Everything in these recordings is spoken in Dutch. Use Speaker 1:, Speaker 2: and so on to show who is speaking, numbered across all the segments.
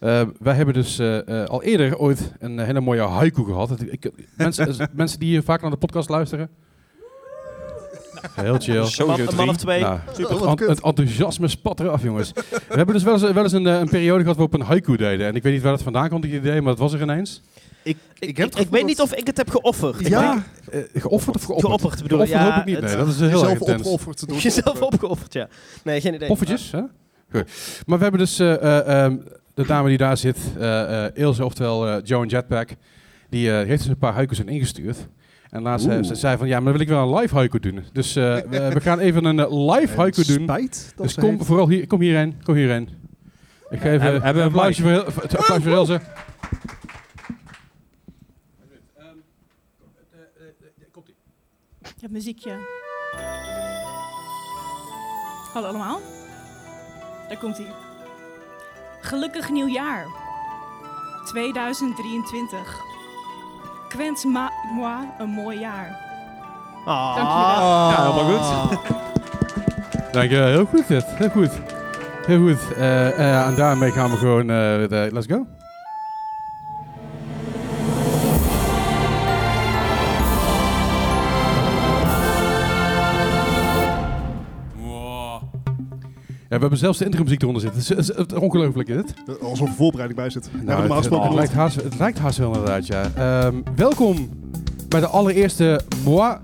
Speaker 1: Eh, wij hebben dus eh, eh, al eerder ooit een hele mooie haiku gehad. Het- ik- mensen, eh, mensen die hier vaak naar de podcast luisteren. Heel chill.
Speaker 2: Zo
Speaker 3: man, een man of twee.
Speaker 1: Nou,
Speaker 4: Oh,
Speaker 1: het,
Speaker 4: wat
Speaker 1: ant-
Speaker 4: kut.
Speaker 1: het enthousiasme spat eraf, jongens. We hebben dus wel eens, wel eens een, eh, een periode gehad waarop we een haiku deden. En ik weet niet waar dat vandaan komt, dit idee, maar het was er ineens.
Speaker 4: Ik
Speaker 3: Ik,
Speaker 4: heb
Speaker 3: ik,
Speaker 4: het gevoel
Speaker 3: weet
Speaker 4: dat-
Speaker 3: niet of ik het heb geofferd.
Speaker 4: Ja.
Speaker 3: Ik
Speaker 1: Eh, geofferd of
Speaker 3: weet-
Speaker 1: geopperd?
Speaker 3: geofferd bedoel ik.
Speaker 1: Geofferd
Speaker 3: ja,
Speaker 1: hoop ik niet, nee.
Speaker 3: het-
Speaker 1: Dat is heel erg
Speaker 4: Jezelf
Speaker 1: intens.
Speaker 4: opgeofferd te doen.
Speaker 3: Jezelf opgeofferd, ja. Nee, geen idee.
Speaker 1: Poffertjes, hè? Goed. Maar we hebben dus eh, eh, ehm, de dame die daar zit, eh eh Ilse, oftewel eh Joan Jetpack, die eh, heeft dus een paar haikus in ingestuurd. En laatst eh,
Speaker 4: Oeh.
Speaker 1: ze zei van, ja, maar dan wil ik wel een live haiku doen. Dus eh, we, we gaan even een eh, live haiku doen.
Speaker 4: Spijt. Dat
Speaker 1: dus
Speaker 4: ze
Speaker 1: kom
Speaker 4: heeft-
Speaker 1: vooral hier, kom hierheen, kom hierheen. Ik geef
Speaker 2: Hebben-
Speaker 1: even
Speaker 2: hebben we
Speaker 1: een
Speaker 2: een
Speaker 1: applausje voor, Il- voor- het applaus voor Ilse.
Speaker 5: Het muziekje. Hallo allemaal. Daar komt ie. Gelukkig nieuwjaar. 2023. Quens ma moi een mooi jaar.
Speaker 3: Ah.
Speaker 5: Dankjewel.
Speaker 2: Ja, helemaal
Speaker 3: goed.
Speaker 1: Dank je, heel goed dit, heel goed. Heel goed. Eh, eh, en daarmee gaan we gewoon, eh, de- let's go. Ja, we hebben zelfs de interimmuziek eronder zitten. Het is- Het is ongelooflijk, is het?
Speaker 4: Nou, Alsof er voorbereiding bij zit. Nou, normaal
Speaker 1: het,
Speaker 4: gesproken
Speaker 1: het
Speaker 4: nooit.
Speaker 1: lijkt haast, het lijkt haast wel inderdaad, ja. Ehm, welkom bij de allereerste Moi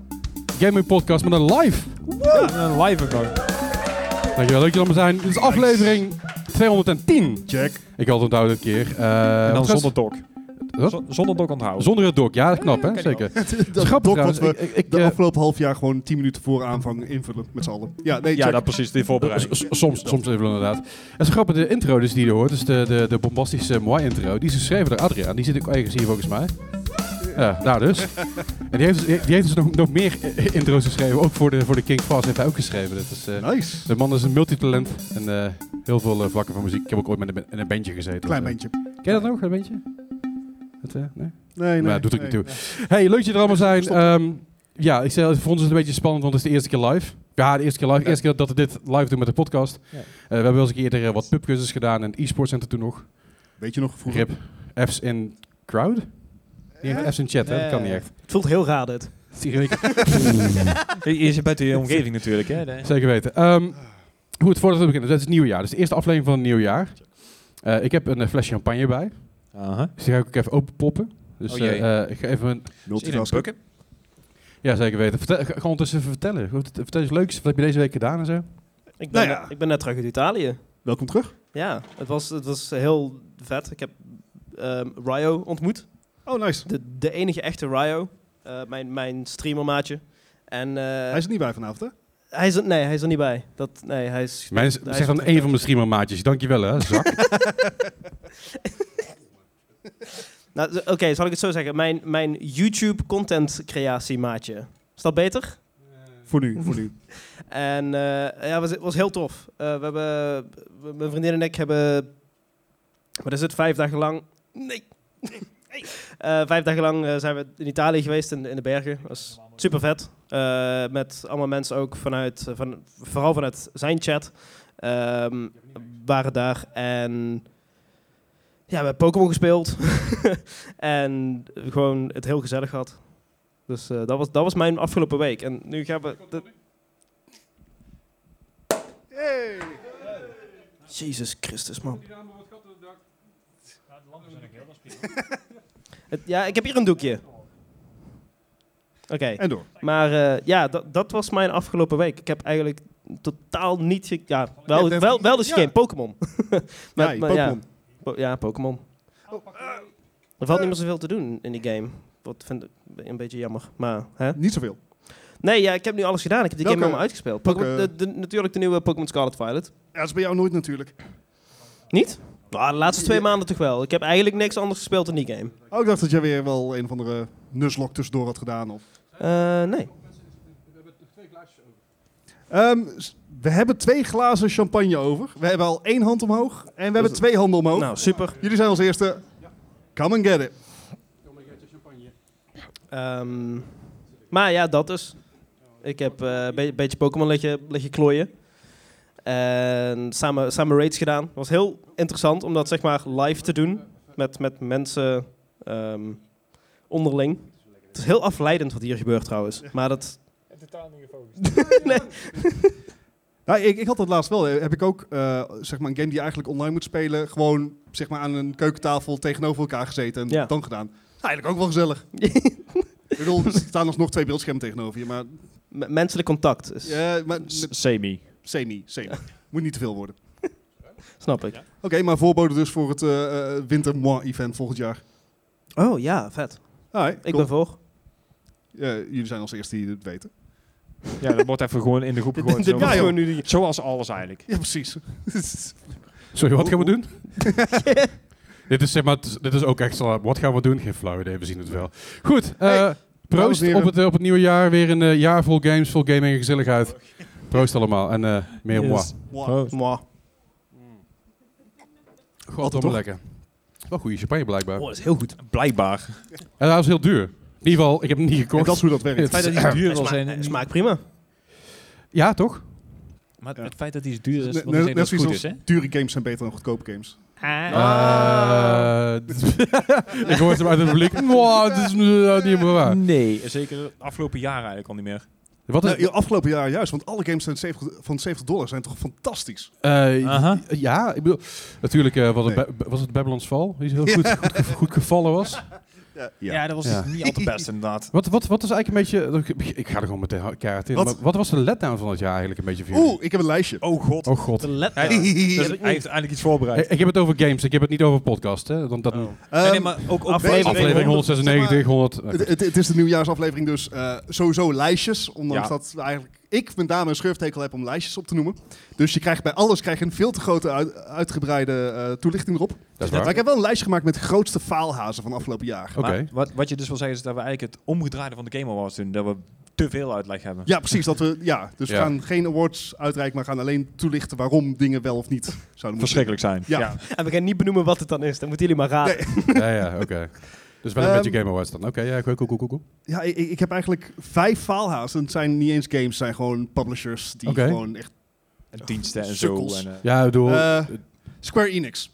Speaker 1: Gaming Podcast met een live.
Speaker 3: Ah.
Speaker 2: Een live
Speaker 3: Eh,
Speaker 2: account.
Speaker 1: Dankjewel, leuk dat jullie allemaal zijn. Dit is aflevering 210.
Speaker 4: Check.
Speaker 1: Ik had het onthouden dit keer. Eh,
Speaker 2: en dan
Speaker 1: wat was-
Speaker 2: zonder dok.
Speaker 1: Wat?
Speaker 2: Z- Zonder dok onthouden.
Speaker 1: Zonder het dok, ja, dat is knap, hè? Zeker.
Speaker 4: Dat is
Speaker 1: grappig
Speaker 4: toch wat
Speaker 1: trouwens.
Speaker 4: we
Speaker 1: Ik- ik- ik,
Speaker 4: de
Speaker 1: eh,
Speaker 4: afgelopen half jaar gewoon 10 minuten voor aanvang invullen met z'n allen. Ja, nee,
Speaker 2: ja,
Speaker 4: check.
Speaker 2: dat precies. Die voorbereiding.
Speaker 1: S- s- Soms, soms even inderdaad. Het is grappig, de intro dus die je hoort, dus de, de, de bombastische mooi intro, die is geschreven door Adriaan. Die zit ook ergens hier volgens mij. Ja, daar dus. En die heeft, dus- die heeft dus nog, nog meer eh, intro's geschreven, ook voor de, voor de King Fast heeft hij ook geschreven. Dat is, eh,
Speaker 4: Nice.
Speaker 1: de man is een multitalent en eh, heel veel eh, vlakken van muziek. Ik heb ook ooit met een, ba- in een bandje gezeten.
Speaker 4: Klein
Speaker 1: Dus, eh,
Speaker 4: bandje.
Speaker 1: Ken je dat nog, een bandje? Het, eh, nee?
Speaker 4: Nee, nee.
Speaker 1: Maar doet ook
Speaker 4: nee,
Speaker 1: niet toe.
Speaker 4: nee.
Speaker 1: Hey, leuk dat je er allemaal zijn.
Speaker 4: Stop.
Speaker 1: Ehm, ja, ik zei, voor ons is het een beetje spannend, want het is de eerste keer live. Ja, de eerste keer live.
Speaker 4: Ja.
Speaker 1: Eerste keer dat we dit live doen met de podcast.
Speaker 2: Ja.
Speaker 1: Eh, we hebben wel eens een keer eerder eh, wat pubcursus gedaan en e-sport center toen nog.
Speaker 4: Weet je nog vroeger?
Speaker 1: Rip. F's in crowd? Nee,
Speaker 2: Eh?
Speaker 1: F's in chat, hè? Dat kan niet echt.
Speaker 3: Het voelt heel raar dit.
Speaker 2: Je je zit bij de omgeving natuurlijk, hè? Nee.
Speaker 1: Zeker weten. Ehm hoe het voordat we beginnen. Dat is het nieuwjaar. Dus de eerste aflevering van het nieuwjaar. Eh, ik heb een eh, fles champagne bij.
Speaker 2: Aha.
Speaker 1: Dus die ga ik ook even openpoppen. Dus
Speaker 2: Oh, jee.
Speaker 1: eh, eh, ik ga even... Een,
Speaker 4: Multitasking.
Speaker 1: ja, zeker weten. Vertel, ga, ga ondertussen even vertellen. Goed, Vertel eens leuks. Wat heb je deze week gedaan en zo?
Speaker 3: Ik ben,
Speaker 4: Nou ja.
Speaker 3: net- ik ben net terug uit Italië.
Speaker 4: Welkom terug.
Speaker 3: Ja, het was, het was heel vet. Ik heb ehm Ryo ontmoet.
Speaker 4: Oh, nice.
Speaker 3: De, de enige echte Ryo, eh, mijn, mijn streamermaatje. En eh,
Speaker 4: Hij is er niet bij vanavond, hè?
Speaker 3: hij is er, nee, hij is er niet bij. Dat, nee, hij is.
Speaker 1: Mijn,
Speaker 3: hij
Speaker 1: zeg
Speaker 3: is
Speaker 1: dan
Speaker 3: op-
Speaker 1: één van mijn streamermaatjes. Dankjewel hè, zak.
Speaker 3: Nou, d- Oké, zal ik het zo zeggen? Mijn, mijn YouTube content creatie maatje. Is dat beter?
Speaker 4: Voor nu, voor nu.
Speaker 3: En eh, ja, het was, was heel tof. Eh, we hebben, we- mijn vriendin en ik hebben, wat is het, vijf dagen lang... Nee. Eh, vijf dagen lang eh, zijn we in Italië geweest, in, de- in de bergen. Dat was super vet. Eh, met allemaal mensen ook vanuit, eh, van, vooral vanuit zijn chat, ehm, waren daar. En ja, we hebben Pokémon gespeeld. en gewoon het heel gezellig gehad. Dus eh, dat, was, dat was mijn afgelopen week. En nu gaan we... de- Jezus Christus, man. Het- Ja, ik heb hier een doekje. Oké,
Speaker 4: En door.
Speaker 3: maar eh, ja, dat, dat was mijn afgelopen week. Ik heb eigenlijk totaal niet... ge- Ja, wel, wel, wel, dus geen Pokémon. Maar-
Speaker 4: Nee,
Speaker 3: maar ja,
Speaker 4: Pokémon.
Speaker 3: po- ja, Pokémon. Er valt niet meer zoveel te doen in die game. Wat vind ik een beetje jammer, maar... Hè?
Speaker 4: Niet zoveel.
Speaker 3: Nee, ja, ik heb nu alles gedaan. Ik heb die game
Speaker 4: Welke-
Speaker 3: helemaal uitgespeeld. Pokémon-
Speaker 4: welke-
Speaker 3: de- de- natuurlijk de nieuwe Pokémon Scarlet Violet.
Speaker 4: Ja, dat is bij jou nooit natuurlijk.
Speaker 3: Niet? Nou, de laatste twee
Speaker 4: Ja.
Speaker 3: maanden toch wel. Ik heb eigenlijk niks anders gespeeld dan die game.
Speaker 4: Oh, ik dacht dat jij weer wel een of andere nuslok tussendoor had gedaan. Of...
Speaker 3: Eh, nee.
Speaker 4: Ehm, s- we hebben twee glazen champagne over. We hebben al één hand omhoog. En we hebben twee handen omhoog.
Speaker 3: Nou, super.
Speaker 4: Jullie zijn als eerste. Come and get it.
Speaker 3: Ehm, maar ja, dat dus. Ik heb eh, een be- beetje Pokémon liggen, liggen klooien. En samen, samen raids gedaan. Het was heel interessant om dat zeg maar live te doen met, met mensen ehm, onderling. Het is heel afleidend wat hier gebeurt trouwens. Maar dat...
Speaker 6: Totaal niet gefocust.
Speaker 4: Nou, ik, ik had dat laatst wel. hè. Heb ik ook eh, zeg maar een game die je eigenlijk online moet spelen, gewoon zeg maar aan een keukentafel tegenover elkaar gezeten en
Speaker 3: Ja.
Speaker 4: dan gedaan. Eigenlijk ook wel gezellig. ik bedoel, er staan alsnog twee beeldschermen tegenover je, maar,
Speaker 3: me- Menselijk contact. Is,
Speaker 4: ja, maar
Speaker 6: S-
Speaker 4: met-
Speaker 6: Semi.
Speaker 4: semi, semi. Moet niet te veel worden.
Speaker 3: Snap ik.
Speaker 4: Oké, maar voorbode dus voor het eh, eh, Winter Moi-event volgend jaar.
Speaker 3: Oh ja, vet.
Speaker 4: Alright,
Speaker 3: Ik
Speaker 4: cool.
Speaker 3: ben voor.
Speaker 4: Eh, jullie zijn als eerste die het weten.
Speaker 6: Ja, dat wordt even gewoon in de groep gegooid.
Speaker 4: dit-
Speaker 6: zo.
Speaker 4: ja, joh.
Speaker 6: nu die- Zoals alles eigenlijk.
Speaker 4: Ja, precies.
Speaker 1: Sorry, wat gaan we doen? dit is zeg maar, dit is ook echt zo. Wat gaan we doen? Geen flauw idee, we zien het wel. Goed, eh,
Speaker 4: Hey, dames
Speaker 1: proost
Speaker 4: en heren.
Speaker 1: op het, eh, op het nieuwe jaar. Weer een eh, jaar vol games, vol gaming en gezelligheid. Proost allemaal en eh meer moi.
Speaker 4: Moi.
Speaker 3: Mwah.
Speaker 1: Goh, altijd wel lekker. Wel goede champagne blijkbaar.
Speaker 3: Oh, dat is heel goed.
Speaker 2: Blijkbaar.
Speaker 1: En dat was heel duur. In ieder geval, ik heb hem niet
Speaker 4: En
Speaker 1: gekocht.
Speaker 4: dat is hoe dat werkt.
Speaker 1: Het
Speaker 2: Het feit dat
Speaker 1: is-
Speaker 2: hij duur
Speaker 3: Het
Speaker 2: wil zijn.
Speaker 3: smaakt, smaakt prima.
Speaker 1: Ja, toch?
Speaker 2: Maar het,
Speaker 4: Ja.
Speaker 2: het feit dat hij duur is,
Speaker 4: Net-
Speaker 2: wil niet zeggen
Speaker 4: net
Speaker 2: dat het
Speaker 4: zoiets
Speaker 2: goed
Speaker 4: als
Speaker 2: is, hè?
Speaker 4: dure games zijn beter dan goedkope games.
Speaker 1: Ah. Eh, ik hoor ze uit het publiek. Mwah, dat is eh, niet helemaal waar.
Speaker 2: Nee, zeker de afgelopen jaren eigenlijk al niet meer.
Speaker 1: Wat is,
Speaker 4: Nou, ja, afgelopen jaar juist, want alle games zijn 70, van 70 dollar zijn toch fantastisch.
Speaker 1: Eh,
Speaker 2: Aha.
Speaker 1: Ja, ik bedoel, natuurlijk eh, was, het
Speaker 4: Nee.
Speaker 1: Ba- was het Babylon's Fall, die heel goed, goed, ge- goed gevallen was.
Speaker 4: Ja.
Speaker 2: Ja, dat was
Speaker 1: Ja.
Speaker 3: dus
Speaker 2: niet al te best inderdaad.
Speaker 1: Wat, wat, wat is eigenlijk een beetje, ik ga er gewoon meteen ha- keihard in,
Speaker 4: Wat?
Speaker 1: maar wat was de letdown van het jaar eigenlijk een beetje voor jullie?
Speaker 4: Oeh, ik heb een lijstje.
Speaker 2: Oh god.
Speaker 1: Oh god.
Speaker 3: De let-
Speaker 2: Hij,
Speaker 3: Ja. Dat heb
Speaker 2: dus hij
Speaker 3: ik
Speaker 2: heeft
Speaker 3: niet.
Speaker 2: eigenlijk iets voorbereid.
Speaker 1: Ik, ik heb het over games, ik heb het niet over podcast, hè. Dan, dat,
Speaker 3: Oh.
Speaker 2: nee,
Speaker 4: Ehm,
Speaker 2: nee, maar ook, ook
Speaker 3: aflevering-
Speaker 1: Aflevering 196, 100...
Speaker 4: het, het, het is de nieuwjaarsaflevering, dus eh, sowieso lijstjes. Ondanks
Speaker 2: Ja.
Speaker 4: dat eigenlijk ik met name een schurftekel heb om lijstjes op te noemen. Dus je krijgt bij alles krijg je een veel te grote uit- uitgebreide eh, toelichting erop.
Speaker 1: dat is
Speaker 4: Maar ik
Speaker 1: waar.
Speaker 4: heb wel een lijstje gemaakt met de grootste faalhazen van afgelopen jaar.
Speaker 1: Oké.
Speaker 2: Maar Wat, wat je dus wil zeggen is dat we eigenlijk het omgedraaide van de Game Awards doen. Dat we te veel uitleg hebben.
Speaker 4: Ja, precies. Dat we, ja, dus we
Speaker 1: Ja.
Speaker 4: gaan geen awards uitreiken, maar gaan alleen toelichten waarom dingen wel of niet zouden moeten.
Speaker 2: Verschrikkelijk zijn.
Speaker 4: Ja.
Speaker 3: En we gaan niet benoemen wat het dan is. Dan moeten jullie maar raden.
Speaker 1: Ja, ja, oké. Dus wel een
Speaker 4: Ehm,
Speaker 1: beetje Game Awards dan. Oké, ja, cool, cool, cool, cool, cool.
Speaker 4: Ja, ik, ik heb eigenlijk vijf faalhazen. Het zijn niet eens games, het zijn gewoon publishers die
Speaker 1: Oké.
Speaker 4: gewoon echt...
Speaker 2: En diensten en
Speaker 4: Sukkels.
Speaker 2: zo. En, eh,
Speaker 1: Ja, ik bedoel...
Speaker 4: Eh, Square Enix.
Speaker 2: oh,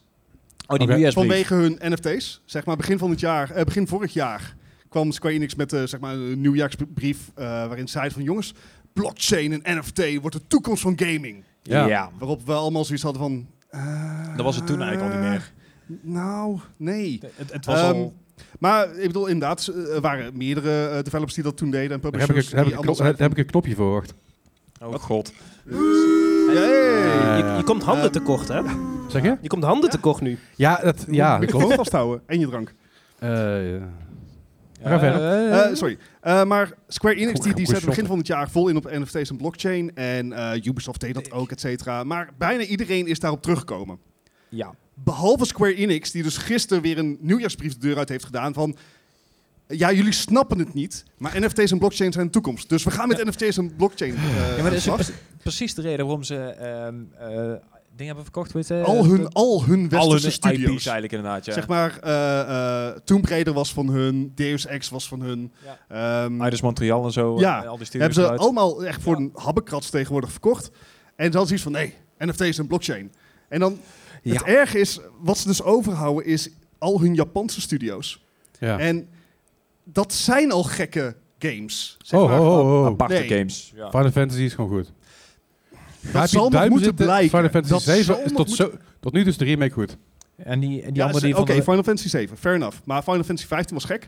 Speaker 2: die
Speaker 1: Oké.
Speaker 2: nieuwjaarsbrief.
Speaker 4: Vanwege hun NFT's, zeg maar begin van het jaar, eh, begin vorig jaar kwam Square Enix met eh, zeg maar een nieuwjaarsbrief eh, waarin ze zeiden van jongens, blockchain en NFT wordt de toekomst van gaming.
Speaker 1: ja.
Speaker 2: Ja.
Speaker 4: Waarop we allemaal zoiets hadden van... eh,
Speaker 2: Dat was het toen eigenlijk al niet meer.
Speaker 4: Nou, nee.
Speaker 2: Het, het was
Speaker 4: Ehm,
Speaker 2: al...
Speaker 4: Maar ik bedoel, inderdaad, er waren meerdere eh, developers die dat toen deden en
Speaker 1: Daar heb,
Speaker 4: publishers
Speaker 1: ik, heb,
Speaker 4: die
Speaker 1: ik,
Speaker 4: allemaal
Speaker 1: knop-
Speaker 4: zeiden
Speaker 1: daar heb ik een knopje voor gewacht.
Speaker 2: Oh god.
Speaker 4: van, "Yay."
Speaker 1: Eh,
Speaker 3: Je, je komt handen tekort, hè?
Speaker 1: Zeg je?
Speaker 3: Je komt handen tekort nu.
Speaker 1: Ja, dat, Eh, ja, dat klopt.
Speaker 4: Microfoon vasthouden en je drank.
Speaker 1: Eh, ja.
Speaker 2: Ja,
Speaker 1: verder.
Speaker 2: eh,
Speaker 4: Eh, sorry. Eh, maar Square Enix
Speaker 1: Goed,
Speaker 4: die, die
Speaker 1: goed
Speaker 4: zette begin van het jaar vol in op NFT's en blockchain. En eh, Ubisoft deed dat ook, et cetera. Maar bijna iedereen is daarop teruggekomen.
Speaker 2: ja.
Speaker 4: Behalve Square Enix, die dus gisteren weer een nieuwjaarsbrief de deur uit heeft gedaan van... Ja, jullie snappen het niet, maar NFT's en blockchain zijn de toekomst. Dus we gaan met NFT's en blockchain eh,
Speaker 2: Ja,
Speaker 4: aan
Speaker 2: maar
Speaker 4: de
Speaker 2: dat is
Speaker 4: slag.
Speaker 2: pre- precies de reden waarom ze ehm eh, dingen hebben verkocht. Weet, je, eh,
Speaker 4: al, hun, al hun
Speaker 2: Al
Speaker 4: westerse
Speaker 2: hun
Speaker 4: studios.
Speaker 2: IP's eigenlijk inderdaad, ja.
Speaker 4: Zeg maar, eh eh Tomb Raider was van hun, Deus Ex was van hun.
Speaker 2: Ja.
Speaker 4: Ehm,
Speaker 2: Idols Montreal en zo.
Speaker 4: Ja,
Speaker 2: eh, al
Speaker 4: hebben
Speaker 2: die studios
Speaker 4: ze
Speaker 2: eruit.
Speaker 4: allemaal echt voor
Speaker 2: Ja.
Speaker 4: een habbekrats tegenwoordig verkocht. En dan is iets van, nee, NFT's en blockchain. En dan, het
Speaker 2: Ja.
Speaker 4: erg is, wat ze dus overhouden is al hun Japanse studio's.
Speaker 1: ja.
Speaker 4: En dat zijn al gekke games. Zeg
Speaker 1: Oh,
Speaker 4: maar,
Speaker 1: oh, oh, oh.
Speaker 2: Aparte
Speaker 4: Nee.
Speaker 2: games. Ja.
Speaker 1: Final Fantasy is gewoon goed.
Speaker 4: Dat zal nog moeten blijken.
Speaker 1: Final Fantasy
Speaker 4: Dat
Speaker 1: 7
Speaker 4: zal
Speaker 1: is
Speaker 4: nog
Speaker 1: tot,
Speaker 4: moeten-
Speaker 1: zo, tot nu dus de remake goed.
Speaker 2: En die, en die
Speaker 4: Ja,
Speaker 2: andere die
Speaker 4: Oké,
Speaker 2: van de-
Speaker 4: Final Fantasy 7, fair enough. Maar Final Fantasy 15 was gek.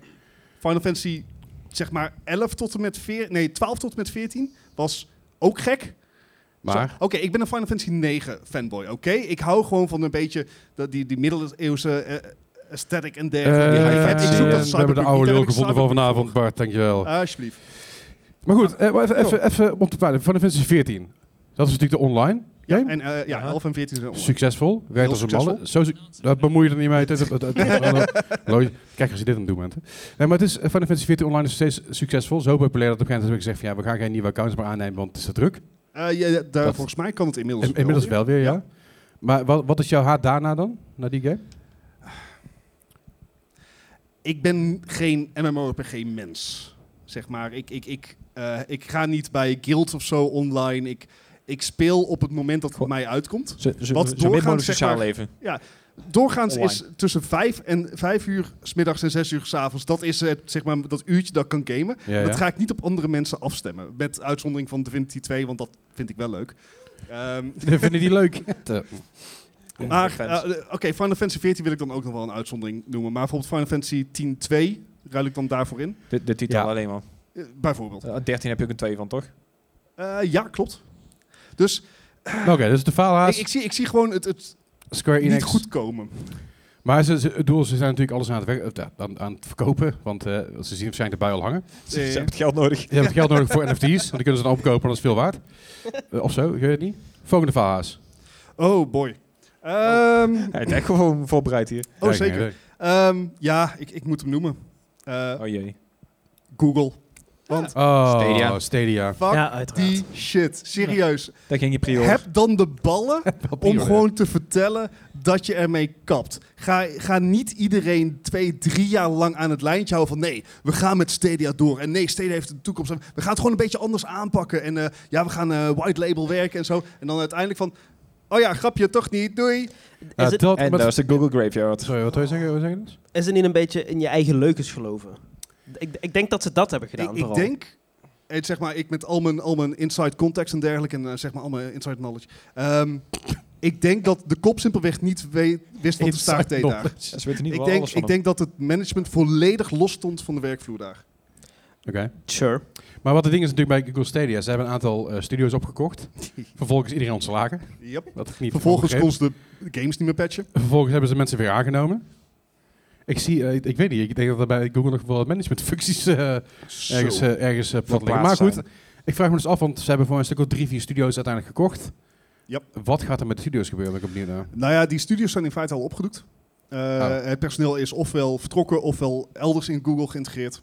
Speaker 4: Final Fantasy, zeg maar, 11 tot en met 14, nee, 12 tot en met 14 was ook gek.
Speaker 1: Maar
Speaker 4: Zo, Oké, ik ben een Final Fantasy 9 fanboy, oké? Ik hou gewoon van een beetje dat, die, die middeleeuwse eh, aesthetic en dergelijke. die
Speaker 1: Eh,
Speaker 4: high five.
Speaker 1: eh,
Speaker 4: ik zoek dat
Speaker 1: we hebben de oude lul
Speaker 4: leuk
Speaker 1: gevonden van vanavond, Bart. Dankjewel.
Speaker 4: Alsjeblieft.
Speaker 1: maar goed, eh, maar even, even, even om te praten. Final Fantasy 14. Dat is natuurlijk de online game.
Speaker 4: En eh, ja,
Speaker 2: Ja.
Speaker 4: 11 en 14 zijn online.
Speaker 1: Succesvol. Werkt als een
Speaker 4: succesvol.
Speaker 1: malle. Zo, su- dat bemoei je er niet mee. Het is- het- het- het- het- het- Lol. Kijk als je dit aan het doen bent. hè. Nee, maar het is, eh, Final Fantasy 14 online is steeds succesvol. Zo populair dat op een gegeven moment heb ik gezegd van ja, we gaan geen nieuwe accounts meer aannemen, want het is te druk.
Speaker 4: Eh, ja, ja, daar,
Speaker 1: Dat-
Speaker 4: volgens mij kan het inmiddels,
Speaker 1: In- Inmiddels
Speaker 4: weer.
Speaker 1: wel weer, ja. Maar wat, wat is jouw haat daarna dan? Na die game?
Speaker 4: Ik ben geen MMORPG-mens, zeg maar. Ik, ik, ik, eh, ik ga niet bij guilds of zo online. Ik, Ik speel op het moment dat het
Speaker 2: Goh.
Speaker 4: mij uitkomt.
Speaker 2: Zo, zo,
Speaker 4: Wat
Speaker 2: zo
Speaker 4: doorgaans,
Speaker 2: min mogelijk
Speaker 4: zeg
Speaker 2: sociaal
Speaker 4: maar-
Speaker 2: leven.
Speaker 4: Doorgaans
Speaker 2: Online.
Speaker 4: is tussen 5 en 5 uur s middags en 6 uur s avonds. Dat is het, zeg maar, dat uurtje dat ik kan gamen.
Speaker 1: Ja, ja.
Speaker 4: Dat ga ik niet op andere mensen afstemmen. Met uitzondering van Divinity 2, want dat vind ik wel leuk. Ehm,
Speaker 1: Vinden die leuk?
Speaker 4: maar,
Speaker 2: Final Fantasy.
Speaker 4: eh, oké, Final Fantasy 14 wil ik dan ook nog wel een uitzondering noemen. Maar bijvoorbeeld Final Fantasy 10-2 ruil ik dan daarvoor in.
Speaker 2: De, de titel
Speaker 1: Ja.
Speaker 2: alleen maar.
Speaker 4: Eh, bijvoorbeeld.
Speaker 2: Eh, 13 heb je ook een 2 van, toch?
Speaker 4: Eh, ja, klopt. Dus
Speaker 1: Oké, dus de
Speaker 4: ik,
Speaker 1: faalhaas,
Speaker 4: ik, zie, ik zie gewoon het, het
Speaker 1: Square Enix.
Speaker 4: niet goed komen.
Speaker 1: Maar ze, ze, het doel, ze zijn natuurlijk alles aan het, werk- eh, aan, aan het verkopen, want eh, ze zien waarschijnlijk de bui al hangen.
Speaker 2: Ze
Speaker 4: Eh.
Speaker 2: hebben het geld nodig.
Speaker 1: Ze hebben geld nodig voor NFT's, want die kunnen ze dan opkopen, dat is veel waard. Eh, of zo, ik weet het niet. Volgende faalhaas.
Speaker 4: Oh boy. Ehm,
Speaker 2: Hij is echt gewoon voorbereid hier.
Speaker 4: oh,
Speaker 1: Ja, ik
Speaker 4: zeker.
Speaker 1: denk het.
Speaker 4: Ehm, ja, ik, ik moet hem noemen. Eh,
Speaker 2: Oh jee.
Speaker 4: Google. Want
Speaker 1: Oh, Stadia.
Speaker 2: Stadia.
Speaker 4: fuck
Speaker 3: Ja, uiteraard.
Speaker 4: die shit. Serieus.
Speaker 2: Daar ging je prior.
Speaker 4: Heb dan de ballen om
Speaker 1: Prima.
Speaker 4: gewoon te vertellen dat je ermee kapt. Ga, ga niet iedereen twee, drie jaar lang aan het lijntje houden van nee, we gaan met Stadia door. En nee, Stadia heeft een toekomst. En We gaan het gewoon een beetje anders aanpakken. En eh, ja, we gaan eh white label werken en zo. En dan uiteindelijk van, oh ja, grapje, toch niet, doei.
Speaker 1: Eh,
Speaker 3: Is, het,
Speaker 1: dat,
Speaker 2: En
Speaker 1: maar-
Speaker 2: dat is de Google Graveyard.
Speaker 1: sorry, wat wil je zeggen? Wat wil je zeggen dus?
Speaker 3: is het niet een beetje in je eigen leukens geloven? Ik, ik denk dat ze dat hebben gedaan
Speaker 4: Ik, ik
Speaker 3: vooral.
Speaker 4: denk, het, zeg maar, ik met al mijn, al mijn inside context en dergelijke, en eh, zeg maar al mijn inside knowledge. ehm, ik denk dat de kop simpelweg niet weet, wist wat de staart deed daar.
Speaker 2: Ja, Ze weten niet
Speaker 4: Ik
Speaker 2: wel
Speaker 4: denk,
Speaker 2: alles van
Speaker 4: ik
Speaker 2: hem.
Speaker 4: denk dat het management volledig los stond van de werkvloer daar.
Speaker 1: Oké.
Speaker 3: Sure.
Speaker 1: Maar wat het ding is natuurlijk bij Google Stadia, ze hebben een aantal eh, studio's opgekocht. Vervolgens iedereen ontslagen.
Speaker 4: Yep.
Speaker 1: Dat ik niet
Speaker 4: Vervolgens
Speaker 1: begreep.
Speaker 4: kon ze de games niet meer patchen.
Speaker 1: Vervolgens hebben ze mensen weer aangenomen. Ik zie, eh, ik, ik weet niet, ik denk dat er bij Google nog wel wat managementfuncties eh, ergens,
Speaker 4: Zo.
Speaker 1: eh, ergens eh, plat liggen. Maar
Speaker 2: Verplaatst
Speaker 1: goed,
Speaker 2: zijn.
Speaker 1: ik vraag me dus af, want ze hebben voor een stuk of drie, vier studio's uiteindelijk gekocht.
Speaker 4: Yep.
Speaker 1: Wat gaat er met de studio's gebeuren? Ben ik opnieuw eh? naar.
Speaker 4: Nou ja, die studios zijn in feite al opgedoekt. Eh,
Speaker 2: Ah.
Speaker 4: Het personeel is ofwel vertrokken ofwel elders in Google geïntegreerd.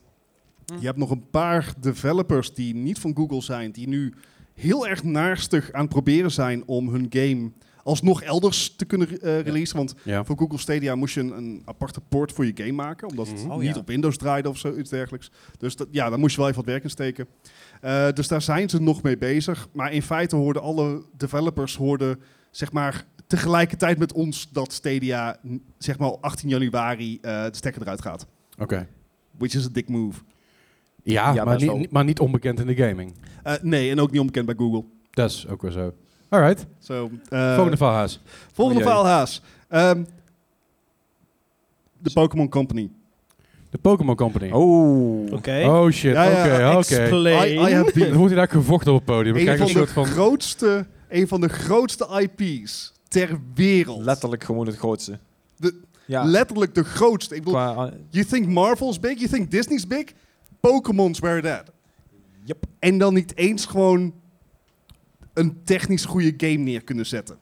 Speaker 4: Je hebt nog een paar developers die niet van Google zijn, die nu heel erg naarstig aan het proberen zijn om hun game alsnog elders te kunnen eh, releasen. Want
Speaker 1: Ja.
Speaker 4: voor Google Stadia moest je een, een aparte port voor je game maken, omdat het
Speaker 1: Mhm.
Speaker 2: Oh,
Speaker 4: niet
Speaker 2: ja.
Speaker 4: op Windows draaide of zoiets dergelijks. Dus dat, ja, daar moest je wel even wat werk in steken. Eh, dus daar zijn ze nog mee bezig. Maar in feite hoorden alle developers hoorden, zeg maar, tegelijkertijd met ons dat Stadia n- zeg maar, 18 januari eh, de stekker eruit gaat.
Speaker 1: Oké.
Speaker 4: Which is a dick move.
Speaker 1: Ja,
Speaker 2: Ja,
Speaker 1: maar,
Speaker 2: best
Speaker 1: niet,
Speaker 2: wel.
Speaker 1: niet- maar niet onbekend in de gaming.
Speaker 4: Eh, nee, en ook niet onbekend bij Google.
Speaker 1: Dat is ook weer zo. Alright,
Speaker 4: Zo, eh,
Speaker 1: volgende faalhaas.
Speaker 4: volgende
Speaker 2: Oh, jee.
Speaker 4: faalhaas. Ehm, de Pokémon Company.
Speaker 1: De Pokémon Company.
Speaker 2: Oh.
Speaker 3: Oké.
Speaker 1: Oh shit,
Speaker 4: Ja, ja,
Speaker 1: oké, oké.
Speaker 4: I, I
Speaker 3: Explain.
Speaker 4: have
Speaker 1: Dan
Speaker 4: been.
Speaker 1: wordt hij daar gevochten op het podium. We
Speaker 4: een
Speaker 1: krijgen
Speaker 4: van,
Speaker 1: een
Speaker 4: de
Speaker 1: soort van...
Speaker 4: grootste, een van de grootste IP's ter wereld.
Speaker 2: Letterlijk gewoon het grootste.
Speaker 4: De-
Speaker 2: ja,
Speaker 4: Letterlijk de grootste. Ik bedoel,
Speaker 2: qua... eh,
Speaker 4: you think Marvel's big, you think Disney's big? Pokémon's were that.
Speaker 2: Yep.
Speaker 4: En dan niet eens gewoon een technisch goede game neer kunnen zetten.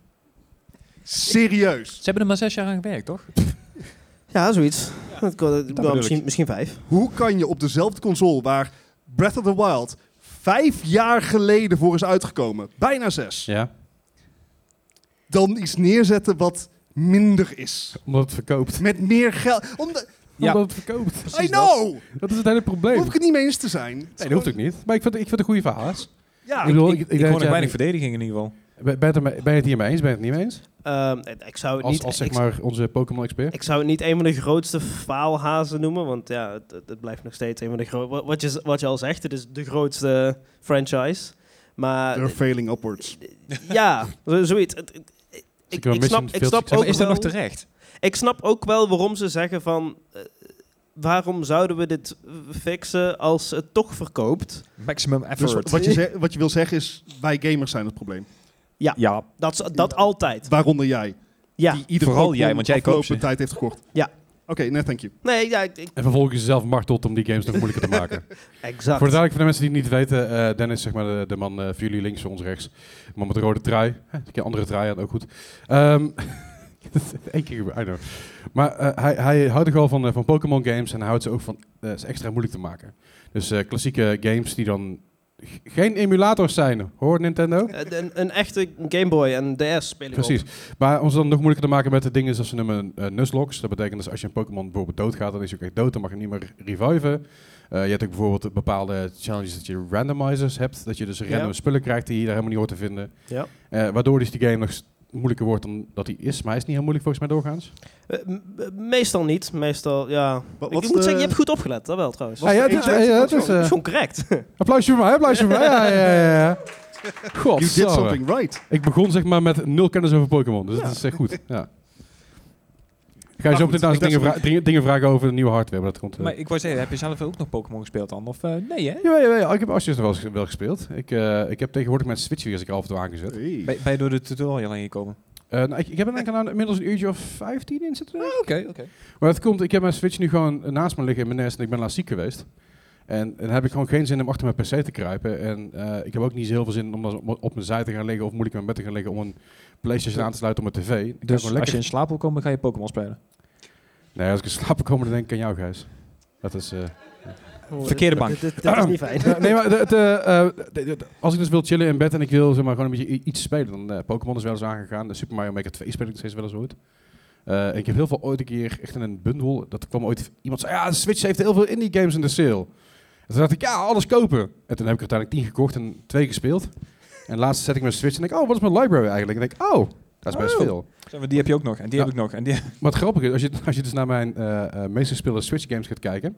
Speaker 4: Serieus.
Speaker 2: Ze hebben er maar zes jaar aan gewerkt, toch?
Speaker 3: Ja, zoiets. Dat kon-
Speaker 2: bedoel ik.
Speaker 3: misschien, misschien vijf.
Speaker 4: Hoe kan je op dezelfde console waar Breath of the Wild vijf jaar geleden voor is uitgekomen, bijna zes,
Speaker 1: Ja,
Speaker 4: dan iets neerzetten wat minder is?
Speaker 1: omdat het verkoopt.
Speaker 4: Met meer geld. Omdat,
Speaker 2: Ja.
Speaker 1: Omdat het verkoopt.
Speaker 4: I
Speaker 2: Precies dat.
Speaker 4: know!
Speaker 1: Dat is het hele probleem.
Speaker 4: Hoef ik het niet mee eens te zijn. Het is
Speaker 1: Nee, dat hoeft ook
Speaker 4: gewoon-
Speaker 1: niet. Maar ik vind, ik vind het een goede verhaal.
Speaker 4: Ja,
Speaker 1: Ik bedoel,
Speaker 2: Ik, ik,
Speaker 1: denk dat
Speaker 2: hoor nog
Speaker 1: jij-
Speaker 2: weinig verdediging in ieder geval.
Speaker 1: Ben ben je het er mee- ben je het hiermee eens? Ben je het niet mee eens?
Speaker 3: Ehm, ik zou het
Speaker 1: Als,
Speaker 3: niet...
Speaker 1: als
Speaker 3: ik,
Speaker 1: zeg maar onze Pokémon-expert.
Speaker 3: ik zou het niet een van de grootste faalhazen noemen, want ja, het, het- het blijft nog steeds een van de grootste... Wat je, wat je al zegt, het is de grootste franchise. Maar eh,
Speaker 4: They're failing upwards.
Speaker 3: ja, zo- zoiets. Het- het- Ik,
Speaker 1: kunnen
Speaker 3: ik
Speaker 1: wel
Speaker 3: snap,
Speaker 1: missen
Speaker 3: ik
Speaker 1: veel
Speaker 3: snap
Speaker 1: succes.
Speaker 3: ook
Speaker 2: Maar is dat
Speaker 3: wel-
Speaker 2: nog terecht?
Speaker 3: Ik snap ook wel waarom ze zeggen van... eh, waarom zouden we dit eh, fixen als het toch verkoopt?
Speaker 2: Maximum
Speaker 4: Dus
Speaker 2: effort.
Speaker 4: wat, wat je ze- wat je wil zeggen is, wij gamers zijn het probleem.
Speaker 2: ja,
Speaker 3: Dat, is- dat altijd.
Speaker 4: Waaronder jij.
Speaker 3: Ja.
Speaker 4: die ieder
Speaker 2: Vooral
Speaker 4: Pokémon
Speaker 2: jij, want jij koopt
Speaker 4: afgelopen
Speaker 2: ze.
Speaker 4: tijd heeft gekocht.
Speaker 3: Ja.
Speaker 4: Oké, nee, thank you.
Speaker 3: Nee, ja, ik- ik-
Speaker 1: En vervolgens jezelf martelt om die games nog moeilijker te maken.
Speaker 3: exact.
Speaker 1: Voor de duidelijk voor de mensen die het niet weten, eh, Dennis, zeg maar de, de man eh voor jullie links, voor ons rechts. De man met de rode trui. Huh, een keer andere trui had ook goed. Ehm Eén keer, gebeurd, I know. Maar eh, hij, hij houdt toch wel van, eh, van Pokémon games en hij houdt ze ook van eh, ze extra moeilijk te maken. Dus eh, klassieke games die dan g- geen emulators zijn, hoor Nintendo.
Speaker 3: Eh, Een, een echte Game Boy en DS spelen
Speaker 1: Precies. Maar om ze dan nog moeilijker te maken met de dingen zoals ze noemen eh, Nuzlocke. Dat betekent dus als je een Pokémon bijvoorbeeld doodgaat, dan is hij ook echt dood. Dan mag je hem niet meer reviven. Eh, je hebt ook bijvoorbeeld bepaalde challenges dat je randomizers hebt. Dat je dus random spullen krijgt die je daar helemaal niet hoort te vinden.
Speaker 3: Ja.
Speaker 1: Eh, waardoor dus die game nog s- moeilijker wordt dan dat hij is. Maar hij is niet heel moeilijk volgens mij doorgaans.
Speaker 3: Eh, m- eh, meestal niet. Meestal, ja.
Speaker 4: Wat, eh,
Speaker 3: ik moet zeggen, je hebt goed opgelet. Dat wel trouwens.
Speaker 1: Ah, ja, dit-
Speaker 4: eentje?
Speaker 1: ja,
Speaker 4: Wat
Speaker 1: dit is,
Speaker 4: was-
Speaker 1: eh,
Speaker 3: Gewoon correct.
Speaker 1: Applausje voor mij, applausje voor mij. Ja, ja, ja. ja. God,
Speaker 4: You did something right.
Speaker 1: Ik begon zeg maar met nul kennis over Pokémon, dus dat is echt goed.
Speaker 2: Nou,
Speaker 1: Ja. Ga je zo
Speaker 4: goed,
Speaker 1: meteen trouwens
Speaker 4: ik
Speaker 1: dingen,
Speaker 4: dacht-
Speaker 1: vra- dingen- dingen vragen over de nieuwe hardware, maar dat komt... eh.
Speaker 2: Maar ik wou zeggen, heb je zelf ook nog Pokémon gespeeld dan? Of eh, nee, hè?
Speaker 1: Jawel, jawel, ik heb Asjes nog wel, eens- wel gespeeld. Ik, eh, ik heb tegenwoordig mijn Switch weer eens een keer af en toe aangezet.
Speaker 4: Hey.
Speaker 2: Ben, ben je door de tutorial heen gekomen?
Speaker 1: Eh, nou, ik, ik heb er denk ik nou inmiddels een uurtje of 15 in zitten. denk ik.
Speaker 2: Oké, oké.
Speaker 1: Maar het komt, ik heb mijn Switch nu gewoon eh, naast me liggen in mijn nest en ik ben laatst ziek geweest. En dan heb ik gewoon geen zin om achter mijn PC te kruipen. En eh, ik heb ook niet zo heel veel zin om dan op- op mijn zij te gaan liggen of moeilijk in mijn bed te gaan liggen om een PlayStation aan te sluiten op mijn tv. Ik ga
Speaker 2: Dus
Speaker 1: gewoon
Speaker 2: als je in slaap wil komen, ga je Pokémon spelen.
Speaker 1: Nee, als ik in slaap kom, dan denk ik aan jou, Gijs. Dat is... eh,
Speaker 2: Verkeerde bank.
Speaker 3: Dit- dit- dit is niet fijn.
Speaker 1: Ja, nee, maar de- de, eh, de- de- als ik dus wil chillen in bed en ik wil zeg maar, gewoon een beetje i- iets spelen, dan eh, Pokémon is wel eens aangegaan. De Super Mario Maker 2 speel ik nog steeds wel eens ooit. Eh, ik heb heel veel ooit een keer echt in een bundel, dat kwam ooit iemand zei, ja, de Switch heeft heel veel indie games in de sale. En toen dacht ik, ja, alles kopen. En toen heb ik er uiteindelijk 10 gekocht en twee gespeeld. En laatst zet ik mijn Switch en denk ik, oh, wat is mijn library eigenlijk? En denk ik, oh, dat is best
Speaker 2: Oh.
Speaker 1: veel.
Speaker 2: Zeg maar, Die heb je ook nog, en die
Speaker 1: Ja.
Speaker 2: heb ik nog. En die...
Speaker 1: Maar het grappige is, als je, als je dus naar mijn eh, eh, meest gespeelde Switch games gaat kijken,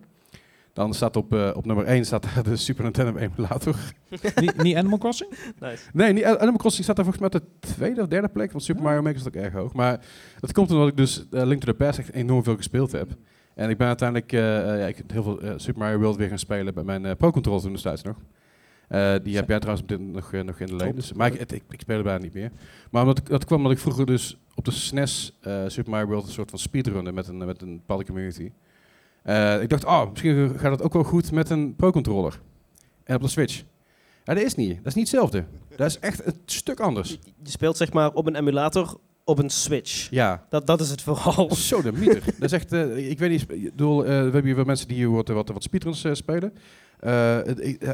Speaker 1: dan staat op, eh, op nummer 1 staat daar de Super Nintendo emulator.
Speaker 2: niet, niet Animal Crossing?
Speaker 3: Nice.
Speaker 1: Nee, niet, Animal Crossing staat daar volgens mij op de tweede of derde plek, want Super Mario Maker staat ook erg hoog. Maar dat komt omdat ik dus eh, Link to the Past echt enorm veel gespeeld heb. En ik ben uiteindelijk eh, eh, ja, ik heb heel veel eh, Super Mario World weer gaan spelen bij mijn eh, Pro Controller toen destijds nog. Eh, die heb jij trouwens op dit nog, eh, nog in de leen. Dus, maar ik, het- ik, ik speel er bijna niet meer. Maar omdat ik, dat kwam omdat ik vroeger dus op de SNES eh, Super Mario World een soort van speedrunde met een, met een bepaalde community. Eh, ik dacht, oh, misschien gaat dat ook wel goed met een Pro Controller. En op de Switch. Ja, dat is niet. Dat is niet hetzelfde. Dat is echt een stuk anders.
Speaker 3: Je je speelt zeg maar op een emulator op een Switch.
Speaker 1: Ja.
Speaker 3: Dat, dat is het vooral.
Speaker 1: Zo de mieter. Dat is echt, eh, ik weet niet, ik bedoel, eh, we hebben hier wel mensen die hier wat, wat, wat speedruns eh, spelen. Eh, het- ik- eh,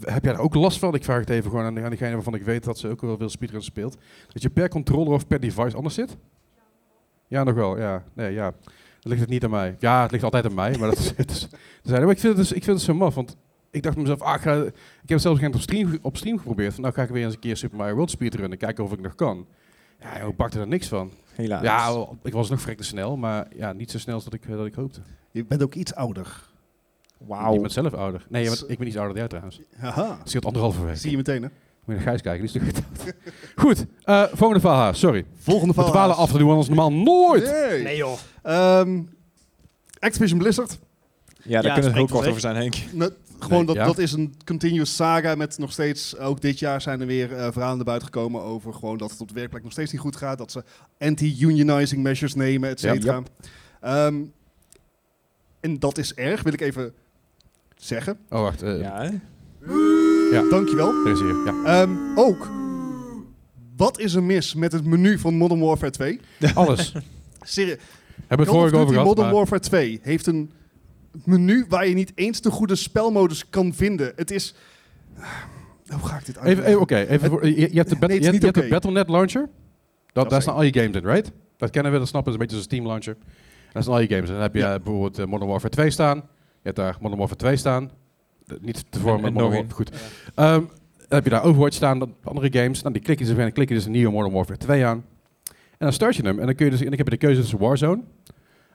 Speaker 1: heb jij daar ook last van? Ik vraag het even gewoon aan, aan diegene waarvan ik weet dat ze ook wel veel speedruns speelt. Dat je per controller of per device anders zit? Ja, nog wel. Ja, nee, ja. Dan ligt het niet aan mij. Ja, het ligt altijd aan mij, maar dat is het. Is, dat is eigenlijk- maar ik vind het, dus, ik vind het zo maf, want ik dacht bij mezelf, ah, ik, ga, ik heb zelfs op stream, op stream geprobeerd. Van, nou ga ik weer eens een keer Super Mario World speedrunnen, kijken of ik nog kan. Ja, ik pakte er niks van.
Speaker 2: Helaas.
Speaker 1: Ja, wel, ik was nog te snel, maar ja, niet zo snel als dat ik, eh, dat ik hoopte.
Speaker 4: Je bent ook iets ouder.
Speaker 1: Je
Speaker 2: wauw.
Speaker 1: bent zelf ouder. Nee, je bent- ik ben niet zo ouder dan jij trouwens.
Speaker 4: Haha.
Speaker 1: Het scheelt anderhalve week.
Speaker 4: Zie je meteen, hè?
Speaker 1: Moet je naar Gijs kijken, die is toch geteld. Goed, eh, volgende faalhaas, sorry.
Speaker 4: Volgende
Speaker 1: We
Speaker 4: verhaal.
Speaker 1: dwalen af, dat doen we anders normaal nooit.
Speaker 4: Nee.
Speaker 3: Nee joh.
Speaker 4: Ehm, Activision Blizzard.
Speaker 2: Ja, daar
Speaker 3: Ja,
Speaker 2: kunnen we heel
Speaker 3: spreekt
Speaker 2: kort
Speaker 3: het
Speaker 2: over zijn, Henk.
Speaker 4: Nou, gewoon
Speaker 1: Nee,
Speaker 4: dat,
Speaker 1: ja.
Speaker 4: dat is een continuous saga met nog steeds, ook dit jaar zijn er weer eh, verhalen naar buiten gekomen over gewoon dat het op de werkplek nog steeds niet goed gaat. Dat ze anti-unionizing measures nemen, et
Speaker 1: Ja,
Speaker 4: cetera. Ehm, en dat is erg, wil ik even zeggen.
Speaker 1: Oh, wacht, eh
Speaker 2: Ja, hè?
Speaker 4: Dankjewel.
Speaker 1: er is hier. Ja.
Speaker 4: Ehm, ook, wat is er mis met het menu van Modern Warfare 2?
Speaker 1: Alles.
Speaker 4: Serie,
Speaker 1: Hebben we het
Speaker 4: Call of
Speaker 1: vorige over
Speaker 4: Duty
Speaker 1: gehad.
Speaker 4: Modern
Speaker 1: maar-
Speaker 4: Warfare 2 heeft een menu waar je niet eens de goede spelmodus kan vinden. Het is... Ah, Hoe ga ik dit
Speaker 1: Even,
Speaker 4: uitleggen?
Speaker 1: even oké. even voor- je, je hebt de, bat-
Speaker 4: Nee, het
Speaker 1: je
Speaker 4: is
Speaker 1: hebt,
Speaker 4: niet
Speaker 1: je hebt de
Speaker 4: oké.
Speaker 1: Battle.net launcher. Dat,
Speaker 4: Dat
Speaker 1: daar
Speaker 4: is
Speaker 1: staan al je games in, right? Dat kennen we, dat snappen we. Dat is een beetje zo'n Steam launcher. Daar staan al je games in. Dan heb je
Speaker 4: Ja.
Speaker 1: eh, bijvoorbeeld eh, Modern Warfare 2 staan. Je hebt daar Modern Warfare 2 staan. De- niet te vormen,
Speaker 2: en
Speaker 1: met Modern
Speaker 2: nog
Speaker 1: Warfare. Goed. Ehm, dan heb je daar Overwatch staan, dan andere games. Nou, die klik je dus, weer en klik je dus een nieuwe Modern Warfare 2 aan. En dan start je hem. En dan kun je dus, en ik heb je de keuze tussen Warzone.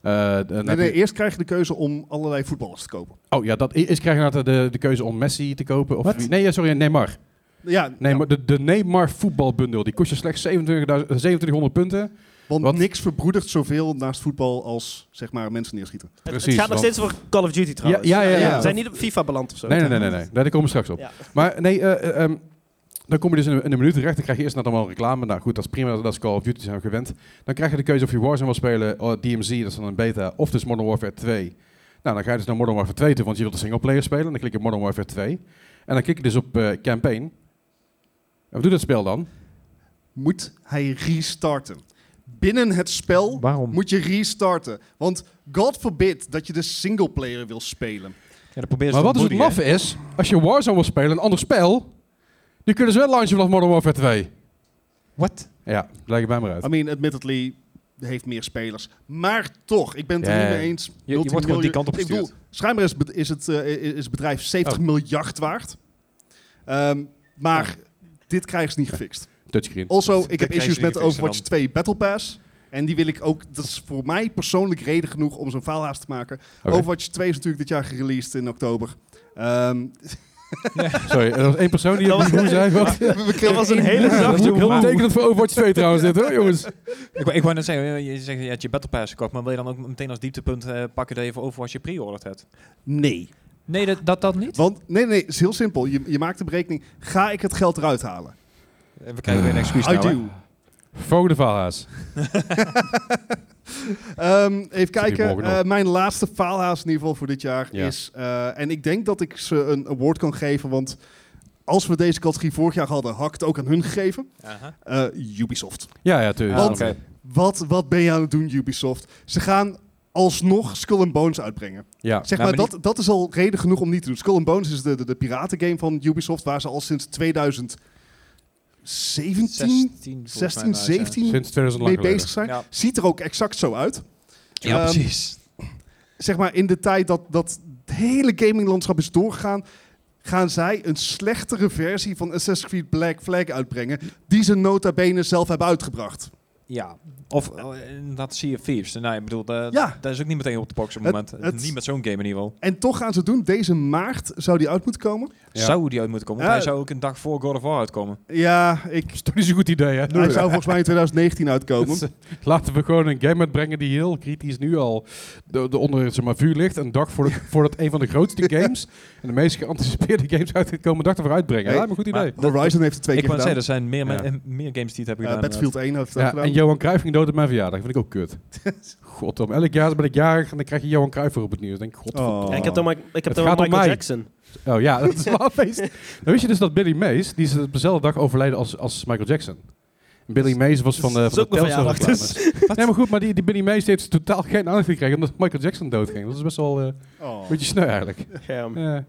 Speaker 1: eh, dan heb
Speaker 4: Nee,
Speaker 1: je-
Speaker 4: nee, eerst krijg je de keuze om allerlei voetballers te kopen.
Speaker 1: Oh ja, dat is krijg je inderdaad de, de keuze om Messi te kopen. Of
Speaker 2: Wat?
Speaker 1: wie- nee, ja, sorry, Neymar.
Speaker 4: Ja,
Speaker 1: Nee,
Speaker 4: ja,
Speaker 1: maar de, de Neymar voetbalbundel, die kost je slechts 27.000 2700 punten.
Speaker 4: want
Speaker 1: wat-
Speaker 4: niks verbroedert zoveel naast voetbal als zeg maar, mensen neerschieten.
Speaker 3: Het,
Speaker 1: Precies,
Speaker 3: gaat nog
Speaker 1: want-
Speaker 3: steeds over Call of Duty trouwens.
Speaker 1: Ja, ja, ja, ja.
Speaker 3: We zijn niet op FIFA beland of zo.
Speaker 1: Nee, nee, nee, nee, nee. Daar komen we straks op.
Speaker 3: Ja.
Speaker 1: Maar nee, eh, eh, ehm, dan kom je dus in een, in een minuut terecht. Dan krijg je eerst net allemaal reclame. Nou goed, dat is prima. Dat is Call of Duty, zijn we gewend. Dan krijg je de keuze of je Warzone wil spelen, oh, DMZ, dat is dan een beta, of dus Modern Warfare 2. Nou, dan ga je dus naar Modern Warfare 2 toe, want je wilt de singleplayer spelen. Dan klik je op Modern Warfare 2. En dan klik je dus op eh, Campaign. En wat doet dat spel dan?
Speaker 4: Moet hij restarten? Binnen het spel
Speaker 2: Waarom?
Speaker 4: moet je restarten. Want God forbid dat je de singleplayer wil spelen.
Speaker 2: Ja, dat probeer ze
Speaker 1: Maar
Speaker 2: te
Speaker 1: wat dus het
Speaker 2: ontmoedigen,
Speaker 1: maffe is, als je Warzone wil spelen, een ander spel, die kunnen ze wel launchen vanaf Modern Warfare 2.
Speaker 2: hè? Wat?
Speaker 1: Ja, leg het bij me uit.
Speaker 4: I mean, admittedly, heeft meer spelers. Maar toch, ik ben het er
Speaker 1: Ja,
Speaker 4: niet
Speaker 1: ja.
Speaker 4: mee eens.
Speaker 6: je wordt gewoon die kant op Oh.
Speaker 4: Ik bedoel, schijnbaar is, be- is, het, eh, i- is het bedrijf 70 miljard waard. Ehm, maar dit krijgen ze niet gefixt.
Speaker 1: Touchscreen.
Speaker 4: Also, ik heb
Speaker 6: krijgen ze
Speaker 4: issues
Speaker 6: niet
Speaker 4: met
Speaker 6: gefixt,
Speaker 4: Overwatch
Speaker 6: dan.
Speaker 4: 2 Battle Pass. En die wil ik ook, dat is voor mij persoonlijk reden genoeg om zo'n faalhaast te maken.
Speaker 1: Oké.
Speaker 4: Overwatch 2 is natuurlijk dit jaar gereleased in oktober. Ehm,
Speaker 1: Sorry, er was één persoon die op
Speaker 3: Dat
Speaker 1: die moe zei. Wat?
Speaker 4: we
Speaker 3: Dat
Speaker 4: kregen
Speaker 3: was een hele
Speaker 1: Dat is
Speaker 3: zachte
Speaker 1: ook heel
Speaker 3: wow.
Speaker 1: betekenend voor Overwatch 2 trouwens dit hoor, jongens.
Speaker 2: Ik, wou- ik wou net zeggen, eh, je zegt je hebt je Battle Pass gekocht, maar wil je dan ook meteen als dieptepunt eh, pakken dat je voor Overwatch je pre-ordered hebt?
Speaker 4: Nee.
Speaker 2: Nee, dat dat, dat niet.
Speaker 4: Want, nee, nee, het is heel simpel. Je, je maakt de berekening. Ga ik het geld eruit halen?
Speaker 2: We krijgen weer een excuus
Speaker 4: Ah, I
Speaker 2: nou, hè?
Speaker 4: do.
Speaker 1: Volgende faalhaas.
Speaker 4: Ehm, even kijken.
Speaker 1: morgen
Speaker 4: Eh,
Speaker 1: nog.
Speaker 4: mijn laatste faalhaas in ieder geval voor dit jaar
Speaker 1: Ja.
Speaker 4: is... eh, en ik denk dat ik ze een award kan geven, want... Als we deze categorie vorig jaar hadden, had ik het ook aan hun gegeven.
Speaker 2: Aha.
Speaker 4: Eh, Ubisoft.
Speaker 1: Ja, ja, tuurlijk.
Speaker 4: Want-
Speaker 1: Oké.
Speaker 4: Wat, wat ben je aan het doen, Ubisoft? Ze gaan alsnog Skull and Bones uitbrengen.
Speaker 1: Ja.
Speaker 4: Zeg
Speaker 2: Nou,
Speaker 4: maar,
Speaker 2: maar
Speaker 4: dat, dat is al reden genoeg om niet te doen. Skull and Bones is de, de, de piratengame van Ubisoft, waar ze al sinds 2017
Speaker 2: volgens mij nou,
Speaker 4: 16,
Speaker 2: maar uit, ja.
Speaker 4: 17
Speaker 1: Sinds 2000 lang
Speaker 4: mee
Speaker 1: geleden.
Speaker 4: bezig zijn.
Speaker 2: Ja.
Speaker 4: Ziet er ook exact zo uit.
Speaker 2: Ja,
Speaker 4: Ehm,
Speaker 2: precies.
Speaker 4: Zeg maar, in de tijd dat, dat het hele gaminglandschap is doorgegaan, gaan zij een slechtere versie van Assassin's Creed Black Flag uitbrengen, die ze nota bene zelf hebben uitgebracht.
Speaker 2: Ja. Of eh, inderdaad Sea of Thieves. Nou, ik bedoel, dat,
Speaker 4: Ja.
Speaker 2: dat is ook niet meteen op de box op het
Speaker 4: Het-
Speaker 2: moment.
Speaker 4: het-
Speaker 2: niet met zo'n game in ieder geval.
Speaker 4: En toch gaan ze het doen. Deze maart zou die uit moeten komen.
Speaker 1: Ja.
Speaker 2: Zou die uit moeten komen?
Speaker 4: Ja.
Speaker 2: Want hij zou ook een dag voor God of War uitkomen.
Speaker 4: Ja, ik...
Speaker 1: Dat is toch niet zo'n goed idee, hè?
Speaker 4: Hij zou volgens mij in 2019 uitkomen.
Speaker 1: Dus, eh, Laten we gewoon een game uitbrengen die heel kritisch nu al de, de onder zeg maar, vuur ligt. Een dag voordat, voordat een van de grootste games en de meest geanticipeerde games uit gaat komen, een dag ervoor uitbrengen.
Speaker 4: Hey,
Speaker 1: Ja, een goed idee.
Speaker 2: maar-
Speaker 4: Horizon heeft het twee
Speaker 2: Ik
Speaker 4: keer
Speaker 2: wou
Speaker 4: gedaan.
Speaker 2: zeggen, er zijn meer, men-
Speaker 1: Ja.
Speaker 2: eh, meer games die het hebben
Speaker 4: Eh,
Speaker 2: gedaan.
Speaker 4: Battlefield 1 heeft het ook
Speaker 1: ja,
Speaker 4: gedaan.
Speaker 1: en Johan Cruijff ging dood op mijn verjaardag. Vind ik ook kut. Godom. Elk jaar ben ik jarig en dan krijg je Johan Cruijff voor op het nieuws. Dan denk ik, god.
Speaker 4: Oh.
Speaker 3: Ja, ik heb dan, maar, ik heb
Speaker 1: Het
Speaker 3: dan
Speaker 1: gaat
Speaker 3: maar
Speaker 1: om
Speaker 3: Michael
Speaker 1: mij.
Speaker 3: Jackson.
Speaker 1: Oh ja, dat is wel feest. Dan wist je dus dat Billy Mays, die is op dezelfde dag overleden als, als Michael Jackson. Billy Mays was van de,
Speaker 3: Dat is
Speaker 1: van de
Speaker 3: ook mijn
Speaker 1: Telstar
Speaker 3: verjaardag, dus.
Speaker 1: reclames. Nee, maar goed, maar die, die Billy Mays die heeft totaal geen aandacht gekregen omdat Michael Jackson doodging. Dat is best wel eh, een
Speaker 4: Oh.
Speaker 1: beetje sneu eigenlijk.
Speaker 3: Ja.
Speaker 1: Ja. Maar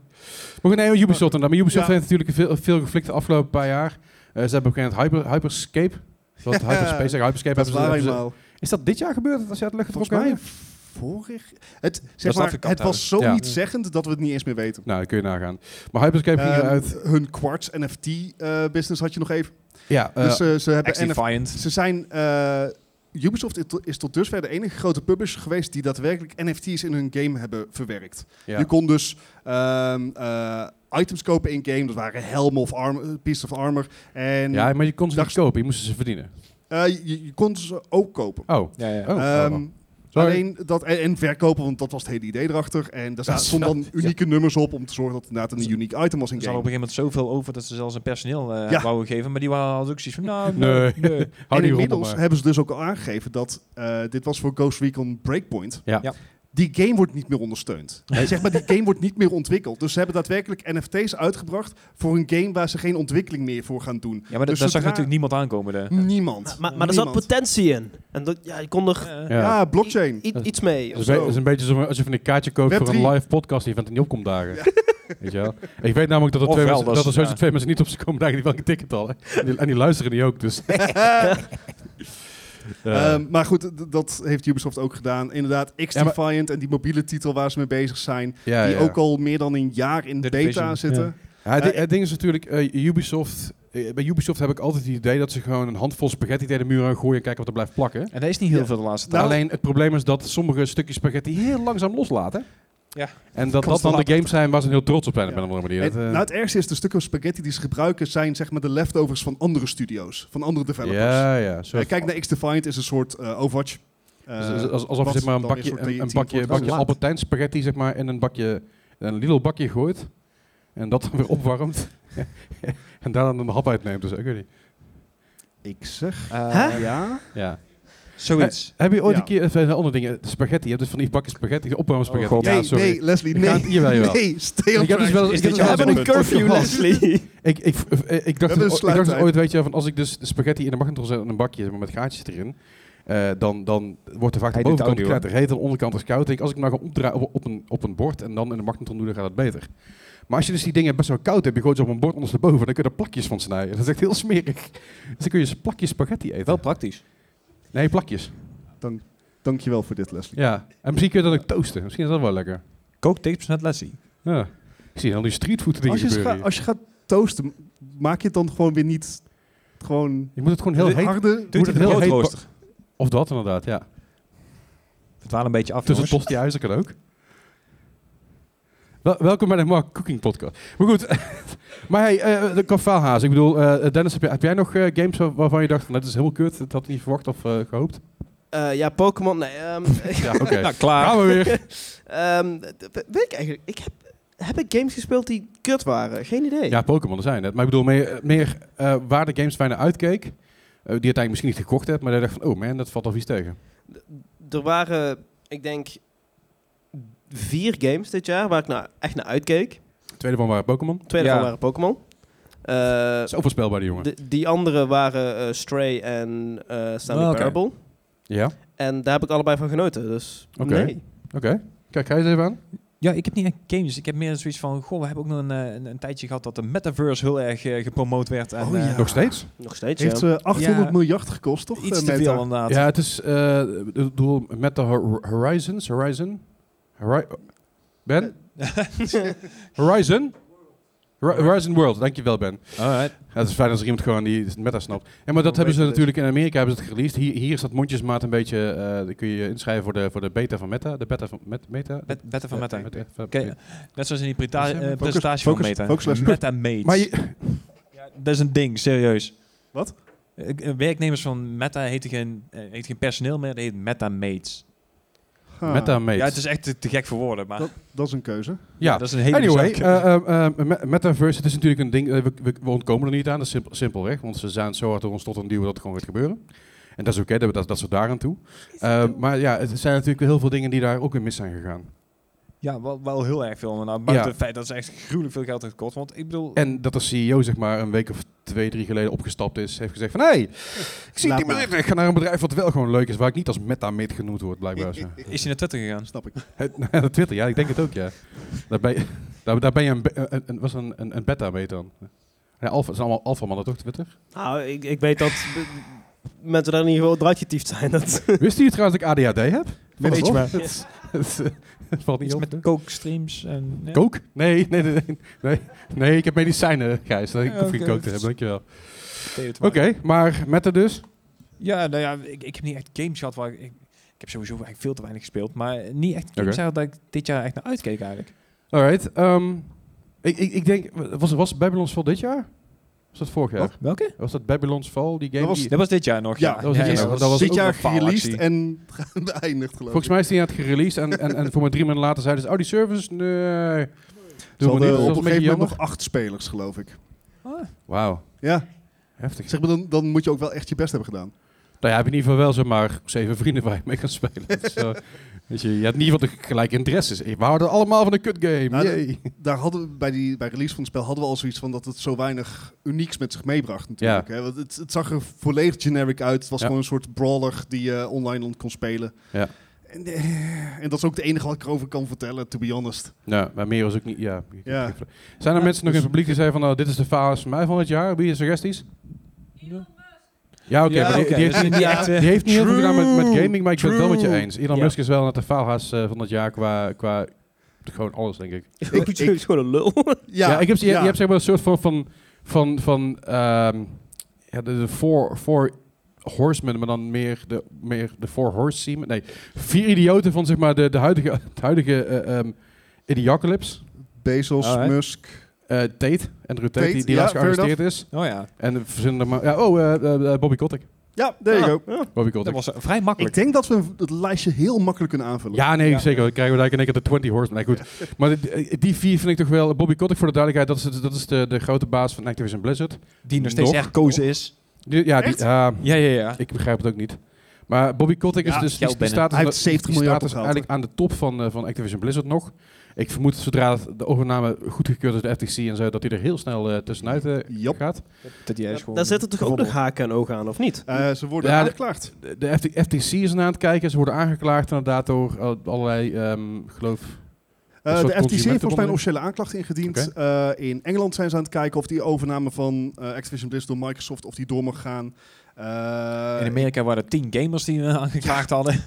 Speaker 1: goed, nee, Ubisoft dan. Maar Ubisoft
Speaker 4: Ja.
Speaker 1: heeft natuurlijk veel, veel geflikt de afgelopen paar jaar. Eh, ze hebben op een gegeven moment Hyper, Hyperscape. Wat Hyperspace, zeg, Hyperscape hebben
Speaker 4: Dat is
Speaker 1: ze,
Speaker 4: waar
Speaker 1: hebben ze-
Speaker 4: eenmaal.
Speaker 1: Is dat dit jaar gebeurd als je uit de lucht
Speaker 4: Volgens
Speaker 1: getrokken
Speaker 4: mij
Speaker 1: hebt?
Speaker 4: vorig... Het, zeg
Speaker 2: is
Speaker 4: maar,
Speaker 2: Afrika
Speaker 4: het was zo
Speaker 1: Ja.
Speaker 4: niet zeggend dat we het niet eens meer weten.
Speaker 1: Nou, dat kun je nagaan. Maar Hyperscape ging
Speaker 4: Ehm,
Speaker 1: eruit.
Speaker 4: hun Quartz NFT-business eh, had je nog even.
Speaker 1: Ja, eh,
Speaker 4: dus eh, ze hebben NFT
Speaker 2: X-Defiant.
Speaker 4: Ze zijn. eh, Ubisoft is to- is tot dusver de enige grote publisher geweest die daadwerkelijk NFT's in hun game hebben verwerkt.
Speaker 1: ja.
Speaker 4: Je kon dus ehm, eh, items kopen in game, dat waren helm of arm, piece of armor. En
Speaker 1: ja, maar je kon ze
Speaker 4: Dag-
Speaker 1: niet kopen. Je moest ze verdienen.
Speaker 4: eh, je, je kon ze ook kopen.
Speaker 1: Oh.
Speaker 2: Ja, ja.
Speaker 1: Oh,
Speaker 4: Ehm,
Speaker 1: oh, oh. Sorry.
Speaker 4: alleen dat, en, en verkopen, want dat was het hele idee erachter. En daar zaten- stonden dan unieke nummers op om te zorgen dat het inderdaad een uniek item was
Speaker 2: Er
Speaker 4: in
Speaker 2: zat
Speaker 4: game.
Speaker 2: op een gegeven moment zoveel over dat ze zelfs een personeel eh
Speaker 4: Ja.
Speaker 2: wouden geven. Maar die waren hadden ook zoiets van, nou,
Speaker 1: Nee.
Speaker 2: nee.
Speaker 1: Hou
Speaker 4: en
Speaker 1: die rommel
Speaker 4: inmiddels
Speaker 1: maar.
Speaker 4: hebben ze dus ook al aangegeven dat eh, dit was voor Ghost Recon Breakpoint.
Speaker 1: Ja.
Speaker 2: Ja.
Speaker 4: Die game wordt niet meer ondersteund. Zeg maar, die game wordt niet meer ontwikkeld. Dus ze hebben daadwerkelijk NFT's uitgebracht voor een game waar ze geen ontwikkeling meer voor gaan doen.
Speaker 2: Ja, maar dat,
Speaker 4: Dus
Speaker 2: dat zag
Speaker 4: zodra-
Speaker 2: natuurlijk niemand aankomen. daar.
Speaker 4: Niemand.
Speaker 3: Maar, maar er zat
Speaker 4: Niemand.
Speaker 3: potentie in. En dat, ja, je kon er
Speaker 2: Eh,
Speaker 1: Ja. Dus
Speaker 4: Ja, blockchain.
Speaker 3: i- iets mee.
Speaker 1: Dat
Speaker 3: of
Speaker 1: is, een be-
Speaker 3: zo.
Speaker 1: dat is een beetje alsof- alsof je een kaartje koopt
Speaker 4: Web
Speaker 1: voor een
Speaker 4: drie.
Speaker 1: live podcast die van niet opkomt dagen. Weet je wel? Ik weet namelijk dat er, twee
Speaker 2: Ofwel,
Speaker 1: mensen,
Speaker 2: dat
Speaker 1: dat
Speaker 2: is-
Speaker 1: er sowieso
Speaker 2: ja.
Speaker 1: twee mensen niet op ze komen dagen die wel een ticket hadden. En die, en die luisteren die ook, dus... Eh,
Speaker 4: Ehm, maar goed, d- dat heeft Ubisoft ook gedaan. Inderdaad,
Speaker 1: Ja, maar-
Speaker 4: X-Defiant en die mobiele titel waar ze mee bezig zijn.
Speaker 1: ja,
Speaker 4: die
Speaker 1: ja.
Speaker 4: ook al meer dan een jaar in
Speaker 2: The
Speaker 4: beta
Speaker 2: Division,
Speaker 4: zitten.
Speaker 1: Ja, het, di-
Speaker 4: Eh,
Speaker 1: het ding is natuurlijk, eh, Ubisoft... eh, bij Ubisoft heb ik altijd het idee dat ze gewoon een handvol spaghetti tegen de muur aan gooien en kijken wat er blijft plakken.
Speaker 2: En dat is niet heel
Speaker 4: Ja.
Speaker 2: veel de laatste tijd.
Speaker 4: Nou-
Speaker 1: Alleen het probleem is dat sommige stukjes spaghetti heel langzaam loslaten.
Speaker 2: Ja.
Speaker 1: En dat dat
Speaker 2: Constant
Speaker 1: dan de
Speaker 2: later.
Speaker 1: games zijn waar ze heel trots op zijn op
Speaker 4: Ja.
Speaker 1: een andere manier.
Speaker 4: En,
Speaker 1: Dat, eh,
Speaker 4: nou, het ergste is, de stukken spaghetti die ze gebruiken zijn zeg maar de leftovers van andere studio's, van andere developers.
Speaker 1: ja, ja. zo-
Speaker 4: Eh, kijk naar X-Defiant is een soort eh, Overwatch. Eh,
Speaker 1: Dus als- als- alsof je
Speaker 4: wat
Speaker 1: zeg maar een
Speaker 4: dan weer
Speaker 1: bakje,
Speaker 4: soort
Speaker 1: een, een
Speaker 4: team
Speaker 1: bakje,
Speaker 4: wordt.
Speaker 1: bakje
Speaker 4: Dat is
Speaker 1: Albertijn spaghetti zeg maar, in een bakje, een Lidl bakje gooit. En dat dan weer opwarmt. en daar dan een hap uitneemt. Dus ik weet niet.
Speaker 4: Ik zeg.
Speaker 2: Eh,
Speaker 4: Ja.
Speaker 1: Ja.
Speaker 2: Zoiets.
Speaker 1: Heb je ooit
Speaker 4: Ja.
Speaker 1: een keer, even andere dingen, spaghetti. Je hebt dus van die bakjes spaghetti, die opwarmen spaghetti.
Speaker 2: Oh,
Speaker 1: ja,
Speaker 4: nee,
Speaker 1: sorry.
Speaker 4: nee, Leslie,
Speaker 1: Ik
Speaker 4: nee.
Speaker 1: ga het- jawel, jawel.
Speaker 4: Nee, stay on
Speaker 1: Ik heb dus
Speaker 4: track.
Speaker 1: wel-
Speaker 4: Is
Speaker 1: ik
Speaker 4: dit
Speaker 1: heb
Speaker 4: jouw
Speaker 3: We
Speaker 1: dus
Speaker 3: hebben een
Speaker 4: standpunt?
Speaker 3: curfew, Leslie.
Speaker 1: Ik, ik, eh, ik dacht,
Speaker 4: hebben een
Speaker 1: dus, ik dacht dus
Speaker 4: sluittijd.
Speaker 1: ooit, weet je, van als ik dus de spaghetti in de magnetron zet in een bakje zeg maar, met gaatjes erin, eh, dan, dan wordt er vaak de
Speaker 2: Hij doet
Speaker 1: bovenkant
Speaker 2: het ook niet, hoor.
Speaker 1: kletter heet en de onderkant is koud. Ik Denk, als ik hem nou ga omdraaien op, op, een, op een bord en dan in de magnetron doe, dan gaat het beter. Maar als je dus die dingen best wel koud hebt, je gooit ze op een bord ondersteboven, dan kun je er plakjes van snijden. Dat is echt heel smerig. Dus dan kun je plakjes spaghetti eten.
Speaker 2: Wel praktisch.
Speaker 1: Nee, plakjes.
Speaker 4: Dank, dankjewel voor dit, Leslie.
Speaker 1: Ja, en misschien kun je dat ook toasten. Misschien is dat wel lekker.
Speaker 2: Kooktips met Leslie.
Speaker 1: Ja. Ik zie al die streetfood dingen
Speaker 4: Als je,
Speaker 1: gebeuren
Speaker 4: ga-
Speaker 1: hier.
Speaker 4: als je gaat toasten, maak je het dan gewoon weer niet gewoon
Speaker 1: Je moet het gewoon heel
Speaker 4: dit
Speaker 1: heet...
Speaker 4: harde...
Speaker 1: Doe
Speaker 2: Doet
Speaker 1: het
Speaker 2: het
Speaker 1: heel heet
Speaker 2: broodrooster.
Speaker 1: Of dat inderdaad, ja.
Speaker 2: Het waren een beetje af,
Speaker 1: Tussen
Speaker 2: jongens.
Speaker 1: tosti huizen kan ook. Wel- welkom bij de Mark Cooking Podcast. Maar goed, maar hey, eh, de kafaalhaas. Ik bedoel, eh, Dennis, heb jij, heb jij nog eh, games waar- waarvan je dacht, van, dat is helemaal kut, dat had ik niet verwacht of eh, gehoopt?
Speaker 3: Eh, ja, Pokémon, nee. ehm,
Speaker 1: Ja, oké.
Speaker 2: Nou, klaar.
Speaker 1: Gaan we weer.
Speaker 3: ehm, d- d- weet ik eigenlijk, ik heb, heb ik games gespeeld die kut waren? Geen idee.
Speaker 1: Ja, Pokémon er zijn het. Maar ik bedoel, meer, meer eh, waar de games waar je naar uitkeek, eh, die uiteindelijk misschien niet gekocht hebt, maar dat je dacht van, oh man, dat valt al iets tegen.
Speaker 3: D- Er waren, ik denk, vier games dit jaar waar ik nou echt naar uitkeek.
Speaker 1: tweede van waren Pokémon.
Speaker 3: Twee
Speaker 2: Ja.
Speaker 3: daarvan waren Pokémon. Eh,
Speaker 1: Dat is onvoorspelbaar, die jongen.
Speaker 3: de- die andere waren eh, Stray en eh Stanley
Speaker 2: Oh, oké.
Speaker 3: Parable.
Speaker 1: Ja, oké.
Speaker 3: En daar heb ik allebei van genoten, dus
Speaker 1: Oké.
Speaker 3: nee.
Speaker 1: Kijk, ga je eens even aan.
Speaker 2: Ja, ik heb niet echt games. Ik heb meer zoiets van, goh, we hebben ook nog een, eh, een, een tijdje gehad dat de metaverse heel erg eh, gepromoot werd. En,
Speaker 4: Oh ja.
Speaker 2: eh,
Speaker 1: Nog steeds?
Speaker 3: Nog steeds,
Speaker 4: Heeft
Speaker 3: ja.
Speaker 4: ze 800
Speaker 2: Ja.
Speaker 4: miljard gekost, toch?
Speaker 2: Iets
Speaker 4: eh,
Speaker 2: te
Speaker 4: Meta?
Speaker 2: veel inderdaad.
Speaker 1: Ja, het is eh, ik bedoel, met de Hor- Horizons. Horizon? Hori- ben? Horizon? Hor- Horizon World, dankjewel Ben.
Speaker 2: Alright.
Speaker 1: Ja, het is fijn als er iemand gewoon die het meta snapt. Ja, maar dat
Speaker 3: Hoe
Speaker 1: hebben ze
Speaker 3: weet je
Speaker 1: natuurlijk in Amerika hebben ze het released. Hier, hier is dat mondjesmaat een beetje, eh daar kun je je inschrijven voor de, voor de beta van meta. De beta van met, meta?
Speaker 2: Bet- Better van Meta.
Speaker 1: Met- met-
Speaker 2: Oké, Net zoals in die preta-
Speaker 1: Focus,
Speaker 2: eh,
Speaker 1: focus,
Speaker 2: presentatie
Speaker 4: focus,
Speaker 2: van Meta.
Speaker 4: focus, focus.
Speaker 2: Meta Mates.
Speaker 1: Maar je,
Speaker 2: Ja, dat is een ding, serieus.
Speaker 4: Wat?
Speaker 2: Eh, eh, Werknemers van Meta heten geen, eh, heet geen personeel meer, dat heet Meta Mates.
Speaker 4: Ha,
Speaker 1: meta mates.
Speaker 2: Ja, het is echt te, te gek voor woorden, maar
Speaker 4: Dat- Dat is een keuze.
Speaker 1: Ja,
Speaker 2: dat is een hele
Speaker 1: anyway,
Speaker 2: bizarre-
Speaker 1: eh, eh, eh, me- metaverse, het is natuurlijk een ding, eh, we, we, we ontkomen er niet aan, dat is simpel, simpelweg, want ze zijn zo hard door ons tot een duwen dat het gewoon gaat gebeuren. En dat is oké, dat, dat, dat ze daar aan toe. Eh, maar ja, het zijn natuurlijk heel veel dingen die daar ook weer mis zijn gegaan.
Speaker 2: ja, wel, wel heel erg veel. Maar nou, buiten
Speaker 1: Ja.
Speaker 2: het feit dat ze echt gruwelijk veel geld heeft gekost. Want ik bedoel,
Speaker 1: En dat de CEO zeg maar een week of twee, drie geleden opgestapt is, heeft gezegd van, hé, hey, ik zie het
Speaker 4: Laat
Speaker 1: niet meer
Speaker 4: maar.
Speaker 1: zitten. ik ga naar een bedrijf wat wel gewoon leuk is, waar ik niet als metamid genoemd word, blijkbaar. zo.
Speaker 2: is hij naar Twitter gegaan?
Speaker 4: Snap ik.
Speaker 1: Het- naar Twitter, ja, ik denk het ook, ja. Daar ben je, daar, daar ben je een, be- een, een- was een, een, een beta mee dan. Ja, alpha, het zijn allemaal alpha mannen toch, Twitter?
Speaker 3: Nou, ik, ik weet dat b- mensen daar in ieder geval draadjetiefd zijn. Dat,
Speaker 1: Wist je trouwens dat ik ADHD heb?
Speaker 4: Weet je
Speaker 1: maar. Het, het, eh, het valt niet
Speaker 2: Iets
Speaker 1: op.
Speaker 2: met
Speaker 1: hè?
Speaker 2: kookstreams en... ja.
Speaker 1: Coke? Nee, nee, nee, nee, nee. Nee, ik heb medicijnen, Gijs. Ik hoef geen
Speaker 2: Oké.
Speaker 1: coke te hebben, dankjewel. Oké,
Speaker 2: thee te maken.
Speaker 1: maar met er dus?
Speaker 2: Ja, nou ja, ik, ik heb niet echt games gehad waar ik... Ik, ik heb sowieso eigenlijk veel te weinig gespeeld, maar niet echt games
Speaker 1: Oké.
Speaker 2: gehad dat ik dit jaar echt naar uitkeek eigenlijk.
Speaker 1: Alright. ehm, ik, ik, ik denk, was, was Babylon's Fall dit jaar? Was dat vorig jaar?
Speaker 4: Wat?
Speaker 2: Welke?
Speaker 1: Was dat Babylon's Fall, die game?
Speaker 4: Dat was-
Speaker 1: die-
Speaker 2: Dat was dit jaar nog,
Speaker 4: Ja,
Speaker 2: ja.
Speaker 4: dat
Speaker 1: was dit
Speaker 2: ja,
Speaker 1: jaar nog. Dat was
Speaker 4: Dit
Speaker 1: ook
Speaker 4: jaar
Speaker 2: een faalactie.
Speaker 4: gereleased en beëindigd, geloof
Speaker 1: volgens
Speaker 4: ik.
Speaker 1: mij is die aan het gereleased en, en, en voor maar drie maanden later zeiden ze, oh, die service, nee. Doen
Speaker 4: Ze
Speaker 1: we niet,
Speaker 4: hadden
Speaker 1: dat was
Speaker 4: op een
Speaker 1: een
Speaker 4: gegeven
Speaker 1: beetje
Speaker 4: moment
Speaker 1: jammer.
Speaker 4: nog acht spelers, geloof ik.
Speaker 1: Wauw,
Speaker 4: Ja,
Speaker 1: heftig.
Speaker 4: zeg maar, dan, dan moet je ook wel echt je best hebben gedaan.
Speaker 1: Nou ja, heb je in ieder geval wel zomaar zeven vrienden waar je mee kan spelen. Dus, eh, weet je, je hebt in ieder geval de gelijke interesses. We houden allemaal van een kut game.
Speaker 4: Nou,
Speaker 1: yay.
Speaker 4: Daar hadden we bij, die, bij release van het spel hadden we al zoiets van dat het zo weinig unieks met zich meebracht natuurlijk. Hè? Want het, het zag er volledig generic uit. Het was
Speaker 1: Ja.
Speaker 4: gewoon een soort brawler die je online kon spelen.
Speaker 1: Ja.
Speaker 4: En, eh, en dat is ook het enige wat ik erover kan vertellen, to be honest.
Speaker 1: Nou, maar meer was ook niet. Ja.
Speaker 4: Ja.
Speaker 1: Zijn er mensen
Speaker 4: Ja,
Speaker 1: nog in
Speaker 4: dus-
Speaker 1: het publiek die zeiden van, nou, dit is de fase van mij van het jaar? Wie je suggesties? Ja, oké.
Speaker 2: Ja,
Speaker 1: maar die-
Speaker 2: oké,
Speaker 1: die,
Speaker 2: dus
Speaker 1: heeft,
Speaker 2: niet echt, eh,
Speaker 1: die heeft niet heel veel gedaan met, met gaming, maar ik ben het wel met je
Speaker 2: True.
Speaker 1: eens. Elon
Speaker 2: Ja.
Speaker 1: Musk is wel net de faalhaas eh, van het jaar qua, qua gewoon alles, denk ik.
Speaker 4: Ik-
Speaker 3: ik is gewoon een lul.
Speaker 1: Ja, ik heb, je, je hebt zeg maar een soort van, van, van, van ehm, ja, de, de four, four horsemen, maar dan meer de, meer de four horsemen. Nee, vier idioten van zeg maar de, de huidige, het huidige eh, ehm, Idiocalypse.
Speaker 4: Bezos,
Speaker 2: Alright.
Speaker 4: Musk.
Speaker 1: Eh, Tate, Andrew Tate,
Speaker 4: Tate,
Speaker 1: die, die
Speaker 4: ja,
Speaker 1: laatst
Speaker 4: fair
Speaker 1: gearresteerd is.
Speaker 2: Oh ja,
Speaker 1: En er zijn er maar, ja, oh, eh, eh, eh, Bobby Kotick.
Speaker 4: Ja, there you
Speaker 3: Ah,
Speaker 4: go.
Speaker 3: ja.
Speaker 1: Bobby
Speaker 2: dat
Speaker 1: Kotick.
Speaker 2: was eh, vrij
Speaker 4: Ik
Speaker 2: makkelijk.
Speaker 4: denk dat we het lijstje heel makkelijk kunnen aanvullen.
Speaker 1: Ja, nee,
Speaker 2: Ja.
Speaker 1: zeker. Dan krijgen we daar in één keer de 20 horsemen. Nee, goed. Maar die, eh, die vier vind ik toch wel... Bobby Kotick, voor de duidelijkheid, dat is, dat is de, de grote baas van Activision Blizzard.
Speaker 2: Die nog steeds
Speaker 1: Nog?
Speaker 2: herkozen is.
Speaker 1: Die- ja, die, ah,
Speaker 2: Ja, ja, ja.
Speaker 1: Ik begrijp het ook niet. Maar Bobby Kotick
Speaker 2: Ja,
Speaker 1: is dus
Speaker 2: geld
Speaker 1: die, die
Speaker 2: binnen.
Speaker 1: staat,
Speaker 4: Hij heeft 70
Speaker 1: die
Speaker 4: miljard
Speaker 1: staat dus
Speaker 4: opgehaald,
Speaker 1: eigenlijk aan de top van, eh, van Activision Blizzard nog. Ik vermoed zodra het- de overname goedgekeurd is door de FTC en zo, dat hij er heel snel eh, tussenuit eh,
Speaker 4: Jap.
Speaker 1: gaat.
Speaker 2: Dat die is gewoon
Speaker 3: Daar zitten toch ook nog
Speaker 2: gevonden.
Speaker 3: haken en ogen aan, of niet?
Speaker 4: Eh, ze worden
Speaker 1: Ja, de-
Speaker 4: aangeklaagd.
Speaker 1: De, de FT FTC is aan het kijken. Ze worden aangeklaagd inderdaad door eh, allerlei, ehm, ik geloof...
Speaker 4: Eh,
Speaker 1: Een
Speaker 4: de
Speaker 1: soort
Speaker 4: FTC heeft volgens mij
Speaker 1: consumentenbond.
Speaker 4: een officiële aanklacht ingediend. Eh, in Engeland zijn ze aan het kijken of die overname van eh, Activision Blizzard door Microsoft of die door mag gaan. Eh,
Speaker 2: In Amerika waren er tien gamers die eh, aangeklaagd hadden.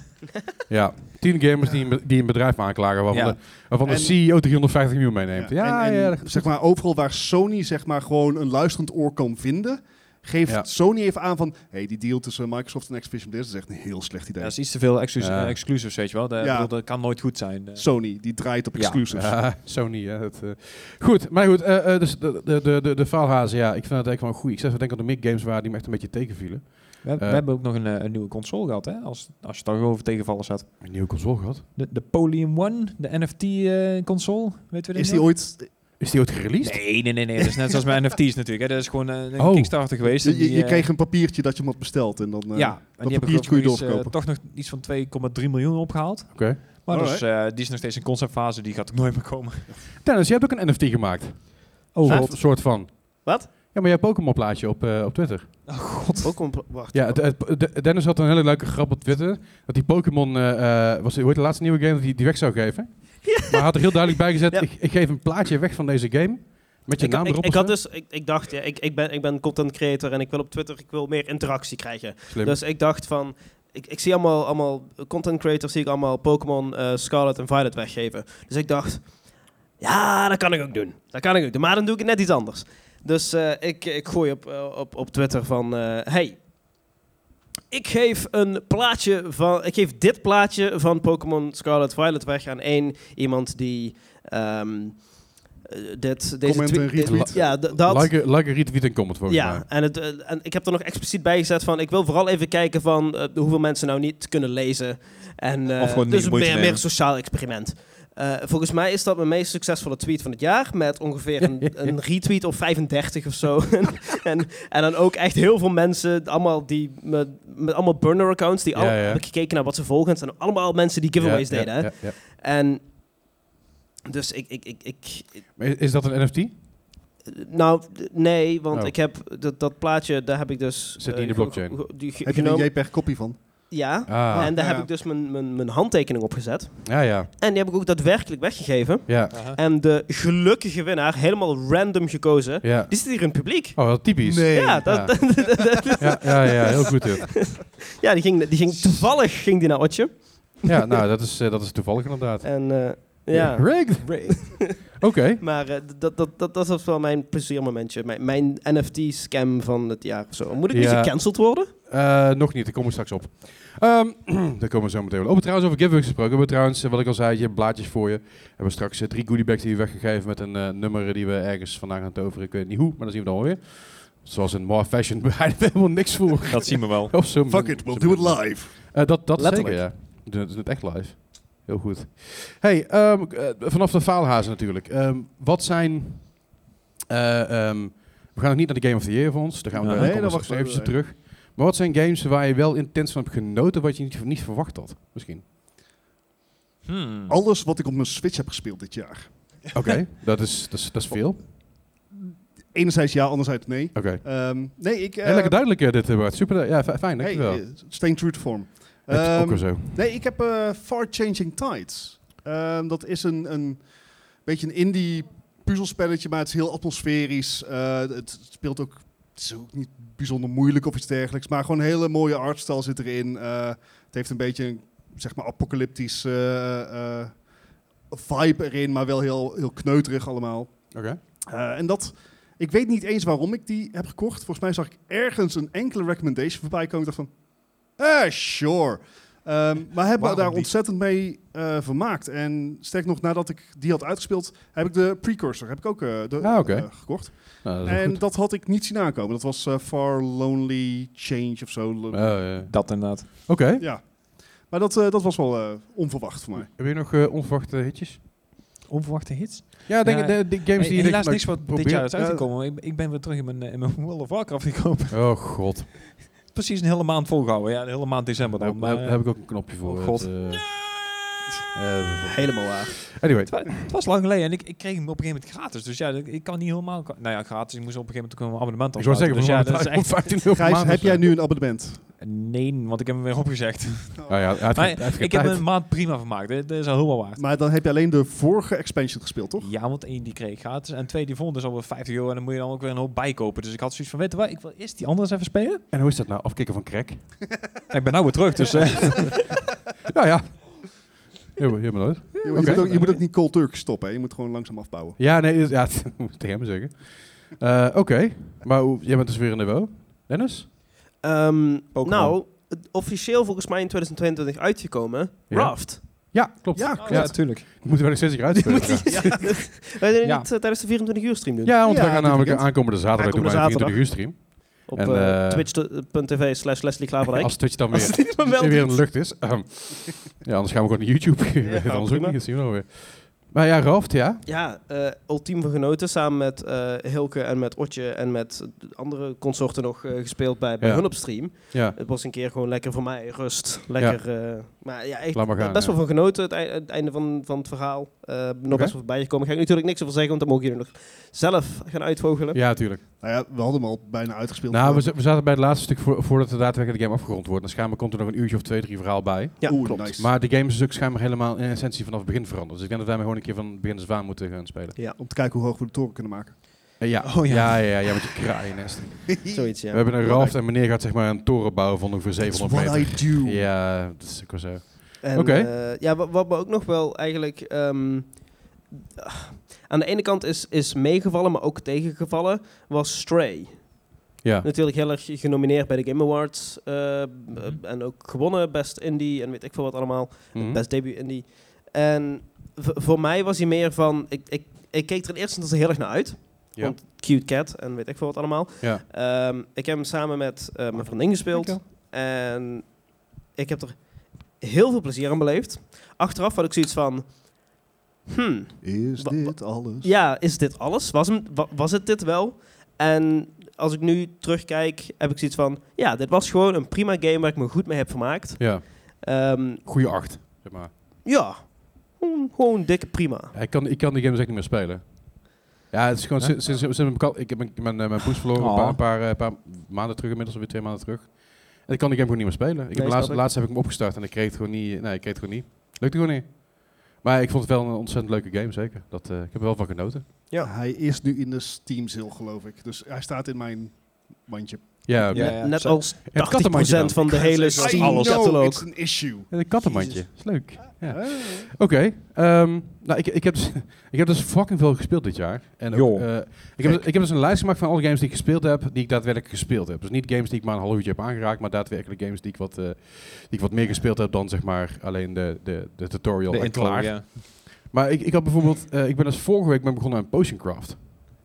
Speaker 1: Ja, tien gamers die, een be- die een bedrijf aanklagen waarvan,
Speaker 2: Ja.
Speaker 1: de, waarvan de
Speaker 4: En-
Speaker 1: CEO 350 miljoen meeneemt. Ja, ja,
Speaker 4: en, en
Speaker 1: dat-
Speaker 4: zeg maar, overal waar Sony zeg maar, gewoon een luisterend oor kan vinden, geeft
Speaker 1: Ja.
Speaker 4: Sony even aan van... hey, die deal tussen Microsoft en Activision Blizzard is echt een heel slecht idee.
Speaker 2: Dat is iets te veel exclus-
Speaker 1: Ja.
Speaker 2: eh, exclusives, weet je wel. Dat,
Speaker 4: Ja.
Speaker 2: bedoel, dat kan nooit goed zijn. Eh,
Speaker 4: Sony, die draait op
Speaker 2: Ja.
Speaker 4: exclusives.
Speaker 1: Ja, Sony, hè. Dat, eh. Goed, maar goed, eh, eh, dus de, de, de, de, de faalhazen, ja, ik vind dat eigenlijk wel een goeie. Ik zeg, ik denk dat de mid games waren die me echt een beetje tegenvielen.
Speaker 2: we, we
Speaker 1: Eh.
Speaker 2: hebben ook nog een, eh, een nieuwe console gehad, hè? Als, als je het toch over tegenvallers had.
Speaker 1: Een nieuwe console gehad.
Speaker 2: De, de Polium One, de eh, NFT-console, weten we
Speaker 4: Is die ooit...
Speaker 1: Is die ooit gereleased?
Speaker 2: Nee, nee, nee, nee. Dat is net zoals met NFT's natuurlijk. Hè. Dat is gewoon eh, een
Speaker 1: Oh.
Speaker 2: Kickstarter geweest. en
Speaker 4: Je, je
Speaker 2: die, eh,
Speaker 4: kreeg een papiertje dat je hem had besteld en dan... eh,
Speaker 2: ja, en die hebben
Speaker 4: papiertje kon je
Speaker 2: geloof ik nog iets, eh,
Speaker 4: doorverkopen.
Speaker 2: toch nog iets van 2,3 miljoen opgehaald.
Speaker 1: Oké.
Speaker 2: Maar
Speaker 4: Alright.
Speaker 2: dus, eh, die is nog steeds in conceptfase. Die gaat ook nooit meer komen.
Speaker 1: Dennis, jij hebt ook een NFT gemaakt.
Speaker 2: Oh,
Speaker 1: Soort, soort van.
Speaker 3: Wat?
Speaker 1: Ja, maar jij hebt Pokémon plaatje op, eh, op Twitter.
Speaker 3: Ook om- wacht.
Speaker 1: Ja, het- het- de- Dennis had een hele leuke grap op Twitter. Dat die Pokémon, eh, eh, was die, hoe heet de laatste nieuwe game, dat hij die weg zou geven. Maar hij had er heel duidelijk bij gezet,
Speaker 3: Ja.
Speaker 1: ik, ik geef een plaatje weg van deze game. Met je
Speaker 3: Ik,
Speaker 1: naam
Speaker 3: ik,
Speaker 1: erop.
Speaker 3: ik
Speaker 1: of
Speaker 3: had
Speaker 1: zo.
Speaker 3: dus, ik, ik dacht, ja, ik, ik, ben, ik ben content creator en ik wil op Twitter ik wil meer interactie krijgen.
Speaker 1: Slim.
Speaker 3: Dus ik dacht van, ik, ik zie allemaal, allemaal content creators, zie ik allemaal Pokémon eh, Scarlet en Violet weggeven. Dus ik dacht, ja, dat kan ik ook doen. Dat kan ik ook doen, maar dan doe ik het net iets anders. Dus eh, ik, ik gooi op, eh, op, op Twitter van, eh, hey, ik geef een plaatje van, ik geef dit plaatje van Pokémon Scarlet Violet weg aan één iemand die ehm, eh, dit, deze
Speaker 4: Comment en
Speaker 3: tweet-
Speaker 4: retweet.
Speaker 3: dit- ja, d- dat,
Speaker 1: Like, a- like a retweet en comment volgens mij.
Speaker 3: ja, en, het, eh, en ik heb er nog expliciet bij gezet van... ik wil vooral even kijken van eh, hoeveel mensen nou niet kunnen lezen. En, eh,
Speaker 2: Of gewoon niet
Speaker 3: dus
Speaker 2: de
Speaker 3: een
Speaker 2: moeite
Speaker 3: meer, meer
Speaker 2: nemen.
Speaker 3: sociaal experiment. Eh, volgens mij is dat mijn meest succesvolle tweet van het jaar... met ongeveer een, een retweet of 35 of zo. en, en dan ook echt heel veel mensen... allemaal die met, met allemaal burner-accounts... die
Speaker 1: Ja,
Speaker 3: al,
Speaker 1: ja.
Speaker 3: hebben gekeken naar wat ze volgen. Het zijn allemaal mensen die giveaways
Speaker 1: Ja, ja,
Speaker 3: deden. hè.
Speaker 1: ja, ja.
Speaker 3: En dus ik... ik, ik, ik
Speaker 1: Maar is- Is dat een NFT?
Speaker 3: nou, d- nee, want
Speaker 1: Oh.
Speaker 3: ik heb dat, dat plaatje, daar heb ik dus...
Speaker 1: Zit die
Speaker 3: eh,
Speaker 1: in de
Speaker 3: ge-
Speaker 1: blockchain?
Speaker 3: ge- die ge-
Speaker 4: Heb je
Speaker 3: genomen-
Speaker 4: een JPEG-kopie van?
Speaker 3: Ja,
Speaker 1: Ah,
Speaker 3: en daar
Speaker 4: ja.
Speaker 3: heb ik dus mijn, mijn, mijn handtekening op gezet.
Speaker 1: ja, ja.
Speaker 3: En die heb ik ook daadwerkelijk weggegeven.
Speaker 1: ja,
Speaker 3: En de gelukkige winnaar, helemaal random gekozen,
Speaker 1: ja.
Speaker 3: die zit hier in het publiek.
Speaker 1: Oh, wat typisch.
Speaker 3: Ja, dat,
Speaker 1: Ja.
Speaker 3: dat-
Speaker 1: Ja, ja, ja, heel goed dit.
Speaker 3: ja die, ging, die ging toevallig ging die naar Otje.
Speaker 1: Ja, nou, dat is, eh, dat is toevallig inderdaad.
Speaker 3: En eh, ja,
Speaker 1: Rigged. Oké.
Speaker 3: maar eh, dat, dat, dat, dat was wel mijn pleziermomentje. Mijn, mijn NFT-scam van het jaar of zo. Moet ik nu
Speaker 1: Ja.
Speaker 3: gecanceld worden?
Speaker 1: Eh, nog niet, daar komen we straks op. Ehm, daar komen we zo meteen wel op. Oh, trouwens, over giveaways gesproken. We hebben trouwens, eh, wat ik al zei, je hebt blaadjes voor je. We hebben straks eh, drie goodiebags die we weggegeven met een eh, nummer die we ergens vandaan gaan toveren. Ik weet niet hoe, maar dat zien we dan wel weer. Zoals in More Fashion bereiden we helemaal niks voor.
Speaker 2: dat zien we wel.
Speaker 1: Of zo.
Speaker 4: Fuck it, we'll do it live.
Speaker 1: Eh, dat dat zeker,
Speaker 3: Letterlijk.
Speaker 1: ja. We doen het- we doen het echt live. Heel goed. Hey, ehm, k- eh, vanaf de faalhazen natuurlijk. Ehm, wat zijn... eh, ehm, we gaan nog niet naar de Game of the Year voor ons. Daar gaan we
Speaker 2: Nee,
Speaker 1: daar
Speaker 4: daar
Speaker 1: komen we
Speaker 4: wachten
Speaker 1: straks
Speaker 4: we
Speaker 1: eventjes
Speaker 4: even.
Speaker 1: terug. Maar wat zijn games waar je wel intens van hebt genoten... wat je niet, niet verwacht had, misschien?
Speaker 2: Hmm.
Speaker 4: Alles wat ik op mijn Switch heb gespeeld dit jaar.
Speaker 1: Oké, dat, is, dat, is, dat is
Speaker 4: Oh.
Speaker 1: veel. Oké.
Speaker 4: Enerzijds ja, anderzijds nee. Ehm, nee, ik... eh,
Speaker 1: Heel lekker duidelijk eh, dit, eh, Bart. Super, eh, ja, fi- fijn,
Speaker 4: hey,
Speaker 1: dankjewel.
Speaker 4: eh, staying true to form.
Speaker 1: Dat is ook
Speaker 4: Ehm,
Speaker 1: weer zo.
Speaker 4: Nee, ik heb eh, Far Changing Tides. Ehm, dat is een, een beetje een indie puzzelspelletje, maar het is heel atmosferisch. Eh, het speelt ook, het is ook niet bijzonder moeilijk of iets dergelijks, maar gewoon een hele mooie artstyle zit erin. Eh, het heeft een beetje een, zeg maar, apocalyptisch eh, eh, vibe erin, maar wel heel, heel kneuterig allemaal.
Speaker 1: Oké.
Speaker 4: Eh, en dat, ik weet niet eens waarom ik die heb gekocht. Volgens mij zag ik ergens een enkele recommendation voorbij komen. Ik dacht van, eh, sure. Ehm, maar heb me
Speaker 2: Waarom
Speaker 4: daar
Speaker 2: niet?
Speaker 4: ontzettend mee eh, vermaakt. En sterk nog, nadat ik die had uitgespeeld, heb ik de precursor heb ik ook eh, de-
Speaker 1: Ah, oké.
Speaker 4: eh, gekocht.
Speaker 1: Nou, dat is ook
Speaker 4: en
Speaker 1: goed.
Speaker 4: dat had ik niet zien aankomen. Dat was eh, Far Lonely Change of zo. Lo-
Speaker 1: Eh, eh,
Speaker 2: Dat inderdaad.
Speaker 1: Oké.
Speaker 4: Ja. Maar dat, eh, dat was wel eh, onverwacht voor mij.
Speaker 1: Heb je nog eh, onverwachte hitjes?
Speaker 2: Onverwachte hits.
Speaker 1: Ja, denk,
Speaker 2: Ja,
Speaker 1: de, de games die je...
Speaker 2: helaas
Speaker 1: denkt,
Speaker 2: niks wat
Speaker 1: probeer-
Speaker 2: dit jaar is
Speaker 1: Eh,
Speaker 2: uitgekomen. Ik, ik ben weer terug in mijn, eh, in mijn World of Warcraft gekomen.
Speaker 1: Oh god.
Speaker 2: Precies een hele maand volgehouden. Ja, een hele maand december
Speaker 1: Nou, Daar
Speaker 2: dan. Maar, eh,
Speaker 1: heb ik ook een knopje voor.
Speaker 2: Oh, god.
Speaker 1: Het, eh, eh,
Speaker 3: Helemaal waar.
Speaker 1: anyway.
Speaker 2: Het, wa- het was lang geleden en ik, ik kreeg hem op een gegeven moment gratis. Dus ja, ik, ik kan niet helemaal... Nou ja, gratis. Ik moest op een gegeven moment ook een abonnement
Speaker 1: Ik zou zeggen,
Speaker 2: afsluiten.
Speaker 1: we
Speaker 2: dus ja,
Speaker 1: gaan
Speaker 2: dat is
Speaker 1: het
Speaker 2: echt...
Speaker 1: echt 15 euro per
Speaker 4: Gijs,
Speaker 1: maand of
Speaker 4: heb
Speaker 1: zo.
Speaker 4: jij nu een abonnement?
Speaker 2: Nee, want ik heb hem weer opgezegd.
Speaker 1: Nou ja, hij heeft
Speaker 2: Maar
Speaker 1: geen- hij heeft geen
Speaker 2: ik heb
Speaker 1: tijd.
Speaker 2: een maand prima vermaakt. Dit dit is al heel wat waard.
Speaker 4: Maar dan heb je alleen de vorige expansion gespeeld, toch?
Speaker 2: Ja, want één die kreeg ik gratis. En twee die vond dus alweer 50 euro. En dan moet je dan ook weer een hoop bijkopen. Dus ik had zoiets van, weet je wat, ik wil eerst die andere eens even spelen.
Speaker 1: En hoe is dat nou? Afkicken van crack?
Speaker 2: En ik ben nou weer terug, dus... eh,
Speaker 1: nou ja. Helemaal, helemaal leuk.
Speaker 4: Je, je
Speaker 1: Oké.
Speaker 4: moet, ook, je moet ook niet cold turkey stoppen, hè. je moet gewoon langzaam afbouwen.
Speaker 1: Ja, nee, dat- ja, dat moet ik tegen hem zeggen. Eh, Oké, maar hoe- jij bent dus weer in de WO. Dennis?
Speaker 3: Ehm,
Speaker 2: Pokémon.
Speaker 3: nou, het officieel volgens mij in 2022 uitgekomen.
Speaker 1: Ja.
Speaker 3: Raft.
Speaker 1: Ja, klopt.
Speaker 3: Oh,
Speaker 4: Ja,
Speaker 1: Ja,
Speaker 2: ja, natuurlijk.
Speaker 1: Ik moet er wel nog steeds eruit spelen. Ja,
Speaker 3: Wij deden
Speaker 2: Ja.
Speaker 3: niet eh, tijdens de 24 uur stream doen.
Speaker 1: ja, want
Speaker 4: Ja,
Speaker 1: we gaan
Speaker 4: dit
Speaker 1: namelijk
Speaker 4: weekend.
Speaker 1: aankomende zaterdag doen
Speaker 3: Aankomende
Speaker 1: wij een
Speaker 3: zaterdag.
Speaker 1: 24 uur stream.
Speaker 3: Op
Speaker 1: En,
Speaker 3: eh,
Speaker 1: eh,
Speaker 3: twitch.tv slash Leslie Klaverdijk.
Speaker 1: Als Twitch dan
Speaker 3: Als
Speaker 1: weer,
Speaker 3: dit maar wel
Speaker 1: weer in
Speaker 3: doet.
Speaker 1: de lucht is. Ehm, ja, anders gaan we gewoon naar YouTube.
Speaker 3: Ja,
Speaker 1: Ja, dat anders ook
Speaker 3: prima.
Speaker 1: niet. Dat zien we wel weer. Maar ja, Raft, ja.
Speaker 3: Ja, eh ultiem van genoten. Samen met eh Hilke en met Otje en met andere consorten nog eh, gespeeld bij, bij
Speaker 1: Ja.
Speaker 3: hun op stream.
Speaker 1: ja.
Speaker 3: Het was een keer gewoon lekker voor mij, rust. Lekker, eh, maar ja, echt
Speaker 1: Laat maar gaan,
Speaker 3: best wel
Speaker 1: ja.
Speaker 3: van genoten. Het, ei- het einde van, van het verhaal. Eh, nog
Speaker 1: Oké.
Speaker 3: best wel voorbij gekomen. Ga ik natuurlijk niks over zeggen, want dan mogen jullie nog zelf gaan uitvogelen.
Speaker 1: Ja, tuurlijk.
Speaker 4: Nou ja, we hadden hem al bijna uitgespeeld.
Speaker 1: Nou, we, z- we zaten bij het laatste stuk voor, voordat de daadwerkelijk de game afgerond wordt. Dan schijnbaar komt er nog een uurtje of twee, drie verhaal bij.
Speaker 3: Ja,
Speaker 4: Oeh,
Speaker 3: klopt.
Speaker 4: nice.
Speaker 1: Maar de game is dus ook schijnbaar helemaal in essentie vanaf het begin veranderd. Dus ik denk dat wij maar gewoon een keer van het begin eens waar moeten gaan spelen.
Speaker 4: Om te kijken hoe hoog we de toren kunnen maken.
Speaker 1: Eh, ja.
Speaker 2: Oh, ja.
Speaker 1: ja. Ja, ja, ja, met je kraaiennest.
Speaker 3: Zoiets, ja.
Speaker 1: We hebben een raft en meneer gaat zeg maar een toren bouwen van ongeveer
Speaker 4: That's
Speaker 1: 700
Speaker 4: what I
Speaker 1: meter.
Speaker 4: do.
Speaker 1: Ja, dat is ook wel zo.
Speaker 3: En,
Speaker 1: Oké.
Speaker 3: eh, ja, wa- wat me ook nog wel eigenlijk... ehm, ah, aan de ene kant is, is meegevallen, maar ook tegengevallen, was Stray.
Speaker 1: Ja.
Speaker 3: Natuurlijk heel erg genomineerd bij de Game Awards. eh, b-
Speaker 2: Mhm.
Speaker 3: En ook gewonnen, best indie en weet ik veel wat allemaal.
Speaker 1: Mhm.
Speaker 3: Best debut indie. En v- voor mij was hij meer van... Ik, ik, ik keek er in eerste instantie heel erg naar uit.
Speaker 1: Ja.
Speaker 3: Want cute cat en weet ik veel wat allemaal.
Speaker 1: Ja.
Speaker 3: Ehm, ik heb hem samen met eh, mijn vriendin gespeeld. En ik heb er heel veel plezier aan beleefd. Achteraf had ik zoiets van... Hmm,
Speaker 4: Is
Speaker 3: Wa-
Speaker 4: dit alles?
Speaker 3: ja, is dit alles? Was, hem, wa- was het dit wel? En als ik nu terugkijk, heb ik zoiets van... Ja, dit was gewoon een prima game waar ik me goed mee heb vermaakt.
Speaker 1: ja.
Speaker 3: Ehm,
Speaker 1: Goeie acht. Zeg maar.
Speaker 3: ja, gewoon, gewoon dikke prima.
Speaker 1: Ja, ik, kan, ik kan die game dus echt niet meer spelen. Ja, het is gewoon sinds, sinds, sinds mijn kal- ik heb mijn, mijn, eh, mijn poes verloren een,
Speaker 2: Oh.
Speaker 1: paar, een paar, eh, paar maanden terug, inmiddels alweer twee maanden terug. En ik kan die game gewoon niet meer spelen. Ik
Speaker 3: Nee,
Speaker 1: heb laatst,
Speaker 3: snap ik.
Speaker 1: laatst heb ik hem opgestart en ik kreeg het gewoon niet. Nee, ik kreeg het gewoon niet. Lukte gewoon niet. Maar ik vond het wel een ontzettend leuke game, zeker. Dat, eh, ik heb er wel van genoten.
Speaker 3: Ja.
Speaker 4: Hij is nu in de Steam sale, geloof ik. Dus hij staat in mijn mandje.
Speaker 1: Ja,
Speaker 2: Ja,
Speaker 1: ja.
Speaker 3: Net, net
Speaker 2: zo-
Speaker 3: als 80%
Speaker 1: Het kattenmandje dan.
Speaker 3: van de hele
Speaker 4: I
Speaker 3: Steam
Speaker 4: know
Speaker 3: catalog.
Speaker 4: it's an issue.
Speaker 1: een kattenmandje. is leuk. Ja.
Speaker 4: Eh,
Speaker 1: Oké. ehm, nou, ik, ik, heb dus, ik heb dus fucking veel gespeeld dit jaar. En ook,
Speaker 2: Joh.
Speaker 1: eh, ik, heb, ik heb dus een lijst gemaakt van alle games die ik gespeeld heb, die ik daadwerkelijk gespeeld heb. Dus niet games die ik maar een half uurtje heb aangeraakt, maar daadwerkelijk games die ik wat, eh, die ik wat meer gespeeld heb dan zeg maar alleen de, de, de tutorial
Speaker 2: De
Speaker 1: en
Speaker 2: intro,
Speaker 1: klaar.
Speaker 2: ja.
Speaker 1: Maar ik, ik had bijvoorbeeld, eh, ik ben dus vorige week ben begonnen aan Potion Craft.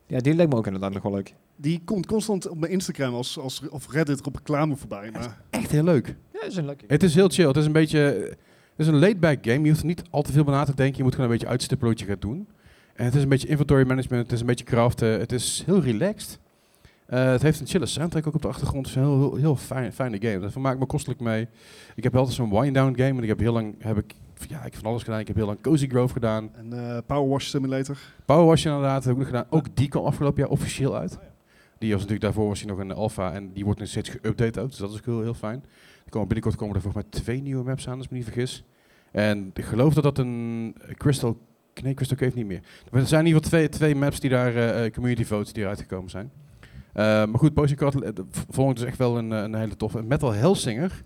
Speaker 2: ja, die leek me ook inderdaad nog wel leuk.
Speaker 4: Die komt constant op mijn Instagram als, als, of Reddit op reclame voorbij. Maar
Speaker 1: Echt heel leuk.
Speaker 2: Ja, dat is een leuke.
Speaker 1: Het is heel chill. Het is een beetje, het is een laid-back game. Je hoeft er niet al te veel bij na te denken. Je moet gewoon een beetje uitstippelen wat je gaat doen. En het is een beetje inventory management. Het is een beetje craften. Het is heel relaxed. Eh, het heeft een chille soundtrack ook op de achtergrond. Het is een heel, heel, heel fijn, fijne game. Daar vermaak ik me kostelijk mee. Ik heb wel altijd zo'n wind-down game. En ik heb heel lang, heb ik, ja, ik heb van alles gedaan. Ik heb heel lang Cozy Grove gedaan.
Speaker 4: een eh, Power Wash Simulator.
Speaker 1: Power Wash inderdaad, heb ik nog gedaan. Ook die kwam afgelopen jaar officieel uit. Die was natuurlijk daarvoor was hij nog in de alpha en die wordt nu steeds geüpdate ook, dus dat is ook heel, heel fijn. Er komen binnenkort komen er volgens mij twee nieuwe maps aan, als ik me niet vergis. En ik geloof dat dat een Crystal, nee Crystal Cave niet meer. Er zijn in ieder geval twee, twee maps die daar, eh, eh, community votes die eruit gekomen zijn. Eh, maar goed, Posting Card eh, v- vond ik dus echt wel een, eh, een hele toffe. En Metal Hellsinger,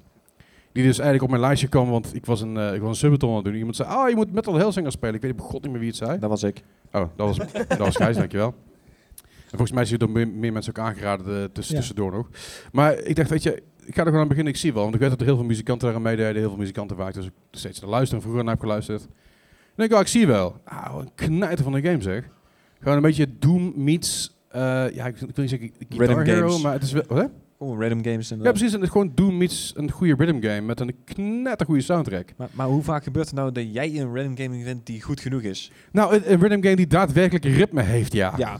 Speaker 1: die dus eigenlijk op mijn lijstje kwam, want ik was een, eh, ik was een subathon aan het doen. Iemand zei, ah je moet Metal Hellsinger spelen. Ik weet op god niet meer wie het zei.
Speaker 2: Dat was ik.
Speaker 1: Oh, dat was, dat was Gijs, dankjewel. En volgens mij is het door meer, meer mensen ook aangeraden eh, tuss-
Speaker 2: Ja.
Speaker 1: tussendoor nog. Maar ik dacht, weet je, ik ga er gewoon aan beginnen. Ik zie wel, want ik weet dat er heel veel muzikanten daaraan meededen. Heel veel muzikanten waar ik dus ook steeds naar luister en vroeger naar heb geluisterd. En ik denk, oh, ik zie wel. Ah, wat een knijter van een game zeg. Gewoon een beetje Doom meets... eh, ja, ik, ik wil niet zeggen Guitar
Speaker 2: Rhythm
Speaker 1: Hero,
Speaker 2: games.
Speaker 1: maar het is wel... Hè?
Speaker 2: Oh, random games. en
Speaker 1: Ja, precies. En het is gewoon Doom meets een goede rhythm game met een knettergoede soundtrack.
Speaker 2: Maar, maar hoe vaak gebeurt het nou dat jij een random game vindt die goed genoeg is?
Speaker 1: Nou, een, een rhythm game die daadwerkelijk ritme heeft,
Speaker 2: Ja.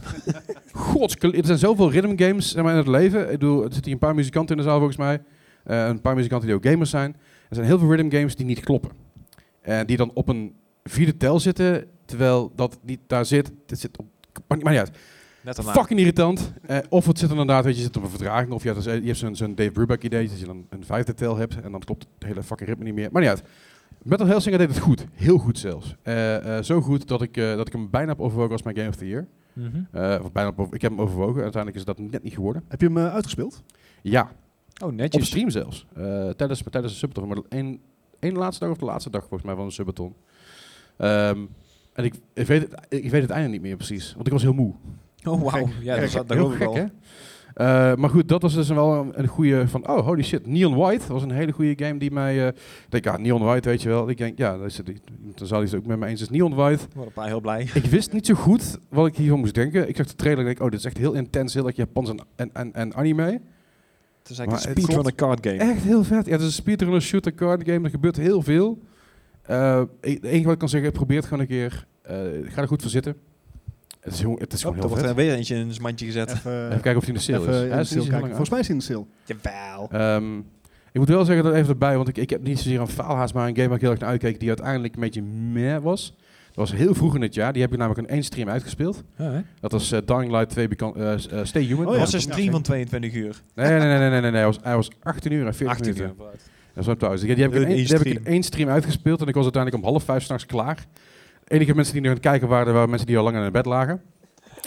Speaker 1: Gods, er zijn zoveel rhythm games zeg maar, in het leven. Ik bedoel, er zitten hier een paar muzikanten in de zaal volgens mij. Eh, een paar muzikanten die ook gamers zijn. Er zijn heel veel rhythm games die niet kloppen. En die dan op een vierde tel zitten, terwijl dat niet daar zit. Het zit op, maakt niet- maakt niet uit.
Speaker 2: Net daarna.
Speaker 1: Fucking irritant. Eh, of het zit er inderdaad, weet je, je zit op een vertraging. Of je, hebt dus- je hebt zo'n zo'n Dave Brubeck idee dat je dan een vijfde tel hebt. En dan klopt het hele fucking ritme niet meer. Maar niet uit. Metal Hellsinger deed het goed. Heel goed zelfs. Eh, eh, zo goed dat ik, eh, dat ik hem bijna heb overwogen als mijn Game of the Year.
Speaker 2: Mhm.
Speaker 1: Eh, of bijna op, ik heb hem overwogen. Uiteindelijk is dat net niet geworden.
Speaker 4: Heb je hem eh, uitgespeeld?
Speaker 1: Ja,
Speaker 2: Oh,
Speaker 1: op
Speaker 2: netjes.
Speaker 1: stream zelfs. Eh, tijdens, tijdens de subathon. Maar één, één laatste dag of de laatste dag volgens mij van de subathon. Ehm, en ik, ik, weet het, ik weet het einde niet meer precies. Want ik was heel moe.
Speaker 2: Oh, wauw.
Speaker 4: Gek.
Speaker 2: Ja, dat,
Speaker 4: Gek.
Speaker 2: dat
Speaker 1: Heel
Speaker 2: geloof ik
Speaker 1: gek,
Speaker 2: wel.
Speaker 1: hè? Eh, maar goed, dat was dus wel een, een goede van, oh holy shit, Neon White was een hele goede game die mij, eh, ik denk ja, Neon White weet je wel, ik denk ja, dan, is het, dan zal hij het ook met me eens is Neon White.
Speaker 2: Ik word een paar heel blij.
Speaker 1: Ik wist niet zo goed wat ik hiervan moest denken. Ik zag de trailer en denk, oh dit is echt heel intens, heel erg Japans en, en, en, en anime.
Speaker 2: Het is eigenlijk
Speaker 1: Maar
Speaker 2: een
Speaker 1: het
Speaker 2: speedrunner card game.
Speaker 1: Echt heel vet. Ja, het is een speedrunner shooter card game, er gebeurt heel veel. Eh, e- het enige wat ik kan zeggen, probeer het gewoon een keer, Eh, ga er goed voor zitten. Het is, gewoon- het is
Speaker 2: Oh,
Speaker 1: gewoon
Speaker 2: er wordt
Speaker 1: heel
Speaker 2: er
Speaker 1: vet.
Speaker 2: weer eentje in zijn mandje gezet.
Speaker 4: Even,
Speaker 1: Even kijken of hij in de sale
Speaker 4: eh, even
Speaker 1: is.
Speaker 4: in
Speaker 1: Hij
Speaker 4: de
Speaker 1: is niet
Speaker 4: sale
Speaker 1: zo
Speaker 4: kijken.
Speaker 1: lang uit.
Speaker 4: Volgens mij is hij in de sale.
Speaker 2: Jawel.
Speaker 1: Ehm, ik moet wel zeggen dat even erbij, want ik, ik heb niet zozeer een faalhaast, maar een game waar ik heel erg naar uitkeek die uiteindelijk een beetje meh was. Dat was heel vroeg in het jaar. Die heb ik namelijk in één stream uitgespeeld. Dat was eh, Dying Light 2 Beco- eh, s- eh, Stay Human.
Speaker 4: Oh
Speaker 2: Dat
Speaker 4: ja.
Speaker 2: was een stream van 22 uur.
Speaker 1: nee, nee, nee, nee, nee, nee, nee. Hij was, hij was 18 uur en 40
Speaker 2: 18
Speaker 1: minuten.
Speaker 2: uur.
Speaker 1: Dat is wel thuis. Die, die heb ik, in
Speaker 2: Een
Speaker 1: één, die heb ik
Speaker 2: stream.
Speaker 1: in één stream uitgespeeld en ik was uiteindelijk om half vijf s'nachts klaar. De enige mensen die nog aan het kijken waren, waren mensen die al lang in hun bed lagen.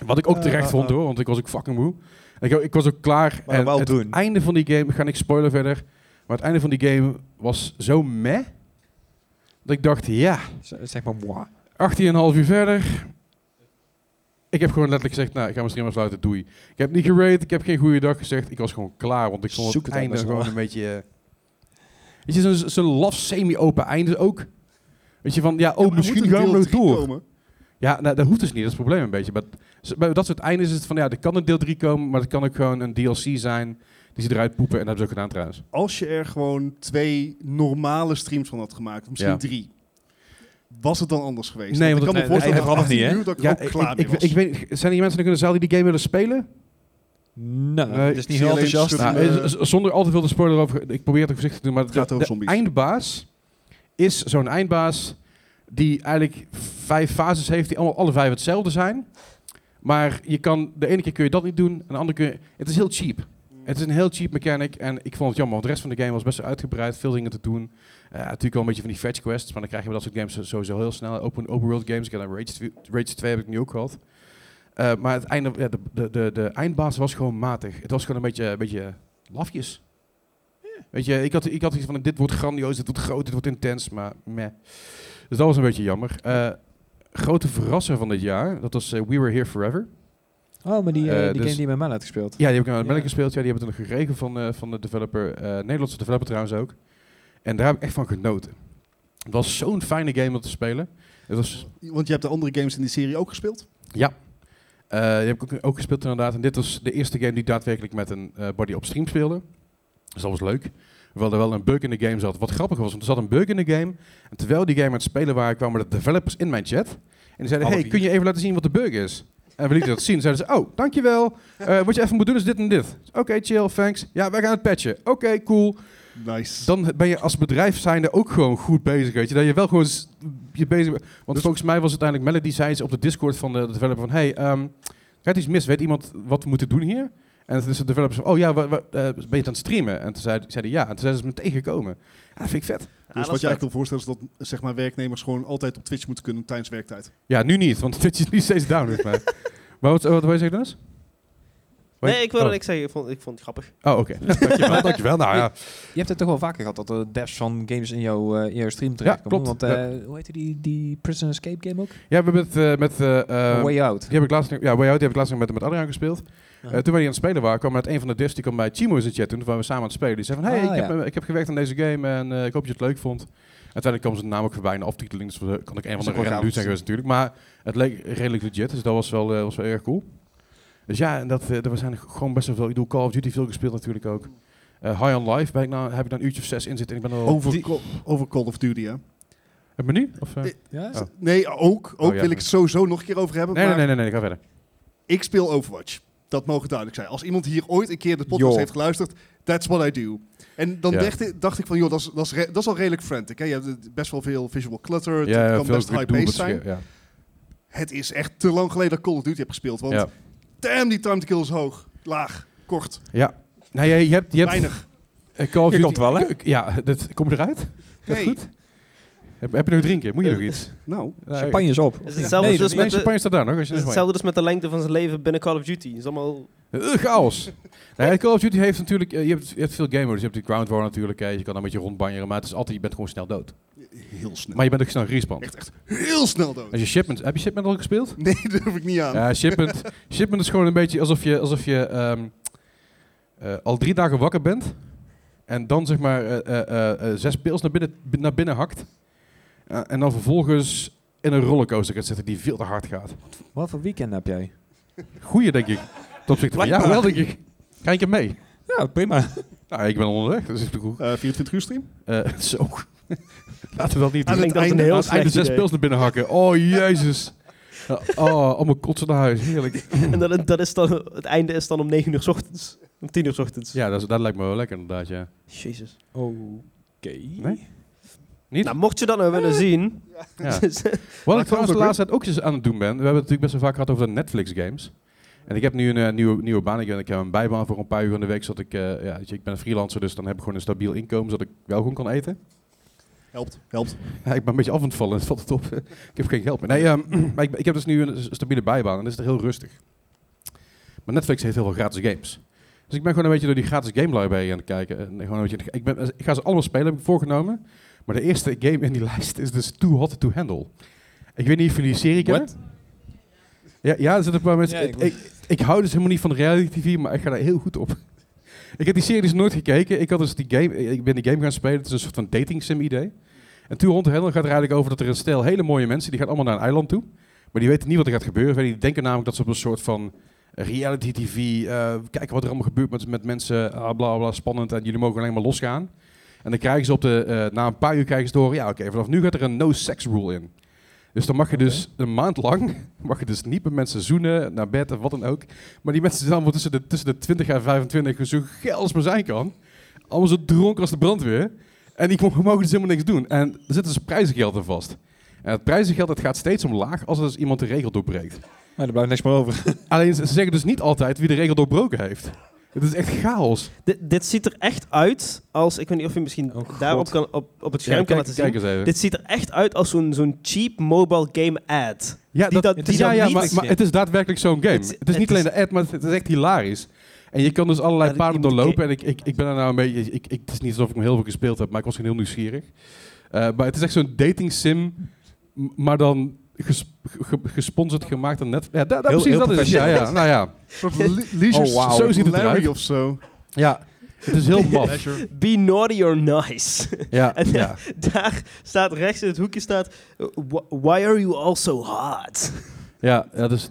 Speaker 1: Wat ik ook
Speaker 2: Eh,
Speaker 1: terecht
Speaker 2: eh,
Speaker 1: vond
Speaker 2: eh.
Speaker 1: hoor, want ik was ook fucking moe. Ik, ik was ook klaar.
Speaker 2: Maar
Speaker 1: en
Speaker 2: wel
Speaker 1: het
Speaker 2: doen.
Speaker 1: einde van die game, ik ga niks spoilen verder, maar het einde van die game was zo meh, dat ik dacht, ja,
Speaker 2: Z- Eh, Zeg maar, mwah.
Speaker 1: 18,5 uur verder. Ik heb gewoon letterlijk gezegd, nou, ik ga mijn stream afsluiten, doei. Ik heb niet gerate, ik heb geen goede dag gezegd. Ik was gewoon klaar, want ik vond
Speaker 2: Zoek
Speaker 1: het,
Speaker 2: het
Speaker 1: einde
Speaker 2: uit, dat is
Speaker 1: gewoon een beetje... eh, weet je, zo'n zo'n laf semi-open einde ook. Weet je, van, ja, oh,
Speaker 4: Ja, maar
Speaker 1: misschien
Speaker 4: moet er een
Speaker 1: gaan we
Speaker 4: deel
Speaker 1: nog
Speaker 4: drie
Speaker 1: door.
Speaker 4: komen?
Speaker 1: Ja, nou, dat hoeft dus niet, dat is het probleem een beetje. Maar s- bij dat soort eindes is het van, ja, er kan een deel 3 komen, maar het kan ook gewoon een DLC zijn die ze eruit poepen. En dat hebben ze ook gedaan trouwens.
Speaker 4: Als je er gewoon twee normale streams van had gemaakt, of misschien
Speaker 1: Ja.
Speaker 4: drie, was het dan anders geweest?
Speaker 1: Nee,
Speaker 4: ik
Speaker 1: want
Speaker 4: kan me
Speaker 2: het- nee,
Speaker 4: voorstellen
Speaker 2: het verandert niet, hè?
Speaker 4: uur dat ik
Speaker 1: Ja,
Speaker 4: ook
Speaker 1: ik,
Speaker 4: klaar mee
Speaker 1: ik, ik,
Speaker 4: was.
Speaker 1: ik weet, niet, zijn er hier mensen nog in de zaal die die game willen spelen?
Speaker 2: Nou,
Speaker 1: Nee,
Speaker 2: dat is niet
Speaker 4: ik zie
Speaker 2: heel
Speaker 4: alleen
Speaker 2: enthousiast.
Speaker 4: schudden.
Speaker 1: Nou,
Speaker 4: Eh,
Speaker 1: eh, z- zonder al te veel te spoiler over, ik probeer het ook voorzichtig te doen, maar
Speaker 4: Het gaat
Speaker 1: de,
Speaker 4: over
Speaker 1: de
Speaker 4: zombies.
Speaker 1: eindbaas is zo'n eindbaas die eigenlijk vijf fases heeft die allemaal alle vijf hetzelfde zijn. Maar je kan, de ene keer kun je dat niet doen, en de andere keer... Het is heel cheap. Het is een heel cheap mechanic en ik vond het jammer, want de rest van de game was best wel uitgebreid, veel dingen te doen. Eh, natuurlijk wel een beetje van die fetch quests, maar dan krijg je bij dat soort games sowieso heel snel. Open, open world games, ik had een Rage 2, Rage 2 heb ik nu ook gehad. Eh, maar het einde, ja, de, de, de, de eindbaas was gewoon matig. Het was gewoon een beetje, een beetje lafjes. Weet je, ik had, ik had iets van, dit wordt grandioos, dit wordt groot, dit wordt intens, maar meh. Dus dat was een beetje jammer. Eh, grote verrasser van dit jaar, dat was eh, We Were Here Forever.
Speaker 2: Oh, maar die, eh,
Speaker 1: Eh,
Speaker 2: die
Speaker 1: dus-
Speaker 2: game die je met mij had gespeeld.
Speaker 1: Ja, die heb ik aan het
Speaker 2: Ja.
Speaker 1: melk gespeeld. Ja, die hebben we toen gekregen van, eh, van de developer. eh, Nederlandse developer trouwens ook. En daar heb ik echt van genoten. Het was zo'n fijne game om te spelen. Het was,
Speaker 4: Want je hebt de andere games in die serie ook gespeeld.
Speaker 1: eh, die heb ik ook, ook gespeeld inderdaad. En dit was de eerste game die ik daadwerkelijk met een eh, body op stream speelde. Dus dat was leuk. Hoewel er wel een bug in de game zat. Wat grappig was, want er zat een bug in de game. En terwijl die game aan het spelen waren, kwamen de developers in mijn chat. En die zeiden,
Speaker 2: Alle
Speaker 1: hey,
Speaker 2: vier.
Speaker 1: kun je even laten zien wat de bug is? En we lieten dat zien. Zeiden ze, oh, dankjewel. Eh wat je even moet doen is dit en dit. Oké, chill, thanks. Ja, wij gaan het patchen. Oké, cool.
Speaker 4: Nice.
Speaker 1: Dan ben je als bedrijf zijnde ook gewoon goed bezig, weet je. Dat je wel gewoon s- je bezig bent. Want volgens mij was uiteindelijk Melody zei ze op de Discord van de developer van... Hey, ehm, er gaat iets mis. Weet iemand wat we moeten doen hier? En toen is de developer zo van... Oh ja, wa- wa- eh, ben je het aan het streamen? En toen zei, zeiden ja. En toen zijn ze me tegengekomen. Ja, dat vind ik vet.
Speaker 3: Ja,
Speaker 4: dus
Speaker 3: dat
Speaker 4: wat
Speaker 3: is
Speaker 4: je
Speaker 3: leuk.
Speaker 4: eigenlijk wil voorstellen is dat zeg maar, werknemers gewoon altijd op Twitch moeten kunnen tijdens werktijd.
Speaker 1: Ja, nu niet. Want Twitch is nu steeds down, volgens mij. Maar wat, wat wil je zeggen, Dennis? Wat je-
Speaker 3: Nee, ik wilde
Speaker 1: oh.
Speaker 3: niks zeggen. Ik vond, ik vond het grappig.
Speaker 1: Oh, oké. dankjewel, dankjewel. Nou ja.
Speaker 2: Je hebt het toch wel vaker gehad dat er devs van games in jouw, eh, in jouw stream terechtkomen.
Speaker 1: klopt.
Speaker 2: Want eh, hoe heette die, die Prison Escape game ook?
Speaker 1: Ja, we hebben het eh, met... eh, eh,
Speaker 2: Way Out.
Speaker 1: Die heb ik laatst, nog- ja, Way Out die heb ik laatst nog met, met Adriaan gespeeld. Eh, toen
Speaker 4: Ah.
Speaker 1: wij die aan het spelen waren, kwam uit een van de devs, die kwam bij Chimo in zijn chat toen, toen waren we samen aan het spelen. Die zei van, hey,
Speaker 2: Ah,
Speaker 1: ik, heb,
Speaker 2: ja.
Speaker 1: eh, ik heb gewerkt aan deze game en eh, ik hoop dat je het leuk vond. Uiteindelijk kwam zijn naam ook voorbij in de aftiteling, dus dat kan ik een
Speaker 4: is
Speaker 1: van
Speaker 4: ook
Speaker 1: de random
Speaker 4: wel gaaf.
Speaker 1: dudes zijn geweest natuurlijk. Maar het leek redelijk legit, dus dat was wel, eh, was wel erg cool. Dus ja, en dat, eh, er zijn gewoon best wel veel, ik doe Call of Duty veel gespeeld natuurlijk ook. Eh, High on Life ben ik nou, heb ik daar een uurtje of zes in zitten en ik ben al...
Speaker 4: Over,
Speaker 1: Oh, Die-
Speaker 4: Call- over Call of Duty, hè?
Speaker 1: Het menu? Of, eh?
Speaker 4: Eh,
Speaker 2: Ja?
Speaker 1: Oh.
Speaker 4: Nee, ook. Ook
Speaker 1: Oh, ja.
Speaker 4: wil ik het sowieso nog een keer over hebben.
Speaker 1: nee, nee,
Speaker 4: maar
Speaker 1: nee, nee, nee, ik ga verder.
Speaker 4: ik speel Overwatch. Dat mogen duidelijk zijn. Als iemand hier ooit een keer de podcast
Speaker 2: Joh.
Speaker 4: heeft geluisterd, that's what I do. En dan
Speaker 1: Ja.
Speaker 4: dacht, ik, dacht ik van, joh, dat is, dat, is re- dat is al redelijk frantic. Hè? Je hebt best wel veel visual clutter. Het
Speaker 1: Ja,
Speaker 4: kan
Speaker 1: veel
Speaker 4: best
Speaker 1: druk
Speaker 4: high-paced
Speaker 1: doelwit
Speaker 4: zijn.
Speaker 1: sche- ja.
Speaker 4: Het is echt te lang geleden dat ik Call of Duty heb gespeeld. Want
Speaker 1: Ja.
Speaker 4: Damn, die time to kill is hoog. Laag. Kort.
Speaker 1: Ja. Nou, je, je hebt... Je hebt
Speaker 4: Weinig.
Speaker 1: eh, Call of
Speaker 2: Je
Speaker 1: Duty-
Speaker 2: komt wel, hè?
Speaker 1: eh, Ja, dat komt eruit.
Speaker 4: Nee.
Speaker 1: goed? Heb, heb je nog drinken? Moet je nog iets?
Speaker 4: Nou,
Speaker 2: Eh, Champagne is op.
Speaker 3: Is hetzelfde
Speaker 2: Nee,
Speaker 3: dus
Speaker 1: Nee,
Speaker 3: met de,
Speaker 1: champagne staat daar nog. Als je
Speaker 3: is hetzelfde dus met de lengte van zijn leven binnen Call of Duty. Is allemaal...
Speaker 1: Eh, chaos. Nee, Call of Duty heeft natuurlijk... eh, je, hebt, je hebt veel game modes. Je hebt de Ground War natuurlijk. eh, je kan dan met je rondbanjeren. Maar het is altijd... Je bent gewoon snel dood.
Speaker 4: heel snel.
Speaker 1: Maar je bent ook snel respawn.
Speaker 4: Echt, echt heel snel dood.
Speaker 1: Als je Shipment... Heb je Shipment al gespeeld?
Speaker 4: Nee, dat durf ik niet aan.
Speaker 1: Ja, shipment, shipment is gewoon een beetje alsof je, alsof je ehm, eh, al drie dagen wakker bent. En dan zeg maar eh, eh, eh, eh, zes pils naar binnen, bi- naar binnen hakt. Eh, en dan vervolgens in een rollercoaster gaat zitten die veel te hard gaat.
Speaker 2: Wat voor weekend heb jij?
Speaker 1: Goeie, denk ik. Ten opzichte van jou
Speaker 2: Blijkbaar.
Speaker 1: wel, denk ik. Ga ik hem mee?
Speaker 2: Ja, prima.
Speaker 1: Nou, ik ben onderweg, dus ik doe goed.
Speaker 4: Eh, 24 uur stream.
Speaker 1: Eh, zo. Laten we dat niet
Speaker 4: Aan
Speaker 1: doen.
Speaker 4: het
Speaker 3: Ik denk dat is een
Speaker 4: einde-
Speaker 3: heel
Speaker 1: Aan het einde
Speaker 3: slecht
Speaker 1: zes
Speaker 3: idee.
Speaker 1: pils naar binnen hakken. Oh, jezus. Eh, Oh, allemaal kotsen naar huis. Heerlijk.
Speaker 3: En dat, dat is dan, het einde is dan om 9 uur 's ochtends. Om 10 uur 's ochtends.
Speaker 1: Ja, dat, is- dat lijkt me wel lekker inderdaad, ja.
Speaker 3: Jezus.
Speaker 2: Oké.
Speaker 1: Nee? Niet?
Speaker 3: Nou, mocht je dat nou willen zien...
Speaker 1: Ja.
Speaker 3: dus,
Speaker 1: Wat
Speaker 3: eh,
Speaker 4: Maar
Speaker 1: ik trouwens
Speaker 4: trouwens
Speaker 1: de laatste tijd ook eens aan het doen ben, we hebben het natuurlijk best wel vaak gehad over de Netflix-games. En ik heb nu een eh, nieuwe, nieuwe baan, ik, ben- ik heb een bijbaan voor een paar uur in de week, zodat ik, eh, ja, weet je, ik ben een freelancer, dus dan heb ik gewoon een stabiel inkomen, zodat ik wel gewoon kan eten.
Speaker 4: Helpt, helpt.
Speaker 1: Ja, ik ben een beetje af aan het vallen, dat valt het op. ik heb geen geld meer. Nee, ehm, maar ik, ik heb dus nu een s- stabiele bijbaan en dat is het heel rustig. Maar Netflix heeft heel veel gratis games. Dus ik ben gewoon een beetje door die gratis game library aan het kijken. En gewoon een beetje, ik, ben, ik ga ze allemaal spelen, heb ik voorgenomen. Maar de eerste game in die lijst is dus Too Hot To Handle. Ik weet niet of jullie die serie kennen. Ja, ja, er zitten een paar mensen...
Speaker 2: Ja, ik
Speaker 1: ik, ik, ik hou dus helemaal niet van reality TV, maar ik ga daar heel goed op. Ik heb die serie dus nooit gekeken. Ik, had dus die game, ik ben die game gaan spelen. Het is een soort van dating sim idee. En Two Hond Handle gaat er eigenlijk over dat er een stel hele mooie mensen... die gaan allemaal naar een eiland toe. Maar die weten niet wat er gaat gebeuren. Die denken namelijk dat ze op een soort van reality TV... eh, kijken wat er allemaal gebeurt met, met mensen. ah, bla bla, spannend. En jullie mogen alleen maar losgaan. En dan krijgen ze op de, eh, na een paar uur krijgen ze door... ja oké, vanaf nu gaat er een no-sex rule in. Dus dan mag je dus een maand lang... mag je dus niet met mensen zoenen, naar bed of wat dan ook. Maar die mensen zijn allemaal tussen de, tussen de 20 en 25, zo geil als maar zijn kan. Allemaal zo dronken als de brandweer. En die mo- mogen dus helemaal niks doen. En er zit dus prijzengeld aan vast. En het prijzengeld dat gaat steeds omlaag als er dus iemand de regel doorbreekt.
Speaker 2: Maar er blijft niks meer over.
Speaker 1: Alleen ze ze zeggen dus niet altijd wie de regel doorbroken heeft. Het is echt chaos.
Speaker 3: dit, dit ziet er echt uit als... Ik weet niet of je misschien
Speaker 2: Oh, God.
Speaker 3: daarop kan, op, op het scherm kan
Speaker 1: kijk,
Speaker 3: laten zien.
Speaker 1: kijk eens even.
Speaker 3: Dit ziet er echt uit als zo'n zo'n cheap mobile game ad.
Speaker 1: ja,
Speaker 3: die dat-
Speaker 1: het
Speaker 3: die
Speaker 1: is- ja,
Speaker 3: dat
Speaker 1: ja,
Speaker 3: niet-
Speaker 1: maar, maar het is daadwerkelijk zo'n game.
Speaker 3: Het
Speaker 1: Het,
Speaker 3: is-
Speaker 1: is niet
Speaker 3: het is-
Speaker 1: alleen de ad, maar het, het is echt hilarisch. En je kan dus allerlei
Speaker 3: Ja, dat
Speaker 1: paden
Speaker 3: iemand-
Speaker 1: doorlopen. En ik, ik, ik ben er nou een beetje... Ik, ik, het is niet alsof ik hem heel veel gespeeld heb, maar ik was gewoon heel nieuwsgierig. Eh, maar het is echt zo'n dating sim, m- maar dan ges- ge- gesponsord gemaakt en net... Ja, da, da-
Speaker 2: Heel-
Speaker 1: precies
Speaker 2: heel
Speaker 1: dat is het. Ja, ja, nou ja.
Speaker 4: Leisure
Speaker 1: Oh, wauw. Zo ziet het
Speaker 4: Larry
Speaker 1: eruit.
Speaker 4: of zo.
Speaker 1: Ja, het is heel maf.
Speaker 4: Leisure.
Speaker 3: Be naughty or nice.
Speaker 1: Ja,
Speaker 3: En-
Speaker 1: ja.
Speaker 3: Daar staat rechts in het hoekje staat... eh, wh- Why are you all so hot?
Speaker 1: Ja, ja, dus...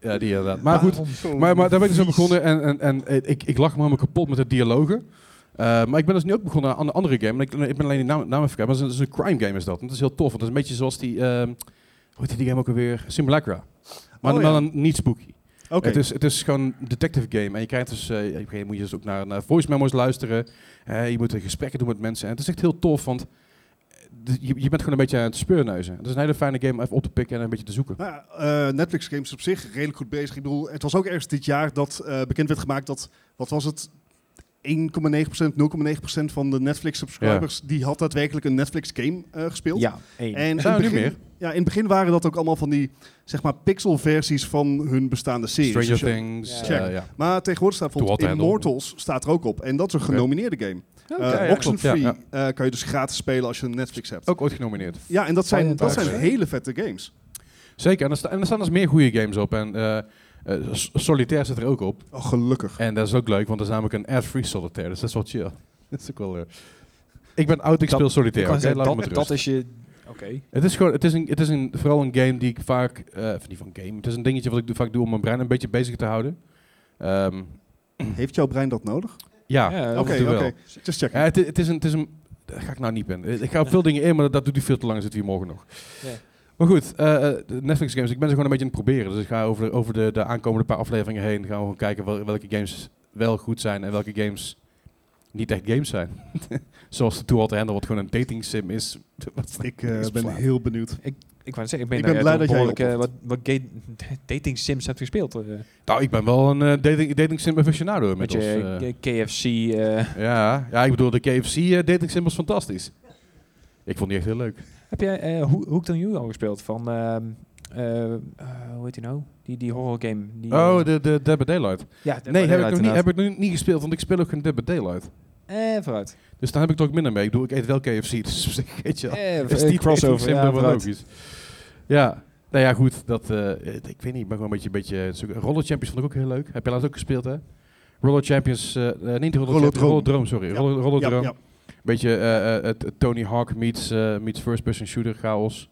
Speaker 1: Ja, die inderdaad. Maar goed, maar, maar daar ben ik dus aan begonnen en, en, en eh, ik, ik lag me helemaal kapot met de dialogen. Eh, maar ik ben dus nu ook begonnen aan een andere game. En Ik, ik ben alleen die naam, naam even kwijt, maar het is, een- het is een crime game is dat. En dat is heel tof, want het is een beetje zoals die... ehm hoe heet die game ook alweer? Simulacra. Maar,
Speaker 4: Oh,
Speaker 1: maar
Speaker 4: ja.
Speaker 1: dan niet spooky.
Speaker 4: Oké.
Speaker 1: Het, is, het is gewoon een detective game. En je krijgt dus, eh, op een gegeven moment moet je dus ook naar, naar voice memos luisteren. Eh, je moet eh, gesprekken doen met mensen. En het is echt heel tof, want eh, de- je, je bent gewoon een beetje aan het speurneuzen. Het is een hele fijne game om even op te pikken en een beetje te zoeken.
Speaker 4: Nou ja, eh, Netflix games op zich redelijk goed bezig. Ik bedoel, het was ook ergens dit jaar dat eh, bekend werd gemaakt dat, wat was het, 1,9%, 0,9% van de Netflix subscribers, die had daadwerkelijk een Netflix game eh, gespeeld.
Speaker 2: Ja, één.
Speaker 4: En
Speaker 1: Zijn
Speaker 4: in
Speaker 1: er
Speaker 4: het
Speaker 1: nu
Speaker 4: begin- Ja, in het begin waren dat ook allemaal van die, zeg maar, pixelversies van hun bestaande series.
Speaker 1: Stranger
Speaker 4: Dus je-
Speaker 1: Things.
Speaker 4: Check.
Speaker 1: eh, ja.
Speaker 4: Maar tegenwoordig staat bijvoorbeeld
Speaker 1: To What Handle.
Speaker 4: Immortals staat er ook op. En dat is een
Speaker 1: Oké.
Speaker 4: genomineerde game. Eh,
Speaker 1: ja, Oh, ja,
Speaker 4: Oxenfree
Speaker 1: klopt,
Speaker 4: eh, kan je dus gratis spelen als je een Netflix hebt.
Speaker 1: Ook ooit genomineerd.
Speaker 4: Ja, en dat zijn,
Speaker 2: Silent
Speaker 4: dat
Speaker 2: Arts,
Speaker 4: zijn
Speaker 2: hè?
Speaker 4: hele vette games.
Speaker 1: Zeker, en er, sta- en er staan dus meer goede games op. En eh, eh, S- Solitaire zit er ook op.
Speaker 4: Oh, gelukkig.
Speaker 1: En dat is ook leuk, want dat is namelijk een ad-free Solitaire. Dus dat is wel chill. dat is ook wel... eh, ik ben oud, ik
Speaker 2: Dat-
Speaker 1: speel Solitaire.
Speaker 2: kan
Speaker 1: oké?
Speaker 2: zeggen,
Speaker 1: Laat me
Speaker 2: dat,
Speaker 1: met
Speaker 2: dat
Speaker 1: rust.
Speaker 2: is je... Oké.
Speaker 1: Het is gewoon, het is, een, het is een, vooral een game die ik vaak, eh, of niet van game, het is een dingetje wat ik doe- vaak doe om mijn brein een beetje bezig te houden. Ehm,
Speaker 4: Heeft jouw brein dat nodig?
Speaker 1: ja,
Speaker 2: Ja,
Speaker 1: af
Speaker 4: Oké,
Speaker 1: en toe
Speaker 4: oké.
Speaker 1: wel.
Speaker 4: Just check.
Speaker 1: Ja, het, i- het is een, het is een, daar ga ik nou niet in. Ik ga op veel dingen in, maar dat, dat doet hij veel te lang, zit hier morgen nog.
Speaker 2: Ja.
Speaker 1: Maar goed, eh, eh, de Netflix games, ik ben ze gewoon een beetje aan het proberen. Dus ik ga over de, over de, de aankomende paar afleveringen heen, gaan we gewoon kijken wel- welke games wel goed zijn en welke games niet echt games zijn. Zoals de Too Hot to Handle, wat gewoon een dating sim is. Wat-
Speaker 4: Ik eh,
Speaker 1: is
Speaker 4: ben
Speaker 1: verslaafd.
Speaker 4: heel benieuwd.
Speaker 2: Ik wou zeggen, ik ben,
Speaker 4: Ik ben
Speaker 2: daar
Speaker 4: blij
Speaker 2: echt
Speaker 4: dat jij
Speaker 2: behoorlijk, eh, wat, wat gay- dating sims hebt gespeeld. eh,
Speaker 1: Nou, ik ben wel een eh, dating, dating sim aficionado
Speaker 2: met
Speaker 1: inmiddels.
Speaker 2: je
Speaker 1: eh.
Speaker 2: eh, KFC. eh.
Speaker 1: ja. ja, ik bedoel, de KFC eh, dating sim was fantastisch. Ik vond die echt heel leuk.
Speaker 2: Heb jij eh Ho- Hooked on You al gespeeld? Van, ehm, eh, eh, hoe heet die nou? Die, die horror game. Die,
Speaker 1: Oh,
Speaker 2: eh,
Speaker 1: de, de Dead by Daylight.
Speaker 2: ja, Dead by
Speaker 1: nee, heb ik,
Speaker 2: Daylight
Speaker 1: nog niet,
Speaker 2: inderdaad.
Speaker 1: heb ik nu niet gespeeld, want ik speel ook geen Dead by Daylight.
Speaker 2: Eh, vooruit.
Speaker 1: Dus daar heb ik toch minder mee. Ik bedoel, ik eet wel KFC, dus op zich, weet je wel.
Speaker 2: Eh,
Speaker 1: Is
Speaker 2: eh,
Speaker 1: die
Speaker 2: crossover. Ja,
Speaker 1: Ja, wel
Speaker 2: vooruit.
Speaker 1: logisch. Ja. Nou ja, goed. Dat, eh, ik weet niet, ik ben gewoon een beetje... Een beetje zulke- Roller Champions vond ik ook heel leuk. Heb je laatst ook gespeeld, hè? Roller Champions... eh, eh, niet Roller, Champions,
Speaker 4: Roller Drome.
Speaker 1: Roller Drome, sorry.
Speaker 4: Ja.
Speaker 1: Roller, Roller
Speaker 4: Ja,
Speaker 1: Drome.
Speaker 4: ja.
Speaker 1: Beetje eh, eh, het Tony Hawk meets, eh, meets First Person Shooter chaos.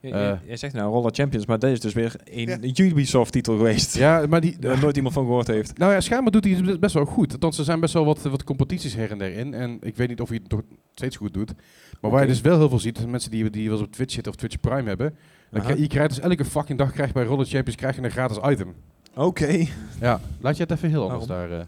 Speaker 2: Je- je-
Speaker 1: Eh.
Speaker 2: Jij zegt nou Roller Champions, maar dat is dus weer een Ubisoft-titel geweest.
Speaker 1: Ja, maar die...
Speaker 2: Waar nooit iemand van gehoord heeft.
Speaker 1: Nou ja, schijnbaar doet hij het best wel goed. Althans, er zijn best wel wat, wat competities her en der in. En ik weet niet of hij het nog steeds goed doet. Maar waar je
Speaker 2: Oké.
Speaker 1: dus wel heel veel ziet, zijn mensen die, die wel eens op Twitch zitten of Twitch Prime hebben. Dan
Speaker 2: Aha.
Speaker 1: krijg- je krijgt dus elke fucking dag krijg je bij Roller Champions krijg je een gratis item.
Speaker 2: Oké.
Speaker 1: Ja, laat je het even heel anders daar. eh.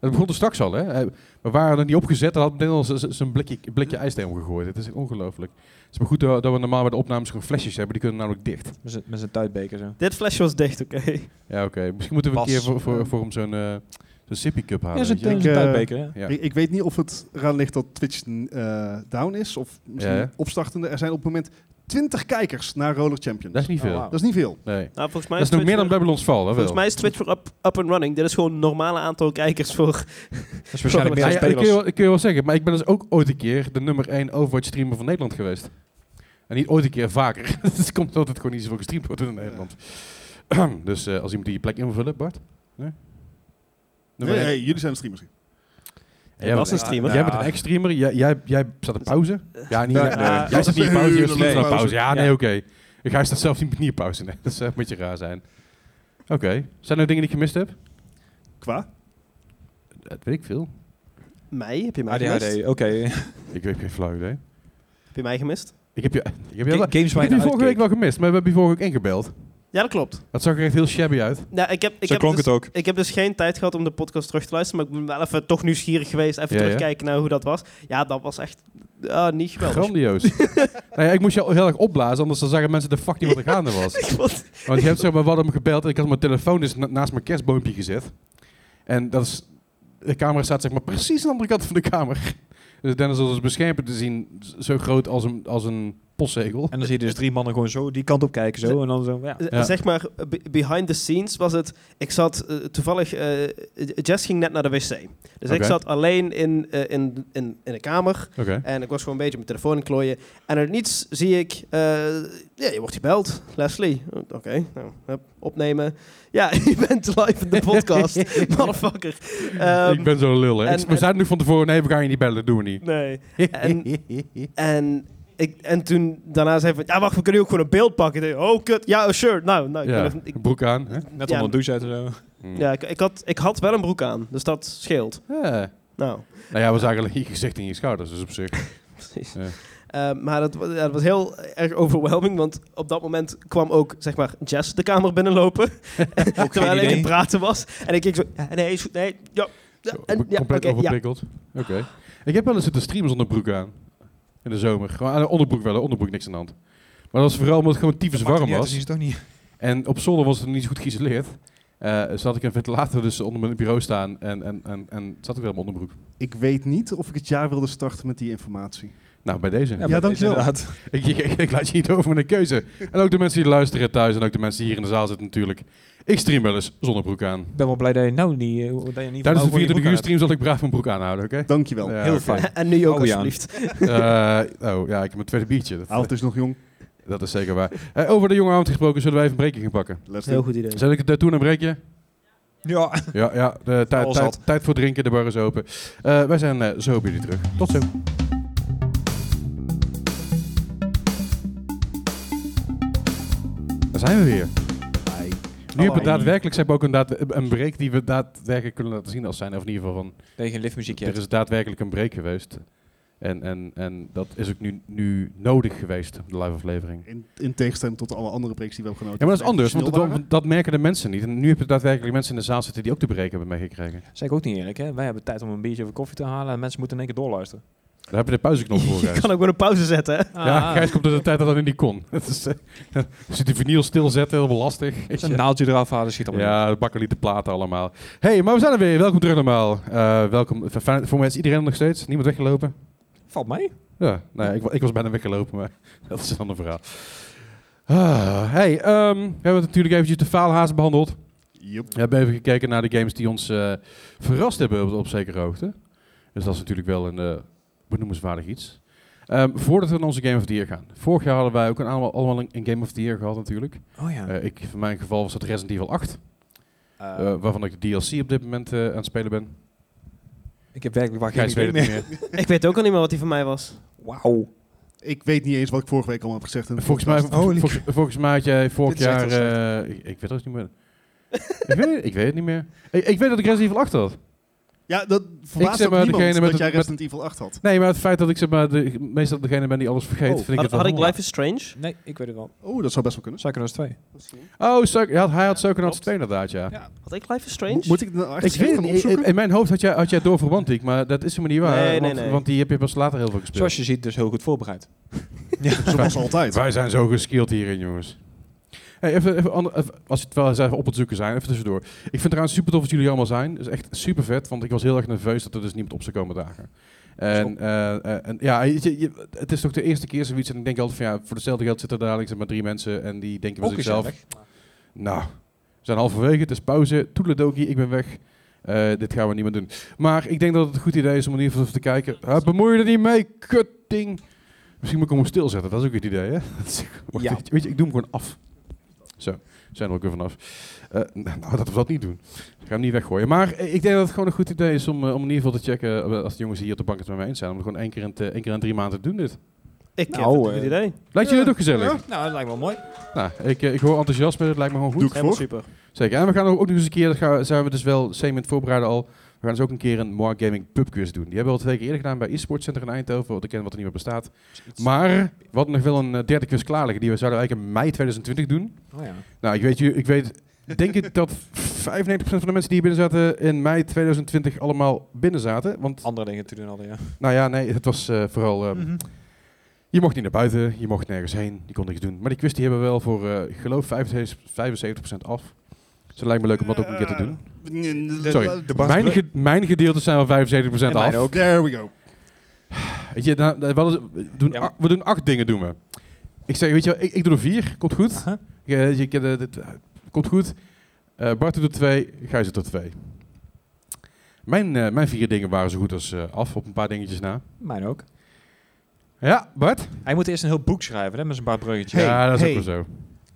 Speaker 1: Het begon er straks al, hè? Eh, We waren er niet opgezet en had meteen al z- z- zijn blikje, blikje ijs tegen hem gegooid. Het is echt ongelooflijk. Het is maar goed dat dat we normaal bij de opnames gewoon flesjes hebben, die kunnen namelijk dicht.
Speaker 2: Met z'n- Met zijn tuitbeker zo.
Speaker 3: Dit flesje was dicht, oké. Nou,
Speaker 1: Ja, oké. Misschien moeten we
Speaker 2: Pas,
Speaker 1: een keer voor,
Speaker 2: eh,
Speaker 1: voor, voor hem zo'n eh, zo'n sippy cup halen.
Speaker 2: Ja, zo'n
Speaker 1: weet je?
Speaker 2: zo'n
Speaker 4: Ik, eh,
Speaker 2: tuitbeker, hè?
Speaker 1: Ja.
Speaker 4: Ik, ik weet niet of het eraan ligt dat Twitch eh, down is of misschien
Speaker 1: Ja, hè?
Speaker 4: opstartende. Er zijn op het moment 20 kijkers naar Roller Champions.
Speaker 1: Dat is niet
Speaker 2: Oh,
Speaker 1: veel.
Speaker 2: wauw.
Speaker 4: Dat is niet veel.
Speaker 1: Nee.
Speaker 3: Nou, volgens mij
Speaker 1: Dat is nog
Speaker 3: Twitch
Speaker 1: meer dan
Speaker 3: weer-
Speaker 1: Babylon's Fall, dat
Speaker 3: Volgens
Speaker 1: wel.
Speaker 3: mij is Twitch weer up, up and running. Dit is gewoon een normale aantal kijkers voor...
Speaker 2: Dat is Dus waarschijnlijk
Speaker 1: Ja,
Speaker 2: meer aan
Speaker 1: ja, dat kun je,
Speaker 2: spelers.
Speaker 1: wel- dat kun je wel zeggen, maar ik ben dus ook ooit een keer de nummer 1 Overwatch streamer van Nederland geweest. En niet ooit een keer vaker. dus het komt dat het gewoon niet zoveel gestreamd wordt in Nederland. dus eh, als iemand die je plek invullen, Bart? Nee?
Speaker 4: Nee,
Speaker 1: Nummer één.
Speaker 4: nee, jullie zijn de streamers.
Speaker 1: Ja, jij
Speaker 3: was
Speaker 1: bent-
Speaker 3: een streamer.
Speaker 1: Jij bent een ex-streamer, jij, jij, jij staat op pauze. Ja, niet
Speaker 2: Ja,
Speaker 1: echt, nee.
Speaker 3: ja.
Speaker 1: Jij zit niet in
Speaker 4: Nee,
Speaker 1: pauze, jij
Speaker 4: dat
Speaker 1: zit
Speaker 4: is
Speaker 1: niet in
Speaker 4: pauze.
Speaker 1: pauze. Ja, nee,
Speaker 2: Ja.
Speaker 1: oké. Ik ga staat zelf niet niet in pauze, nee. Dat zou een beetje raar zijn. Oké. Zijn er dingen die ik gemist heb?
Speaker 4: Qua?
Speaker 1: Dat weet ik veel.
Speaker 3: Mij? Heb
Speaker 2: Ah,
Speaker 3: je mij gemist?
Speaker 2: ADHD, oké.
Speaker 1: Ik heb geen flauw idee.
Speaker 3: Heb je mij gemist?
Speaker 1: Ik heb je, ik heb je,
Speaker 2: Ga-
Speaker 1: wel-
Speaker 2: games waar je
Speaker 1: ik heb
Speaker 2: naar
Speaker 1: je vorige week
Speaker 2: uitkeek.
Speaker 1: wel gemist, maar we hebben je vorige week ingebeld.
Speaker 3: Ja, dat klopt.
Speaker 1: Dat zag er echt heel shabby uit.
Speaker 3: Nou, ik heb, ik
Speaker 2: Zo
Speaker 3: heb
Speaker 2: klonk
Speaker 3: dus,
Speaker 2: het ook.
Speaker 3: Ik heb dus geen tijd gehad om de podcast terug te luisteren, maar ik ben wel even toch nieuwsgierig geweest. Even
Speaker 1: Ja, ja.
Speaker 3: terugkijken naar hoe dat was. Ja, dat was echt ah, niet geweldig.
Speaker 1: Grandioos. nou ja, ik moest je al heel erg opblazen, anders dan zagen mensen de fuck niet wat er gaande was.
Speaker 3: Ik vond-
Speaker 1: Want je hebt zeg maar, we hadden hem gebeld en ik had mijn telefoon dus na- naast mijn kerstboompje gezet. En dat is, de camera staat zeg maar precies aan de andere kant van de kamer. Dus Dennis was als beschermper te zien, z- zo groot als een, als een postzegel.
Speaker 2: En dan zie je dus drie mannen gewoon zo die kant op kijken zo. En dan zo, ja.
Speaker 1: Ja.
Speaker 3: Zeg maar, be- behind the scenes was het... Ik zat eh, toevallig... eh, Jess ging net naar de wc. Dus ik
Speaker 1: Oké.
Speaker 3: zat alleen in, eh, in, in, in de kamer.
Speaker 1: Oké.
Speaker 3: En ik was gewoon een beetje op mijn telefoon aan het klooien. En uit niets zie ik... eh, ja, je wordt gebeld. Leslie. Oké, nou, hup, opnemen. Ja, je bent live in de podcast. Motherfucker. Ehm,
Speaker 1: ik ben zo'n lul, hè.
Speaker 3: en-
Speaker 1: Ik s- we zeiden nu van tevoren, nee, we gaan je niet bellen, dat doen we niet.
Speaker 3: Nee. En, en, ik, en toen daarna zei van, ja wacht, we kunnen hier ook gewoon een beeld pakken. Ik dacht, oh kut, ja, oh, sure. Nou, nou ik, ben
Speaker 1: Ja,
Speaker 3: even- ik,
Speaker 1: broek aan. Hè?
Speaker 2: Net
Speaker 3: Ja.
Speaker 2: onder een douche uit en zo.
Speaker 1: Hm.
Speaker 3: ja, ik, ik had, ik had wel een broek aan, dus dat scheelt.
Speaker 1: Ja.
Speaker 3: Nou,
Speaker 1: Nou ja, we zagen alleen je gezicht en je schouders, dus op zich.
Speaker 3: precies.
Speaker 1: Ja.
Speaker 3: Eh, maar dat, wa- ja, dat was heel erg overwhelming, want op dat moment kwam ook, zeg maar, Jess de kamer binnenlopen. terwijl ik
Speaker 2: idee.
Speaker 3: aan het praten was. En ik keek zo, ja, nee, is goed, nee, ja. ja,
Speaker 1: Zo,
Speaker 3: en, ja,
Speaker 1: compleet
Speaker 3: oké, ja.
Speaker 1: overprikkeld. Oké. Ik heb wel eens zitten streamen zonder broek aan. In de zomer. Gewoon aan de onderbroek wel, hè. onderbroek niks aan de hand. Maar dat was vooral omdat het gewoon tyfus warm was.
Speaker 2: toch niet.
Speaker 1: En op zolder was het niet zo goed geïsoleerd. Eh, dus had ik een ventilator dus onder mijn bureau staan en, en, en, en zat ik weer op mijn onderbroek.
Speaker 4: Ik weet niet of ik het jaar wilde starten met die informatie.
Speaker 1: Nou, bij deze.
Speaker 4: Ja, dankjewel.
Speaker 1: Ik, ik, ik- ik laat je niet over met een keuze. En ook de mensen die luisteren thuis en ook de mensen die hier in de zaal zitten natuurlijk. Ik stream wel eens zonder broek aan.
Speaker 2: Ik ben wel blij dat je nou niet... eh, dat je in ieder
Speaker 1: Tijdens
Speaker 2: geval
Speaker 1: de
Speaker 2: gewoon je
Speaker 1: 24
Speaker 2: broek
Speaker 1: uur
Speaker 2: aan
Speaker 1: stream zal ik braaf mijn broek aanhouden, oké?
Speaker 4: Dankjewel.
Speaker 1: Ja,
Speaker 2: Heel
Speaker 1: oké.
Speaker 2: fijn.
Speaker 3: En nu ook,
Speaker 2: Oh, ja.
Speaker 3: alsjeblieft.
Speaker 1: Eh, oh ja, ik heb mijn tweede biertje. Dat-
Speaker 4: Avond is nog jong.
Speaker 1: Dat is zeker waar. Eh, over de jonge avond gesproken, zullen wij even een breekje gaan pakken?
Speaker 4: Let's
Speaker 3: Heel
Speaker 4: do.
Speaker 3: goed idee.
Speaker 1: Zal ik het eh, doen, een breekje?
Speaker 2: hebt. Ja.
Speaker 1: Ja, ja de tijd-
Speaker 2: Alles
Speaker 1: tijd-
Speaker 2: had.
Speaker 1: tijd voor drinken, de bar is open. Eh, wij zijn eh, zo bij jullie terug. Tot zo. Daar zijn we weer. Nu hebben we daadwerkelijk, ze hebben ook een, daad, een break die we daadwerkelijk kunnen laten zien als zijn. Of in ieder geval van,
Speaker 2: Dat je geen liftmuziekje
Speaker 1: er
Speaker 2: hebt.
Speaker 1: is daadwerkelijk een break geweest. En, en, en dat is ook nu, nu nodig geweest, de live aflevering.
Speaker 4: In, in tegenstelling tot alle andere breaks die we hebben
Speaker 1: Ja,
Speaker 4: genoten.
Speaker 1: maar dat is anders, want
Speaker 4: Professioneel
Speaker 1: dat, dat merken de mensen niet. En nu heb je daadwerkelijk mensen in de zaal zitten die ook de break hebben meegekregen.
Speaker 2: Dat is eigenlijk ook niet eerlijk, hè. Wij hebben tijd om een biertje of koffie te halen en mensen moeten in één keer doorluisteren.
Speaker 1: Daar heb je de pauzeknop voor,
Speaker 3: Je
Speaker 1: Gijs.
Speaker 3: kan ook Ah. weer een pauze zetten. hè?
Speaker 1: Ja, Gijs komt uit de tijd dat dat in die kon. Dat is, eh, dus die vinyl stilzetten, heel lastig.
Speaker 2: Als je een naaldje eraf halen, schiet allemaal
Speaker 1: Ja, de bakken liet de platen allemaal. hey, maar we zijn er weer. Welkom terug normaal. Eh, welkom. F- fijn- Voor mij is iedereen er nog steeds. Niemand weggelopen.
Speaker 2: niet. Valt mij.
Speaker 1: Ja, nou ja, ik, wa- ik was bijna weggelopen, maar dat is een ander verhaal. Ah, hey, ehm, we hebben natuurlijk eventjes de faalhaas behandeld.
Speaker 4: Yep.
Speaker 1: We hebben even gekeken naar de games die ons eh, verrast hebben op, op zekere hoogte. Dus dat is natuurlijk wel een eh, benoemenswaardig iets. Ehm, voordat we naar onze Game of the Year gaan. Vorig jaar hadden wij ook een, allemaal, allemaal een, een Game of the Year gehad natuurlijk.
Speaker 2: Oh ja.
Speaker 1: Eh, ik, in mijn geval was dat Resident Evil 8. eh, waarvan ik de DLC op dit moment eh, aan het spelen ben.
Speaker 2: ik heb werkelijk waar geen
Speaker 1: Gijs weet
Speaker 2: idee
Speaker 1: het
Speaker 2: meer.
Speaker 1: niet meer.
Speaker 3: Ik weet ook al niet meer wat die van mij was.
Speaker 2: Wauw.
Speaker 4: Ik weet niet eens wat ik vorige week allemaal heb gezegd. in de
Speaker 1: Volgens mij,
Speaker 4: podcast.
Speaker 1: volgens, volgens- volgens mij had jij vorig
Speaker 2: Dit is echt
Speaker 1: jaar... eh, ik, ik weet het niet meer. ik, weet, het- ik weet het niet meer. Ik, ik weet dat ik Resident Evil 8 had.
Speaker 4: Ja, dat verbaast
Speaker 1: zeg
Speaker 4: ook
Speaker 1: maar
Speaker 4: niemand
Speaker 1: degene met
Speaker 4: dat
Speaker 1: het-
Speaker 4: jij
Speaker 1: met-
Speaker 4: Resident Evil 8 had.
Speaker 1: Nee, maar het feit dat ik zeg maar, de, meestal degene ben die alles vergeet,
Speaker 4: Oh,
Speaker 1: vind ik
Speaker 3: Had,
Speaker 1: het wel
Speaker 3: had ik
Speaker 1: handig.
Speaker 3: Life is Strange?
Speaker 2: Nee, ik weet het wel.
Speaker 4: Oh, dat zou best wel kunnen.
Speaker 2: Psychonauts 2.
Speaker 1: Oh, Suck- ja, hij had Psychonauts
Speaker 2: klopt.
Speaker 1: 2 inderdaad, ja.
Speaker 2: Ja.
Speaker 3: Had ik Life is Strange?
Speaker 4: Mo- Moet ik het nou echt
Speaker 1: Ik weet
Speaker 4: zelf
Speaker 1: het
Speaker 4: gaan
Speaker 1: niet. eh,
Speaker 4: opzoeken?
Speaker 1: In, in mijn hoofd had jij, had jij door Romantic, maar dat is helemaal niet waar.
Speaker 3: Nee, nee,
Speaker 1: want,
Speaker 3: nee.
Speaker 1: want die heb je pas later heel veel gespeeld.
Speaker 2: Zoals je ziet, dus heel goed voorbereid.
Speaker 1: eh,
Speaker 4: Zoals altijd.
Speaker 1: Wij zijn zo geskilled hierin, jongens. Hey, even, even, ander- even- als je het wel eens even op het zoeken zijn, even tussendoor. Ik vind het trouwens super tof dat jullie allemaal zijn. Dat is echt super vet, want ik was heel erg nerveus dat er dus niemand op zou komen dagen. En, eh, eh, en ja, je- je- je- het is toch de eerste keer zoiets. En ik denk altijd van ja, voor hetzelfde geld zitten er dadelijk zeg maar drie mensen. En die denken bij
Speaker 2: Ook
Speaker 1: zichzelf,
Speaker 2: gezellig.
Speaker 1: nou, we zijn halverwege, het is pauze. Toedeledokie, ik ben weg. Eh, dit gaan we niet meer doen. Maar ik denk dat het een goed idee is om in ieder geval even te kijken. Ah, bemoei je er niet mee, kutting. Misschien moet ik hem stilzetten, dat is ook het idee, hè? Dat is- Wacht,
Speaker 2: Ja.
Speaker 1: weet, je, weet je, ik doe hem gewoon af. Zo, zijn we er ook weer vanaf. Eh, nou, dat we dat niet doen. Ik ga hem niet weggooien. Maar eh, ik denk dat het gewoon een goed idee is om, eh, om in ieder geval te checken, eh, als de jongens hier op de bank het met mij eens zijn, om het gewoon één keer in, te- één keer in drie maanden te doen dit.
Speaker 3: Ik
Speaker 2: Nou,
Speaker 3: heb het
Speaker 2: eh,
Speaker 3: goed idee.
Speaker 1: Lijkt jullie het ook gezellig?
Speaker 4: Ja.
Speaker 2: Nou, dat lijkt me wel mooi.
Speaker 1: Nou, ik, eh, ik hoor enthousiasme, het lijkt me gewoon goed.
Speaker 4: Doe ik
Speaker 3: Helemaal
Speaker 4: voor.
Speaker 3: super.
Speaker 1: Zeker. En we gaan ook nog eens een keer, dat gaan, zijn we dus wel semi aan het voorbereiden al. We gaan dus ook een keer een More Gaming pubquiz doen. Die hebben we al twee keer eerder gedaan bij eSports Center in Eindhoven, wat ik ken wat er niet meer bestaat. Maar we hadden nog wel een eh, derde quiz klaar liggen, die we zouden eigenlijk in mei 2020 doen.
Speaker 2: Oh ja.
Speaker 1: Nou, ik weet, ju- ik weet denk ik dat 95% van de mensen die hier binnen zaten in mei 2020 allemaal binnen zaten. Want,
Speaker 2: Andere dingen te doen hadden, ja.
Speaker 1: nou ja, nee, het was eh, vooral... eh, Je mocht niet naar buiten, je mocht nergens heen, je kon niks doen. Maar die quiz die hebben we wel voor, eh, ik geloof, 75% 75% af. Dus het lijkt me leuk om dat ook een keer te doen.
Speaker 2: Eh,
Speaker 1: Sorry,
Speaker 4: Eh, De
Speaker 1: mijn, ge- mijn gedeeltes zijn wel 75%
Speaker 2: En
Speaker 1: af.
Speaker 2: mijn ook.
Speaker 4: There we go.
Speaker 1: Weet je, nou, nou, wel eens- we, doen
Speaker 2: Ja, maar-
Speaker 1: a- we doen acht dingen, doen we. Ik zeg, weet je, wel, ik, ik doe er vier, komt goed.
Speaker 2: Aha.
Speaker 1: Ik, eh, je, kent, eh, dit, eh, komt goed. Eh, Bart doet er twee, Gijs doet er twee. Mijn, eh, mijn vier dingen waren zo goed als eh, af, op een paar dingetjes na.
Speaker 2: Mijn ook.
Speaker 1: Ja, Bart?
Speaker 2: Hij moet eerst een heel boek schrijven, hè, met zijn paar bruggetjes.
Speaker 4: Hey,
Speaker 1: ja, dat is
Speaker 4: hey.
Speaker 1: ook wel zo.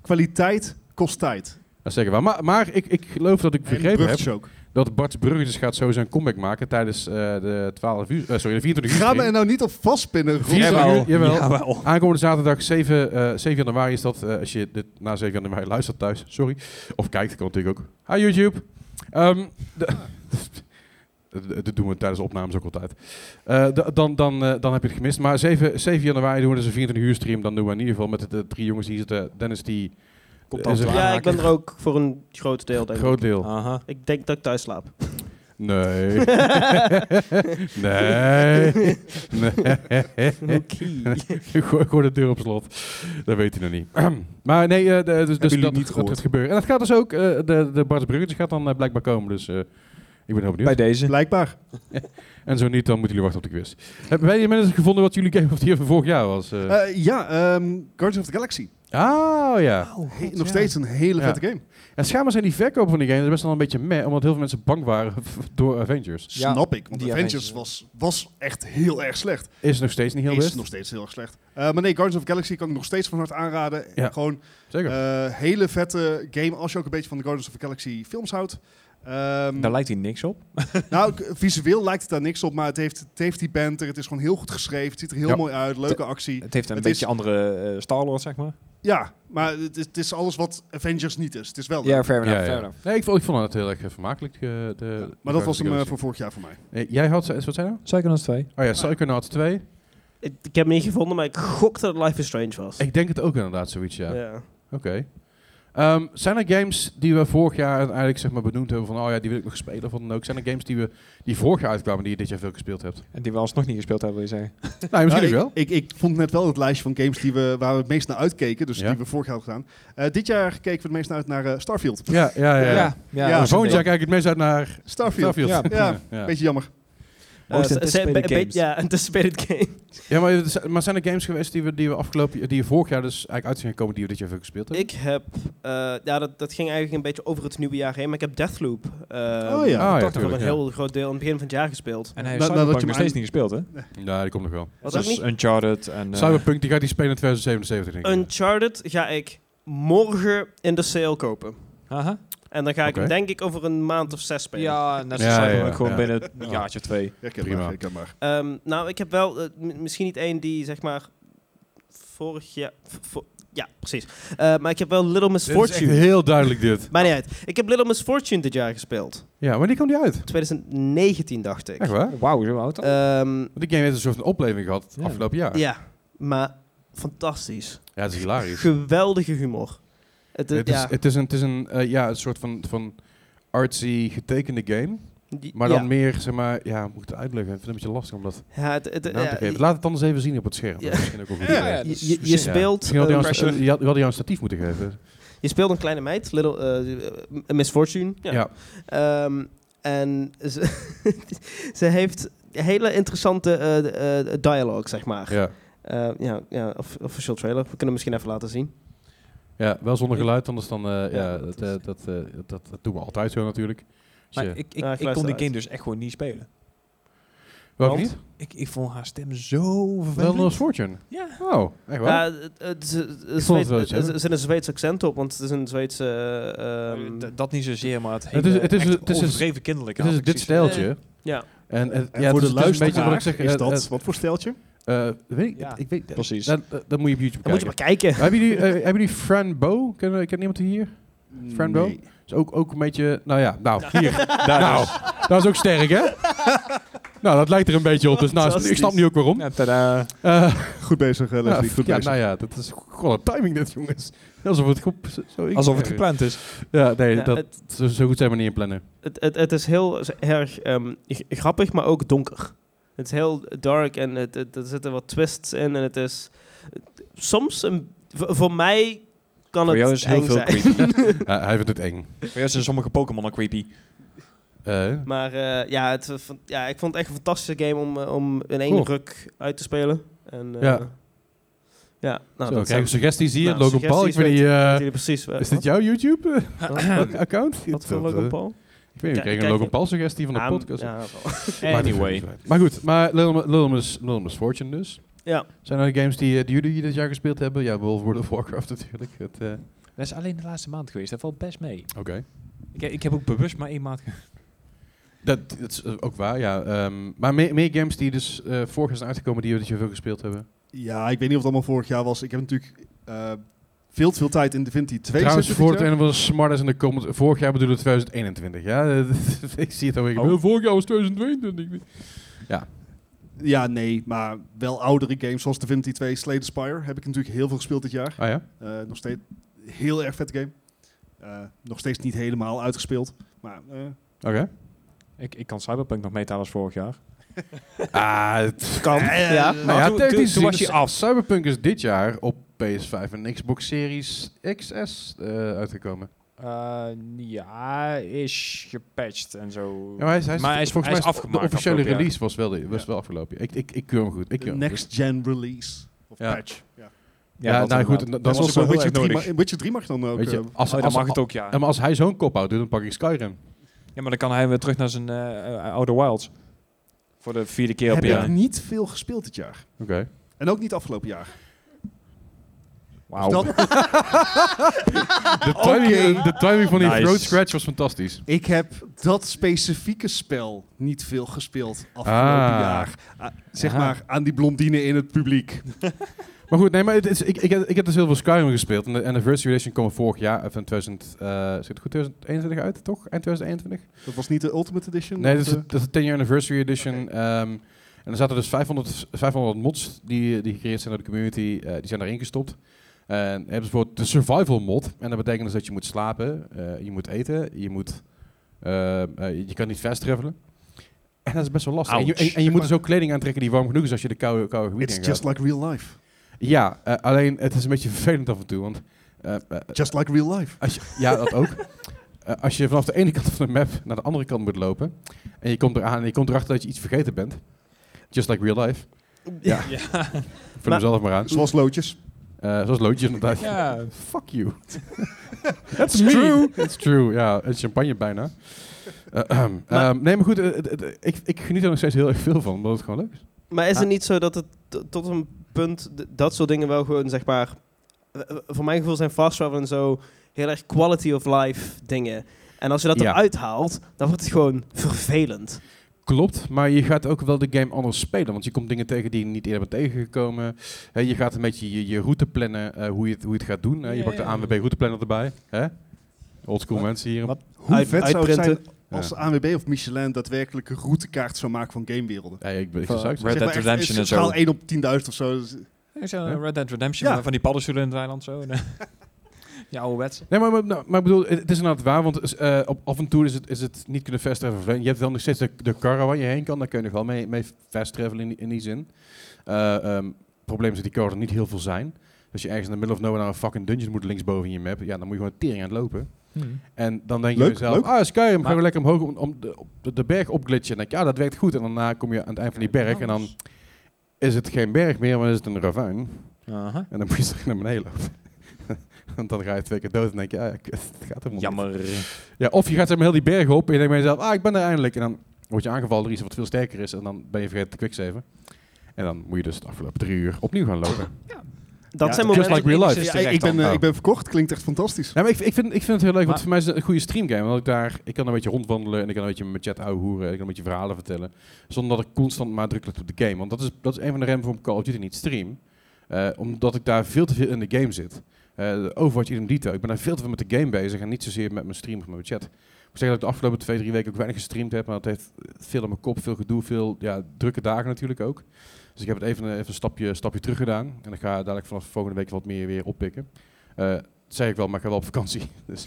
Speaker 4: Kwaliteit kost tijd.
Speaker 1: Dat is Nou, zeker waar. Maar, maar ik, ik geloof dat ik
Speaker 4: en
Speaker 1: begrepen heb
Speaker 4: bruggetjes ook.
Speaker 1: dat Bart's Bruggetjes gaat zo zijn comeback maken tijdens eh, de 12 uur, eh, sorry, de 24 uur.
Speaker 4: Ga me
Speaker 1: stream.
Speaker 4: er nou niet op vastpinnen. Rob.
Speaker 1: Vier-
Speaker 2: Jawel.
Speaker 1: Jawel.
Speaker 2: Jawel.
Speaker 1: Aankomende zaterdag 7, eh, 7 januari is dat. eh, als je dit na 7 januari luistert thuis, sorry. Of kijkt, kan natuurlijk ook. Hi YouTube. Ehm, de- Dat- Dat doen we tijdens de opnames ook altijd. Eh, da- dan, dan, eh, dan heb je het gemist. Maar 7, 7 januari doen we dus een 24 uur stream. Dan doen we in ieder geval met de, de drie jongens die hier zitten. Dennis die
Speaker 2: Komt
Speaker 1: Is
Speaker 2: al
Speaker 1: er-
Speaker 3: Ja, ik ben er ook voor een groot deel, denk ik.
Speaker 1: groot deel.
Speaker 2: Aha.
Speaker 3: Ik denk dat ik thuis slaap.
Speaker 1: Nee. nee.
Speaker 3: Eh,
Speaker 1: Nee. Gooi, gooi de deur op slot. Dat weet hij nog niet. maar nee, eh, de- dus, dus
Speaker 4: jullie
Speaker 1: dat,
Speaker 4: niet
Speaker 1: dat
Speaker 4: gehoord?
Speaker 1: gaat gebeuren. En dat gaat dus ook, eh, de, de Bart Bruggetjes gaat dan eh, blijkbaar komen. Dus eh, ik ben heel benieuwd.
Speaker 2: Bij deze.
Speaker 4: Blijkbaar.
Speaker 1: En zo niet, dan moeten jullie wachten op de quiz. Hebben wij inmiddels gevonden wat jullie Game of the Year van vorig jaar was? eh?
Speaker 4: Eh, ja, ehm, Guardians of the Galaxy.
Speaker 1: ah, ja.
Speaker 2: Oh,
Speaker 4: He- nog steeds een hele
Speaker 1: Ja.
Speaker 4: vette game.
Speaker 1: En schijnbaar zijn die verkopen van die game best wel een beetje meh, omdat heel veel mensen bang waren door Avengers.
Speaker 2: Ja,
Speaker 4: Snap ik. Want
Speaker 2: die
Speaker 4: Avengers
Speaker 2: Avengers.
Speaker 4: was, was echt heel erg slecht.
Speaker 1: Is nog steeds niet heel
Speaker 4: is
Speaker 1: best.
Speaker 4: nog steeds heel erg slecht. Eh, maar nee, Guardians of the Galaxy kan ik nog steeds van harte aanraden.
Speaker 1: Ja.
Speaker 4: Gewoon
Speaker 1: Zeker.
Speaker 4: eh, hele vette game. Als je ook een beetje van de Guardians of the Galaxy films houdt. Ehm,
Speaker 2: Daar lijkt hij niks op.
Speaker 4: Nou, k- visueel lijkt het daar niks op, maar het heeft, het heeft die banter. Het is gewoon heel goed geschreven. Het ziet er heel
Speaker 1: Ja. Eh,
Speaker 4: mooi uit. Leuke actie.
Speaker 2: Het heeft een
Speaker 4: Het
Speaker 2: beetje
Speaker 4: is-
Speaker 2: andere eh, Star-Lord, zeg maar.
Speaker 4: Ja, maar het is, het is alles wat Avengers niet is. Het is wel. leuk.
Speaker 2: Ja, fair enough.
Speaker 1: Ja,
Speaker 2: fair
Speaker 1: ja.
Speaker 2: enough.
Speaker 1: Nee, ik vond, ik vond het heel erg eh, vermakelijk. eh, de, de
Speaker 4: nou Maar dat was hem eh,
Speaker 1: Guardians of the
Speaker 4: voor vorig jaar voor mij.
Speaker 1: Galaxy. Eh, jij had, wat zei je nou?
Speaker 2: Psychonauts 2.
Speaker 1: Oh ja, Psychonauts 2.
Speaker 3: Ik, ik heb hem niet gevonden, maar ik gok dat het Life is Strange was. Oh,
Speaker 1: Ik denk het ook inderdaad, zoiets, ja.
Speaker 3: Ja.
Speaker 1: Oké. Ehm, zijn er games die we vorig jaar eigenlijk zeg maar, benoemd hebben van, oh ja, die wil ik nog spelen van dan ook? Zijn er games die, we, die vorig jaar uitkwamen die je dit jaar veel gespeeld hebt?
Speaker 2: En die we alsnog niet gespeeld hebben, wil je zeggen.
Speaker 1: nou, misschien ook
Speaker 4: Nou,
Speaker 1: wel.
Speaker 4: Ik, ik, ik vond net wel het lijstje van games die we, waar we het meest naar uitkeken. Dus
Speaker 1: Ja.
Speaker 4: die we vorig jaar hadden gedaan. Eh, dit jaar keken we het meest naar uit naar eh, Starfield.
Speaker 1: Ja, ja, ja. ja.
Speaker 4: Ja,
Speaker 2: dat is een
Speaker 1: Volgend jaar
Speaker 2: ding.
Speaker 1: kijk ik het meest uit naar
Speaker 4: Starfield.
Speaker 1: Starfield.
Speaker 2: Ja.
Speaker 4: Ja.
Speaker 1: ja.
Speaker 4: Beetje jammer.
Speaker 3: Eh,
Speaker 2: Most
Speaker 3: ze- ze-
Speaker 2: anticipated
Speaker 3: be- be-
Speaker 2: games.
Speaker 3: Ja, anticipated game.
Speaker 1: Ja, maar, het zijn- maar zijn er games geweest die we, die we afgelopen, die we vorig jaar dus eigenlijk uit zijn gekomen die we dit jaar veel gespeeld hebben?
Speaker 3: Ik heb, eh, ja, dat, dat ging eigenlijk een beetje over het nieuwe jaar heen, maar ik heb Deathloop.
Speaker 4: oh
Speaker 3: eh,
Speaker 4: ja.
Speaker 1: Ah,
Speaker 3: Toch
Speaker 1: ja,
Speaker 3: nog wel
Speaker 1: tuurlijk,
Speaker 3: een
Speaker 1: ja.
Speaker 3: heel groot deel aan het begin van het jaar gespeeld.
Speaker 2: En hij heeft
Speaker 4: Nou, nou, dat
Speaker 2: Cyberpunk
Speaker 4: je
Speaker 2: nog
Speaker 4: maar
Speaker 2: steeds niet gespeeld, hè?
Speaker 1: Ja, die komt nog wel.
Speaker 3: Wat ook
Speaker 2: Dus
Speaker 3: niet?
Speaker 2: Uncharted en... eh,
Speaker 1: Cyberpunk, die gaat die spelen in 2077, denk ik.
Speaker 3: Uncharted ga ik morgen in de sale kopen.
Speaker 2: Aha.
Speaker 3: En dan ga ik hem
Speaker 1: Oké.
Speaker 3: denk ik over een maand of zes spelen.
Speaker 2: Ja, net als
Speaker 1: Ja, ja,
Speaker 2: Cyberpunk
Speaker 1: ja.
Speaker 2: gewoon
Speaker 1: Ja.
Speaker 2: binnen een jaartje of twee.
Speaker 4: Ja, ken
Speaker 1: Prima.
Speaker 4: maar, ik ken maar.
Speaker 3: Ehm, nou, ik heb wel eh, m- misschien niet één die zeg maar vorig jaar. v- vo- ja, precies. Eh, maar ik heb wel Little Miss
Speaker 1: Dit is echt
Speaker 3: Fortune.
Speaker 1: heel duidelijk dit.
Speaker 3: Maar niet uit. Ik heb Little Miss Fortune dit jaar gespeeld.
Speaker 1: Ja, maar die kwam die uit.
Speaker 3: 2019 dacht ik.
Speaker 1: Echt waar?
Speaker 2: Wauw, zo oud al?
Speaker 3: Ehm,
Speaker 1: Want die game heeft een soort van opleving gehad
Speaker 2: Ja.
Speaker 1: afgelopen jaar. Ja,
Speaker 3: ja, maar fantastisch.
Speaker 1: het is hilarisch.
Speaker 3: Geweldige humor. Het,
Speaker 1: Het
Speaker 3: is-
Speaker 1: is,
Speaker 3: eh, ja,
Speaker 1: het is een, het is een, eh, ja, een soort van, van artsy getekende game.
Speaker 3: die-
Speaker 1: Maar dan
Speaker 3: ja.
Speaker 1: meer, zeg maar, ja, moet ik het uitleggen. Ik vind het een beetje lastig om dat
Speaker 3: Ja, het, het,
Speaker 1: naam
Speaker 3: ja,
Speaker 1: te geven.
Speaker 3: je,
Speaker 1: Laat het anders even zien op het scherm.
Speaker 3: Ja.
Speaker 1: Dat is Misschien ook wel goed.
Speaker 4: Ja,
Speaker 1: idee.
Speaker 2: ja.
Speaker 3: je-
Speaker 2: dat is
Speaker 3: je
Speaker 2: zin, ja.
Speaker 3: speelt,
Speaker 1: Misschien had
Speaker 3: eh,
Speaker 1: hij jou een- je had- je had jou een statief moeten geven.
Speaker 3: je speelt een kleine meid, Little eh, eh, Miss Fortune.
Speaker 1: Ja.
Speaker 3: Ehm, en ze, ze heeft hele interessante eh, eh, dialogue, zeg maar.
Speaker 1: Ja.
Speaker 3: Eh, ja, ja off- official trailer. We kunnen hem misschien even laten zien.
Speaker 1: Ja, wel zonder geluid, anders dan... eh, ja,
Speaker 3: dat
Speaker 1: dat, eh, dat, eh, dat, dat doen we altijd zo natuurlijk. Dus,
Speaker 2: Maar
Speaker 1: eh,
Speaker 2: ik, ik,
Speaker 3: Ja, ik
Speaker 2: ik kon
Speaker 3: luister
Speaker 2: die
Speaker 3: uit.
Speaker 2: game dus echt gewoon niet spelen.
Speaker 1: Welke
Speaker 3: want-
Speaker 1: niet?
Speaker 2: Ik, ik vond haar stem zo
Speaker 1: Wel
Speaker 2: vervelend.
Speaker 1: Lost Fortune.
Speaker 2: Ja.
Speaker 1: Oh, echt waar?
Speaker 3: Ja, het- het is- het is
Speaker 1: vond het
Speaker 3: Zweeds-
Speaker 1: wel iets,
Speaker 3: het
Speaker 1: hè?
Speaker 3: is- er zit een Zweeds accent op, want het is een Zweedse... eh, ehm,
Speaker 2: D- dat niet zozeer, maar het hele
Speaker 1: Het is- het is-
Speaker 2: echt
Speaker 1: het is-
Speaker 2: overdreven kinderlijk.
Speaker 1: het is dit stijltje.
Speaker 3: ja.
Speaker 1: En, het-
Speaker 4: En
Speaker 1: ja,
Speaker 4: voor
Speaker 1: het
Speaker 4: de
Speaker 1: is- het is een beetje
Speaker 4: luisteraar
Speaker 1: wat ik zeg.
Speaker 4: is
Speaker 1: eh,
Speaker 4: dat... wat voor steltje?
Speaker 1: eh, eh, weet ik,
Speaker 2: Ja,
Speaker 1: ik weet, eh,
Speaker 2: precies.
Speaker 1: Dat, dat- dat moet je op YouTube
Speaker 3: Dan moet je
Speaker 1: kijken.
Speaker 3: maar kijken.
Speaker 1: hebben, jullie, eh, hebben jullie Fran Bo? Kennen ken iemand die hier? Friendbo?
Speaker 4: Nee.
Speaker 1: Is ook, ook een beetje... Nou ja, nou, hier. nou,
Speaker 4: dus.
Speaker 1: dat is ook sterk, hè? nou, dat lijkt er een beetje op. Dus nou, ik snap nu ook waarom.
Speaker 2: Ja, tada.
Speaker 1: Eh,
Speaker 4: Goed bezig, eh,
Speaker 1: Ja,
Speaker 4: Leslie. goed
Speaker 1: ja,
Speaker 4: bezig.
Speaker 1: nou ja, dat is gewoon een timing dit, jongens. Alsof het, goed, zo, ik-
Speaker 2: Alsof het gepland is.
Speaker 1: Ja, nee,
Speaker 3: Ja,
Speaker 1: dat,
Speaker 3: het,
Speaker 1: zo, zo goed zijn we niet in plannen.
Speaker 3: het, het, het is heel z- erg ehm, g- grappig, maar ook donker. Het is heel dark en het, het- er zitten wat twists in. En het is soms... Een, voor, voor mij kan
Speaker 2: Voor
Speaker 3: het
Speaker 2: jou is heel
Speaker 3: eng
Speaker 2: veel
Speaker 3: zijn.
Speaker 2: creepy. Voor
Speaker 1: Hij- hij vindt het eng.
Speaker 2: jou zijn sommige Pokémon al creepy.
Speaker 1: Eh,
Speaker 3: Maar eh, ja, het, was van- ja, ik vond het echt een fantastische game om, eh, om in één
Speaker 1: Cool.
Speaker 3: ruk uit te spelen. En, eh,
Speaker 1: Ja.
Speaker 3: ja, nou,
Speaker 1: zo,
Speaker 3: dat
Speaker 1: krijgen we suggesties hier.
Speaker 3: Nou,
Speaker 1: Logan Paul, ik
Speaker 3: suggesties
Speaker 1: weet niet... eh,
Speaker 3: jullie precies. wel-
Speaker 1: is dit jouw eh,
Speaker 3: Wat? Wat-
Speaker 1: YouTube-account?
Speaker 3: Wat voor Logan Paul?
Speaker 1: eh, Ik weet niet,
Speaker 3: Ja,
Speaker 1: we kregen
Speaker 3: kijk,
Speaker 1: een Logan Paul-suggestie van de
Speaker 3: Ah, m-
Speaker 1: podcast.
Speaker 3: Ja, wel.
Speaker 1: Maar dat
Speaker 2: Anyway.
Speaker 1: vind ik fijn. Maar goed, maar Little, Little, Miss, Little Miss Fortune dus.
Speaker 3: Ja.
Speaker 1: Zijn er games die, eh, die jullie dit jaar gespeeld hebben? Ja, Wolf World of Warcraft natuurlijk. Het, eh,
Speaker 2: Dat is alleen de laatste maand geweest. Dat valt best mee.
Speaker 1: Oké.
Speaker 2: Ik, ik heb ook bewust maar één maand ge-
Speaker 1: Dat, dat is eh, ook waar, ja. Ehm, maar meer, meer games die dus eh, vorig jaar zijn uitgekomen die we dit jaar veel gespeeld hebben.
Speaker 4: Ja, ik weet niet of het allemaal vorig jaar was. Ik heb natuurlijk eh, veel te veel tijd in Divinity 2
Speaker 1: Trouwens,
Speaker 4: zitten
Speaker 1: voor
Speaker 4: dit
Speaker 1: het
Speaker 4: jaar.
Speaker 1: een van de smartest in de comments. Vorig jaar bedoelde 2021, ja. ik zie het alweer.
Speaker 2: Oh.
Speaker 1: gebeuren. Vorig jaar was 2022.
Speaker 4: Ja, nee, maar wel oudere games zoals Divinity 2, Slay the Spire heb ik natuurlijk heel veel gespeeld dit jaar.
Speaker 1: Ah ja?
Speaker 4: Eh, nog steeds heel erg vet game. Eh, nog steeds niet helemaal uitgespeeld, maar eh,
Speaker 1: Oké.
Speaker 2: Ik, ik kan Cyberpunk nog meetalen als vorig jaar.
Speaker 1: Ah, het kan.
Speaker 3: ja.
Speaker 1: Nou ja,
Speaker 2: Toen-
Speaker 1: technisch
Speaker 2: toen- toen
Speaker 1: gezien
Speaker 2: was je
Speaker 1: is Cyberpunk is dit jaar op PS5 en Xbox Series XS eh, uitgekomen.
Speaker 2: Eh, ja, is gepatcht en zo.
Speaker 1: Ja, maar hij is, hij is,
Speaker 2: Maar hij is-
Speaker 1: volgens
Speaker 2: hij
Speaker 1: mij
Speaker 2: is
Speaker 1: De
Speaker 2: afgemaakt
Speaker 1: officiële
Speaker 2: afgelopen jaar.
Speaker 1: release was wel, de, was wel afgelopen. jaar. Ik, ik, ik keur hem goed. Ik keur hem
Speaker 4: next gen release of
Speaker 1: Ja.
Speaker 4: patch. Ja.
Speaker 1: goed. Ja, nou goed. en
Speaker 2: inderdaad.
Speaker 1: Dat,
Speaker 4: Dat
Speaker 1: dat
Speaker 4: was
Speaker 1: was
Speaker 4: ook
Speaker 2: wel
Speaker 4: wel
Speaker 2: heel
Speaker 4: Witcher
Speaker 2: erg
Speaker 4: 3,
Speaker 2: nodig.
Speaker 4: mag, Witcher 3 mag dan ook.
Speaker 1: Weet je,
Speaker 4: eh,
Speaker 1: als,
Speaker 2: Oh,
Speaker 1: als,
Speaker 2: dan mag het ook, ja.
Speaker 1: Ja, maar als hij zo'n kop houdt, doet, dan pak ik Skyrim.
Speaker 2: Ja, maar dan kan hij weer terug naar zijn eh, eh, Outer Wilds. Voor de vierde keer op
Speaker 4: heb
Speaker 2: jaar.
Speaker 4: ik niet veel gespeeld dit jaar.
Speaker 1: Oké.
Speaker 4: En ook niet afgelopen jaar.
Speaker 2: Wauw.
Speaker 4: Dus dat-
Speaker 1: De, timing, de timing van die
Speaker 2: Nice.
Speaker 1: throat scratch was fantastisch.
Speaker 4: ik heb dat specifieke spel niet veel gespeeld afgelopen
Speaker 1: Ah.
Speaker 4: jaar. Ah, zeg
Speaker 2: Ja.
Speaker 4: maar aan die blondine in het publiek.
Speaker 1: Maar goed, nee, maar het is, ik, ik, heb- ik heb dus heel veel Skyrim gespeeld. En de Anniversary Edition kwam vorig jaar, even in 2000, eh, zit het goed, 2021 uit, toch? Eind 2021?
Speaker 4: Dat was niet de Ultimate Edition?
Speaker 1: Nee,
Speaker 4: of,
Speaker 1: dat is,
Speaker 4: eh,
Speaker 1: dat is de 10 year anniversary edition. ehm, en er zaten dus 500, 500 mods die, die gecreëerd zijn door de community. eh, die zijn daarin gestopt. En hebben ze bijvoorbeeld de survival mod. En dat betekent dus dat je moet slapen, eh, je moet eten, je, moet, eh, eh, je kan niet fast travelen. En dat is best wel lastig. En je, en- en, je moet dus ook kleding aantrekken die warm genoeg is als je de koude, koude gebieden
Speaker 4: It's
Speaker 1: ingaat.
Speaker 4: just like real life.
Speaker 1: Ja, eh, alleen het is een beetje vervelend af en toe. Want eh, eh,
Speaker 4: Just like real life.
Speaker 1: als je, ja, dat ook. Eh, als je vanaf de ene kant van de map naar de andere kant moet lopen. En je komt eraan en je komt erachter dat je iets vergeten bent. Just like real life. Ja. Vul hem
Speaker 3: Maar-
Speaker 1: zelf maar aan.
Speaker 4: Zoals loodjes.
Speaker 1: Eh, zoals loodjes inderdaad.
Speaker 2: Ja.
Speaker 1: Fuck you. That's true. That's true. Ja, en champagne bijna. Eh, ehm,
Speaker 3: Maar-
Speaker 1: ehm, nee, maar goed. eh, het- het- ik, ik geniet er nog steeds heel erg veel van. Omdat het gewoon leuk is.
Speaker 3: Maar is
Speaker 1: Ah.
Speaker 3: het niet zo dat het t- tot een punt d- dat soort dingen wel gewoon zeg maar. eh, eh, Voor mijn gevoel zijn fast travel en zo heel erg quality of life dingen. En als je dat
Speaker 1: Ja.
Speaker 3: eruit haalt, dan wordt het gewoon vervelend.
Speaker 1: Klopt, maar je gaat ook wel de game anders spelen. Want je komt dingen tegen die je niet eerder bent tegengekomen. Hè, je gaat een beetje je, je route plannen, eh, hoe, je het, hoe je het gaat doen. hè. je
Speaker 2: Ja,
Speaker 1: pakt de
Speaker 2: ja.
Speaker 1: ANWB routeplanner erbij. hè? Oldschool mensen hier.
Speaker 2: Wat?
Speaker 4: Hoe
Speaker 3: Uit-
Speaker 4: vet zou het zijn
Speaker 3: uitprinten.
Speaker 4: als de ANWB of Michelin daadwerkelijk een routekaart zou maken van gamewerelden?
Speaker 1: Ja, ik ben ik zou
Speaker 2: Van-
Speaker 1: het
Speaker 2: Red
Speaker 1: zeggen.
Speaker 4: Zeg maar
Speaker 2: Dead
Speaker 4: echt
Speaker 2: Redemption
Speaker 4: een
Speaker 2: en zo.
Speaker 4: schaal 1 op 10.000 of zo. Dus-
Speaker 2: Ik zei,
Speaker 1: Huh?
Speaker 2: Red Dead Redemption,
Speaker 4: Ja.
Speaker 2: van die paddenstoelen in het eiland zo. En, eh, ja, ouderwets.
Speaker 1: Nee, maar, maar, nou, maar ik bedoel, het het is inderdaad waar, want eh, op, af en toe is het, is het niet kunnen fast travelen. vervelend. Je hebt wel nog steeds de, de karren waar je heen kan, daar kun je nog wel mee, mee fast travelen in, die- in die zin. Eh ehm, het probleem is dat die karren er niet heel veel zijn. Dus je ergens in de middle of nowhere naar een fucking dungeon moet linksboven in je map, ja, dan moet je gewoon tering aan het lopen. En dan denk je
Speaker 4: Leuk,
Speaker 1: jezelf,
Speaker 4: leuk.
Speaker 1: ah Skyrim, gaan
Speaker 2: Maar-
Speaker 1: we lekker omhoog om, om de, op de, de berg opglitchen. En dan denk je, ja, dat werkt goed. En daarna kom je aan het eind van die berg en dan is het geen berg meer, maar is het een ravijn.
Speaker 2: Aha.
Speaker 1: En dan moet je terug naar beneden lopen. Want dan ga je twee keer dood en denk je, ah, ja, kut, het gaat helemaal niet.
Speaker 2: Jammer.
Speaker 1: Ja, of je gaat zeg maar heel die berg op en je denkt bij jezelf, ah, ik ben er eindelijk. En dan word je aangevallen door iets wat veel sterker is en dan ben je vergeten te quicksaven. En dan moet je dus de afgelopen drie uur opnieuw gaan lopen.
Speaker 3: Dat
Speaker 4: Ja,
Speaker 3: zijn
Speaker 1: Just
Speaker 3: momenten.
Speaker 1: like real life.
Speaker 2: is
Speaker 4: Ja,
Speaker 2: terecht
Speaker 4: ik, ben,
Speaker 2: dan.
Speaker 4: eh,
Speaker 1: Oh.
Speaker 4: ik ben verkocht. Klinkt echt fantastisch.
Speaker 1: Ja, maar ik, ik, vind, ik vind het heel leuk, want
Speaker 2: Maar-
Speaker 1: voor mij is het een goede streamgame. Want ik, daar, ik kan een beetje rondwandelen en ik kan een beetje met chat ouwehoeren. Ik kan een beetje verhalen vertellen. Zonder dat ik constant maar druk leg op de game. Want dat is, dat is een van de remmen waarom ik Call of Duty niet stream. Eh, omdat ik daar veel te veel in de game zit. Eh Overwatch in detail. Ik ben daar veel te veel met de game bezig en niet zozeer met mijn stream of met mijn chat. Ik moet zeggen dat ik de afgelopen twee, drie weken ook weinig gestreamd heb. Maar dat heeft veel aan mijn kop, veel gedoe, veel ja, drukke dagen natuurlijk ook. Dus ik heb het even, eh, even een stapje, stapje terug gedaan. En ik ga dadelijk vanaf volgende week wat meer weer oppikken. Eh, dat zeg ik wel, maar ik ga wel op vakantie. Dus.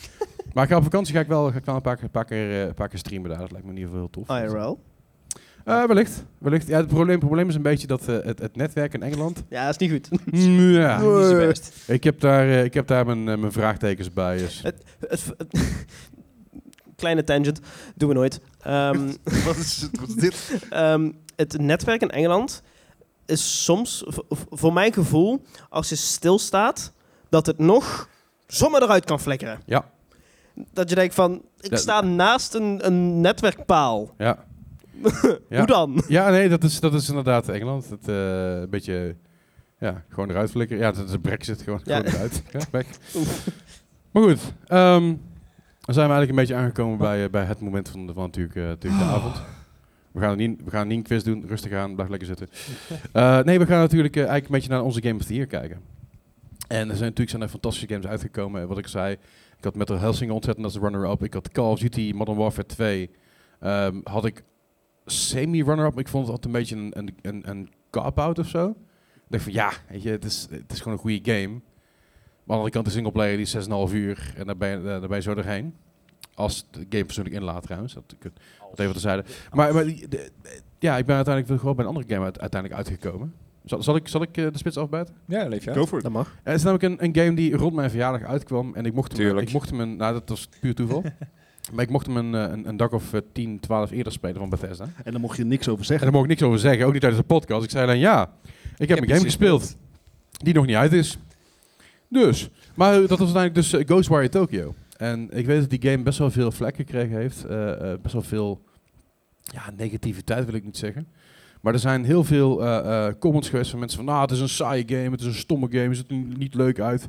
Speaker 1: maar ik ga op vakantie ga ik wel, ga ik wel een, paar, keer- een paar, keer, eh, een paar keer streamen daar. Dat lijkt me in ieder geval
Speaker 3: Oh,
Speaker 1: heel tof.
Speaker 3: IRL.
Speaker 1: Eh, wellicht. wellicht. Ja, het probleem, probleem is een beetje dat eh, het, het netwerk in Engeland...
Speaker 3: Ja, dat is niet goed.
Speaker 1: ja,
Speaker 3: Niet zo best.
Speaker 1: ik heb daar, eh, ik heb daar mijn, eh, mijn vraagtekens bij. Dus.
Speaker 3: Het v- Kleine tangent, doen we nooit. Ehm,
Speaker 4: Wat is, het- wat is dit?
Speaker 3: ehm, het netwerk in Engeland is soms, v- v- voor mijn gevoel, als je stilstaat, dat het nog zomaar eruit kan flikkeren.
Speaker 1: Ja.
Speaker 3: Dat je denkt van, ik
Speaker 1: Ja.
Speaker 3: sta naast een, een netwerkpaal.
Speaker 1: Ja. Ja.
Speaker 3: Hoe dan?
Speaker 1: ja, nee, dat is, dat is inderdaad Engeland. Het, eh, een beetje... Ja, gewoon eruit flikkeren. Ja, dat is brexit. Gewoon,
Speaker 3: Ja.
Speaker 1: gewoon eruit. Ja, weg. Maar goed. ehm, dan zijn we eigenlijk een beetje aangekomen bij, eh, bij het moment van, de- van natuurlijk, eh, natuurlijk de avond. We gaan, niet, we gaan niet een quiz doen. Rustig aan. Blijf lekker zitten. Eh, nee, we gaan natuurlijk eh, eigenlijk een beetje naar onze Game of the Year kijken. En er zijn natuurlijk zijn er fantastische games uitgekomen. Eh, Wat ik zei, ik had Metal Helsing ontzettend als runner-up. Ik had Call of Duty Modern Warfare 2. Ehm, had ik semi-runner-up. maar Ik vond het altijd een beetje een, een, een, een cop-out of zo. Ik dacht van ja, weet je, het, is, het is gewoon een goede game. Maar aan de andere kant, de singleplayer die is 6,5 uur en daar ben, je, daar ben je zo doorheen. Als de game persoonlijk inlaat trouwens, dat, kun- dat even terzijde. Maar, maar die- de- de- ja, ik ben uiteindelijk gewoon bij een andere game uit- uiteindelijk uitgekomen. Zal, zal ik, zal ik eh, de spits afbijten?
Speaker 2: Ja, leef je.
Speaker 4: Go for it.
Speaker 3: Dat mag.
Speaker 1: Eh, Het is namelijk een, een game die rond mijn verjaardag uitkwam. En ik mocht hem,
Speaker 2: Tuurlijk.
Speaker 1: ik mocht hem een, nou dat was puur toeval. maar ik mocht hem een, eh, een, een dag of eh, 10, 12 eerder spelen van Bethesda. En
Speaker 4: En daar mocht je niks over
Speaker 1: daar
Speaker 4: zeggen.
Speaker 1: mocht ik niks over zeggen, ook niet tijdens de podcast. Ik zei alleen ja, ik heb een game gespeeld die nog niet uit is. Dus, maar eh, dat was uiteindelijk dus eh, Ghostwire Tokyo. En ik weet dat die game best wel veel vlek gekregen heeft. eh, eh, best wel veel ja, negativiteit wil ik niet zeggen. Maar er zijn heel veel eh, eh, comments geweest van mensen van... Nou, het is een saaie game, het is een stomme game, het ziet er niet leuk uit.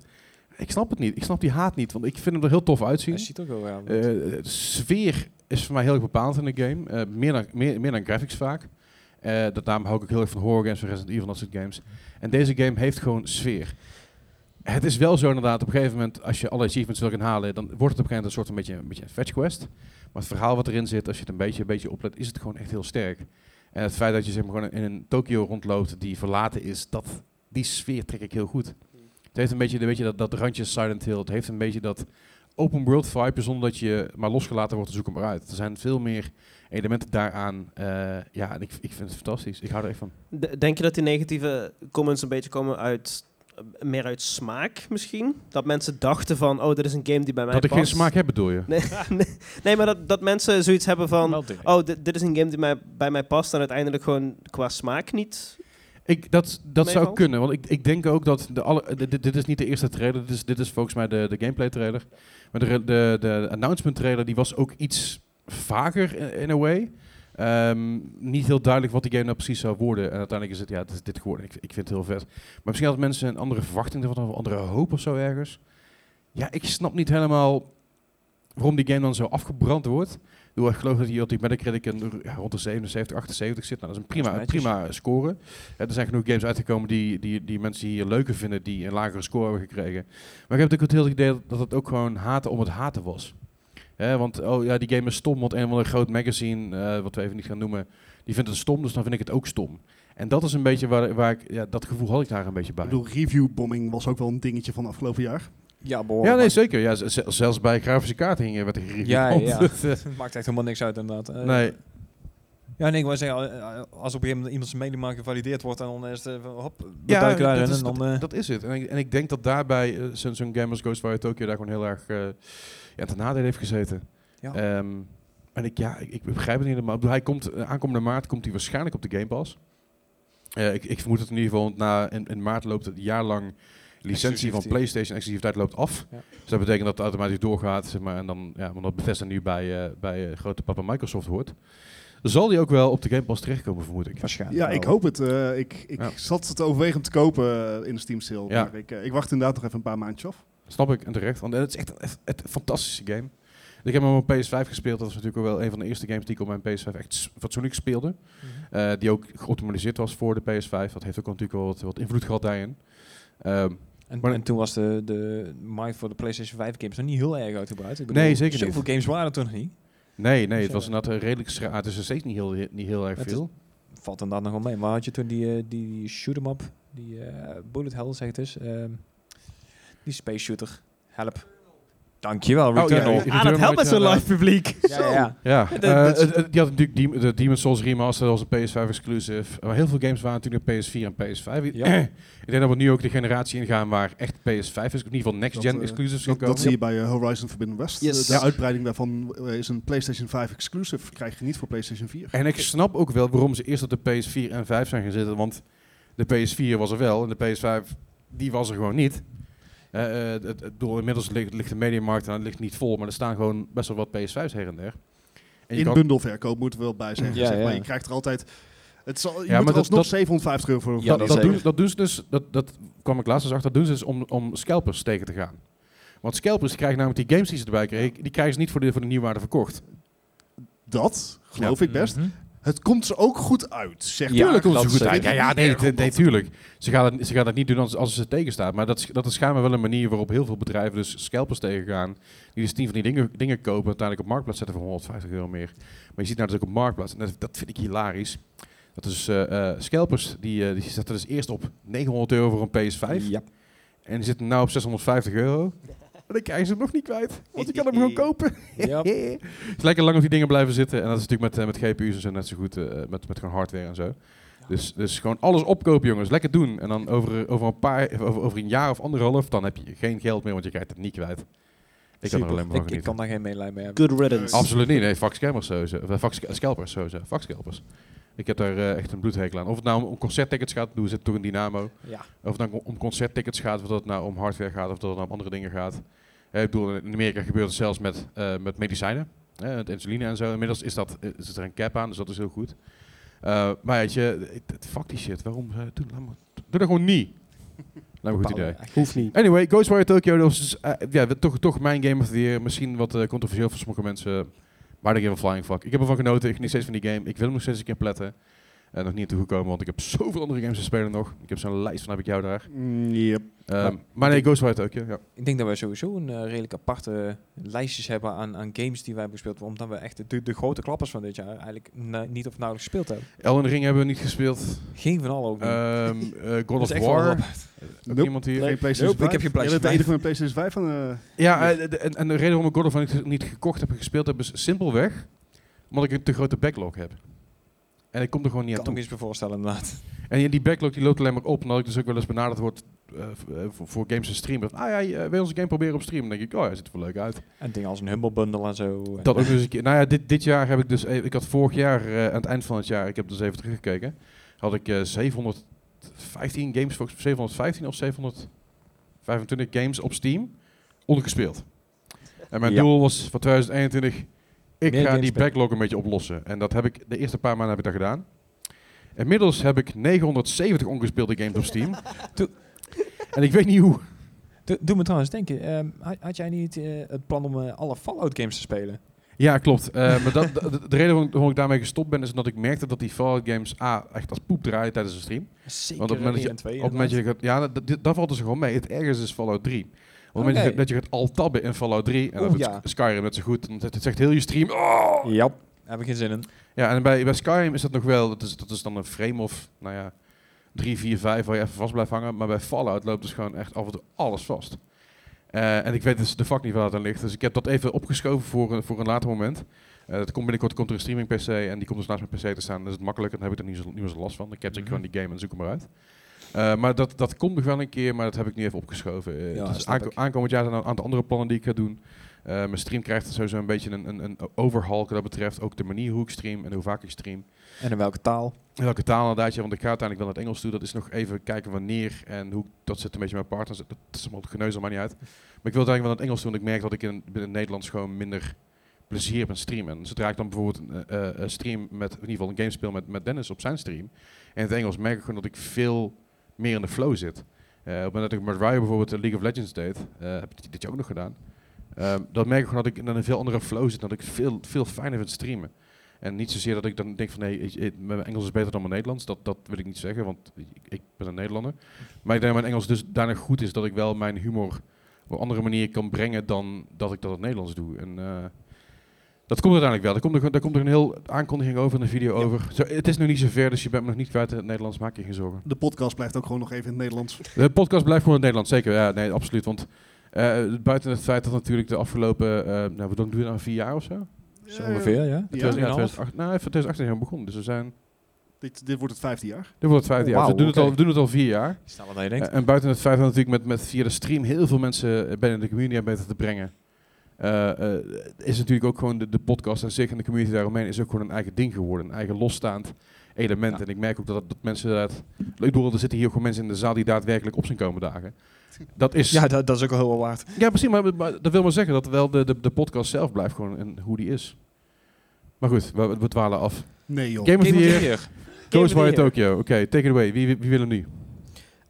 Speaker 1: Ik snap het niet. Ik snap die haat niet, want ik vind hem er heel tof uitzien.
Speaker 2: Hij ziet er ook wel aan.
Speaker 1: Eh, de sfeer is voor mij heel erg bepaald in de game. Eh, meer, dan, meer, meer dan graphics vaak. Eh dat daarom hou ik ook heel erg van horror games, van Resident Evil, dat soort games. En deze game heeft gewoon sfeer. Het is wel zo inderdaad, op een gegeven moment, als je alle achievements wil gaan halen, dan wordt het op een gegeven moment een soort een beetje, een beetje een fetch quest. Maar het verhaal wat erin zit, als je het een beetje, een beetje oplet, is het gewoon echt heel sterk. En het feit dat je zeg maar, gewoon in een Tokio rondloopt die verlaten is, dat, die sfeer trek ik heel goed. Het heeft een beetje, een beetje dat, dat randje Silent Hill. Het heeft een beetje dat open world vibe, zonder dat je maar losgelaten wordt, zoek hem maar uit. Er zijn veel meer elementen daaraan. Eh, ja, en ik, ik vind het fantastisch. Ik hou er echt van.
Speaker 3: D- Denk je dat die negatieve comments een beetje komen uit eh, meer uit smaak misschien? Dat mensen dachten van, oh, dit is een game die bij mij
Speaker 1: dat ik
Speaker 3: past.
Speaker 1: geen smaak heb, bedoel je?
Speaker 3: Nee, nee, nee, maar dat, dat mensen zoiets hebben van,
Speaker 2: Wel degelijk.
Speaker 3: oh, dit, dit is een game die mij, bij mij past en uiteindelijk gewoon qua smaak niet.
Speaker 1: Ik, dat dat zou
Speaker 3: Meevalt?
Speaker 1: kunnen, want ik, ik denk ook dat... De alle, eh, dit, dit is niet de eerste trailer, dit is, dit is volgens mij de, de gameplay trailer. Maar de, re- de, de announcement trailer die was ook iets vager eh, in a way. Ehm, niet heel duidelijk wat die game nou precies zou worden. En uiteindelijk is het, ja, het is dit geworden. Ik, ik vind het heel vet. Maar misschien hadden mensen een andere verwachting ervan, of een andere hoop of zo ergens. Ja, ik snap niet helemaal waarom die game dan zo afgebrand wordt. Ik bedoel, Ik geloof dat die op die Metacritic een, ja, rond de 77, 78 zit. Nou, dat is een prima, een
Speaker 2: netjes.
Speaker 1: prima score. Eh, er zijn genoeg games uitgekomen die, die, die mensen hier leuker vinden, die een lagere score hebben gekregen. Maar ik heb natuurlijk het hele idee dat- dat het ook gewoon haten om het haten was. Hè, want oh ja, die game is stom, want een van de groot magazine, eh, wat we even niet gaan noemen, die vindt het stom, dus dan vind ik het ook stom. En dat is een beetje waar, waar ik, ja, dat gevoel had ik daar een beetje bij.
Speaker 4: Ik bedoel, reviewbombing was ook wel een dingetje van afgelopen jaar.
Speaker 2: Ja, behoorlijk.
Speaker 1: Ja, nee,
Speaker 2: maar-
Speaker 1: zeker. Ja, z- z- zelfs bij grafische kaarten hingen werd er gereviewd.
Speaker 2: Ja, ja, ja.
Speaker 1: Want, eh,
Speaker 2: Het maakt echt helemaal niks uit inderdaad. Eh,
Speaker 1: nee,
Speaker 2: Ja, nee, ik wou zeggen, eh, als op een gegeven moment iemands mening maar gevalideerd wordt, en dan is het, eh, van, hop, we
Speaker 1: ja,
Speaker 2: duiken daarin
Speaker 1: dat, is,
Speaker 2: en dan...
Speaker 1: dat-
Speaker 2: eh,
Speaker 1: dat is het. En ik, en ik denk dat daarbij eh, zo'n zo'n Gamers Ghostwire Tokyo daar gewoon heel erg eh ja, ten nadeel heeft gezeten.
Speaker 2: Ja.
Speaker 1: Ehm, en ik, ja, ik, ik begrijp het niet helemaal. Ik bedoel, Hij komt, eh, aankomende maart komt hij waarschijnlijk op de Game Pass. Eh, ik, ik vermoed het in ieder geval, want na, in, in maart loopt het jaarlang licentie van
Speaker 2: Exclusiviteit.
Speaker 1: PlayStation exclusiviteit loopt af.
Speaker 2: Ja.
Speaker 1: Dus dat betekent dat het automatisch doorgaat. Zeg maar, en dan, ja, omdat Bethesda nu bij, eh, bij eh, grote papa Microsoft hoort. Zal die ook wel op de Game Pass terechtkomen, vermoed ik.
Speaker 2: waarschijnlijk
Speaker 4: Ja,
Speaker 2: wel.
Speaker 4: ik hoop het. Eh, ik ik
Speaker 1: Ja.
Speaker 4: zat het overwegen om te kopen eh, in de Steam sale.
Speaker 1: Ja.
Speaker 4: Maar ik, eh, ik wacht inderdaad nog even een paar maandjes af.
Speaker 1: Snap ik, en terecht. Want het is echt een, echt- echt een fantastische game. Ik heb hem op mijn PS5 gespeeld. Dat was natuurlijk ook wel een van de eerste games die ik op mijn PS5 echt s- fatsoenlijk speelde. Eh, die ook geoptimaliseerd was voor de PS5. Dat heeft ook natuurlijk wel wat, wat invloed gehad daarin. Ehm,
Speaker 2: En,
Speaker 1: Maar-
Speaker 2: en toen was de, de markt voor de PlayStation 5 games nog niet heel erg uitgebreid. Ik
Speaker 1: Nee, zeker niet.
Speaker 2: zoveel games waren er toen nog niet.
Speaker 1: nee, nee,
Speaker 2: Dus,
Speaker 1: het was
Speaker 2: eh,
Speaker 1: inderdaad eh, redelijk schraal. Het is nog steeds niet heel, niet heel erg
Speaker 2: Het is-
Speaker 1: veel.
Speaker 2: Valt inderdaad nog wel mee. Maar had je toen die, eh, die shoot 'em up, die eh, bullet hell zegt dus, ehm, die space shooter, help. Dankjewel,
Speaker 1: Oh, ja,
Speaker 2: Returnal.
Speaker 1: ja,
Speaker 2: ja,
Speaker 1: ja.
Speaker 3: Ah, dat helpt
Speaker 1: eh,
Speaker 3: met zo'n live publiek.
Speaker 2: ja, ja.
Speaker 1: Ja,
Speaker 2: dat-
Speaker 1: eh,
Speaker 2: dat is-
Speaker 1: het- het- die had natuurlijk Dem- de Demon's Souls Remaster, dat was een PS5 exclusive. Maar heel veel games waren natuurlijk naar PS4 en PS5.
Speaker 2: Ja.
Speaker 1: ik denk dat we nu ook de generatie ingaan waar echt PS5 is, in ieder geval next
Speaker 4: Dat,
Speaker 1: gen
Speaker 4: eh,
Speaker 1: exclusives gaan
Speaker 4: Dat,
Speaker 1: komen.
Speaker 4: dat zie je bij eh, Horizon Forbidden West. Eh,
Speaker 3: Yes.
Speaker 4: De uitbreiding daarvan eh, is een PlayStation 5 exclusive. Krijg je niet voor PlayStation 4.
Speaker 1: En ik snap ook wel waarom ze eerst op de PS4 en 5 zijn gaan zitten. Want de PS4 was er wel en de PS5 die was er gewoon niet. Eh, eh, het, het- door, inmiddels ligt, ligt de mediamarkt en het ligt niet vol, maar er staan gewoon best wel wat PS5's her en der. En je
Speaker 4: In
Speaker 1: kan-
Speaker 4: bundelverkoop moeten we wel bij zijn.
Speaker 2: Ja,
Speaker 4: gezegd,
Speaker 2: ja.
Speaker 4: Maar je krijgt er altijd... Het zal, je
Speaker 1: maar
Speaker 4: moet er
Speaker 1: dat-
Speaker 4: alsnog
Speaker 1: dat-
Speaker 4: 750 euro voor
Speaker 2: Ja,
Speaker 1: dat,
Speaker 2: dat
Speaker 1: dat, doen,
Speaker 2: zeker.
Speaker 1: dat doen ze dus, dat, dat kwam ik laatst eens achter, dat doen ze dus om, om scalpers tegen te gaan. Want scalpers krijgen namelijk die games die ze erbij kregen, die krijgen ze niet voor de, voor de nieuwwaarde verkocht.
Speaker 4: Dat geloof ik best.
Speaker 2: Mhm.
Speaker 4: Het komt ze ook goed uit, zeg
Speaker 2: Ja,
Speaker 4: maar.
Speaker 1: Tuurlijk komt
Speaker 2: dat
Speaker 1: ze goed
Speaker 2: zeker.
Speaker 1: uit. Ja, ja nee, nee, nee, tuurlijk. Ze gaan, het, ze gaan het niet doen als, als ze tegenstaat. Maar dat, is- dat is schijnbaar wel een manier waarop heel veel bedrijven dus scalpers tegengaan. Die dus tien van die dingen, dingen kopen en uiteindelijk op Marktplaats zetten voor 150 euro meer. Maar je ziet nou dus ook op Marktplaats. En dat, dat vind ik hilarisch. Dat is eh, eh, scalpers, die, eh, die zetten dus eerst op 900 euro voor een PS5.
Speaker 2: Ja.
Speaker 1: En die zitten nou op 650 euro. En dan krijgen ze hem nog niet kwijt. Want je kan hem gewoon kopen.
Speaker 2: Ja.
Speaker 1: Het is lekker lang of die dingen blijven zitten. En dat is natuurlijk met, eh, met GPU's en zo net zo goed. eh, met, met gewoon hardware en zo. Dus, dus gewoon alles opkopen, jongens. Lekker doen. En dan over, over, een, paar, over, over een jaar of anderhalf, dan heb je geen geld meer, want je krijgt het niet kwijt. Ik kan er alleen maar van
Speaker 2: Ik, ik
Speaker 1: genieten.
Speaker 2: kan daar geen medelijden mee hebben.
Speaker 3: Good riddance.
Speaker 1: Absoluut niet. Nee, fuck scammers sowieso. Of, eh, Fuck sc- scalpers sowieso. Fuck scalpers. Ik heb daar eh, echt een bloedhekel aan. Of het nou om concerttickets gaat, doen ze het toch een dynamo.
Speaker 2: Ja.
Speaker 1: Of het nou om concerttickets gaat, of dat het nou om hardware gaat, of dat het nou om andere dingen gaat. Eh, ik bedoel, in Amerika gebeurt het zelfs met, eh, met medicijnen, hè, met insuline en zo. Inmiddels is, dat, eh, is er een cap aan, dus dat is heel goed. Eh, maar weet je, het- het- fuck die shit. Waarom? eh, doe, laat maar- doe dat gewoon niet. Nou, een goed idee.
Speaker 3: Hoeft niet.
Speaker 1: Anyway, Ghostwire Tokyo, dat was dus, eh, ja, we- toch, toch mijn game of the year. Misschien wat eh, controversieel voor sommige mensen, maar de game van Flying Fuck. Ik heb ervan genoten, ik geniet steeds van die game. Ik wil hem nog steeds een keer pletten. Eh, nog niet aan toegekomen, want ik heb zoveel andere games te spelen nog. Ik heb zo'n lijst van heb ik jou daar.
Speaker 4: Mm, yep.
Speaker 1: Ehm, maar nee, Ghostwire ook, ja. ja.
Speaker 2: Ik denk dat wij sowieso een eh, redelijk aparte lijstjes hebben aan, aan games die wij hebben gespeeld. Omdat we echt de, de grote klappers van dit jaar eigenlijk na- niet of nauwelijks gespeeld hebben.
Speaker 1: Elden Ring hebben we niet gespeeld.
Speaker 2: Geen van allen ook niet.
Speaker 1: Ehm eh, God
Speaker 2: Dat
Speaker 1: of
Speaker 2: is echt wel
Speaker 1: War.
Speaker 2: grappig.
Speaker 1: Ook
Speaker 4: Nope.
Speaker 1: iemand hier.
Speaker 4: Geen PlayStation
Speaker 2: Nope,
Speaker 4: 5.
Speaker 2: ik heb geen
Speaker 4: Jij bent de
Speaker 2: PlayStation
Speaker 4: enige met een PlayStation 5 van... eh,
Speaker 1: Ja, eh, de- en, en de reden waarom ik God of War niet- niet gekocht heb en gespeeld heb, is simpelweg omdat ik een te grote backlog heb. En ik kom er gewoon niet aan
Speaker 2: kan ik
Speaker 1: toe.
Speaker 2: me eens voorstellen inderdaad.
Speaker 1: En die backlog die loopt alleen maar op, omdat ik dus ook wel eens benaderd word eh, v- eh, voor, voor games te streamen. Van, Ah ja, je- eh, wil je onze game proberen op stream? Dan denk ik, oh ja, ziet er wel leuk uit.
Speaker 2: En dingen als een Humble Bundle en zo.
Speaker 1: Dat ook dus een keer. Nou ja, dit, dit jaar heb ik dus, eh, ik had vorig jaar eh, aan het eind van het jaar, ik heb dus even teruggekeken, had ik eh, 715 games, volgens 715 of 725 games op Steam ondergespeeld. En mijn
Speaker 2: Ja.
Speaker 1: doel was voor 2021, ik
Speaker 2: Meer
Speaker 1: ga
Speaker 2: games
Speaker 1: die
Speaker 2: spelen.
Speaker 1: backlog een beetje oplossen. En dat heb ik, de eerste paar maanden heb ik dat gedaan. Inmiddels heb ik 970 ongespeelde games op Steam.
Speaker 2: Doe-
Speaker 1: en ik weet niet hoe.
Speaker 2: Doe, doe me trouwens denken, ehm, had, had jij niet eh, het plan om eh, alle Fallout games te spelen?
Speaker 1: Ja, klopt. Eh, maar dat, de, de- de reden waarom ik, waarom ik daarmee gestopt ben, is omdat ik merkte dat die Fallout games A, echt als poep draaien tijdens de stream.
Speaker 2: Zeker eh,
Speaker 1: Want op het moment dat je-
Speaker 2: en twee,
Speaker 1: Op het moment dat je gaat, ja, dat, dat, dat valt dus gewoon mee. Het ergste is Fallout 3. Op het moment dat je-
Speaker 2: Oké.
Speaker 1: dat je gaat altabben in Fallout 3, en dat
Speaker 2: Oeh,
Speaker 1: doet
Speaker 2: ja.
Speaker 1: Sk- Skyrim net zo goed, dan zegt- het zegt heel je stream, oh!
Speaker 2: Ja, daar heb ik geen zin in.
Speaker 1: Ja, en bij, bij Skyrim is dat nog wel, dat is, dat is dan een frame of, nou ja, 3, 4, 5 waar je even vast blijft hangen. Maar bij Fallout loopt dus gewoon echt af en toe alles vast. Eh, en ik weet dus de fuck niet waar het aan ligt. Dus ik heb dat even opgeschoven voor, een- voor een later moment. Eh, dat komt binnenkort komt er een streaming PC en die komt dus naast mijn PC te staan. Dan is het makkelijker, dan heb ik er niet, zo, niet meer zo last van. Dan capture ik
Speaker 2: Mhm.
Speaker 1: gewoon die game en zoek hem maar uit. Eh, maar dat, dat komt nog wel een keer, maar dat heb ik nu even opgeschoven. Eh,
Speaker 2: Ja,
Speaker 1: dus
Speaker 2: snap
Speaker 1: aanko-
Speaker 2: ik.
Speaker 1: aankomend jaar zijn er een aantal andere plannen die ik ga doen. Eh, mijn stream krijgt sowieso een beetje een, een, een overhaul wat dat betreft. Ook de manier hoe ik stream en hoe vaak ik stream.
Speaker 2: En in welke taal?
Speaker 1: In welke taal inderdaad, ja, want ik ga uiteindelijk wel naar het Engels toe. Dat is nog even kijken wanneer en hoe. Dat zit een beetje met mijn partners. Dat is allemaal geneuzel, maar niet uit. Maar ik wil het eigenlijk wel naar het Engels toe, want ik merk dat ik in, binnen het Nederlands gewoon minder plezier heb aan streamen. En zodra ik dan bijvoorbeeld een eh, eh, een stream met, in ieder geval een game speel met, met Dennis op zijn stream. En in het Engels merk ik gewoon dat ik veel meer in de flow zit. Eh, op het moment dat ik met Ryan bijvoorbeeld eh, League of Legends deed, eh, heb ik dit jaar ook nog gedaan. Ehm dat merk ik gewoon dat ik in een veel andere flow zit. Dat ik veel, veel fijner vind streamen. En niet zozeer dat ik dan denk van, nee, ik- ik- mijn Engels is beter dan mijn Nederlands. Dat, dat wil ik niet zeggen, want ik, ik ben een Nederlander. Maar ik denk dat mijn Engels dus daarna goed is dat ik wel mijn humor op een andere manier kan brengen dan dat ik dat in het Nederlands doe. En eh, dat komt uiteindelijk wel. Daar komt, er, daar komt er een heel aankondiging over en een video over. Zo, het is nog niet zo ver, dus je bent me nog niet kwijt in het Nederlands. Maak je geen zorgen.
Speaker 4: de podcast blijft ook gewoon nog even in het Nederlands.
Speaker 1: De podcast blijft gewoon in het Nederlands, zeker. Ja, nee, absoluut. Want eh, buiten het feit dat natuurlijk de afgelopen, eh nou, wat doen we nou, vier jaar of zo? Eh,
Speaker 2: Zo ongeveer, ja.
Speaker 1: Ja,
Speaker 4: Ja,
Speaker 1: 2008, nou, even 2018 zijn we begonnen. Dus we zijn,
Speaker 4: Dit, dit wordt het vijfde jaar.
Speaker 1: dit wordt het vijfde
Speaker 2: Oh,
Speaker 1: jaar. Dus we,
Speaker 2: wauw,
Speaker 1: doen het
Speaker 2: oké.
Speaker 1: al, we doen het al vier jaar.
Speaker 2: Sneller dan je denkt.
Speaker 1: Eh, en buiten het feit dat natuurlijk met, met via de stream heel veel mensen eh, binnen de community aan beter te brengen, eh, eh, is natuurlijk ook gewoon de, de podcast en zich en de community daaromheen is ook gewoon een eigen ding geworden. Een eigen losstaand element.
Speaker 2: Ja.
Speaker 1: En ik merk ook dat, dat mensen dat. Ik bedoel, er zitten hier gewoon mensen in de zaal die daadwerkelijk op zijn komen dagen. Dat is.
Speaker 2: Ja, dat, dat is ook wel heel wat waard.
Speaker 1: Ja, precies. Maar, maar dat wil maar zeggen dat wel de, de, de podcast zelf blijft gewoon en hoe die is. Maar goed, we, we dwalen
Speaker 2: Oh.
Speaker 1: af.
Speaker 4: Nee joh.
Speaker 1: Game of the
Speaker 2: Game of the
Speaker 1: Year,
Speaker 2: Year.
Speaker 1: Ghostwire
Speaker 3: Game of the Year.
Speaker 1: Tokyo. Oké, take it away. Wie, wie, wie wil hem nu?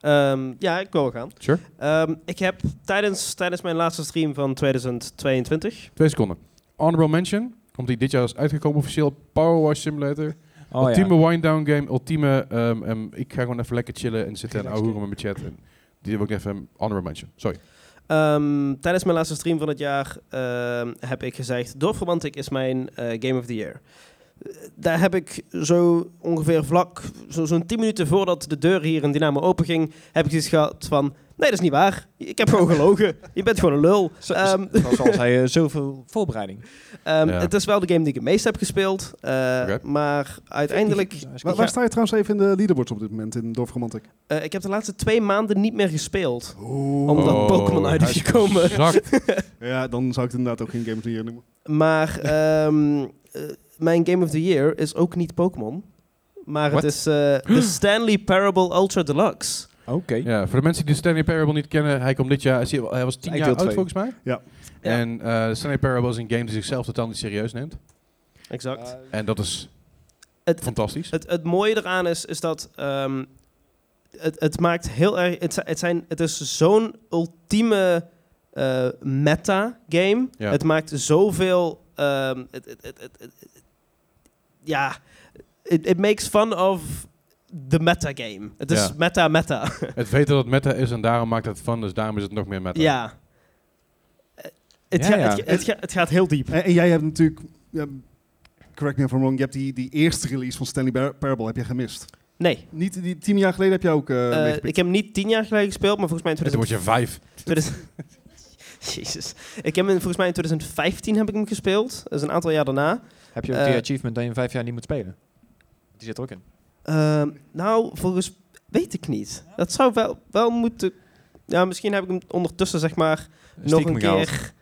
Speaker 3: Ehm, ja, ik wil wel gaan.
Speaker 1: Sure.
Speaker 3: Ehm, ik heb tijdens, tijdens mijn laatste stream van 2022...
Speaker 1: Twee seconden. Honorable Mention. Komt die dit jaar is uitgekomen officieel. Power Wash Simulator.
Speaker 2: Oh
Speaker 1: ultieme
Speaker 2: ja.
Speaker 1: wind-down game. Ultieme... ehm, ehm, ik ga gewoon even lekker chillen en zitten en
Speaker 2: Relax
Speaker 1: ouwehoeren met mijn chat. En die wil ik even... een Honorable Mention. Sorry.
Speaker 3: ehm, tijdens mijn laatste stream van het jaar ehm, heb ik gezegd... Dorf Romantic is mijn eh, Game of the Year. Eh, Daar heb ik zo ongeveer vlak, zo- zo'n 10 minuten voordat de deur hier in Dynamo openging, heb ik iets gehad van, nee dat is niet waar, ik heb gewoon gelogen, je bent gewoon een lul.
Speaker 2: Zo-
Speaker 3: Ehm,
Speaker 2: zo- Zoals hij eh, zoveel voorbereiding.
Speaker 3: Ehm,
Speaker 1: Ja.
Speaker 3: Het is wel de game die ik het meest heb gespeeld. eh,
Speaker 1: Oké.
Speaker 3: Maar uiteindelijk...
Speaker 4: Waar, waar sta je trouwens even in de leaderboards op dit moment in Dorf Romantic?
Speaker 3: eh, ik heb de laatste twee maanden niet meer gespeeld.
Speaker 4: Oeh.
Speaker 3: Omdat
Speaker 1: Oh,
Speaker 3: Pokémon uit
Speaker 1: hij
Speaker 3: is
Speaker 1: is
Speaker 3: gekomen.
Speaker 1: gezakt.
Speaker 4: Ja, dan zou ik het inderdaad ook geen Game of the Year noemen.
Speaker 3: Maar ehm, eh, mijn Game of the Year is ook niet Pokémon. Maar
Speaker 1: Wat?
Speaker 3: het is eh, de Stanley Parable Ultra Deluxe.
Speaker 2: Oké.
Speaker 1: ja, voor de mensen die Stanley Parable niet kennen, hij komt dit jaar... is hij- Hij was tien
Speaker 2: Eigenlijk
Speaker 1: jaar
Speaker 2: deel
Speaker 1: oud
Speaker 2: twee.
Speaker 1: volgens mij.
Speaker 4: Ja.
Speaker 3: Ja.
Speaker 1: En eh Stanley Parable is een game die zichzelf totaal niet serieus neemt.
Speaker 3: Exact.
Speaker 1: En dat is
Speaker 3: het,
Speaker 1: fantastisch.
Speaker 3: Het, het mooie eraan is, is dat ehm, het, het maakt heel erg. Het, zi- het, zijn, het is zo'n ultieme eh, meta-game.
Speaker 1: Ja.
Speaker 3: Het maakt zoveel. ehm, het, het, het, het- het- ja. it, it makes fun of the metagame. Het is
Speaker 1: Ja.
Speaker 3: meta meta.
Speaker 1: Het weet dat het meta is en daarom maakt het van, dus daarom is het nog meer meta.
Speaker 3: ja. Eh, Het,
Speaker 2: Ja,
Speaker 3: ga-
Speaker 2: ja.
Speaker 3: Het, ga- het ga- het gaat heel diep.
Speaker 4: En, en jij hebt natuurlijk, ja, correct me if I'm wrong, je hebt die, die eerste release van Stanley Bar- Parable heb je gemist.
Speaker 3: Nee,
Speaker 4: Niet die tien jaar geleden heb je ook eh
Speaker 3: eh,
Speaker 4: meegepikt.
Speaker 3: ik heb hem niet tien jaar geleden gespeeld, maar volgens mij in
Speaker 1: En toen word
Speaker 3: 2000
Speaker 1: je vijf.
Speaker 3: 2000 Jezus. Ik heb hem volgens mij in 2015 heb ik hem gespeeld. Dat is een aantal jaar daarna.
Speaker 2: Heb je ook
Speaker 3: Eh,
Speaker 2: die achievement dat je in vijf jaar niet moet spelen? Die zit er ook in.
Speaker 3: Ehm, nou, volgens weet ik niet. Dat zou wel, wel moeten. Ja, misschien heb ik hem ondertussen zeg maar nog
Speaker 2: Stiekem
Speaker 3: een
Speaker 2: gehaald.
Speaker 3: keer,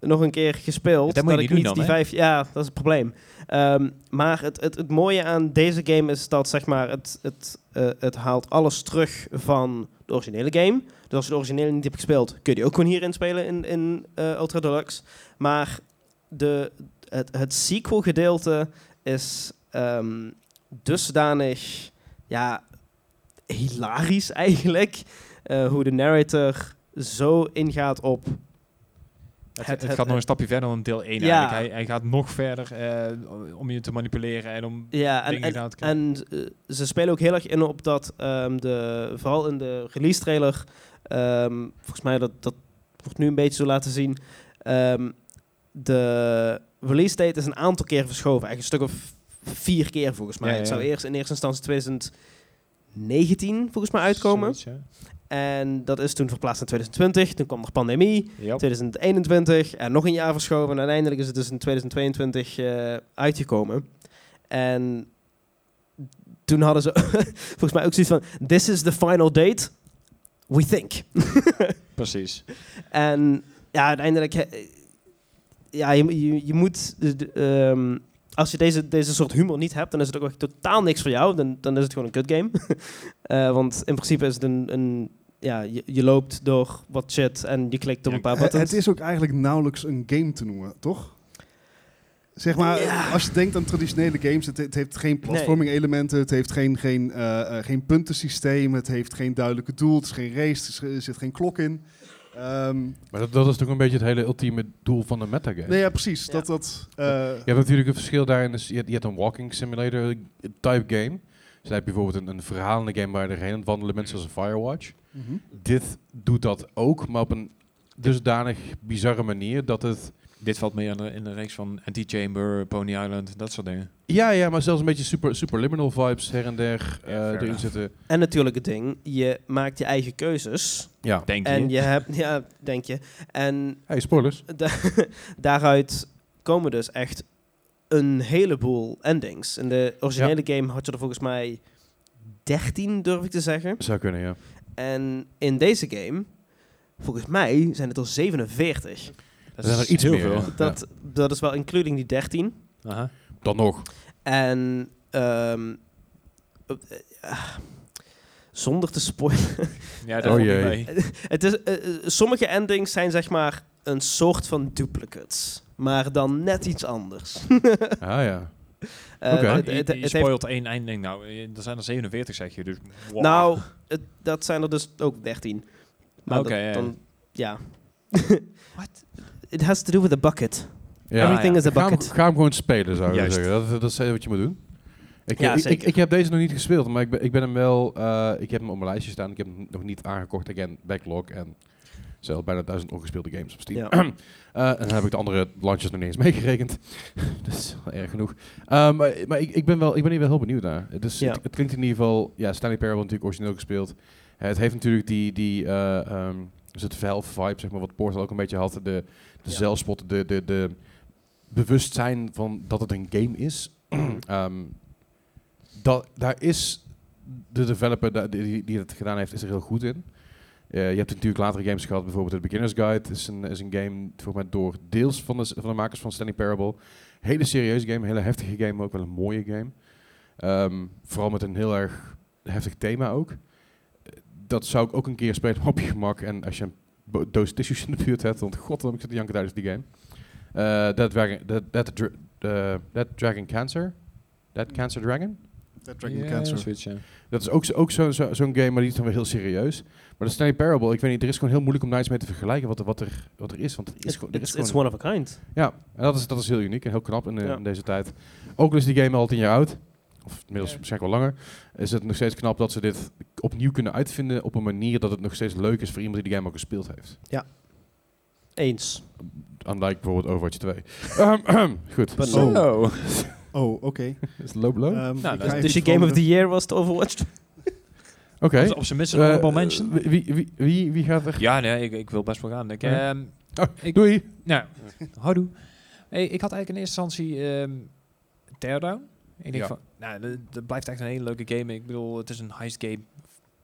Speaker 3: nog een keer gespeeld.
Speaker 2: Ja, dat moet je
Speaker 3: ik
Speaker 2: niet doen
Speaker 3: niet
Speaker 2: dan,
Speaker 3: die
Speaker 2: hè?
Speaker 3: vijf. Ja, dat is het probleem. Ehm, maar het, het, het mooie aan deze game is dat zeg maar het, het, eh, het haalt alles terug van de originele game. Dus als je de originele niet hebt gespeeld, kun je die ook gewoon hierin spelen in, in eh, Ultra Deluxe. Maar de, het, het sequel gedeelte is ehm, dusdanig ja, hilarisch eigenlijk. Eh, hoe de narrator zo ingaat op
Speaker 2: Het,
Speaker 3: Het-
Speaker 2: het
Speaker 3: het-
Speaker 2: gaat nog een stapje verder dan deel 1
Speaker 3: Ja.
Speaker 2: eigenlijk. Hij, hij gaat nog verder eh, om je te manipuleren en om
Speaker 3: Ja, en,
Speaker 2: dingen
Speaker 3: en,
Speaker 2: gedaan te krijgen.
Speaker 3: en eh, ze spelen ook heel erg in op dat, ehm, de, vooral in de release trailer, ehm, volgens mij dat, dat wordt nu een beetje zo laten zien, ehm, de release date is een aantal keer verschoven, eigenlijk een stuk of vier keer volgens mij.
Speaker 2: Ja,
Speaker 3: Het
Speaker 2: ja, ja.
Speaker 3: zou eerst in eerste instantie 2019 volgens mij uitkomen
Speaker 2: Zoiets, ja.
Speaker 3: en dat is toen verplaatst naar 2020, toen kwam er pandemie,
Speaker 2: Ja.
Speaker 3: 2021 en nog een jaar verschoven. En uiteindelijk is het dus in 2022 eh, uitgekomen. En toen hadden ze volgens mij ook zoiets van: This is the final date. We think.
Speaker 2: Precies.
Speaker 3: En ja, uiteindelijk. eh, Ja, je, je, je moet. de- de, ehm, als je deze, deze soort humor niet hebt, dan is het ook echt totaal niks voor jou. Dan, dan is het gewoon een kut game. Eh, want in principe is het een. een ja, je, je loopt door wat shit en je klikt op een paar
Speaker 4: Eh,
Speaker 3: buttons.
Speaker 4: het is ook eigenlijk nauwelijks een game te noemen, toch? Zeg maar, als je denkt aan traditionele games, het, het heeft geen platforming elementen, het heeft geen, geen, eh, eh, geen puntensysteem, het heeft geen duidelijke doel, het is geen race, er is- er zit geen klok in. Ehm,
Speaker 1: Maar dat, dat is toch een beetje het hele ultieme doel van de metagame.
Speaker 4: nee, ja, precies.
Speaker 3: Ja.
Speaker 4: Dat, dat, eh,
Speaker 1: Je hebt natuurlijk een verschil daarin. Is, je, hebt- je hebt een walking simulator type game. Dus dan heb je bijvoorbeeld een, een verhalende game waar je erheen aan het wandelen bent, zoals een Firewatch.
Speaker 4: mhm.
Speaker 1: Dit doet dat ook, maar op een dusdanig bizarre manier dat het
Speaker 2: Dit valt meer in de, in de reeks van Anti-Chamber, Pony Island, dat soort dingen.
Speaker 1: Ja, ja, maar zelfs een beetje super, superliminal vibes her en der eh, erin
Speaker 2: enough.
Speaker 1: zitten.
Speaker 3: En natuurlijk het ding, je maakt je eigen keuzes.
Speaker 1: Ja.
Speaker 2: Denk
Speaker 3: En
Speaker 2: je?
Speaker 3: je hebt, ja, denk je. En
Speaker 1: Hey, spoilers.
Speaker 3: da- daaruit komen dus echt een heleboel endings. In de originele game had je er volgens mij 13, durf ik te zeggen.
Speaker 1: Zou kunnen, ja.
Speaker 3: En in deze game, volgens mij, zijn het er 47.
Speaker 1: Er zijn er iets meer. ja.
Speaker 3: Dat, dat is wel including die 13.
Speaker 2: Aha.
Speaker 1: Ja. Dan nog.
Speaker 3: En ehm, eh, ah, zonder te spoilen.
Speaker 2: Ja,
Speaker 1: Oh
Speaker 2: dat valt niet
Speaker 1: jee.
Speaker 2: mee.
Speaker 3: Het is, eh, eh, sommige endings zijn zeg maar een soort van duplicates. Maar dan net iets anders.
Speaker 1: Ah ja.
Speaker 3: Eh,
Speaker 1: Oké.
Speaker 3: het-
Speaker 2: Maar
Speaker 3: het-
Speaker 2: je-
Speaker 3: het-
Speaker 2: je
Speaker 3: het heeft-
Speaker 2: spoilt één einding nou. Eh, Er zijn er 47, zeg je. Dus wow.
Speaker 3: Nou, het- dat zijn er dus ook 13. Maar
Speaker 2: Oké,
Speaker 3: dat-
Speaker 2: ja, ja.
Speaker 3: dan, ja. It has to do with a bucket.
Speaker 1: ja.
Speaker 3: Everything
Speaker 2: ja.
Speaker 3: is a
Speaker 1: Ga, hem,
Speaker 3: bucket.
Speaker 1: ga hem gewoon spelen, zou ik
Speaker 2: Juist.
Speaker 1: zeggen. Dat, dat is wat je moet doen. Ik,
Speaker 3: Ja,
Speaker 1: ik, ik,
Speaker 3: zeker.
Speaker 1: ik heb deze nog niet gespeeld, maar ik ben, ik ben hem wel... eh, ik heb hem op mijn lijstje staan. Ik heb hem nog niet aangekocht. Again, backlog en zelf bijna duizend ongespeelde games op Steam.
Speaker 3: Ja.
Speaker 1: Eh, en dan heb ik de andere launches nog niet eens meegerekend. dat is wel erg genoeg. Eh, maar maar ik, ik, ben wel, ik ben hier wel heel benieuwd naar. Dus
Speaker 3: Ja.
Speaker 1: het, het klinkt in ieder geval... Ja, Stanley Parable natuurlijk origineel gespeeld. Eh, het heeft natuurlijk die... die eh, ehm, dus het Valve-vibe, zeg maar, wat Portal ook een beetje had. De, de
Speaker 3: Ja.
Speaker 1: zelfspot, de, de, de bewustzijn van dat het een game is. Ehm, dat, daar is de developer da- die, die het gedaan heeft, is er heel goed in. Eh, je hebt natuurlijk latere games gehad, bijvoorbeeld de Beginner's Guide is een, is een game volgens mij door deels van de, s- van de makers van Stanley Parable. Hele serieuze game, hele heftige game, maar ook wel een mooie game. Ehm, vooral met een heel erg heftig thema ook. Eh, Dat zou ik ook een keer spelen op je gemak. En als je een bo- doos tissues in de buurt hebt, want god, dan ik zit te janken tijdens die game. Eh, That Dragon, that, that, dra- eh, that Dragon Cancer? That Cancer Dragon?
Speaker 4: That Dragon
Speaker 2: Ja,
Speaker 4: Cancer.
Speaker 2: zoiets, ja.
Speaker 1: Dat is ook, zo- ook zo- zo- zo'n game, maar die is dan weer heel serieus. Maar de Stanley Parable, ik weet niet, er is gewoon heel moeilijk om daar iets mee te vergelijken wat er, wat er, wat er is. Want het is,
Speaker 3: It's,
Speaker 1: gewoon- er is
Speaker 3: it's,
Speaker 1: gewoon...
Speaker 3: it's one of a kind.
Speaker 1: Ja, en dat is, dat is heel uniek en heel knap in, eh,
Speaker 3: Ja.
Speaker 1: in deze tijd. Ook al is die game al tien jaar oud. of inmiddels waarschijnlijk wel langer, is het nog steeds knap dat ze dit opnieuw kunnen uitvinden op een manier dat het nog steeds leuk is voor iemand die de game al gespeeld heeft.
Speaker 3: Eens.
Speaker 1: Unlike bijvoorbeeld Overwatch 2. Ehm, goed.
Speaker 3: But
Speaker 4: Zo.
Speaker 3: no.
Speaker 2: Oh.
Speaker 4: Oh, oké.
Speaker 1: Is het low blow?
Speaker 4: Ehm, ik
Speaker 2: dat
Speaker 4: ga
Speaker 2: is
Speaker 4: even
Speaker 3: Dus je
Speaker 4: iets
Speaker 3: Game of
Speaker 4: veranderen.
Speaker 3: the Year was het Overwatch.
Speaker 1: Oké.
Speaker 2: Op z'n- Op zijn minst een
Speaker 1: Eh,
Speaker 2: honorable mention.
Speaker 1: eh, wie, wie, wie, wie gaat er?
Speaker 2: Ja, nee, ik, ik wil best wel gaan. Ik,
Speaker 1: Ja.
Speaker 2: ehm,
Speaker 1: Oh,
Speaker 2: ik-
Speaker 1: Doei.
Speaker 2: nou, houdoe. Hey, ik had eigenlijk in eerste instantie ehm Teardown. Ik denk
Speaker 1: Ja.
Speaker 2: van, nou, dat- dat blijft echt een hele leuke game. Ik bedoel, het is een heist game.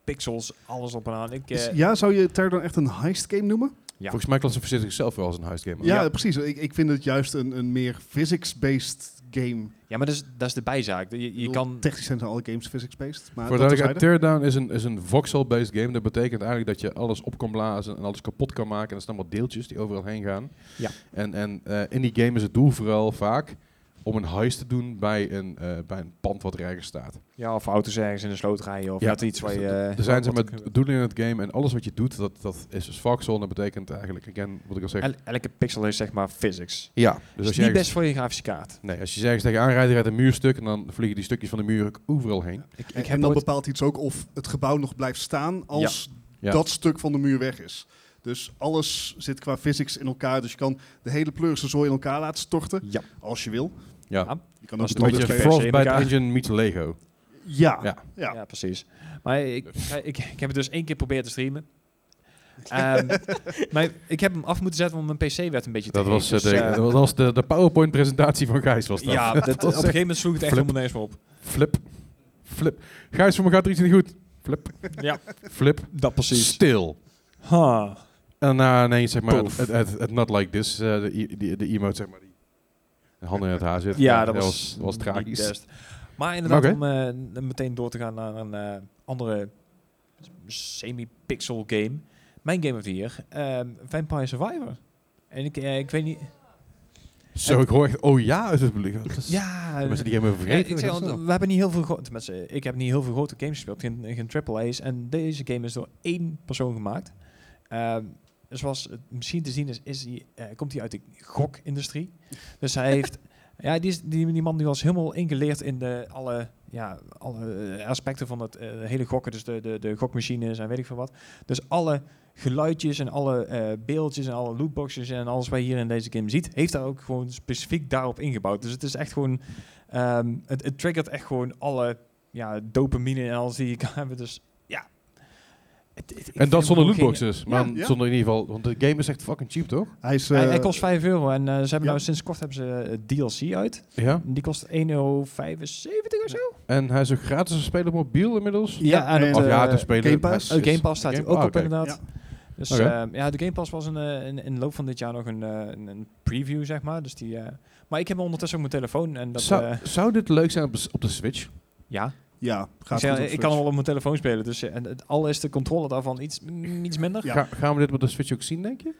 Speaker 2: Pixels, alles op en aan. Ik,
Speaker 4: Is-
Speaker 2: eh,
Speaker 4: ja, zou je Terra dan echt een heist game noemen?
Speaker 2: Ja.
Speaker 1: Volgens mij klassificeert zichzelf wel als een heist game.
Speaker 4: Ja, precies. Ik, ik vind het juist een, een meer physics-based game.
Speaker 2: ja, maar dat is, dat is de bijzaak. Je, je kan...
Speaker 4: Technisch zijn alle games physics-based. Maar
Speaker 1: Voor
Speaker 4: Ah, dat
Speaker 1: duidelijkheid,
Speaker 4: terzijde.
Speaker 1: Teardown is een, is een voxel-based game. Dat betekent eigenlijk dat je alles op kan blazen en alles kapot kan maken. En dat zijn allemaal deeltjes die overal heen gaan.
Speaker 2: Ja.
Speaker 1: En, en eh, in die game is het doel vooral vaak om een heist te doen bij een, eh, bij een pand wat ergens staat.
Speaker 6: Ja, of auto's ergens in de sloot rijden of
Speaker 1: Ja, Dus
Speaker 6: net iets waar je...
Speaker 2: eh,
Speaker 1: er zijn ze met
Speaker 6: wat-
Speaker 1: doelen in het game en alles wat je doet, dat, dat is dus voxel. En dat betekent eigenlijk, again, wat ik al zeg.
Speaker 6: el- elke pixel is zeg maar physics.
Speaker 1: ja, dus
Speaker 6: Dus
Speaker 1: als je,
Speaker 2: niet
Speaker 1: ergens,
Speaker 2: best voor je grafische kaart.
Speaker 1: nee, als je ergens tegen aanrijdt, rijdt een muurstuk en dan vliegen die stukjes van de muur ook overal heen.
Speaker 2: Ik,
Speaker 4: En,
Speaker 2: ik
Speaker 4: en
Speaker 2: heb
Speaker 4: dan
Speaker 2: nooit-
Speaker 4: bepaalt iets ook of het gebouw nog blijft staan als
Speaker 1: Ja.
Speaker 4: dat stuk van de muur weg is. Dus alles zit qua physics in elkaar. Dus je kan de hele pleurse zooi in elkaar laten storten,
Speaker 2: Ja.
Speaker 4: als je wil.
Speaker 1: Ja.
Speaker 4: Je kan
Speaker 1: Dat
Speaker 4: ook
Speaker 1: is
Speaker 4: de
Speaker 1: een beetje
Speaker 4: doelen spelen.
Speaker 6: Frostbite
Speaker 1: Frostbite Engine meets Lego.
Speaker 4: Ja.
Speaker 1: Ja.
Speaker 4: Ja.
Speaker 2: Ja, precies. Maar ik, ik, ik heb het dus één keer proberen te streamen. Ehm, maar ik heb hem af moeten zetten, want mijn PC werd een beetje
Speaker 1: Dat
Speaker 2: te
Speaker 1: was,
Speaker 2: heet.
Speaker 1: eh,
Speaker 2: Dus,
Speaker 1: de,
Speaker 2: eh,
Speaker 1: dat was de, de PowerPoint-presentatie van Gijs. Was dat.
Speaker 2: Ja, dat, op een
Speaker 1: was echt
Speaker 2: gegeven moment sloeg het echt
Speaker 1: flip.
Speaker 2: helemaal nergens meer op.
Speaker 1: Flip. Flip. Gijs, voor me gaat er iets niet goed. Flip.
Speaker 2: Ja.
Speaker 1: Flip.
Speaker 2: Dat
Speaker 1: Stil.
Speaker 2: Ha.
Speaker 1: En daarna nee, zeg maar, het,
Speaker 2: Poof.
Speaker 1: het, het- het not like this, eh, de, i- die- de emote, zeg maar, die de handen in het haar zit.
Speaker 2: Ja, dat,
Speaker 1: was, was
Speaker 2: niet
Speaker 1: tragisch.
Speaker 2: best. Maar inderdaad,
Speaker 1: Oké.
Speaker 2: om eh, n- meteen door te gaan naar een eh, andere semi-pixel game. Mijn game of the year, ehm, Vampire Survivor. En ik, eh, ik weet niet...
Speaker 1: Zo, ik hoor echt, oh ja, uit het publiek. Dat is-
Speaker 2: Ja,
Speaker 1: de mensen die hebben
Speaker 2: Ja,
Speaker 1: vergeten.
Speaker 2: ik zeg,
Speaker 1: dat is
Speaker 2: al,
Speaker 1: wel-
Speaker 2: we hebben niet heel veel grote, tenminste, ik heb niet heel veel grote games gespeeld, geen, geen triple A's. En deze game is door één persoon gemaakt. Ehm, zoals het misschien te zien is, is die, eh, komt hij uit de gokindustrie. Dus hij heeft, ja, die, is, die, die man die was helemaal ingeleerd in de, alle, ja, alle eh, aspecten van het eh, hele gokken. Dus de, de, de gokmachines en weet ik veel wat. Dus alle geluidjes en alle eh, beeldjes en alle lootboxes en alles wat je hier in deze game ziet, heeft daar ook gewoon specifiek daarop ingebouwd. Dus het is echt gewoon Ehm, het, het triggert echt gewoon alle ja, dopamine en alles die je kan hebben. Dus ja. Het- het- ik
Speaker 1: En
Speaker 2: vind hem
Speaker 1: dat zonder
Speaker 2: gewoon geen-
Speaker 1: lootboxes. Maar
Speaker 4: Ja, ja.
Speaker 1: zonder in ieder geval, want de game is echt fucking cheap, toch?
Speaker 4: Hij is...
Speaker 2: Hij,
Speaker 4: eh,
Speaker 2: hij kost 5 euro en eh, ze hebben
Speaker 4: ja.
Speaker 2: nou sinds kort hebben ze eh, DLC uit.
Speaker 1: Ja.
Speaker 2: Die kost 1,75 euro of zo.
Speaker 1: En hij is ook gratis te spelen op mobiel inmiddels.
Speaker 4: Ja,
Speaker 2: en
Speaker 4: en-
Speaker 2: eh, op
Speaker 1: Of
Speaker 2: de
Speaker 1: ja, te spelen.
Speaker 4: Game Pass?
Speaker 1: maar-
Speaker 2: oh, Game Pass staat
Speaker 1: Game-
Speaker 2: hier ook
Speaker 1: ah,
Speaker 2: op
Speaker 1: oké.
Speaker 2: inderdaad. Dus
Speaker 1: Oké.
Speaker 2: ehm, ja, de Game Pass was een, eh, in, in de loop van dit jaar nog een, eh, een, een preview, zeg maar. Dus die, eh, maar ik heb hem ondertussen op mijn telefoon. En dat,
Speaker 1: Zou,
Speaker 2: eh,
Speaker 1: zou dit leuk zijn op, de s- op de Switch?
Speaker 2: ja,
Speaker 4: ja,
Speaker 2: ik,
Speaker 4: gaat
Speaker 2: zeg,
Speaker 4: goed op
Speaker 2: ik
Speaker 4: Switch.
Speaker 2: kan hem al op mijn telefoon spelen. Dus, eh, en, het- al is de controle daarvan iets, mm, iets minder.
Speaker 4: Ja.
Speaker 1: Ga- gaan we dit op de Switch ook zien, denk je?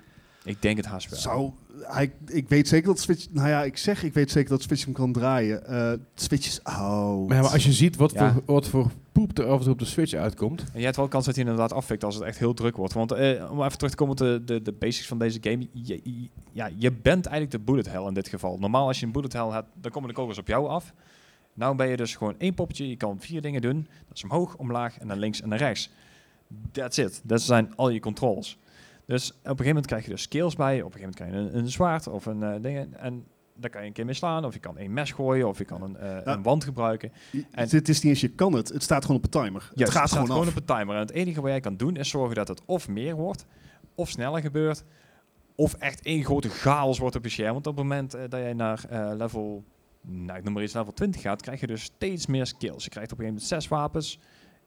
Speaker 2: Ik denk het haast wel.
Speaker 4: Zou, hij, ik weet zeker dat Switch... Nou ja, ik zeg ik weet zeker dat Switch hem kan draaien. Eh Switch is oh. oud.
Speaker 1: Maar, ja, maar als je ziet wat,
Speaker 2: Ja.
Speaker 1: voor, wat voor poep er af en toe op de Switch uitkomt.
Speaker 2: En je hebt wel kans dat hij inderdaad afvikt als het echt heel druk wordt. Want eh, om even terug te komen op de, de, de basics van deze game. Je, je- ja, je bent eigenlijk de bullet hell in dit geval. Normaal als je een bullet hell hebt, dan komen de kogels op jou af. Nou ben je dus gewoon één poppetje. Je kan vier dingen doen. Dat is omhoog, omlaag en dan links en dan rechts. That's it. Dat zijn al je controls. Dus op een gegeven moment krijg je dus skills bij. Op een gegeven moment krijg je een, een zwaard of een eh ding. En daar kan je een keer mee slaan. Of je kan een mes gooien. Of je kan een, eh,
Speaker 4: Nou,
Speaker 2: een wand gebruiken.
Speaker 4: Je-
Speaker 2: en-
Speaker 4: dit is niet eens je kan het. Het staat gewoon op een timer.
Speaker 2: Ja,
Speaker 4: het gaat
Speaker 2: staat
Speaker 4: gewoon af.
Speaker 2: gewoon op een timer. En het enige wat jij kan doen is zorgen dat het of meer wordt, of sneller gebeurt, of echt één grote chaos wordt op je scherm. Want op het moment eh, dat jij naar eh, level, nou ik noem maar iets, level 20 gaat, krijg je dus steeds meer skills. Je krijgt op een gegeven moment zes wapens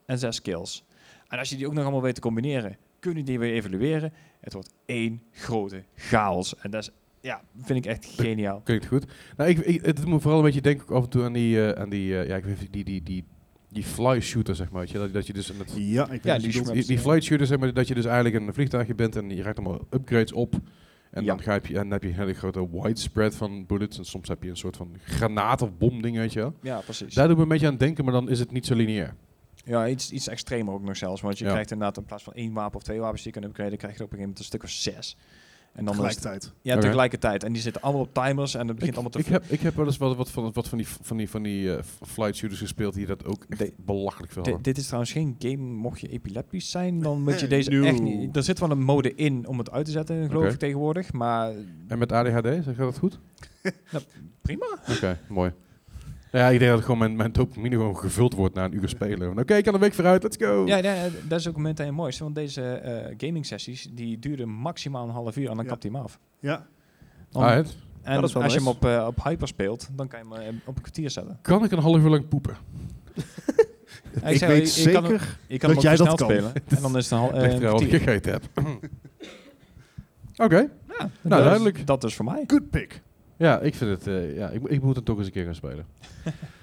Speaker 2: en zes skills. En als je die ook nog allemaal weet te combineren, kun je die weer evalueren. Het wordt één grote chaos. En dat is, ja, vind ik echt geniaal.
Speaker 1: Klinkt goed. Nou, ik, ik- het doet me vooral een beetje denken ook af en toe aan die, eh, aan die, eh, ja, ik weet niet, die, die, die, die fly shooter, zeg maar. Weet je? Dat, dat je dus aan het,
Speaker 4: Ja, ik
Speaker 2: Ja,
Speaker 4: weet
Speaker 2: die
Speaker 4: het
Speaker 1: die, die flight shooter, zeg maar, dat je dus eigenlijk een vliegtuigje bent en je raakt allemaal upgrades op. En
Speaker 2: Ja.
Speaker 1: dan, grijp je, en dan heb je een hele grote widespread van bullets. En soms heb je een soort van granaat of bomding, weet je wel.
Speaker 2: Ja, precies.
Speaker 1: Daar doet me een beetje aan denken, maar dan is het niet zo lineair.
Speaker 2: Ja, iets, iets extremer ook nog zelfs. Want je
Speaker 1: Ja.
Speaker 2: krijgt inderdaad in plaats van één wapen of twee wapens die je kan upgraden, krijg je er op een gegeven moment een stuk of zes. En dan is het-
Speaker 4: Tegelijkertijd.
Speaker 2: ja,
Speaker 1: Oké.
Speaker 2: tegelijkertijd. En die zitten allemaal op timers en het begint
Speaker 1: Ik,
Speaker 2: allemaal te...
Speaker 1: ik, heb, ik heb wel eens wat, wat, van, wat van die, van die, van die eh, flight shooters gespeeld die dat ook echt
Speaker 2: De-
Speaker 1: belachelijk veel
Speaker 2: Di-
Speaker 1: hadden.
Speaker 2: dit is trouwens geen game, mocht je epileptisch zijn, dan moet je
Speaker 4: Nee.
Speaker 2: deze
Speaker 4: No.
Speaker 2: echt niet... Er zit wel een mode in om het uit te zetten, geloof
Speaker 1: Oké.
Speaker 2: ik, tegenwoordig. Maar
Speaker 1: En met ADHD, zeg je dat goed?
Speaker 2: Nou,
Speaker 1: prima. Oké, mooi. Nou Ja, ik denk dat gewoon mijn, mijn dopamine gewoon gevuld wordt na een uur spelen. Van, Oké, ik kan een week vooruit, let's go.
Speaker 2: Ja, ja, dat is ook een moment mooiste, want deze eh, gaming sessies die duren maximaal een half uur en dan
Speaker 4: Ja.
Speaker 2: kapt hij hem af.
Speaker 4: Ja.
Speaker 2: Dan-
Speaker 1: Ah, het-
Speaker 2: en
Speaker 3: dat
Speaker 2: als
Speaker 3: is wel
Speaker 2: je hem
Speaker 3: nice.
Speaker 2: op, eh, op hyper speelt, dan kan je hem eh, op een kwartier zetten.
Speaker 1: Kan ik een half uur lang poepen?
Speaker 2: En
Speaker 4: Ik
Speaker 2: zeg,
Speaker 4: weet
Speaker 2: je- je kan hem-
Speaker 4: zeker
Speaker 2: je kan hem
Speaker 4: dat jij
Speaker 2: ook
Speaker 4: dat
Speaker 2: versneld
Speaker 4: kan.
Speaker 2: spelen. En dan is het een eh, half
Speaker 1: Dat ik er al
Speaker 2: kwartier.
Speaker 1: gegeten heb. Oké.
Speaker 2: Ja, nou,
Speaker 1: duidelijk.
Speaker 2: dat is voor mij.
Speaker 4: Good pick.
Speaker 1: Ja, ik vind het... eh, ja, ik, ik moet het toch eens een keer gaan spelen.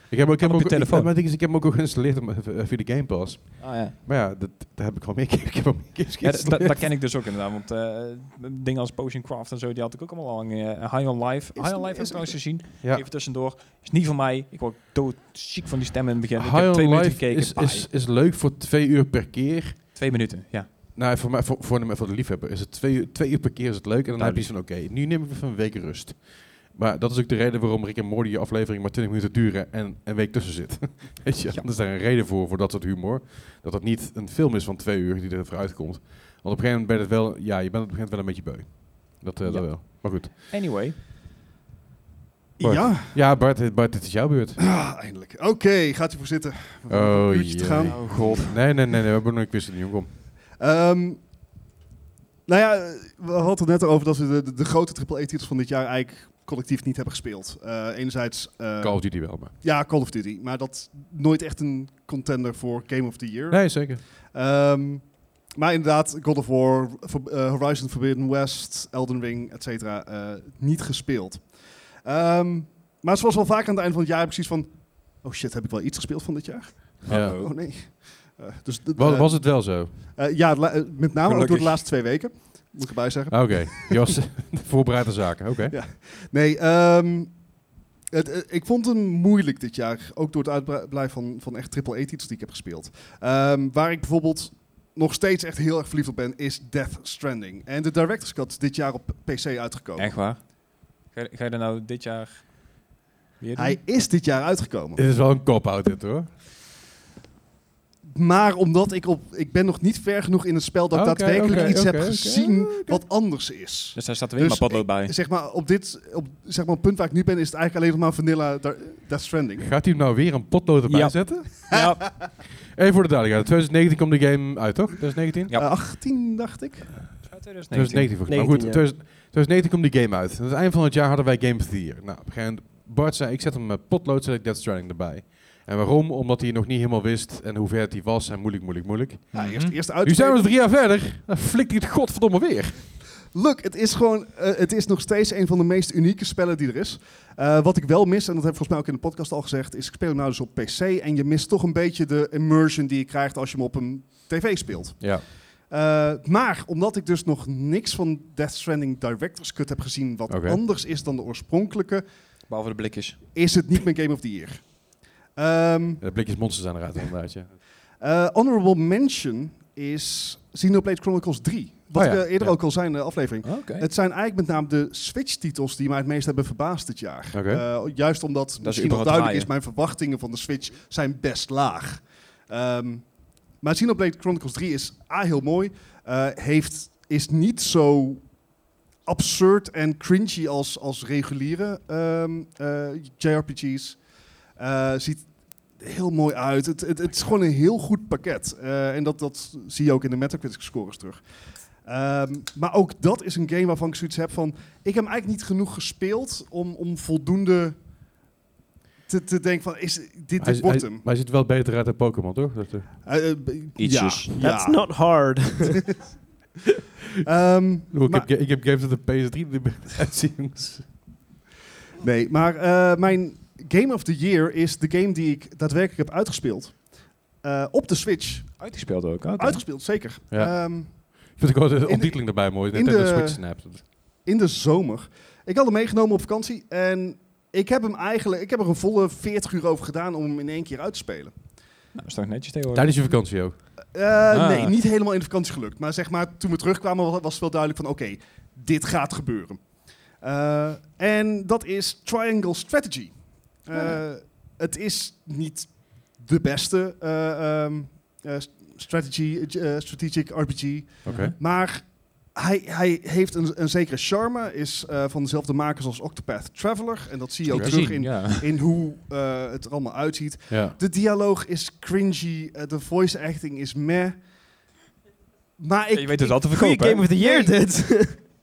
Speaker 1: ik heb, ook- ik heb
Speaker 2: Kan op
Speaker 1: ook,
Speaker 2: je telefoon.
Speaker 1: Ik, maar het ding is, ik heb hem ook al geïnstalleerd om- eh, via de Game Pass.
Speaker 2: Ah, ja.
Speaker 1: Maar ja, dat, daar heb ik al meer keer. Ik heb al meer keer
Speaker 2: Ja, dat- dat,
Speaker 1: geïnstalleerd.
Speaker 2: dat ken ik dus ook inderdaad, want eh, dingen als Potion Craft en zo, die had ik ook allemaal al lang. eh, High on Life.
Speaker 4: Is-
Speaker 2: High on Life heb
Speaker 4: is-
Speaker 2: ik trouwens gezien.
Speaker 1: Ja.
Speaker 2: Even tussendoor. Is niet van mij. Ik word doodziek van die stemmen in het begin. ik
Speaker 1: High
Speaker 2: heb twee
Speaker 1: on
Speaker 2: minuten
Speaker 1: Life
Speaker 2: gekeken.
Speaker 1: is,
Speaker 2: Bye.
Speaker 1: is, is leuk voor twee uur per keer.
Speaker 2: Twee minuten, ja.
Speaker 1: Nou, voor, mij, voor, voor, de, voor de liefhebber is het twee, uur- twee uur per keer is het leuk. En dan heb je iets van, oké, nu neem ik even een week rust. Maar dat is ook de reden waarom Rick en Morty je aflevering maar 20 minuten duren en een week tussen zit. Weet je,
Speaker 2: Ja.
Speaker 1: er is daar een reden voor, voor dat soort humor. Dat het niet een film is van twee uur die er voor uitkomt. Want op een gegeven moment ben je het wel, ja, je bent op een gegeven moment wel een beetje beu. Dat, eh,
Speaker 2: Ja.
Speaker 1: dat wel. Maar goed.
Speaker 2: Anyway.
Speaker 1: Hoi.
Speaker 4: Ja.
Speaker 1: Ja, Bart, Bart, het is jouw beurt.
Speaker 4: Ah, eindelijk. Oké, gaat u voor zitten. We hebben nog
Speaker 1: Oh,
Speaker 4: een uurtje te
Speaker 1: jee.
Speaker 4: gaan.
Speaker 2: Oh god.
Speaker 1: Nee, nee, nee, nee, we hebben nog een quiz in de jongen.
Speaker 4: Ehm, nou ja, we hadden het net over dat we de, de, de grote AAA-titels van dit jaar eigenlijk collectief niet hebben gespeeld. Eh, enerzijds... eh,
Speaker 1: Call of Duty wel, maar.
Speaker 4: Ja, Call of Duty. Maar dat nooit echt een contender voor Game of the Year.
Speaker 1: Nee, zeker.
Speaker 4: Ehm, maar inderdaad, God of War, Ver- eh, Horizon Forbidden West, Elden Ring, et cetera, eh, niet gespeeld. Ehm, maar zoals wel vaak aan het eind van het jaar heb ik zoiets van... Oh shit, heb ik wel iets gespeeld van dit jaar?
Speaker 1: Ja.
Speaker 4: Oh nee. Eh, dus, d-
Speaker 1: Was,
Speaker 4: eh,
Speaker 1: was het wel zo?
Speaker 4: eh, ja, la- eh, met name ook door
Speaker 2: Gelukkig.
Speaker 4: de laatste twee weken, moet ik erbij zeggen.
Speaker 1: Ah, Oké, Jos, voorbereide zaken. Oké.
Speaker 4: Ja. Nee, ehm, het, eh, ik vond hem moeilijk dit jaar. Ook door het uitblijven van, van echt AAA-titels die ik heb gespeeld. Ehm, waar ik bijvoorbeeld nog steeds echt heel erg verliefd op ben, is Death Stranding. En de Director's Cut is dit jaar op PC uitgekomen.
Speaker 2: Echt waar? Ga, je- ga je er nou dit jaar weer doen?
Speaker 4: Hij is dit jaar uitgekomen.
Speaker 1: Dit is wel een cop-out dit hoor.
Speaker 4: Maar omdat ik op... Ik ben nog niet ver genoeg in het spel dat ik
Speaker 1: Oké,
Speaker 4: daadwerkelijk
Speaker 1: oké,
Speaker 4: iets
Speaker 1: oké,
Speaker 4: heb
Speaker 1: oké.
Speaker 4: gezien wat anders is.
Speaker 2: Dus daar staat er weer
Speaker 4: Dus
Speaker 2: maar potlood bij.
Speaker 4: Zeg maar, op dit... Op, zeg maar, het punt waar ik nu ben, is het eigenlijk alleen nog maar vanilla Dar- Death Stranding.
Speaker 1: Gaat hij nou weer een potlood erbij
Speaker 2: Ja.
Speaker 1: zetten?
Speaker 2: ja.
Speaker 1: Even voor de duidelijkheid. 2019 komt de game uit, toch? 2019?
Speaker 2: Ja.
Speaker 4: Eh, 18, dacht ik.
Speaker 1: 2019 volgens mij. Maar
Speaker 3: 19,
Speaker 1: goed,
Speaker 3: ja.
Speaker 1: 2000- 2019 komt die game uit. Aan het eind van het jaar hadden wij Game of the Year. Nou, op een gegeven moment, Bart zei, ik zet hem met potlood, zet ik Death Stranding erbij. En waarom? Omdat hij nog niet helemaal wist en hoe ver het hij was en moeilijk, moeilijk, moeilijk.
Speaker 4: Ja,
Speaker 2: Mhm.
Speaker 4: eerst, eerst uit.
Speaker 1: Nu zijn we drie jaar verder. Dan flikt hij het godverdomme weer.
Speaker 4: Look, het is gewoon, eh, het is nog steeds een van de meest unieke spellen die er is. Eh, wat ik wel mis, en dat heb ik volgens mij ook in de podcast al gezegd, is ik speel hem nou dus op PC en je mist toch een beetje de immersion die je krijgt als je hem op een tv speelt.
Speaker 1: Ja.
Speaker 4: Eh, maar omdat ik dus nog niks van Death Stranding Director's Cut heb gezien wat
Speaker 1: Oké.
Speaker 4: anders is dan de oorspronkelijke,
Speaker 2: Behalve de blikjes.
Speaker 4: is het niet mijn Game of the Year. Ehm,
Speaker 1: De blikjes monsters zijn eruit inderdaad, ja.
Speaker 4: eh, honorable mention is Xenoblade Chronicles 3. Wat
Speaker 1: Oh ja,
Speaker 4: ik eh, eerder
Speaker 1: ja. Oh,
Speaker 4: ook al zei in de aflevering.
Speaker 2: Oké.
Speaker 4: Het zijn eigenlijk met name de Switch-titels die mij het meest hebben verbaasd dit jaar.
Speaker 1: Oké.
Speaker 4: Eh, juist omdat misschien wel duidelijk
Speaker 2: überhaupt draaien.
Speaker 4: is, mijn verwachtingen van de Switch zijn best laag. Ehm maar Xenoblade Chronicles 3 is A, heel mooi, eh, heeft, is niet zo absurd en cringy als, als reguliere ehm, eh, JRPG's. Eh, ziet heel mooi uit. Het, het, het is gewoon een heel goed pakket. Eh, en dat, dat zie je ook in de Metacritic scores terug. Ehm, maar ook dat is een game waarvan ik zoiets heb van... Ik heb hem eigenlijk niet genoeg gespeeld om, om voldoende te, te denken van... Is, dit
Speaker 1: Hij-
Speaker 4: dit wordt
Speaker 1: hij-
Speaker 4: hem.
Speaker 1: Maar hij ziet wel beter uit dan Pokémon, toch? Dat, eh,
Speaker 4: Eh, eh, b-
Speaker 2: Ietsjes.
Speaker 4: Ja,
Speaker 3: That's
Speaker 4: ja.
Speaker 3: not hard.
Speaker 4: Ehm,
Speaker 1: ik,
Speaker 4: maar-
Speaker 1: heb, ga- ik heb games op de PS3 die uitzien, jongens.
Speaker 4: Nee, maar eh, mijn Game of the Year is de game die ik daadwerkelijk heb uitgespeeld. Eh, op de Switch.
Speaker 2: Uitgespeeld ook. oké. Nou,
Speaker 4: Uitgespeeld, zeker.
Speaker 1: Ja.
Speaker 4: Ehm,
Speaker 1: Vind ik wel de
Speaker 4: de-
Speaker 1: ondertiteling erbij mooi.
Speaker 4: in
Speaker 1: Nintendo
Speaker 4: de-
Speaker 1: Switch snapt.
Speaker 4: in de zomer. Ik had hem meegenomen op vakantie en ik heb hem eigenlijk, ik heb er een volle 40 uur over gedaan om hem in één keer uit te spelen.
Speaker 2: Nou, is toch netjes tegenwoordig.
Speaker 1: Tijdens je vakantie ook.
Speaker 4: Eh,
Speaker 2: Ah.
Speaker 4: Nee, niet helemaal in de vakantie gelukt. Maar zeg maar, toen we terugkwamen wa- was het wel duidelijk van oké, dit gaat gebeuren. Eh, en dat is Triangle Strategy. Eh, Het is niet de beste eh, ehm, eh, s- strategy, eh, strategic RPG,
Speaker 1: Oké.
Speaker 4: maar hij, hij heeft een, een zekere charme, is eh, van dezelfde makers als Octopath Traveler. En dat zie je ook
Speaker 1: Oké.
Speaker 4: terug
Speaker 2: Zien,
Speaker 4: in,
Speaker 2: ja.
Speaker 4: in hoe eh, het er allemaal uitziet.
Speaker 1: Ja.
Speaker 4: De dialoog is cringy, eh, de voice acting is meh. Maar ik,
Speaker 2: je weet het al te
Speaker 3: Goeie
Speaker 2: verkopen.
Speaker 3: Game of the Year
Speaker 4: Nee.
Speaker 3: dit.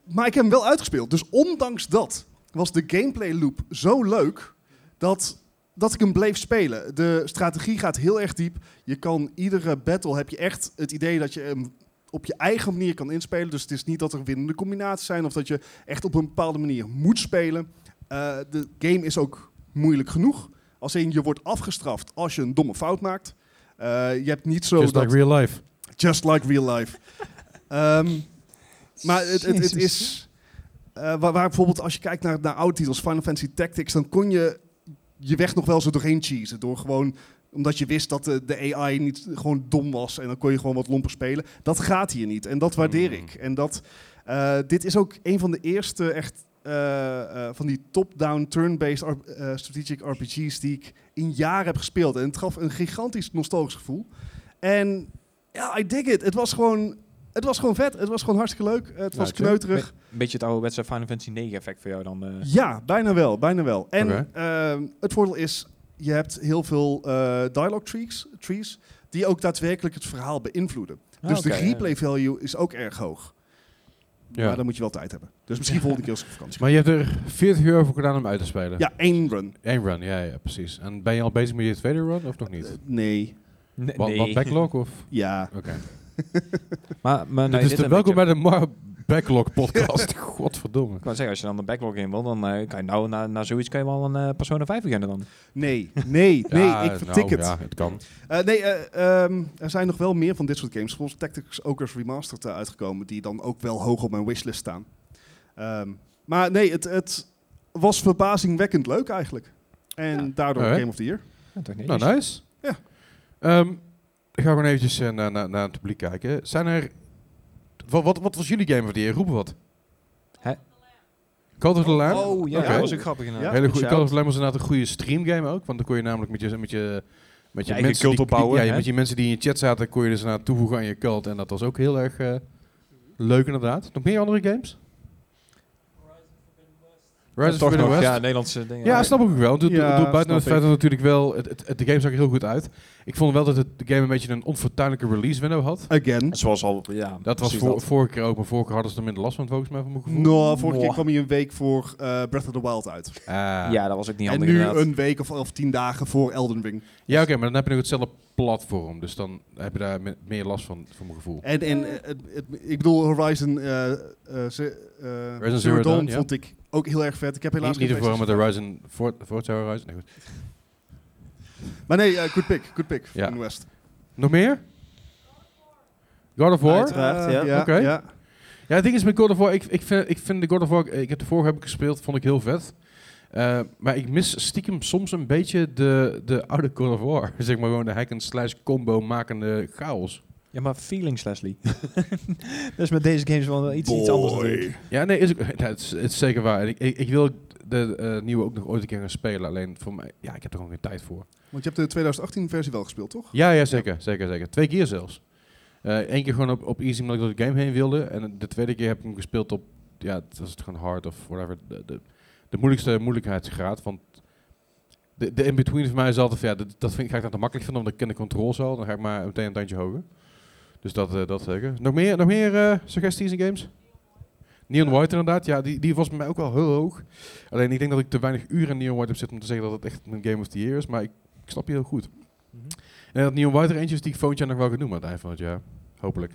Speaker 4: maar ik heb hem wel uitgespeeld. Dus ondanks dat was de gameplay loop zo leuk dat, dat ik hem bleef spelen. De strategie gaat heel erg diep. Je kan iedere battle heb je echt het idee dat je hem op je eigen manier kan inspelen. Dus het is niet dat er winnende combinaties zijn of dat je echt op een bepaalde manier moet spelen. Eh, de game is ook moeilijk genoeg. Als in je wordt afgestraft als je een domme fout maakt. Eh, je hebt niet zo
Speaker 1: Just
Speaker 4: dat
Speaker 1: like real life.
Speaker 4: Just like real life. Ehm, maar het, het, het is... eh, waar, waar bijvoorbeeld als je kijkt naar, naar oude titels, Final Fantasy Tactics, dan kon je je weg nog wel zo doorheen cheesen. Door gewoon, omdat je wist dat de, de AI niet gewoon dom was en dan kon je gewoon wat lomper spelen. Dat gaat hier niet en dat waardeer
Speaker 1: Mm.
Speaker 4: ik. En dat, eh, dit is ook een van de eerste echt eh, eh, van die top-down turn-based R- eh, strategic RPG's die ik in jaren heb gespeeld. En het gaf een gigantisch nostalgisch gevoel. En ja, I dig it. Het was gewoon, het was gewoon vet. Het was gewoon hartstikke leuk. Het was
Speaker 1: check.
Speaker 4: kneuterig.
Speaker 2: Een beetje het ouderwetse Final Fantasy 9 effect voor jou dan. eh.
Speaker 4: Ja, bijna wel, bijna wel. En
Speaker 1: Oké.
Speaker 4: ehm, het voordeel is, je hebt heel veel eh, dialogue trees, trees die ook daadwerkelijk het verhaal beïnvloeden.
Speaker 2: Ah,
Speaker 4: dus
Speaker 2: oké,
Speaker 4: de
Speaker 2: ja.
Speaker 4: replay value is ook erg hoog.
Speaker 1: Ja.
Speaker 4: Maar dan moet je wel tijd hebben. Dus misschien volgende keer als ik op vakantie.
Speaker 1: Maar je hebt er 40 uur voor gedaan om uit te spelen.
Speaker 4: Ja, één run.
Speaker 1: Eén run, ja, ja, precies. En ben je al bezig met je tweede run of nog niet?
Speaker 4: Eh, Nee,
Speaker 2: Nee,
Speaker 1: Wat, wat
Speaker 2: nee.
Speaker 1: backlog of?
Speaker 4: ja.
Speaker 1: Oké.
Speaker 2: Maar, maar
Speaker 1: Dit
Speaker 2: nou,
Speaker 1: is
Speaker 2: dit
Speaker 1: de
Speaker 2: een
Speaker 1: welkom
Speaker 2: beetje-
Speaker 1: bij de Mar Backlog podcast. Godverdomme.
Speaker 2: Ik wou zeggen, als je dan de backlog in wil, dan eh, kan je nou na, na zoiets kan je wel een eh, Persona 5 beginnen dan.
Speaker 4: Nee, nee, nee,
Speaker 1: Ja,
Speaker 4: ik vertik
Speaker 1: nou,
Speaker 4: het.
Speaker 1: Ja, het kan.
Speaker 4: Eh, nee, eh, ehm, er zijn nog wel meer van dit soort games. Volgens Tactics Ogres Remastered eh, uitgekomen, die dan ook wel hoog op mijn wishlist staan. Ehm, maar nee, het, het was verbazingwekkend leuk eigenlijk. En daardoor
Speaker 1: Alright.
Speaker 4: Game of the Year.
Speaker 2: Ja, toch niet?
Speaker 1: Nou,
Speaker 2: Dus-
Speaker 1: nice.
Speaker 4: Ja.
Speaker 1: Ehm, ik ga gewoon eventjes eh, naar, naar, naar het publiek kijken. Zijn er... Wat, wat, wat was jullie game of the year? Roep wat.
Speaker 2: Hè?
Speaker 1: Call of the Lamb?
Speaker 2: Oh ja,
Speaker 1: Oké.
Speaker 2: dat was ook grappig inderdaad.
Speaker 4: Ja,
Speaker 1: Hele goede
Speaker 4: shout.
Speaker 1: Call of the Lamb was inderdaad een goede streamgame ook. Want dan kon je namelijk met je, met je, met je,
Speaker 2: Je eigen
Speaker 1: mensen...
Speaker 2: cult
Speaker 1: die- die,
Speaker 2: opbouwen,
Speaker 1: Ja,
Speaker 2: hè?
Speaker 1: met je mensen die in je chat zaten kon je dus inderdaad toevoegen aan je cult. En dat was ook heel erg eh, leuk inderdaad. Nog meer andere games? Rise of
Speaker 2: Toch
Speaker 1: Forbidden
Speaker 2: nog,
Speaker 1: West?
Speaker 2: Ja, Nederlandse dingen.
Speaker 1: Ja, snap ik ook wel. Het doet-
Speaker 4: Ja,
Speaker 1: het doet buiten
Speaker 4: snap
Speaker 1: het feit
Speaker 4: ik.
Speaker 1: dat het natuurlijk wel... Het, het- het- de game zag er heel goed uit. Ik vond wel dat het, de game een beetje een onfortuinlijke release window had.
Speaker 4: Again.
Speaker 2: Zoals al, ja.
Speaker 1: Dat was
Speaker 2: precies
Speaker 1: voor,
Speaker 2: dat.
Speaker 1: vorige keer ook, maar vorige keer hadden ze er minder last van, volgens mij, van mijn gevoel.
Speaker 4: Nou, vorige keer
Speaker 2: Mwah.
Speaker 4: kwam hij een week voor eh, Breath of the Wild uit.
Speaker 1: Ah.
Speaker 2: Ja, dat was ook niet
Speaker 4: en
Speaker 2: handig
Speaker 4: nu
Speaker 2: inderdaad.
Speaker 4: een week of, of tien dagen voor Elden Ring.
Speaker 1: Ja, oké, maar dan heb je nog hetzelfde platform. Dus dan heb je daar me- meer last van, voor mijn gevoel.
Speaker 4: En, en eh, het- het- ik bedoel, Horizon, eh, eh, ze- eh,
Speaker 1: Zero
Speaker 4: Zero Dawn
Speaker 1: Dawn, ja.
Speaker 4: vond ik ook heel erg vet. Ik heb helaas
Speaker 1: Niet, niet
Speaker 4: geen
Speaker 1: ervoor met
Speaker 4: PlayStation.
Speaker 1: de Horizon, Fort- Forza Horizon. Nee, goed.
Speaker 4: Maar nee, eh, good pick, good pick.
Speaker 1: Ja.
Speaker 4: Van West.
Speaker 1: Nog meer? God
Speaker 2: Nou,
Speaker 1: of War?
Speaker 3: Uiteraard,
Speaker 4: Eh,
Speaker 3: ja.
Speaker 4: ja,
Speaker 1: Oké.
Speaker 4: ja.
Speaker 1: Ja, het ding is met God of War, ik, ik, vind, ik vind de God of War, ik heb de vorige heb ik gespeeld, vond ik heel vet. Eh, maar ik mis stiekem soms een beetje de, de oude God of War. Zeg maar gewoon de hack and slash combo makende chaos.
Speaker 2: Ja, maar feelings, Leslie. dus met deze games wel iets, iets anders natuurlijk.
Speaker 1: Ja, nee, is, ook- ja, het, is, het is zeker waar. En Ik, ik, ik wil de eh, nieuwe ook nog ooit een keer gaan spelen. Alleen voor mij, ja, ik heb er gewoon geen tijd voor.
Speaker 4: Want je hebt de 2018 versie wel gespeeld, toch?
Speaker 1: Ja, ja zeker, zeker, zeker. Twee keer zelfs. Eén keer gewoon op, op easy, omdat ik door de game heen wilde. En de tweede keer heb ik hem gespeeld op, ja, het was het gewoon hard of whatever. De, de, de moeilijkste moeilijkheidsgraad. Want de, de in-between voor mij is altijd, ja, dat, dat vind, ik- ga ik dat te makkelijk vinden, omdat ik ken de controls al. Dan ga ik maar meteen een tandje hoger. Dus dat, eh, dat zeker. Nog meer, nog meer eh, suggesties in games? Neon White inderdaad, ja, die, die was bij mij ook wel heel hoog. Alleen ik denk dat ik te weinig uren in Neon White heb zitten om te zeggen dat het echt een Game of the Year is. Maar ik, ik snap je heel goed.
Speaker 4: Mhm.
Speaker 1: En dat Neon White er eentje is die ik volgend jaar nog wel ga doen aan het eind van het jaar. Hopelijk.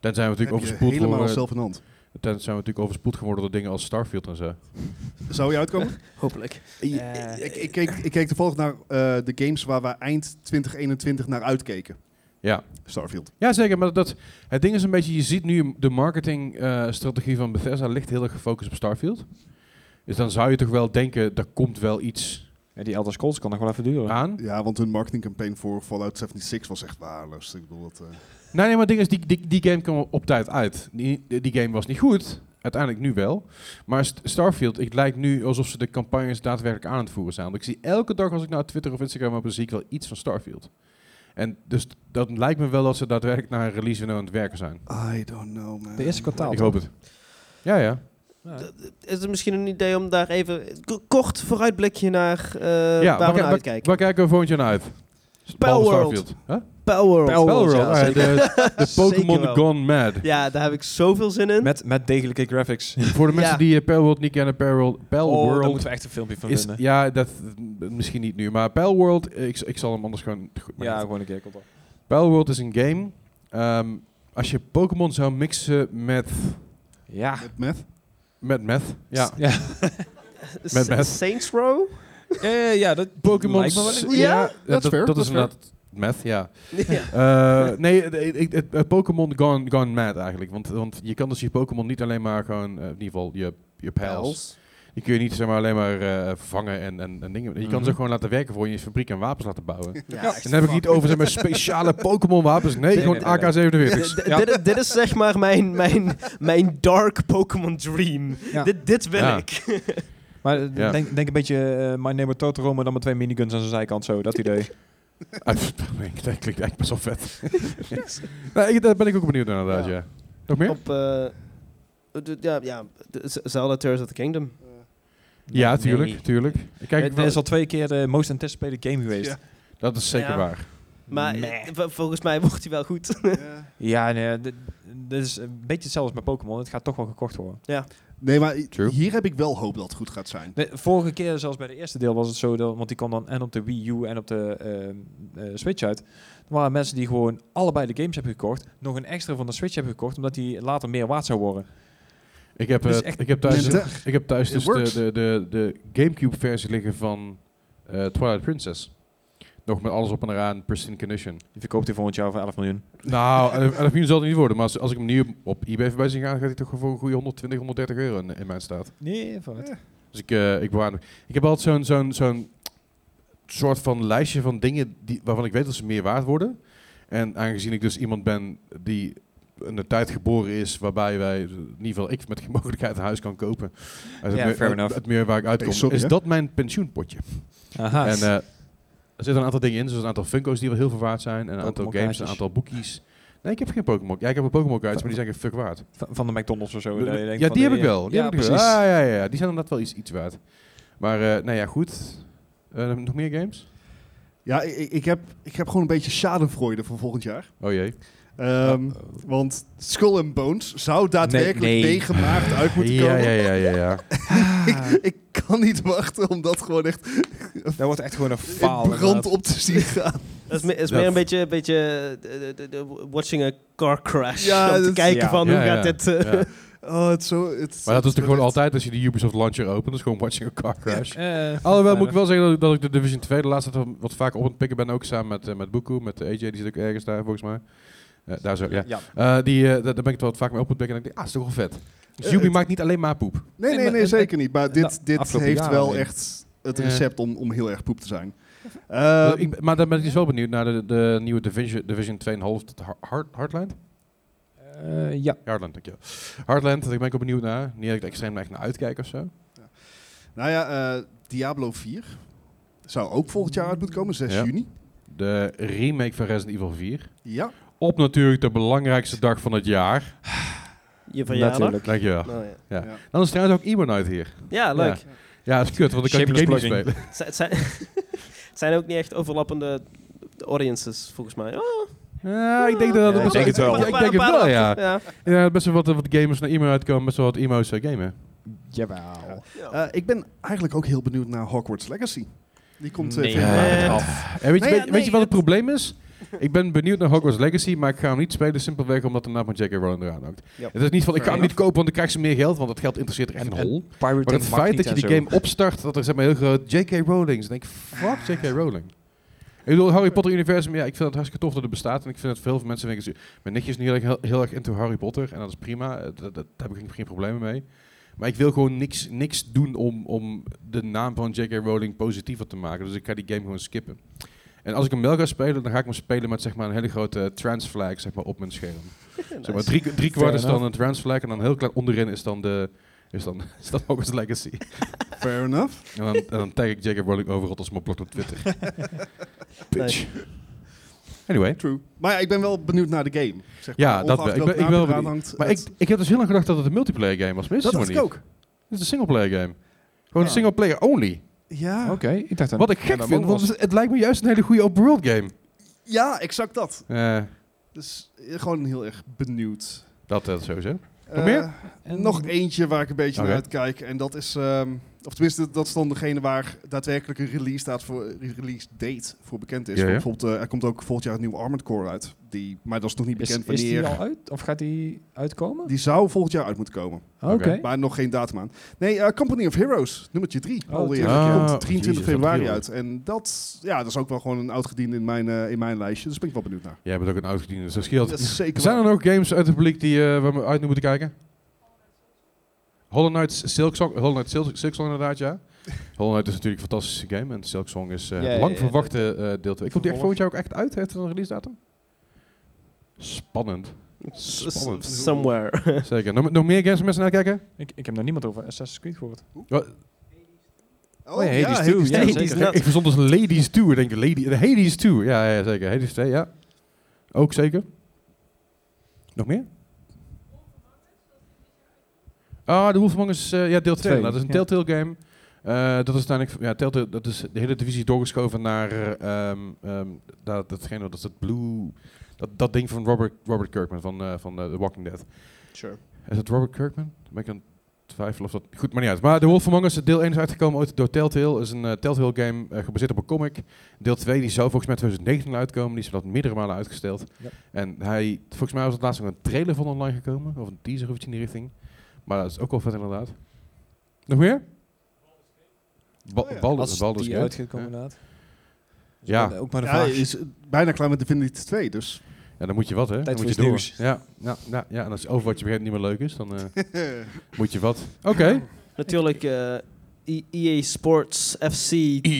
Speaker 1: Tenzij we natuurlijk
Speaker 4: Heb je
Speaker 1: overspoeld
Speaker 4: helemaal
Speaker 1: worden.
Speaker 4: zelf in hand.
Speaker 1: Tenzij we natuurlijk overspoeld geworden door dingen als Starfield en zo.
Speaker 4: Zou je uitkomen?
Speaker 3: Hopelijk.
Speaker 4: Eh, ik, ik, keek, ik keek toevallig naar eh, de games waar we eind 2021 naar uitkeken.
Speaker 1: Ja.
Speaker 4: Starfield.
Speaker 1: Ja, zeker. Maar dat, het ding is een beetje, je ziet nu de marketingstrategie van Bethesda ligt heel erg gefocust op Starfield. Dus dan zou je toch wel denken, er komt wel iets
Speaker 2: Ja, die Elder Scrolls kan nog wel even duren.
Speaker 1: aan.
Speaker 4: Ja, want hun marketingcampaign voor Fallout 76 was echt waardeloos. Ik bedoel, dat, eh,
Speaker 1: Nee, nee, maar het ding is, die, die, die game kwam op tijd uit. Die, die game was niet goed. uiteindelijk nu wel. Maar St- Starfield, het lijkt nu alsof ze de campagnes daadwerkelijk aan het voeren zijn. Want ik zie elke dag als ik naar Twitter of Instagram op zie ik wel iets van Starfield. En dus t- dat lijkt me wel dat ze daadwerkelijk naar een release window aan het werken zijn.
Speaker 4: I don't know, man.
Speaker 2: De eerste kwartaal.
Speaker 1: Ik hoop het. Ja,
Speaker 3: Eh,
Speaker 1: ja.
Speaker 2: Ja.
Speaker 3: Is het misschien een idee om daar even k- kort vooruitblikje naar eh
Speaker 1: ja
Speaker 3: waar we naar
Speaker 1: waar,
Speaker 3: uitkijken?
Speaker 1: waar kijken we volgend jaar naar uit? Behalve
Speaker 3: Palworld.
Speaker 1: Starfield. Huh?
Speaker 3: Power
Speaker 1: Palworld,
Speaker 3: ja,
Speaker 1: ah,
Speaker 3: zeker.
Speaker 1: de, de Pokémon
Speaker 3: Zeker wel.
Speaker 1: Gone Mad.
Speaker 3: Ja, daar heb ik zoveel zin in.
Speaker 2: Met, met degelijke graphics.
Speaker 1: Voor de mensen
Speaker 3: Ja.
Speaker 1: die eh, Palworld niet kennen, Palworld,
Speaker 2: Oh, daar
Speaker 1: Palworld
Speaker 2: moeten we echt een filmpje van
Speaker 1: is...
Speaker 2: vinden.
Speaker 1: Ja, dat eh, misschien niet nu, maar Palworld, eh, ik, z- ik zal hem anders gewoon... Goed, maar
Speaker 2: Ja,
Speaker 1: niet.
Speaker 2: gewoon een keer. Komt op.
Speaker 1: Palworld is een game. ehm, als je Pokémon zou mixen met,
Speaker 2: Ja.
Speaker 4: Met meth?
Speaker 1: met meth, ja.
Speaker 2: Ja,
Speaker 3: S-
Speaker 1: met- met-
Speaker 3: Saints Row?
Speaker 2: ja, ja, ja, dat
Speaker 1: Pokémon...
Speaker 2: lijkt me wel een goeie.
Speaker 3: Ja,
Speaker 1: dat,
Speaker 4: that's fair,
Speaker 1: dat is
Speaker 4: that's fair.
Speaker 1: inderdaad meth, ja.
Speaker 3: ja.
Speaker 1: Eh, nee, het- het- het- het- eh, Pokémon gone, gone mad eigenlijk. Want, want je kan dus je Pokémon niet alleen maar gewoon, eh, in ieder geval je, je pijls. Die kun je niet zeg maar, alleen maar eh, vangen en, en, en dingen. Je kan ze
Speaker 2: Mhm.
Speaker 1: ook gewoon laten werken voor je in je fabriek en wapens laten bouwen. en
Speaker 3: Ja,
Speaker 1: dan heb ik niet over zeg maar, speciale Pokémon wapens. Nee,
Speaker 2: Nee,
Speaker 1: gewoon
Speaker 2: nee, nee, nee.
Speaker 1: AK-47's.
Speaker 3: D- d- dit, is- dit is zeg maar mijn, mijn, mijn dark Pokémon dream.
Speaker 2: Ja.
Speaker 3: Dit, dit wil
Speaker 1: Ja.
Speaker 3: ik.
Speaker 2: Maar eh,
Speaker 1: Ja.
Speaker 2: denk, denk een beetje eh, My Neighbor Totoro, maar dan met twee miniguns aan zijn zijkant. Zo, dat idee.
Speaker 1: Ah, pff, dat klinkt echt best wel vet. nou, ik, daar ben ik ook benieuwd naar inderdaad, ja.
Speaker 3: Ja.
Speaker 1: Nog meer?
Speaker 3: Op, eh, d- ja, ja, d- Z- Zelda Tears of the Kingdom.
Speaker 1: ja, tuurlijk,
Speaker 3: Nee.
Speaker 1: tuurlijk. Ik Kijk,
Speaker 2: Het is al twee keer de most anticipated game geweest.
Speaker 4: Ja.
Speaker 2: Ja,
Speaker 1: dat is zeker
Speaker 3: Ja.
Speaker 1: waar.
Speaker 3: Maar
Speaker 2: Meh.
Speaker 3: eh, vol- volgens mij wordt hij wel goed.
Speaker 2: nee, dit, dit is een beetje hetzelfde als met Pokémon. Het gaat toch wel gekocht worden.
Speaker 4: Nee, maar i-
Speaker 1: True.
Speaker 4: hier heb ik wel hoop dat het goed gaat zijn.
Speaker 2: De vorige keer, zelfs bij de eerste deel, was het zo, dat, want die kwam dan en op de Wii U en op de ehm, eh, Switch uit. Er waren mensen die gewoon allebei de games hebben gekocht, nog een extra van de Switch hebben gekocht, omdat die later meer waard zou worden.
Speaker 1: Ik heb,
Speaker 2: Dus
Speaker 1: eh,
Speaker 2: echt
Speaker 1: ik heb thuis,
Speaker 4: Nintendo.
Speaker 1: ik heb thuis
Speaker 4: It
Speaker 1: dus de,
Speaker 4: works.
Speaker 1: de, de, de Gamecube versie liggen van eh, Twilight Princess. Nog met alles op en eraan, pristine condition.
Speaker 2: Die verkoopt hij volgend jaar voor 11 miljoen.
Speaker 1: Nou, 11 miljoen zal het niet worden, maar als, als ik hem nu op, op eBay voorbij zie gaan, gaat hij toch voor een goede 120, 130 euro in, in mijn staat.
Speaker 2: Nee, van het.
Speaker 1: Dus ik, eh, ik bewaar hem. Ik heb altijd zo'n zo'n zo'n soort van lijstje van dingen die, waarvan ik weet dat ze meer waard worden. En aangezien ik dus iemand ben die in de tijd geboren is waarbij wij, in ieder geval ik, met geen mogelijkheid een huis kan kopen. Als
Speaker 2: Ja,
Speaker 1: het,
Speaker 2: fair
Speaker 1: meer, het,
Speaker 2: enough.
Speaker 1: het meer waar ik uitkom,
Speaker 4: Hey, sorry,
Speaker 1: is
Speaker 4: hè?
Speaker 1: dat mijn pensioenpotje.
Speaker 2: Aha.
Speaker 1: En eh, er zitten een aantal dingen in, zoals een aantal Funko's die wel heel veel waard zijn. En een aantal
Speaker 2: Pokémon
Speaker 1: games, een
Speaker 2: kaartjes.
Speaker 1: aantal boekies. Nee, ik heb geen Pokémon. Ja, ik heb een Pokémon kaartjes, maar die zijn geen fuck waard.
Speaker 2: van, van de McDonald's of zo. dat je denkt
Speaker 1: Ja,
Speaker 2: van,
Speaker 1: die heb
Speaker 2: eh,
Speaker 1: ik wel. Die
Speaker 2: ja,
Speaker 1: heb ik wel.
Speaker 2: precies.
Speaker 1: Ah, ja, ja, ja. Die zijn inderdaad wel iets, iets waard. Maar, eh, nou ja, goed. Eh, nog meer games?
Speaker 4: Ja, i- i- ik, heb, ik heb gewoon een beetje schadenfreude voor volgend jaar.
Speaker 1: Oh jee.
Speaker 4: Ehm, Want Skull and Bones zou daadwerkelijk
Speaker 2: nee.
Speaker 4: 9 maart uit moeten komen.
Speaker 1: Ja, ja, ja, ja, ja.
Speaker 4: Ik, ik kan niet wachten om dat gewoon echt
Speaker 2: Dat wordt echt gewoon een
Speaker 4: in
Speaker 2: faal.
Speaker 4: brand op te zien gaan.
Speaker 3: Dat is, me- is
Speaker 1: Dat-
Speaker 3: meer een beetje, beetje eh, de, de, de- watching a car crash.
Speaker 4: Ja,
Speaker 3: om te
Speaker 4: dat-
Speaker 3: kijken
Speaker 2: ja.
Speaker 3: van
Speaker 1: Ja,
Speaker 3: hoe
Speaker 1: ja,
Speaker 3: gaat dit... eh,
Speaker 1: ja.
Speaker 4: Oh, het is zo, het is-
Speaker 1: Maar dat is toch
Speaker 4: het
Speaker 1: gewoon
Speaker 4: echt-
Speaker 1: altijd als je de Ubisoft launcher opent, dat is gewoon watching a car crash.
Speaker 2: Eh,
Speaker 1: Alhoewel moet ik wel zeggen dat, dat ik de Division 2 de laatste tijd wat vaak op het pikken ben, ook samen met, eh, met Boekoe, met de AJ, die zit ook ergens daar volgens mij. Eh, daar zo, ja.
Speaker 2: Ja.
Speaker 1: Eh, die, eh, daar- daar ben ik het wel wat vaak mee op het pikken en ik denk, ah, is toch wel vet. Dus
Speaker 4: Eh,
Speaker 1: Ubi
Speaker 4: het-
Speaker 1: maakt niet alleen maar poep.
Speaker 4: Nee,
Speaker 2: Nee,
Speaker 4: nee,
Speaker 2: maar-
Speaker 4: nee,
Speaker 2: en-
Speaker 4: zeker niet. Maar
Speaker 2: nou,
Speaker 4: dit, dit
Speaker 2: afgelopen
Speaker 4: heeft
Speaker 2: jaren
Speaker 4: wel
Speaker 2: alleen.
Speaker 4: echt het
Speaker 1: Ja.
Speaker 4: recept om, om heel erg poep te zijn.
Speaker 1: Maar
Speaker 4: Ehm,
Speaker 1: ik, maar dan ben ik dus wel benieuwd naar de, de nieuwe Division, Division 2,5 tot Har- Har- Heartland?
Speaker 2: Eh, ja.
Speaker 1: Heartland, dankjewel. Heartland, daar ben ik wel benieuwd naar. Niet dat ik er extreem echt naar uitkijk of zo.
Speaker 4: nou ja, eh, Diablo 4 zou ook volgend jaar uit moeten komen, 6
Speaker 1: Ja.
Speaker 4: juni.
Speaker 1: De remake van Resident Evil 4.
Speaker 4: Ja,
Speaker 1: Op natuurlijk de belangrijkste dag van het jaar.
Speaker 3: Je verjaardag.
Speaker 2: Natuurlijk.
Speaker 1: Dankjewel.
Speaker 3: Nou, ja.
Speaker 1: Dan is trouwens ook Iman uit hier.
Speaker 3: ja, leuk.
Speaker 1: Ja, dat is kut, want ik kan ik die game
Speaker 2: Shameless
Speaker 1: niet spelen.
Speaker 3: Het zijn- Het zijn, het zijn ook niet echt overlappende audiences, volgens mij. Oh,
Speaker 1: Ja, ik denk dat dat
Speaker 2: Ja, ik
Speaker 1: best
Speaker 2: denk het wel.
Speaker 1: Ja, ik denk het wel, ja.
Speaker 3: ja.
Speaker 1: ja best wel wat, wat gamers naar Iman uitkomen, best wel wat emo's eh, gamen.
Speaker 2: Jawel.
Speaker 4: Eh, ik ben eigenlijk ook heel benieuwd naar Hogwarts Legacy. Die komt eh,
Speaker 2: Nee.
Speaker 4: verder
Speaker 1: Ja. En
Speaker 4: uit.
Speaker 1: weet, je,
Speaker 4: Nee,
Speaker 1: weet,
Speaker 4: ja,
Speaker 1: weet je
Speaker 4: nee,
Speaker 1: wat het probleem is? Ik ben benieuwd naar Hogwarts Legacy, maar ik ga hem niet spelen simpelweg omdat de naam van J.K. Rowling eraan hangt.
Speaker 4: Ja.
Speaker 1: Het is niet van, ik
Speaker 4: Fair
Speaker 1: ga hem niet kopen, want dan krijg ze meer geld, want dat geld interesseert er echt een hol. Maar het feit dat je die game opstart, dat er zeg maar heel groot J.K. Rowling is. Dan denk ik, fuck J.K. Rowling. Ik bedoel, Harry Potter universum, ja, ik vind het hartstikke tof dat het bestaat. En ik vind dat veel mensen denken, mijn nichtje is nu heel, erg- heel, heel erg into Harry Potter. En dat is prima, eh, dat, dat, daar heb ik geen, geen problemen mee. Maar ik wil gewoon niks, niks doen om, om de naam van J.K. Rowling positiever te maken. Dus ik ga die game gewoon skippen. En als ik hem wel ga spelen, dan ga ik hem spelen met zeg maar, een hele grote transflag zeg maar, op mijn scherm. Zeg maar, drie, drie kwart is dan een transflag en dan heel klein onderin is dan de... Is dan, is dan ook eens legacy.
Speaker 4: Fair enough.
Speaker 1: En dan, en dan tag ik Jacob Rowling overal als mijn blog op Twitter. Bitch. Anyway.
Speaker 4: True. Maar ja, ik ben wel benieuwd naar de game. Zeg
Speaker 1: Ja,
Speaker 4: maar,
Speaker 1: dat
Speaker 4: Ongeacht
Speaker 1: wel. Ik
Speaker 4: welk
Speaker 1: ben- ik ben
Speaker 4: naam
Speaker 1: wel
Speaker 4: eraan hangt,
Speaker 1: Maar ik,
Speaker 4: het-
Speaker 1: ik heb dus heel lang gedacht dat het een multiplayer game was. Maar is
Speaker 4: dat
Speaker 1: het
Speaker 4: dacht ik
Speaker 1: helemaal niet.
Speaker 4: ook.
Speaker 1: Het is een singleplayer game. Gewoon
Speaker 4: Ja.
Speaker 1: singleplayer only.
Speaker 4: Ja.
Speaker 6: Oké, ik dacht dan.
Speaker 1: Wat ik
Speaker 6: ja,
Speaker 1: gek
Speaker 6: dan
Speaker 1: vind,
Speaker 6: ook wel
Speaker 1: want het, het lijkt me juist een hele goede open world game.
Speaker 4: ja, exact dat.
Speaker 1: Eh,
Speaker 4: Dus eh, gewoon heel erg benieuwd.
Speaker 1: dat, dat sowieso.
Speaker 4: Eh,
Speaker 1: meer?
Speaker 2: En-
Speaker 4: nog eentje waar ik een beetje
Speaker 1: Oké.
Speaker 4: naar uitkijk. En dat is, ehm, of tenminste, dat is dan degene waar daadwerkelijk een release, staat voor, een release date voor bekend is.
Speaker 1: Ja, ja.
Speaker 4: Want Bijvoorbeeld, eh, er komt ook volgend jaar een nieuw Armored Core uit. Die, maar dat is nog niet
Speaker 2: Is,
Speaker 4: bekend
Speaker 2: is
Speaker 4: wanneer.
Speaker 1: eh,
Speaker 2: die al uit? Of gaat die uitkomen?
Speaker 4: Die zou volgend jaar uit moeten komen.
Speaker 2: Oké.
Speaker 1: Oké.
Speaker 4: Maar nog geen datum aan. Nee, eh, Company of Heroes, nummertje 3.
Speaker 2: Oh,
Speaker 4: alweer.
Speaker 1: tuurlijk.
Speaker 4: Die
Speaker 1: Ah,
Speaker 4: komt 23
Speaker 1: jezus,
Speaker 4: februari
Speaker 1: wat
Speaker 4: uit. En dat, ja, dat is ook wel gewoon een oud gediende in mijn, eh, in mijn lijstje. Dus ben ik wel benieuwd naar.
Speaker 1: Jij bent ook een oud-gediende, dus dat scheelt.
Speaker 4: Dat is zeker
Speaker 1: Zijn
Speaker 4: waar.
Speaker 1: er nog games uit het publiek die, eh, waar we uit naar moeten kijken? Hollow Knight Silksong, Hollow Knight Sil- Silksong inderdaad, ja. Hollow Knight is natuurlijk een fantastische game en Silksong is eh
Speaker 2: Ja, ja,
Speaker 1: lang
Speaker 2: ja.
Speaker 1: verwachte eh, deel 2. Komt die echt
Speaker 2: Vervolg.
Speaker 1: volgend jaar ook echt uit? Heeft het een release datum? Spannend. Spannend.
Speaker 3: Somewhere.
Speaker 1: Zeker. Nog, nog meer games om mensen naar kijken?
Speaker 2: Ik, ik heb nog niemand over Assassin's Creed gehoord.
Speaker 1: Wat?
Speaker 4: Oh,
Speaker 2: ja, Hades 2, ja,
Speaker 3: Hades
Speaker 2: zeker.
Speaker 3: is nat.
Speaker 1: Ik verzond als Ladies 2. Ik denk lady, de Hades 2. Ja, ja, zeker. Hades 2, ja. Ook zeker. Nog meer? Ah, de Wolf Among Us, eh, ja, deel 2.
Speaker 2: Twee,
Speaker 1: Dat is een
Speaker 2: ja.
Speaker 1: Telltale game. Eh, dat is uiteindelijk, ja, Telltale, dat is de hele divisie doorgeschoven naar eh, ehm, ehm, dat, datgene, dat is dat Blue, dat, dat ding van Robert, Robert Kirkman van, eh, van eh, The Walking Dead.
Speaker 3: Sure.
Speaker 1: Is het Robert Kirkman? Dan ben ik aan het twijfelen of dat... Goed, maar niet uit. Maar The Wolf Among Us, deel 1 is uitgekomen ooit door Telltale. is een eh, Telltale game eh, gebaseerd op een comic. Deel 2 die zou volgens mij 2019 uitkomen. Die is dat meerdere malen uitgesteld.
Speaker 2: Ja.
Speaker 1: En hij, volgens mij was het laatst nog een trailer van online gekomen. Of een teaser of iets in die richting. Maar dat is ook wel vet inderdaad. Nog meer? Ba
Speaker 4: Oh ja.
Speaker 1: Baldur's, Baldur's
Speaker 2: die
Speaker 1: Gate.
Speaker 2: uitgekomen
Speaker 1: Ja.
Speaker 2: laat. Dus
Speaker 1: dus Ja.
Speaker 2: maar- Ook maar de
Speaker 4: Ja,
Speaker 2: vraag.
Speaker 4: hij is bijna klaar met Divinity 2, dus...
Speaker 1: Ja, dan moet je wat, hè? Dan
Speaker 2: Tijd
Speaker 1: moet je
Speaker 2: voor
Speaker 1: door.
Speaker 2: iets
Speaker 1: Ja, ja, ja, ja, en als Overwatch op een gegeven moment niet meer leuk is, dan eh, moet je wat. Oké.
Speaker 3: Natuurlijk eh, E- EA Sports FC.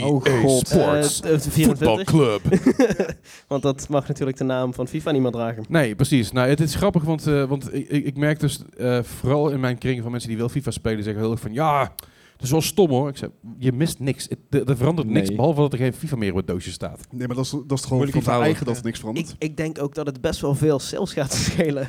Speaker 2: Oh, god.
Speaker 3: eh, eh, 24. Want dat mag natuurlijk de naam van FIFA niet meer dragen.
Speaker 1: Nee, precies. Nou, het is grappig, want, eh, want ik, ik ik merk dus eh, vooral in mijn kring van mensen die wel FIFA spelen, zeggen heel erg van ja, het is wel stom hoor. Ik zeg, je mist niks. Het- Er er verandert niks,
Speaker 2: Nee.
Speaker 1: behalve dat er geen FIFA meer op het doosje staat.
Speaker 4: Nee, maar dat is, dat is toch gewoon
Speaker 2: Moeilijk
Speaker 4: van zijn
Speaker 2: onthouden.
Speaker 4: eigen dat er niks
Speaker 3: Ik,
Speaker 4: verandert.
Speaker 3: ik denk ook dat het best wel veel sales gaat schelen.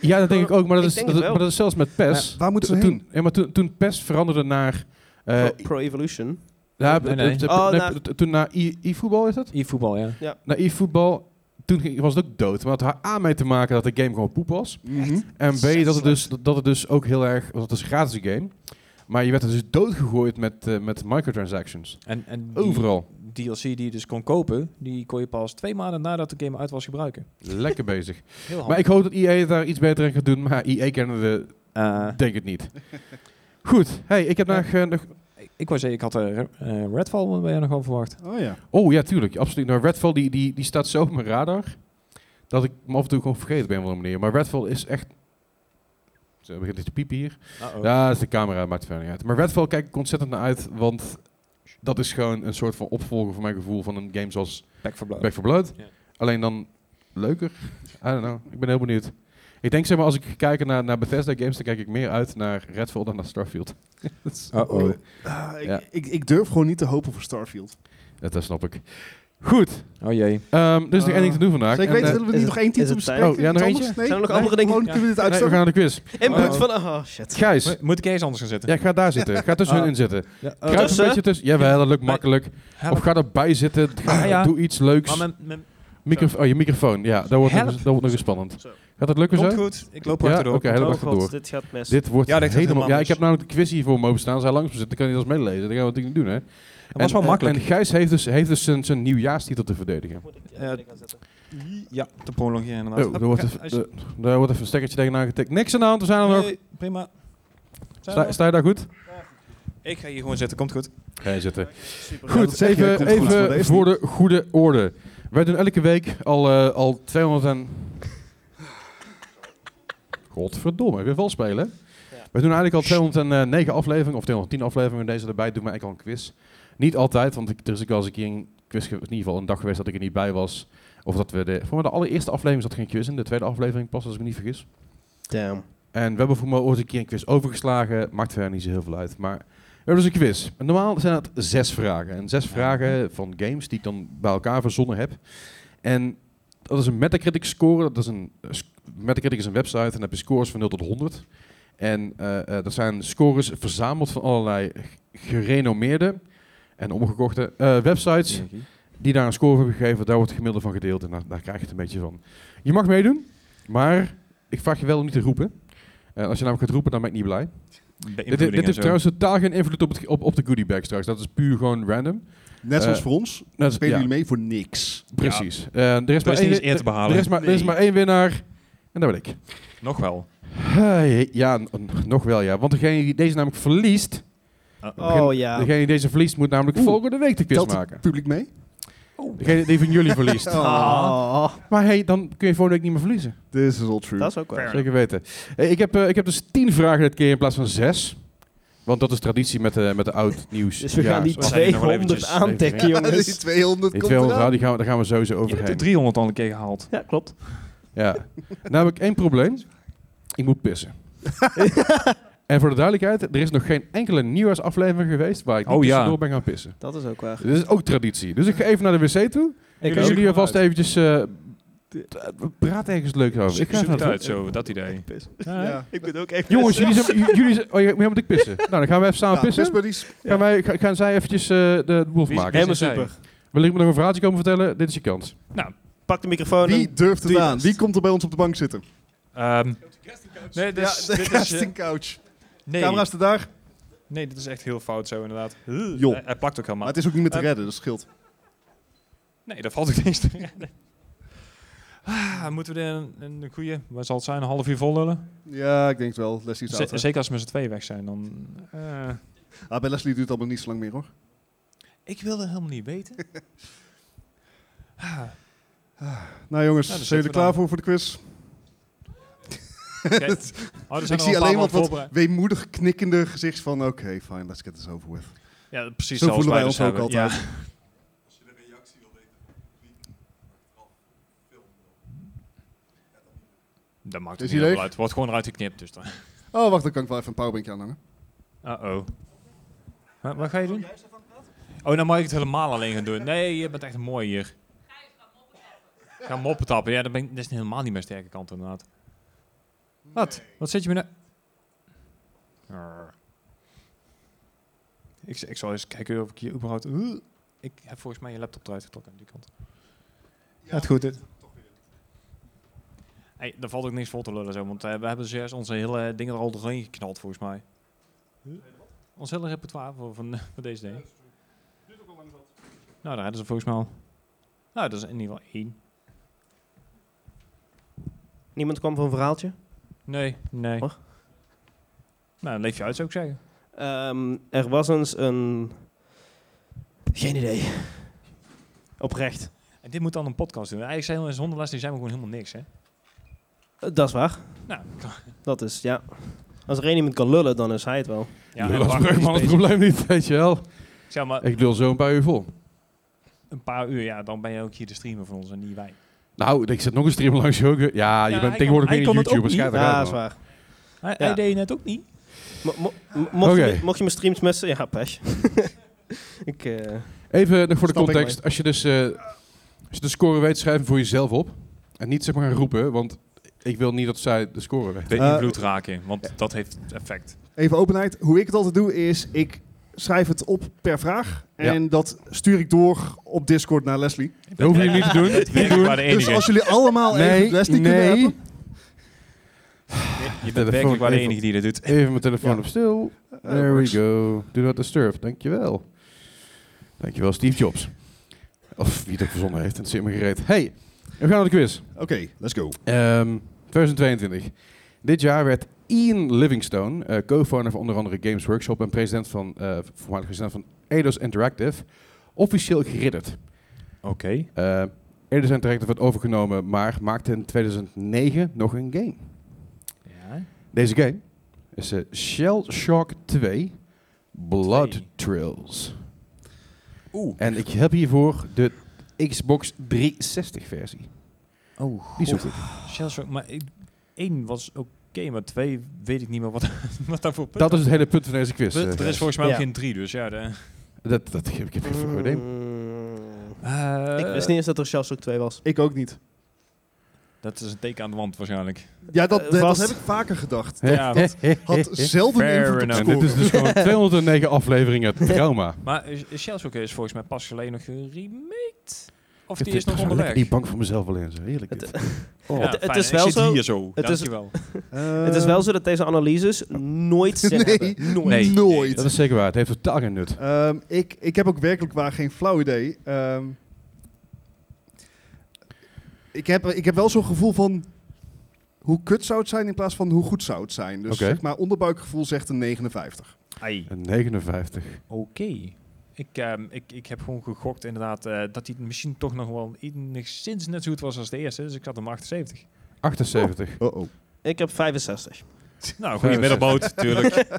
Speaker 1: Ja, dat denk ik ook, maar dat,
Speaker 3: Ik
Speaker 1: is,
Speaker 3: denk
Speaker 1: dat,
Speaker 3: het
Speaker 1: is-
Speaker 3: wel.
Speaker 1: maar dat is zelfs met PES.
Speaker 4: Waar moeten
Speaker 1: Toen-
Speaker 4: ze
Speaker 1: toen,
Speaker 4: heen?
Speaker 1: ja, maar toen, toen PES veranderde naar... eh,
Speaker 3: Pro, Pro Evolution.
Speaker 1: ja,
Speaker 2: Nee, nee.
Speaker 1: eh,
Speaker 3: Oh,
Speaker 1: nee,
Speaker 3: naar-
Speaker 1: t- Toen naar e- e-voetbal is dat?
Speaker 2: E-voetbal, ja.
Speaker 1: Naar e-voetbal, toen ging- was het ook dood. Maar het had A mee te maken dat de game gewoon poep was.
Speaker 4: Mhm.
Speaker 1: En B, dat het, dus, dat het dus ook heel erg... Want het is een gratis game. Maar je werd er dus doodgegooid met, eh, met microtransactions.
Speaker 2: En, en die
Speaker 1: Overal.
Speaker 2: DLC die je dus kon kopen, die kon je pas twee maanden nadat de game uit was gebruiken.
Speaker 1: Lekker bezig.
Speaker 2: Heel handig.
Speaker 1: Maar ik hoop dat EA daar iets beter in gaat doen. Maar EA kennen we,
Speaker 2: Eh,
Speaker 1: denk het niet. Goed. Hey, ik heb
Speaker 2: Ja.
Speaker 1: nog, eh, nog...
Speaker 2: ik, ik wou zeggen, ik had eh, Re- eh, Redfall bij nog over verwacht.
Speaker 4: Oh ja.
Speaker 1: Oh ja, tuurlijk. Absoluut. Nou, Redfall die, die, die staat zo op mijn radar. Dat ik me af en toe gewoon vergeten ben op een andere manier. Maar Redfall is echt... Zo, begint het te piepen hier. Ja, dat is de camera, maakt verder niet uit. Maar Redfall kijk ik ontzettend naar uit, want dat is gewoon een soort van opvolger voor mijn gevoel van een game zoals
Speaker 2: Back
Speaker 4: Oh.
Speaker 2: for Blood.
Speaker 1: Back 4 Blood.
Speaker 2: Ja.
Speaker 1: Alleen dan leuker. I don't know. Ik ben heel benieuwd. Ik denk zeg maar, als ik kijk naar, naar Bethesda games, dan kijk ik meer uit naar Redfall dan naar Starfield.
Speaker 2: Uh-oh.
Speaker 4: Ah, ik,
Speaker 1: Ja.
Speaker 4: ik, ik durf gewoon niet te hopen voor Starfield.
Speaker 1: Ja, dat snap ik. Goed,
Speaker 2: Oh jee.
Speaker 1: ehm, er is nog
Speaker 4: Eh,
Speaker 1: één ding te doen vandaag.
Speaker 4: Zeker
Speaker 1: En,
Speaker 4: weten,
Speaker 1: eh,
Speaker 4: willen we
Speaker 3: is
Speaker 4: niet
Speaker 3: het-
Speaker 4: nog één titel
Speaker 3: is het
Speaker 4: bespreken?
Speaker 1: tijd? Oh, ja, nog
Speaker 4: Iets
Speaker 1: eentje?
Speaker 4: anders? Nee?
Speaker 3: Zijn er nog
Speaker 4: Nee,
Speaker 3: andere dingen?
Speaker 4: Gewoon kunnen we dit
Speaker 1: nee, we gaan
Speaker 4: uitstellen?
Speaker 1: naar de quiz.
Speaker 3: Input
Speaker 2: Oh.
Speaker 3: van... Oh, shit.
Speaker 1: Gijs,
Speaker 2: Mo- Moet ik eens anders gaan zitten?
Speaker 1: ja, ga daar zitten. Ga tussen
Speaker 2: Ah.
Speaker 1: hun in zitten.
Speaker 2: Ja, eh,
Speaker 1: Kruip een
Speaker 3: tussen?
Speaker 1: beetje tussen. Jawel, dat lukt makkelijk. Of ga erbij zitten. Ga-
Speaker 2: Ah, ja.
Speaker 1: Doe iets leuks.
Speaker 2: Maar mijn, mijn
Speaker 1: Microf oh, je microfoon. Ja, dat wordt, nog,
Speaker 2: Help.
Speaker 1: eens- dat wordt nog eens spannend.
Speaker 3: Zo.
Speaker 1: Gaat dat lukken zo?
Speaker 2: komt goed. Ik loop
Speaker 1: Ja,
Speaker 2: er achterdoor.
Speaker 1: oké, helemaal
Speaker 3: Oh
Speaker 1: achterdoor.
Speaker 3: god, dit gaat mis.
Speaker 1: Dit wordt
Speaker 2: Ja, dat is
Speaker 1: helemaal...
Speaker 2: helemaal
Speaker 1: Ja,
Speaker 2: mis.
Speaker 1: ik heb namelijk de quiz hiervoor mogen staan. Zij langs me zitten, dan kan je dat meelezen. Dat gaan we natuurlijk niet doen, hè?
Speaker 2: Dat was wel
Speaker 1: En-
Speaker 2: makkelijk.
Speaker 1: En Gijs heeft dus, heeft dus zijn, zijn nieuwjaarstitel te verdedigen.
Speaker 3: Moet ik
Speaker 2: Eh,
Speaker 3: eh, gaan zetten.
Speaker 2: ja, te prolongeren inderdaad. Ah,
Speaker 1: Oh, er wordt,
Speaker 2: Ga-
Speaker 1: even,
Speaker 2: als je-
Speaker 1: er- daar wordt even een stekkertje tegenaan getikt. Niks aan de hand, we zijn er nog.
Speaker 2: Nee, prima. Zijn we
Speaker 1: Sta,
Speaker 2: nog?
Speaker 1: sta je daar goed?
Speaker 2: Ik ga hier gewoon zitten, komt goed.
Speaker 1: Ga je zitten.
Speaker 3: Super.
Speaker 4: Ja,
Speaker 1: Goed,
Speaker 4: dat zeg je,
Speaker 1: even,
Speaker 4: komt goed, maar
Speaker 1: even
Speaker 4: deze
Speaker 1: voor de goede orde. Wij doen elke week al, eh, al 200 en... Godverdomme, weer vals spelen.
Speaker 3: Ja.
Speaker 1: We doen eigenlijk al 209 afleveringen, of 210 afleveringen deze erbij, doen we eigenlijk al een quiz. Niet altijd, want ik, er is ook wel eens een keer een quiz, ge- in ieder geval een dag geweest dat ik er niet bij was. Of dat we de, voor mij de allereerste aflevering zat geen quiz in. De tweede aflevering pas, als ik me niet vergis.
Speaker 3: Damn.
Speaker 1: En we hebben voor mij ooit een keer een quiz overgeslagen. Maakt verder niet zo heel veel uit. Maar we hebben dus een quiz. En normaal zijn dat zes vragen. En zes vragen van games die ik dan bij elkaar verzonnen heb. En dat is een Metacritic score. Dat is een, eh, sc- Metacritic is een website en daar heb je scores van 0 tot 100. En eh, eh, dat zijn scores verzameld van allerlei g- gerenommeerde en omgekochte eh, websites. Die daar een score voor hebben gegeven. Daar wordt het gemiddelde van gedeeld. En daar, daar krijg je het een beetje van. Je mag meedoen, maar ik vraag je wel om niet te roepen. Eh, als je namelijk gaat roepen, dan ben ik niet blij. Dit, dit heeft trouwens totaal geen invloed op, het, op, op de goodie bag straks. Dat is puur gewoon random.
Speaker 4: Net zoals
Speaker 1: Eh,
Speaker 4: voor ons,
Speaker 1: Dat is-
Speaker 4: spelen
Speaker 1: ja,
Speaker 4: jullie mee voor niks.
Speaker 1: Precies. Eh, er, is maar
Speaker 2: is niet eens
Speaker 1: één,
Speaker 2: eer te
Speaker 1: er,
Speaker 2: behalen.
Speaker 1: is maar, er is
Speaker 4: Nee.
Speaker 1: maar één winnaar. En dat ben ik.
Speaker 2: Nog wel.
Speaker 1: Hey, ja, n- n- nog wel ja. Want degene die deze namelijk verliest...
Speaker 3: Oh ja.
Speaker 1: Degene die deze verliest moet namelijk
Speaker 4: Oeh,
Speaker 1: volgende week de quiz
Speaker 4: Telt
Speaker 1: maken.
Speaker 4: het publiek mee?
Speaker 1: Degene die van jullie verliest.
Speaker 3: Oh,
Speaker 1: Maar hey, dan kun je volgende week niet meer verliezen.
Speaker 4: This is all true.
Speaker 3: dat is ook wel.
Speaker 1: Zeker weten. Eh, ik, heb, eh, ik heb dus tien vragen dit keer in plaats van zes. Want dat is traditie met, de met de oud nieuws.
Speaker 3: Dus we gaan die
Speaker 2: zo. Zijn die nog wel
Speaker 3: 200
Speaker 2: eventjes-
Speaker 3: aantikken,
Speaker 4: die
Speaker 3: jongens.
Speaker 4: 200
Speaker 1: Die
Speaker 4: komt
Speaker 1: 200
Speaker 4: eraan.
Speaker 1: die gaan, we- daar gaan we sowieso
Speaker 2: Je hebt
Speaker 1: overheen.
Speaker 2: de 300 al een keer gehaald.
Speaker 3: Ja, klopt.
Speaker 1: Ja. Nou heb ik één probleem. Ik moet pissen. en voor de duidelijkheid, er is nog geen enkele nieuwjaarsaflevering geweest waar ik
Speaker 2: Oh
Speaker 1: niet
Speaker 2: ja.
Speaker 1: door ben gaan pissen.
Speaker 3: Dat is ook waar.
Speaker 1: Dit is ook traditie. Dus ik ga even naar de wc toe.
Speaker 3: Ik
Speaker 1: Kunnen
Speaker 3: ook.
Speaker 1: jullie alvast eventjes... eh, praat ergens leuk over. Ik
Speaker 2: Zoek
Speaker 1: ga even
Speaker 2: zoek
Speaker 1: naar
Speaker 2: het
Speaker 1: de
Speaker 2: uit, zo, dat idee.
Speaker 4: Ja.
Speaker 1: Ah,
Speaker 3: Ik ben ook echt...
Speaker 1: Jongens, jullie zijn... j- jullie zijn- oh, ja, maar moet ik pissen. Nou, dan gaan we even samen
Speaker 4: Ja,
Speaker 1: pissen.
Speaker 4: best buddies.
Speaker 1: Gaan, wij, ga- gaan zij eventjes eh, de, de boel maken.
Speaker 3: Helemaal
Speaker 2: zijn
Speaker 3: super.
Speaker 1: Wil ik me nog een verhaaltje komen vertellen? Dit is je kans.
Speaker 3: Pak de microfoon en-
Speaker 4: Wie durft Oh, het
Speaker 3: doe je
Speaker 4: aan?
Speaker 3: best.
Speaker 4: Wie komt er bij ons op de bank zitten?
Speaker 2: Ehm, nee, dit is,
Speaker 4: ja, de
Speaker 2: dit is, eh,
Speaker 4: casting couch. Camera
Speaker 2: nee,
Speaker 4: staat daar.
Speaker 2: nee, dit is echt heel fout zo inderdaad.
Speaker 4: Joh.
Speaker 2: Hij, hij plakt ook
Speaker 4: Maar
Speaker 2: helemaal.
Speaker 4: het is ook niet meer te
Speaker 2: Eh,
Speaker 4: redden, dat scheelt.
Speaker 2: Nee, daar valt ook niks te redden. Ah, moeten we er een, een goede, wat zal het zijn, een half uur vol lullen?
Speaker 4: Ja, ik denk het wel. Leslie is
Speaker 2: Z-
Speaker 4: oud. hè?
Speaker 2: zeker als we met z'n tweeën weg zijn, dan... eh,
Speaker 4: Ah, bij Leslie duurt het allemaal niet zo lang meer hoor.
Speaker 2: ik wil dat helemaal niet weten. Ah,
Speaker 4: Nou jongens,
Speaker 2: Nou,
Speaker 4: zijn
Speaker 2: dan zitten
Speaker 4: jullie
Speaker 2: we
Speaker 4: er klaar
Speaker 2: dan.
Speaker 4: voor voor de quiz?
Speaker 2: oké. Oh, er
Speaker 4: ik zie
Speaker 2: zijn al een paar
Speaker 4: alleen wat,
Speaker 2: maanden
Speaker 4: wat
Speaker 2: voorbereid.
Speaker 4: weemoedig knikkende gezicht van... Oké, fine, let's get this over with.
Speaker 2: Ja, precies
Speaker 4: Zo
Speaker 2: zoals
Speaker 4: voelen wij
Speaker 2: dus
Speaker 4: ons ook
Speaker 2: hebben.
Speaker 4: altijd.
Speaker 2: Ja. Dat maakt
Speaker 4: Is hij
Speaker 2: het niet heel
Speaker 4: leeg?
Speaker 2: veel uit. Wordt gewoon eruit geknipt, dus dan.
Speaker 4: Oh, wacht, dan kan ik wel even een powerbankje aanhangen.
Speaker 2: Uh-oh. Wat, wat ga je doen? Oh, dan mag ik het helemaal alleen gaan doen. Nee, je bent echt mooi hier. Ga moppen tappen. Ja, dat, ben ik, dat is helemaal niet mijn sterke kant inderdaad. Wat? Wat zit je me nou... Arr. Ik, z- ik zal eens kijken of ik hier überhaupt... Oeh. Ik heb volgens mij je laptop eruit getrokken aan die kant. Ja, het goed. Dit. Hey, daar valt ook niks voor te lullen zo, want eh, we hebben zojuist onze hele dingen er al doorheen geknald volgens mij. Ons hele repertoire voor, van, voor deze dingen. Nou, daar hadden ze volgens mij al. Nou, dat is in ieder geval één.
Speaker 3: Niemand kwam voor een verhaaltje.
Speaker 2: Nee, nee.
Speaker 3: Hoor.
Speaker 2: Nou, dan leef je uit, zou ik zeggen.
Speaker 3: Ehm, er was eens een... Geen idee. Oprecht.
Speaker 2: En dit moet dan een podcast doen. Eigenlijk zijn we zonder les, die zijn we gewoon helemaal niks, hè?
Speaker 3: Eh, Dat is waar.
Speaker 2: Nou,
Speaker 3: Dat is, ja. Als er één iemand kan lullen, dan is hij het wel.
Speaker 1: Ja,
Speaker 2: ja, en
Speaker 1: dat
Speaker 2: Bart is
Speaker 1: het
Speaker 2: bezig.
Speaker 1: probleem niet, weet je wel.
Speaker 2: Zeg maar,
Speaker 1: Ik lul zo een paar uur vol.
Speaker 2: een paar uur, ja, dan ben je ook hier de streamer van ons en niet wij.
Speaker 1: Nou, ik zit nog een stream langs je ook. Ja, je
Speaker 2: hij
Speaker 1: bent
Speaker 2: kan-
Speaker 1: tegenwoordig
Speaker 2: hij
Speaker 1: meer een
Speaker 2: kon het ook
Speaker 1: YouTuber. schijt
Speaker 2: niet.
Speaker 3: Ja,
Speaker 1: eruit,
Speaker 3: dat is
Speaker 1: man.
Speaker 3: waar.
Speaker 2: Hij,
Speaker 3: Ja.
Speaker 2: hij deed je net ook niet.
Speaker 3: Mo- mo- mo- mocht, je,
Speaker 1: Oké.
Speaker 3: me- mocht je mijn streams missen? Ja, pech. ik, eh,
Speaker 1: Even nog voor de
Speaker 4: Stap ik
Speaker 1: context. Als je, dus, eh, als je de score weet, schrijf hem voor jezelf op. En niet zeg maar gaan roepen, want ik wil niet dat zij de score weet.
Speaker 2: De
Speaker 4: Eh,
Speaker 2: invloed raken, want dat heeft effect.
Speaker 4: Even openheid. Hoe ik het altijd doe is, ik schrijf het op per vraag.
Speaker 1: Ja.
Speaker 4: En dat stuur ik door op Discord naar Leslie.
Speaker 1: Dat hoef je niet te doen.
Speaker 2: Ik
Speaker 1: doen.
Speaker 2: ben maar de
Speaker 4: Dus
Speaker 2: enige.
Speaker 4: als jullie allemaal
Speaker 1: Nee,
Speaker 4: even Leslie kunnen
Speaker 1: nee.
Speaker 4: helpen.
Speaker 2: Je bent
Speaker 1: telefoon
Speaker 2: werkelijk maar de
Speaker 1: even-
Speaker 2: enige die dat doet.
Speaker 1: Dus Even mijn telefoon
Speaker 4: Ja.
Speaker 1: op stil.
Speaker 4: eh,
Speaker 1: There we go. Do not disturb. Dankjewel. Dankjewel, Steve Jobs. Of wie dat verzonnen heeft, het zit me gereed. Hey, we gaan naar de quiz.
Speaker 4: Oké, let's go.
Speaker 1: Ehm, 2022. Dit jaar werd Ian Livingstone, eh, co-founder van onder andere Games Workshop en president van, eh, voormalig president van Eidos Interactive, officieel geridderd.
Speaker 2: Oké.
Speaker 1: Eh Eidos Interactive werd overgenomen, maar maakte in 2009 nog een game.
Speaker 2: Ja.
Speaker 1: Deze game is eh, Shell Shock 2 Blood
Speaker 2: Twee.
Speaker 1: Trails.
Speaker 2: Oeh.
Speaker 1: En ik heb hiervoor de Xbox 360 versie.
Speaker 2: Oh,
Speaker 1: Die is ook goed.
Speaker 6: Shellshock, maar ik- één was oké, maar twee weet ik niet meer wat, wat daarvoor...
Speaker 1: Dat is het hele punt van deze quiz. eh,
Speaker 6: er is volgens mij ook
Speaker 3: Ja.
Speaker 6: geen drie, dus ja. De,
Speaker 1: dat, dat, ik heb ik heb geen flauw idee.
Speaker 3: mm, Ik wist niet eens dat er Shellshock 2 was.
Speaker 4: Ik ook niet.
Speaker 6: Dat is een teken aan de wand waarschijnlijk.
Speaker 4: Ja, dat,
Speaker 3: Eh,
Speaker 4: dat
Speaker 3: vast.
Speaker 4: heb ik vaker gedacht.
Speaker 6: Ja, dat-
Speaker 4: Had zelden
Speaker 6: Fair
Speaker 4: invloed op
Speaker 6: enough.
Speaker 1: En
Speaker 4: scoren.
Speaker 1: dit is dus gewoon 209 afleveringen trauma.
Speaker 6: Maar eh, Shellshock is volgens mij pas geleden nog geremaked. Of
Speaker 1: Ik
Speaker 6: die
Speaker 1: heb
Speaker 6: is nog
Speaker 1: trouwens lekker
Speaker 6: onderweg.
Speaker 1: Die bank voor mezelf wel in, zo heerlijk.
Speaker 3: Het-
Speaker 1: dit. Oh.
Speaker 6: Ja,
Speaker 3: Het- het
Speaker 6: fijn,
Speaker 3: is
Speaker 6: ik
Speaker 3: wel
Speaker 6: zit
Speaker 3: zo-
Speaker 6: hier zo.
Speaker 3: het is-
Speaker 6: Dankjewel.
Speaker 4: Eh,
Speaker 3: Het is wel zo dat deze analyses nooit zin
Speaker 4: nee,
Speaker 3: hebben.
Speaker 4: nooit.
Speaker 6: Nee.
Speaker 4: nooit.
Speaker 1: dat is zeker waar. Het heeft totaal geen nut.
Speaker 4: Ehm, ik, ik heb ook werkelijk waar geen flauw idee. Ehm, ik, heb, ik heb wel zo'n gevoel van hoe kut zou het zijn in plaats van hoe goed zou het zijn. Dus
Speaker 1: Oké.
Speaker 4: zeg maar onderbuikgevoel zegt een 59.
Speaker 6: Ai.
Speaker 1: Een 59.
Speaker 6: Oké. Ik, ehm, ik, ik heb gewoon gegokt inderdaad eh, dat hij misschien toch nog wel enigszins net zo goed was als de eerste. Dus ik had hem 78.
Speaker 1: 78.
Speaker 4: Oh oh.
Speaker 3: Ik heb 65.
Speaker 6: Nou, goede
Speaker 1: Vijfenzestig.
Speaker 6: middelboot, tuurlijk.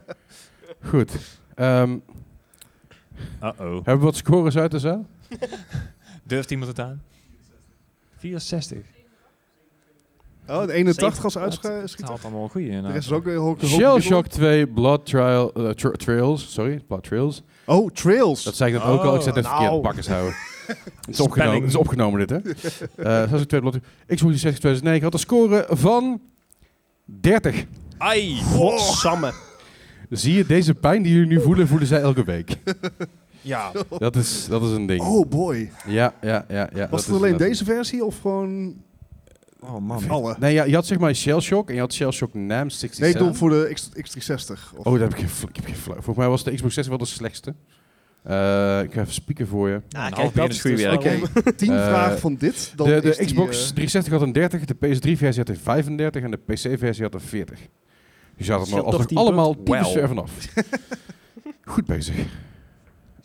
Speaker 1: Goed. Ehm,
Speaker 6: Uh-oh.
Speaker 1: hebben we wat scores uit de zaal?
Speaker 6: Durft iemand het aan? 64.
Speaker 4: Oh, de 81 als uitschiet.
Speaker 6: Het haalt allemaal goede
Speaker 4: De
Speaker 6: inderdaad.
Speaker 4: rest is ook een hoog.
Speaker 1: Shellshock 2 Blood trial, eh, tra- Trails. Sorry, Blood Trails.
Speaker 4: Oh, Trails.
Speaker 1: Dat zei ik net ook al. Ik zet het
Speaker 3: nou.
Speaker 4: Oh,
Speaker 1: verkeerd. Bakkers houden.
Speaker 4: nou.
Speaker 1: Het is, opgenomen,
Speaker 6: Spelling.
Speaker 1: het is opgenomen dit, hè? Eh Shellshock 2 Blood Trails. Xbox 360 2009 had een score van 30.
Speaker 6: Ai! Oh, Nou,
Speaker 3: Godsamme.
Speaker 1: Zie je, deze pijn die jullie nu voelen, voelen zij elke week.
Speaker 6: Ja.
Speaker 1: Dat is, dat is een ding.
Speaker 4: Oh boy.
Speaker 1: Ja, ja, ja. ja dat
Speaker 4: Was
Speaker 1: is
Speaker 4: het alleen
Speaker 1: inderdaad-
Speaker 4: deze versie of gewoon
Speaker 6: Oh man.
Speaker 4: alle?
Speaker 1: Nee, ja, je had zeg maar Shellshock en je had Shellshock NAM 67.
Speaker 4: Nee, ik bedoel voor de X, X360. Of-
Speaker 1: Oh, daar heb ik geen, fl- ik heb geen flauw. Volgens mij was de Xbox 6 wel de slechtste. Eh, ik ga even spieken voor je.
Speaker 3: Ah,
Speaker 6: Een
Speaker 3: kijk,
Speaker 6: half
Speaker 3: dat
Speaker 6: uur
Speaker 3: is
Speaker 6: is goed
Speaker 3: dus
Speaker 6: werk.
Speaker 4: Oké,
Speaker 3: waarom.
Speaker 4: 10
Speaker 1: Eh,
Speaker 4: vragen van dit. Dan
Speaker 1: De, de
Speaker 4: is die,
Speaker 1: Xbox
Speaker 4: eh,
Speaker 1: 360 had een 30, de PS3-versie had een 35 en de PC-versie had een 40. Dus je had hem
Speaker 3: Scheelt
Speaker 1: alsnog
Speaker 3: toch tien
Speaker 1: allemaal
Speaker 6: punten?
Speaker 1: typisch
Speaker 6: Wauw.
Speaker 1: er vanaf. Goed bezig. Eh,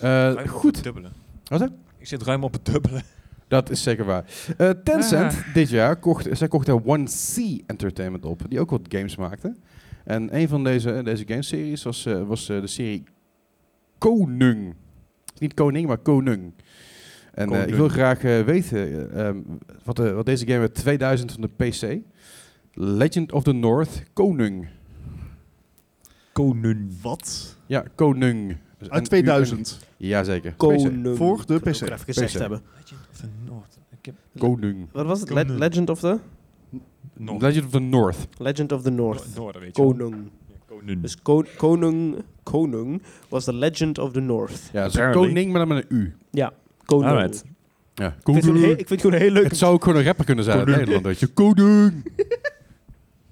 Speaker 6: Ruim op
Speaker 1: goed,
Speaker 6: het dubbele.
Speaker 1: Wat, hè?
Speaker 6: Ik zit ruim op het dubbele.
Speaker 1: dat is zeker waar. Eh, Tencent dit jaar kocht, zij kochten 1C Entertainment op, die ook wat games maakte. En een van deze, eh, deze gameseries was, eh, was eh, de serie Konung. Niet koning, maar Konung. En eh, ik
Speaker 6: Konung.
Speaker 1: wil graag eh, weten eh, ehm, wat, eh, wat deze game uit 2000 van de PC. Legend of the North, Konung.
Speaker 6: Konen.
Speaker 4: Wat?
Speaker 1: Ja, Konung. Dus
Speaker 4: Uit
Speaker 1: N-
Speaker 4: 2000.
Speaker 1: U- N- Jazeker. PC.
Speaker 3: Konung.
Speaker 4: Voor de
Speaker 3: Dat wil
Speaker 4: PC.
Speaker 3: Ik er even gezegd
Speaker 1: PC.
Speaker 3: hebben.
Speaker 6: Legend of the North. Ik heb
Speaker 1: Konung.
Speaker 3: Wat was het?
Speaker 6: Konung.
Speaker 3: Le- Legend of the?
Speaker 6: North.
Speaker 1: Legend of the North.
Speaker 3: Legend of the North.
Speaker 6: Noord- Noorden, weet je wel.
Speaker 3: Konung.
Speaker 6: Ja, Konen.
Speaker 3: Dus ko- konung, konung was the Legend of the North.
Speaker 1: Ja, dus
Speaker 6: Apparently.
Speaker 1: koning, maar dan met een U.
Speaker 3: Konung.
Speaker 6: Alright.
Speaker 1: Ja,
Speaker 3: Ik vind, het gewoon heel- ik vind het gewoon een heel leuk.
Speaker 1: Het zou ook gewoon een rapper kunnen zijn uit
Speaker 6: Konung.
Speaker 1: Nederland, weet je. Konung.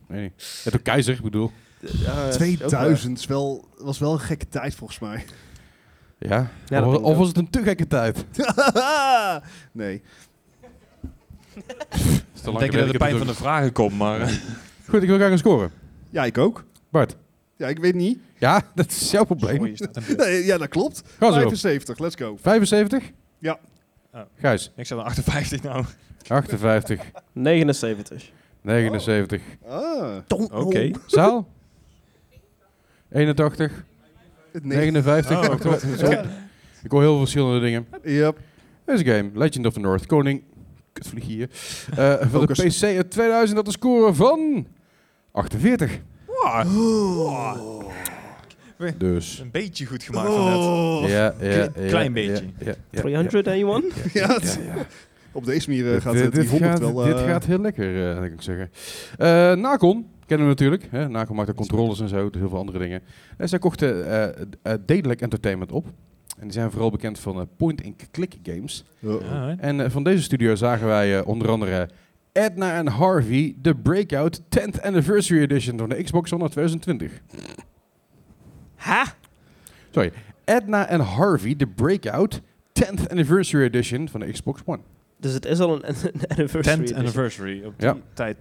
Speaker 1: Nee, nee. Het ook keizer, ik bedoel.
Speaker 3: Ja, Eh, is ook waar.
Speaker 4: 2000 is wel, was wel een gekke tijd volgens mij.
Speaker 1: Ja.
Speaker 3: Ja,
Speaker 1: of
Speaker 3: dat denk ik
Speaker 1: of
Speaker 3: ook.
Speaker 1: was het een te gekke tijd?
Speaker 4: nee.
Speaker 1: Is te
Speaker 6: Ik
Speaker 1: lang
Speaker 6: denk dat
Speaker 1: geleden,
Speaker 6: de
Speaker 1: ik
Speaker 6: pijn
Speaker 1: heb
Speaker 6: van de
Speaker 1: het
Speaker 6: vragen komt, maar...
Speaker 1: ook- Goed, ik wil graag een score.
Speaker 4: Ja, ik ook.
Speaker 1: Bart.
Speaker 4: Ja, ik weet niet.
Speaker 1: Ja, dat is jouw probleem.
Speaker 6: Sorry, je staat een beeld.
Speaker 4: Nee, ja, dat klopt.
Speaker 1: Ga zo.
Speaker 4: 75, let's go.
Speaker 1: 75?
Speaker 4: Ja.
Speaker 6: Oh.
Speaker 1: Gijs,
Speaker 6: Ik zat aan 58 nou.
Speaker 1: 58,
Speaker 3: 79.
Speaker 1: 79.
Speaker 4: Ah,
Speaker 6: Oké.
Speaker 1: Zaal? 81,
Speaker 4: het negen-
Speaker 1: 59.
Speaker 6: Oh,
Speaker 1: wacht, wacht, sorry. Ik hoor heel veel verschillende dingen.
Speaker 4: Yep.
Speaker 1: Deze game, Legend of the North, Koning... Kutvlieg hier. Eh van de
Speaker 4: Focus.
Speaker 1: PC uit 2000 had een score van... 48. Dus...
Speaker 6: Een beetje goed gemaakt van
Speaker 4: Oh.
Speaker 6: net.
Speaker 1: Ja, ja,
Speaker 6: Kle- klein beetje.
Speaker 1: Ja, ja, ja.
Speaker 3: 300 anyone?
Speaker 4: Ja, het- Op deze manier eh, gaat het die
Speaker 1: dit,
Speaker 4: 100
Speaker 1: gaat,
Speaker 4: wel...
Speaker 1: dit
Speaker 4: eh,
Speaker 1: gaat heel lekker, eh, kan ik zeggen. Eh, Nacon, kennen we natuurlijk. Hè? Nacon maakt ook controllers en zo, dus heel veel andere dingen. En zij kochten eh, eh, eh, Dedelijk Entertainment op. En die zijn vooral bekend van eh, point-and-click games.
Speaker 4: oh, oh.
Speaker 6: Ja, hè?
Speaker 1: En eh, van deze studio zagen wij eh, onder andere Edna en Harvey, de Breakout 10th Anniversary Edition van de Xbox One uit 2020.
Speaker 3: Ha?
Speaker 1: Sorry, Edna en Harvey, de Breakout 10th Anniversary Edition van de Xbox One.
Speaker 3: Dus het is al een, een anniversary.
Speaker 6: 10th
Speaker 3: edition.
Speaker 6: anniversary. Op die
Speaker 1: Ja.
Speaker 6: tijd.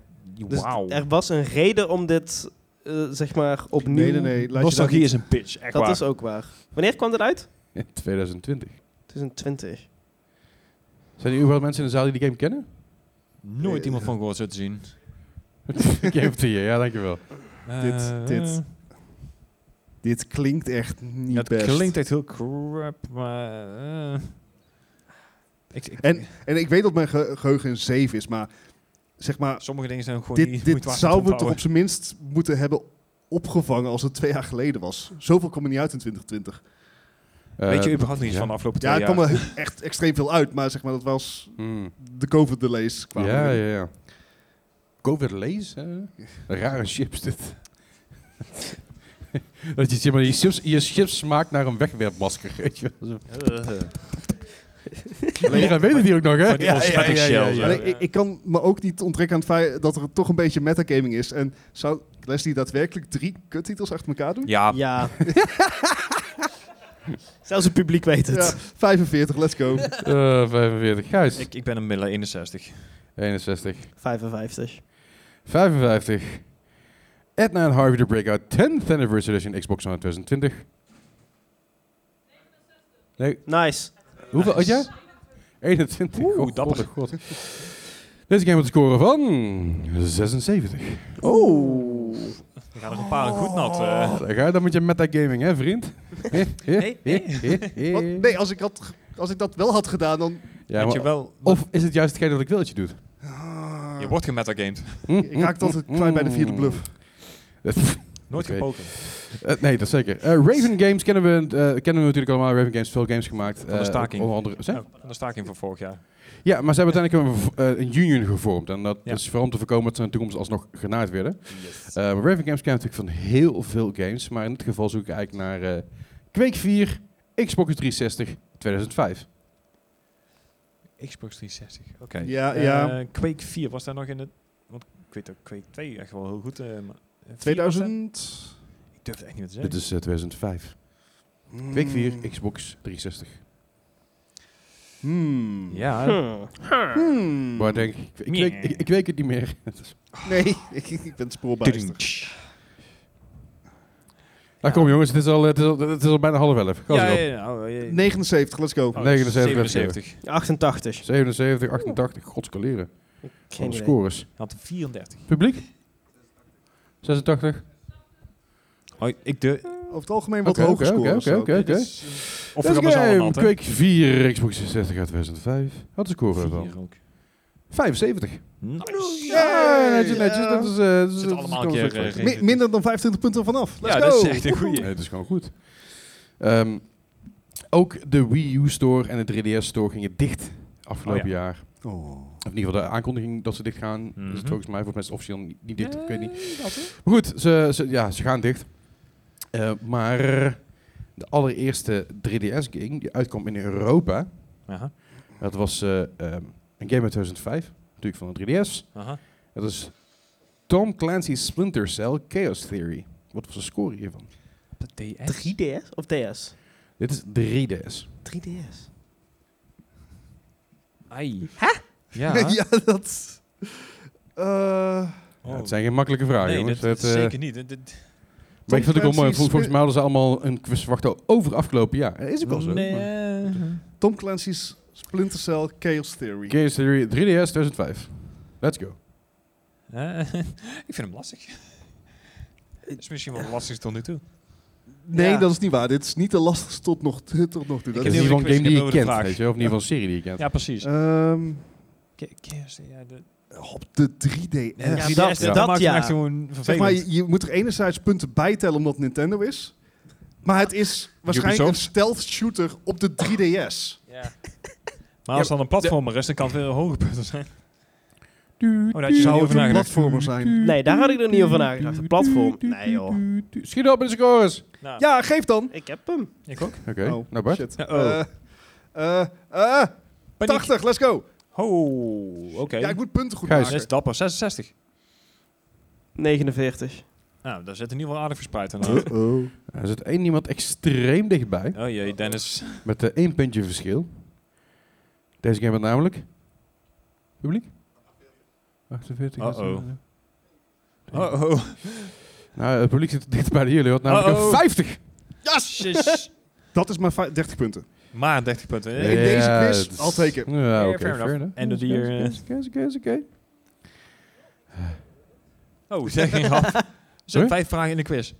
Speaker 3: Dus
Speaker 6: Wauw.
Speaker 3: er was een reden om dit, eh, zeg maar, opnieuw...
Speaker 4: Nee, nee, nee. Laat je dat
Speaker 6: Nostalgie
Speaker 4: niet-
Speaker 6: is een pitch. Echt
Speaker 3: Dat
Speaker 6: waar.
Speaker 3: is ook waar. Wanneer kwam dit uit?
Speaker 1: In 2020.
Speaker 3: 2020.
Speaker 1: Zijn er überhaupt mensen in de zaal die die game kennen?
Speaker 6: Nooit iemand van gehoord zo te zien.
Speaker 1: game of the Year, ja, dankjewel.
Speaker 6: Eh,
Speaker 4: dit. Dit klinkt echt niet
Speaker 6: Het
Speaker 4: best.
Speaker 6: klinkt echt heel crap, maar... eh,
Speaker 7: Ik, ik-
Speaker 4: En ik weet dat mijn ge- geheugen een 7 is, maar zeg maar,
Speaker 2: Sommige dingen zijn ook gewoon
Speaker 4: dit,
Speaker 2: niet
Speaker 4: dit
Speaker 2: moeite waard om te
Speaker 4: zouden we toch op
Speaker 2: onthouden.
Speaker 4: zijn minst moeten hebben opgevangen als het twee jaar geleden was. Zoveel kwam er niet uit in 2020.
Speaker 2: Weet je überhaupt niet
Speaker 1: Eh, ja.
Speaker 2: van de afgelopen twee
Speaker 4: Ja, er
Speaker 2: jaar?
Speaker 4: kwam er echt extreem veel uit, maar zeg maar, dat was
Speaker 1: Hmm.
Speaker 4: de COVID-delays.
Speaker 1: Ja,
Speaker 4: kwamen
Speaker 1: ja,
Speaker 4: erin.
Speaker 1: ja. Covid lees, hè? Rare chips dit. dat je, zeg maar, je, chips, je chips smaakt naar een wegwerpmasker, weet je wel. Zo. Leraar weet het die ook nog, hè?
Speaker 2: Van die ontsmetting shells,
Speaker 4: Alleen,
Speaker 2: ja.
Speaker 4: Ik, ik kan me ook niet onttrekken aan het feit dat er toch een beetje metagaming is. En zou Leslie daadwerkelijk drie kuttitels achter elkaar doen?
Speaker 2: Ja,
Speaker 3: Ja. Zelfs het publiek weet het.
Speaker 4: Ja, 45, let's go.
Speaker 1: Eh, 45, Gijs.
Speaker 2: ik, ik ben een middel 61.
Speaker 1: 61.
Speaker 3: 55.
Speaker 1: 55. Edna en Harvey de Breakout 10th Anniversary Edition Xbox One 2020.
Speaker 3: Nice.
Speaker 1: Hoeveel had jij? 21.
Speaker 2: Oeh,
Speaker 1: god,
Speaker 2: dapper.
Speaker 1: god, god. Deze game had een score van 76.
Speaker 3: Oh.
Speaker 2: We gaan er een paar goed nat. eh.
Speaker 1: Daar ga je dan met je metagaming, hè, vriend? Hé, hé,
Speaker 3: Nee,
Speaker 1: hé, hé, hé.
Speaker 4: Want, Oh, nee, als ik, had, ge- als ik dat wel had gedaan, dan...
Speaker 1: Ja,
Speaker 2: Weet
Speaker 1: maar-
Speaker 2: je wel,
Speaker 1: Of is het juist hetgeen dat ik wil dat je doet?
Speaker 4: Ah,
Speaker 2: je wordt gemetagamed.
Speaker 1: Hm,
Speaker 4: ik raak dat kwijt bij de vierde bluff.
Speaker 2: Nooit
Speaker 1: Oké.
Speaker 2: gepoken.
Speaker 1: Eh, nee, dat zeker. Eh, Raven Games kennen we, eh, kennen we natuurlijk allemaal. Raven Games, veel games gemaakt.
Speaker 2: Van de
Speaker 1: eh,
Speaker 2: staking.
Speaker 1: onder andere, zeg?
Speaker 2: Oh, van de staking van vorig jaar.
Speaker 1: Ja, maar ze hebben uiteindelijk een, v- eh, een union gevormd. En dat
Speaker 2: Ja.
Speaker 1: is vooral om te voorkomen dat ze in de toekomst alsnog genaaid werden. Eh, maar Raven Games kennen natuurlijk van heel veel games. Maar in dit geval zoek ik eigenlijk naar eh Quake 4, Xbox 360, 2005.
Speaker 2: Xbox 360, oké.
Speaker 4: Ja,
Speaker 2: Eh,
Speaker 4: ja.
Speaker 2: Quake 4, was daar nog in het... Want ik weet ook Quake 2 echt wel heel goed. eh, maar- eh,
Speaker 4: 2000...
Speaker 2: vier was dat? Ik durf het echt niet meer te zeggen.
Speaker 1: Dit is eh, 2005.
Speaker 4: Mm.
Speaker 1: Quake 4, Xbox 360.
Speaker 4: Hmm.
Speaker 2: Ja,
Speaker 3: Hm.
Speaker 4: Hmm.
Speaker 1: Maar denk ik, ik, weet, ik, ik weet het niet meer.
Speaker 4: Nee, ik, ik ben spoorbijster.
Speaker 1: Nou kom jongens, het is al, het is al, het is al bijna half elf. Gas
Speaker 2: ja, ja,
Speaker 1: erop.
Speaker 2: ja, nou, eh,
Speaker 4: 79, let's go.
Speaker 2: oh,
Speaker 1: 79.
Speaker 2: 77.
Speaker 3: 88.
Speaker 1: 77, 88, godskaleren.
Speaker 3: Geen
Speaker 1: Van de
Speaker 3: idee.
Speaker 1: scores.
Speaker 2: Had 34.
Speaker 1: Publiek? 86?
Speaker 2: Oh, ik de...
Speaker 4: Over het algemeen wat
Speaker 1: Oké, oké,
Speaker 4: hoger scoren.
Speaker 1: oké,
Speaker 4: of zo.
Speaker 1: oké, oké.
Speaker 2: Of
Speaker 1: This
Speaker 2: we gaan ze allemaal
Speaker 1: game,
Speaker 2: nat, hè?
Speaker 1: Quake 4, Xbox 360 uit 2005. Wat is de score van?
Speaker 2: Vier ook.
Speaker 1: 75.
Speaker 2: Nice.
Speaker 1: Ja, netjes, netjes.
Speaker 4: Ja.
Speaker 1: Dat is, eh, dat is-
Speaker 2: Zit
Speaker 1: dat is
Speaker 2: allemaal
Speaker 1: gewoon
Speaker 2: een keer,
Speaker 1: zo goed.
Speaker 2: eh,
Speaker 4: Mi- minder dan 25 punten vanaf. Let's
Speaker 2: Ja,
Speaker 4: go.
Speaker 2: dat is echt een goeie.
Speaker 1: Nee, het is gewoon goed. Ehm, ook de Wii U Store en de 3DS Store gingen dicht afgelopen
Speaker 2: Oh
Speaker 1: jaar.
Speaker 4: Oh.
Speaker 1: Of in ieder geval de aankondiging dat ze dicht gaan. Is
Speaker 2: Mhm.
Speaker 1: het volgens mij voor mensen officieel niet, niet dicht? ik weet niet. Maar goed, ze, ze, ja, ze gaan dicht. Eh, maar de allereerste 3DS-game die uitkwam in Europa,
Speaker 2: Aha,
Speaker 1: dat was eh, ehm, een game uit 2005, natuurlijk van de 3DS.
Speaker 2: aha.
Speaker 1: Dat is Tom Clancy's Splinter Cell Chaos Theory. Wat was de score hiervan?
Speaker 2: Op de DS.
Speaker 3: 3DS of DS?
Speaker 1: Dit is 3DS.
Speaker 3: 3DS.
Speaker 2: Ai. Ja.
Speaker 4: ja, dat... Eh,
Speaker 2: Oh.
Speaker 1: Ja, het zijn geen makkelijke vragen,
Speaker 2: nee,
Speaker 1: jongens.
Speaker 2: dat, dat
Speaker 1: eh,
Speaker 2: is zeker niet. Dit- dit-
Speaker 1: Maar ik vind het ook wel mooi.
Speaker 4: Clancy's
Speaker 1: Vol- Volgens
Speaker 4: Spli-
Speaker 1: mij hadden ze allemaal een quiz verwacht over afgelopen jaar. Dat is ook wel zo.
Speaker 2: Nee,
Speaker 1: maar-
Speaker 2: eh,
Speaker 4: Tom Clancy's Splinter Cell Chaos Theory.
Speaker 1: Chaos Theory 3DS 2005. Let's go.
Speaker 2: eh, ik vind hem lastig. Dat is misschien wel het lastigste tot nu toe.
Speaker 4: nee,
Speaker 3: Ja.
Speaker 4: dat is niet waar. Dit is niet de lastigste tot nog, tot nog
Speaker 1: Dat
Speaker 4: toe. Dat
Speaker 2: heb
Speaker 1: is in
Speaker 4: is,
Speaker 1: ieder
Speaker 2: heel
Speaker 1: geval een game
Speaker 2: veel
Speaker 1: die je
Speaker 2: quiz, ik heb
Speaker 1: kent,
Speaker 2: wel de vraag.
Speaker 1: weet je wel, Of in ieder geval een serie die je kent.
Speaker 2: Ja, precies.
Speaker 4: Ehm,
Speaker 2: Ke- kerst, ja, de,
Speaker 4: op de 3DS.
Speaker 2: ja,
Speaker 3: dat-
Speaker 2: 3DS,
Speaker 3: ja.
Speaker 2: dat maakt
Speaker 3: ja.
Speaker 2: hem echt gewoon
Speaker 4: Zeg maar,
Speaker 2: vervelend.
Speaker 4: je, je moet er enerzijds punten bijtellen omdat Nintendo is. Maar het is waarschijnlijk
Speaker 2: Ubisoft?
Speaker 4: een stealth shooter op de 3DS.
Speaker 2: Ja. Maar als dan een platformer is, dan kan het weer hoge punten zijn. Oh, daar had je zo
Speaker 4: Zou het
Speaker 2: over
Speaker 4: een
Speaker 2: nagedacht.
Speaker 4: platformer zijn?
Speaker 3: Nee, daar had ik nog niet over nagedacht. Een platform. Nee joh.
Speaker 1: Schiet op in de scores.
Speaker 2: Nou,
Speaker 4: Ja, geef dan.
Speaker 3: Ik heb hem.
Speaker 2: ik ook.
Speaker 1: Oké,
Speaker 4: Oh,
Speaker 1: nou Bart.
Speaker 4: shit.
Speaker 2: Ja, oh.
Speaker 4: Eh, eh, eh,
Speaker 2: Paniek.
Speaker 4: 80, let's go.
Speaker 2: Oh, oké.
Speaker 4: Ja, ik moet punten goed
Speaker 1: Gijs.
Speaker 2: Dat
Speaker 4: maken.
Speaker 2: is dapper. 66.
Speaker 3: 49.
Speaker 2: Nou, daar zit in ieder geval aardig verspreid aan.
Speaker 1: Er zit één iemand extreem dichtbij.
Speaker 2: Oh jee, Dennis.
Speaker 1: Met eh, één puntje verschil. Deze game had namelijk... Publiek? 48.
Speaker 2: Uh-oh. Oh, oh.
Speaker 1: Nou, het publiek zit dichter bij de jullie. Had namelijk
Speaker 2: Uh-oh.
Speaker 1: een 50.
Speaker 2: Yes!
Speaker 4: Dat is mijn fi- 30 punten.
Speaker 2: maar 30 punten.
Speaker 1: Ja,
Speaker 2: Eh,
Speaker 4: In deze quiz,
Speaker 1: het is-
Speaker 4: I'll take it.
Speaker 1: Ja,
Speaker 2: Fair,
Speaker 1: oké. fair
Speaker 2: fair enough.
Speaker 1: enough.
Speaker 2: End of the
Speaker 1: Oké,
Speaker 2: year,
Speaker 1: Oké, oké, oké, oké, oké.
Speaker 2: Oh, zeg geen grap. Er
Speaker 1: Sorry?
Speaker 2: zijn vijf vragen in de quiz.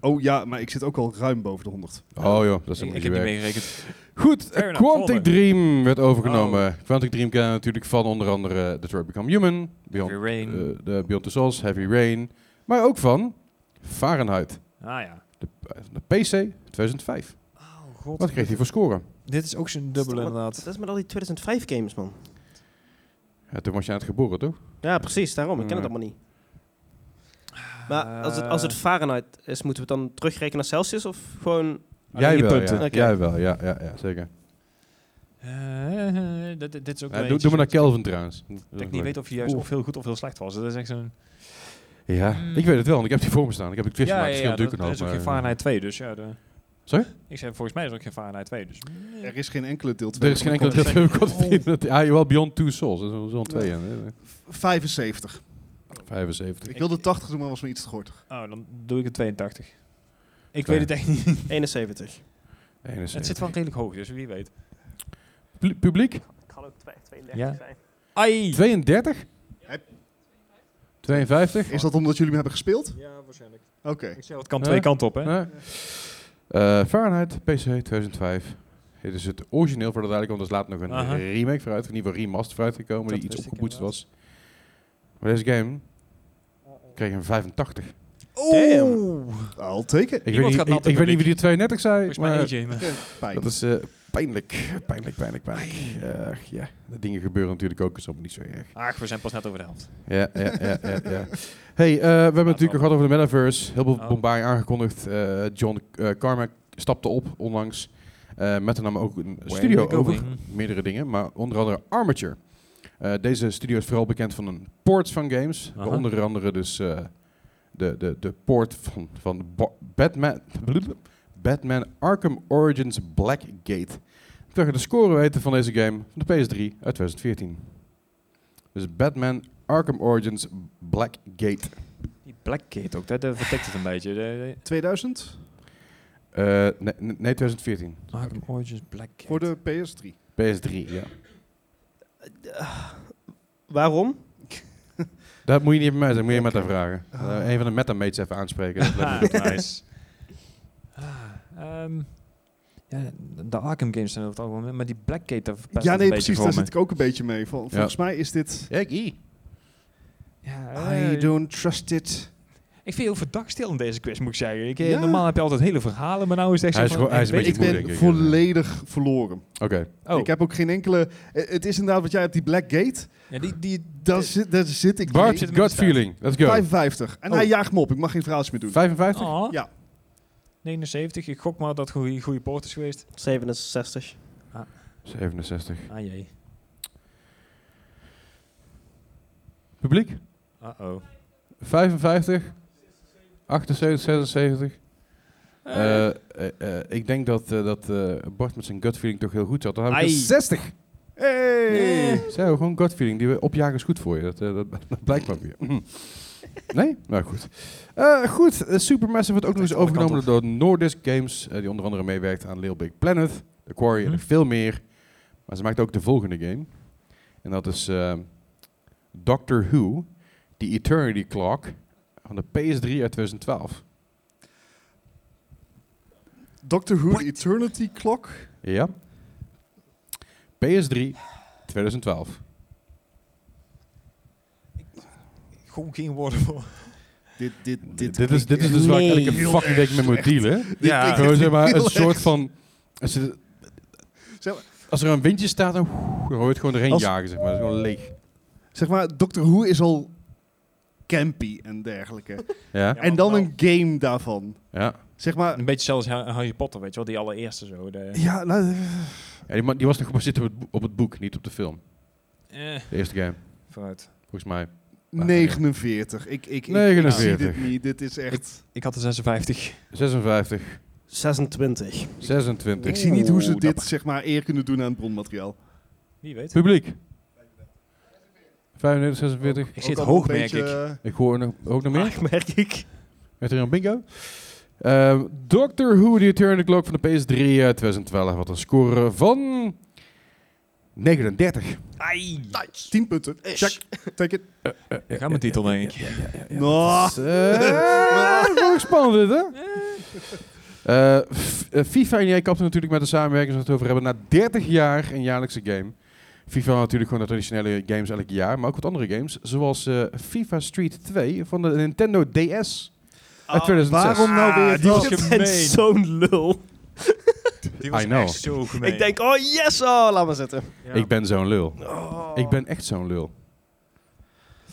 Speaker 4: Oh ja, maar ik zit ook al ruim boven de 100.
Speaker 1: Oh joh, dat is
Speaker 6: Ik,
Speaker 1: een
Speaker 6: ik
Speaker 1: beetje
Speaker 6: heb niet
Speaker 1: werk.
Speaker 6: meegerekend.
Speaker 1: Goed,
Speaker 6: Fair enough,
Speaker 1: Quantic
Speaker 6: volgende.
Speaker 1: Dream werd overgenomen. Quantic Dream kennen we natuurlijk van onder andere eh, Detroit Become Human, Beyond,
Speaker 6: Heavy Rain.
Speaker 1: eh, de Beyond the Souls, Heavy Rain, maar ook van Fahrenheit,
Speaker 6: Ah ja.
Speaker 1: de, eh, de PC 2005.
Speaker 6: Oh god.
Speaker 1: Wat kreeg hij voor scoren?
Speaker 6: Dit is ook zo'n dubbele inderdaad.
Speaker 3: Dat is met al die 2005 games, man.
Speaker 1: Ja, toen was je aan het geboren, toch?
Speaker 3: Ja, precies, daarom. Ik ken het
Speaker 1: Ja.
Speaker 3: allemaal niet. Maar als het, als het Fahrenheit is, moeten we het dan terugrekenen naar Celsius? Of gewoon...
Speaker 1: Jij
Speaker 3: je
Speaker 1: wel,
Speaker 3: punten.
Speaker 1: ja.
Speaker 3: Oké.
Speaker 1: Jij wel, ja, ja, ja zeker.
Speaker 6: Eh, eh, dit, dit is ook
Speaker 1: Ja,
Speaker 6: wel
Speaker 1: doe,
Speaker 6: eentje
Speaker 1: doe maar naar Kelvin trouwens.
Speaker 6: dat ik niet weet of je juist
Speaker 1: Oeh.
Speaker 6: of heel goed of heel slecht was. Dat is echt zo'n...
Speaker 1: Ja, ik weet het wel, want ik heb die voor me staan. Ik heb het quiz gemaakt, verschillende
Speaker 6: dat,
Speaker 1: duiken
Speaker 6: er is ook
Speaker 1: al,
Speaker 6: geen
Speaker 1: maar-
Speaker 6: Fahrenheit 2, dus ja. de-
Speaker 1: Sorry?
Speaker 6: Ik zei, volgens mij is er ook geen Fahrenheit 2, dus...
Speaker 4: Er is geen enkele deel 2.
Speaker 1: eh, Er is geen enkele dat we hebben Ja, je wel Beyond Two Souls. Dat is zo'n twee. hè.
Speaker 4: 75.
Speaker 1: 75.
Speaker 4: Ik wilde 80 doen, maar was me iets te kort.
Speaker 6: Oh, dan doe ik een 82. Ik
Speaker 1: Oké.
Speaker 6: weet het echt niet.
Speaker 3: 71.
Speaker 6: Het
Speaker 1: 71.
Speaker 6: zit wel redelijk hoog, dus wie weet.
Speaker 1: Pu- Publiek?
Speaker 3: Ik kan ook 32
Speaker 6: Ja.
Speaker 3: zijn.
Speaker 6: Ai!
Speaker 1: 32?
Speaker 4: Heb-
Speaker 1: 52?
Speaker 4: Is dat omdat jullie hem hebben gespeeld?
Speaker 6: Ja, waarschijnlijk.
Speaker 4: Oké.
Speaker 6: Ik zei, het kan
Speaker 1: Eh?
Speaker 6: twee kanten op, hè?
Speaker 1: Nee. Eh, Fahrenheit, PC 2005. Dit is het origineel voor de duidelijkheid, want er is later nog een
Speaker 6: Aha.
Speaker 1: remake vooruit, of in ieder geval remaster vooruit gekomen,
Speaker 6: Dat
Speaker 1: die iets
Speaker 6: wist ik
Speaker 1: opgepoetst was.
Speaker 6: inderdaad.
Speaker 1: Maar deze game kreeg een 85. Ik
Speaker 4: I'll take it.
Speaker 1: weet,
Speaker 6: gaat
Speaker 1: niet, ik,
Speaker 6: nat in
Speaker 1: ik weet niet
Speaker 6: publiek.
Speaker 1: wie die 32 zei,
Speaker 6: Volgens mij
Speaker 1: maar
Speaker 6: eentje. maar-
Speaker 4: Fijn.
Speaker 1: dat is eh, pijnlijk. Pijnlijk, pijnlijk, pijnlijk. Eh, ja, de dingen gebeuren natuurlijk ook, dus op niet zo erg.
Speaker 6: Ach, we zijn pas net over de helft.
Speaker 1: Ja, ja, ja, ja. ja. Hey, eh, we hebben het natuurlijk al gehad over de metaverse. Heel veel
Speaker 6: Oh.
Speaker 1: bombarie aangekondigd. Eh, John eh, Carmack stapte op onlangs. eh, met er nam ook een studio
Speaker 6: we
Speaker 1: over.
Speaker 6: going?
Speaker 1: Meerdere dingen, maar onder andere Armature. Eh, deze studio is vooral bekend van een ports van games.
Speaker 6: Aha.
Speaker 1: Onder andere dus eh, de, de, de port van, van Ba- Batman, Batman Arkham Origins Blackgate. Ik wil graag de score weten van deze game van de PS3 uit 2014. Dus Batman Arkham Origins Blackgate.
Speaker 6: Die Blackgate ook, dat eh, vertikt het een beetje. De,
Speaker 4: 2000
Speaker 1: Eh, nee, nee, 2014.
Speaker 6: de Arkham Origins Blackgate.
Speaker 4: voor de PS3.
Speaker 1: PS3, ja.
Speaker 3: Eh, Waarom?
Speaker 1: Dat moet je niet bij mij zeggen, moet je meta vragen. Eh, een van de metamates even aanspreken. Dat lijkt me goed.
Speaker 6: nice. Ah, ehm, ja, de Arkham games zijn over het algemeen, maar die Blackgate, daar verpest
Speaker 4: Ja,
Speaker 6: het
Speaker 4: nee,
Speaker 6: een beetje
Speaker 4: precies. Daar
Speaker 6: voor
Speaker 4: zit ik ook een beetje mee. Vol- Volgens mij is dit...
Speaker 1: Ja, ik ie.
Speaker 6: me. Ja,
Speaker 4: I
Speaker 6: eh,
Speaker 4: don't trust it.
Speaker 6: Ik vind je overdag stil in deze quiz, moet ik zeggen. Ik, eh,
Speaker 4: Ja.
Speaker 6: Normaal heb je altijd hele verhalen, maar nou is het echt
Speaker 1: Hij
Speaker 6: zo
Speaker 1: is
Speaker 6: van,
Speaker 1: gewoon- hij is
Speaker 6: ik
Speaker 1: een
Speaker 6: weet-
Speaker 4: Ik
Speaker 1: beetje moe,
Speaker 4: ben
Speaker 1: denk ik. eh.
Speaker 4: volledig verloren.
Speaker 1: Oké.
Speaker 6: Oh,
Speaker 4: Ik heb ook geen enkele... eh, Het is inderdaad wat jij hebt, die Black Gate.
Speaker 6: ja, die, die,
Speaker 4: Daar, zit, daar zit ik
Speaker 1: Bart,
Speaker 4: in.
Speaker 6: zit hem in
Speaker 1: gut
Speaker 6: de staart.
Speaker 1: feeling. Let's go.
Speaker 4: 55. En
Speaker 1: Oh.
Speaker 4: hij jaagt me op. Ik mag geen verhaaltjes meer doen.
Speaker 1: 55?
Speaker 6: Oh.
Speaker 4: Ja.
Speaker 6: 79, ik gok maar dat goede goede poort is geweest.
Speaker 3: 67.
Speaker 1: 67.
Speaker 6: Ah jee.
Speaker 1: Publiek?
Speaker 6: Uh-oh.
Speaker 1: 55? 78, 76? Eh, eh, eh, ik denk dat, eh, dat eh, Bart met zijn gut feeling toch heel goed zat. Dan heb ik
Speaker 6: Ai.
Speaker 1: een 60.
Speaker 4: Hey!
Speaker 1: Zo, gewoon gut feeling. Die we opjagen is goed voor je. Dat, eh, dat, dat blijkt maar weer. Nee? Nou goed. Eh, goed, eh, Supermassive wordt ook nog eens
Speaker 6: Alle kanten
Speaker 1: overgenomen door Nordisk Games, eh, die onder andere meewerkt aan Little Big Planet, The Quarry en
Speaker 6: Mhm.
Speaker 1: nog veel meer. Maar ze maakt ook de volgende game. En dat is eh, Doctor Who, The Eternity Clock, van de PS3 uit 2012.
Speaker 4: Doctor Who The Eternity Clock.
Speaker 1: Ja. PS3 2012.
Speaker 6: Gewoon geen woorden voor.
Speaker 4: Dit, dit,
Speaker 1: Dit, is, dit is dus waar ik
Speaker 3: Nee.
Speaker 1: elke fucking week mee moet dealen.
Speaker 6: Ja.
Speaker 4: klinkt
Speaker 1: Gewoon
Speaker 4: echt
Speaker 1: zeg maar
Speaker 4: heel
Speaker 1: een
Speaker 4: erg.
Speaker 1: soort van... Als, je-
Speaker 4: Zeg maar-
Speaker 1: als er een windje staat, dan, dan hoor je het gewoon erheen
Speaker 4: Als-
Speaker 1: jagen, zeg maar. Dat is gewoon leeg.
Speaker 4: Zeg maar, Doctor Who is al campy en dergelijke.
Speaker 1: Ja,
Speaker 6: Ja,
Speaker 4: en dan
Speaker 6: wel.
Speaker 4: een game daarvan.
Speaker 1: ja.
Speaker 4: Zeg maar,
Speaker 6: Een beetje zelfs Ha- Harry Potter, weet je wel, die allereerste zo. De,
Speaker 4: ja, nou, eh,
Speaker 1: Ja, die, man- die was nog gebaseerd op het, bo- op het boek, niet op de film.
Speaker 6: eh,
Speaker 1: De eerste game,
Speaker 6: vooruit.
Speaker 1: volgens mij.
Speaker 4: 49. Ik, ik, ik, ik
Speaker 1: 49.
Speaker 4: zie dit niet. Dit is echt...
Speaker 6: Ik had de 56.
Speaker 1: 56,
Speaker 3: 26.
Speaker 1: 26.
Speaker 4: Ik zie niet hoe ze
Speaker 6: Oeh,
Speaker 4: dit zeg maar eer kunnen doen aan het bronmateriaal.
Speaker 6: Wie weet.
Speaker 1: Publiek. 35, 46.
Speaker 6: Ik zit
Speaker 4: Ook allemaal
Speaker 6: hoog,
Speaker 4: een
Speaker 6: merk ik.
Speaker 4: beetje, eh,
Speaker 1: Ik hoor nog, ook nog meer.
Speaker 3: Ach, Ah, merk ik.
Speaker 1: Werd er een bingo? Ehm eh, Doctor Who The Eternal Clock van de PS3 uit 2012. Wat een score van 39.
Speaker 3: Ai.
Speaker 4: 10 punten. Check. Take it.
Speaker 6: Ik ga mijn titel, denk ik.
Speaker 4: Nou,
Speaker 1: Dat is, eh, dat wordt ook spannend, dit, hè? Eh, F- eh, FIFA en jij kapten natuurlijk met de samenwerking, zoals we het over hebben, na 30 jaar een jaarlijkse game. FIFA had natuurlijk gewoon de traditionele games elk jaar, maar ook wat andere games, zoals eh, FIFA Street 2 van de Nintendo DS uit
Speaker 6: Oh,
Speaker 1: 2006.
Speaker 4: waarom
Speaker 3: Ah,
Speaker 4: nou weer
Speaker 6: die
Speaker 4: dat?
Speaker 6: was-
Speaker 3: Ik ben
Speaker 6: Gemeen.
Speaker 3: zo'n lul.
Speaker 6: Die was
Speaker 1: I know.
Speaker 6: echt zo gemeen.
Speaker 3: Ik denk, oh yes, oh, laat maar zitten.
Speaker 1: Ik ben zo'n lul.
Speaker 3: Oh.
Speaker 1: Ik ben echt zo'n lul.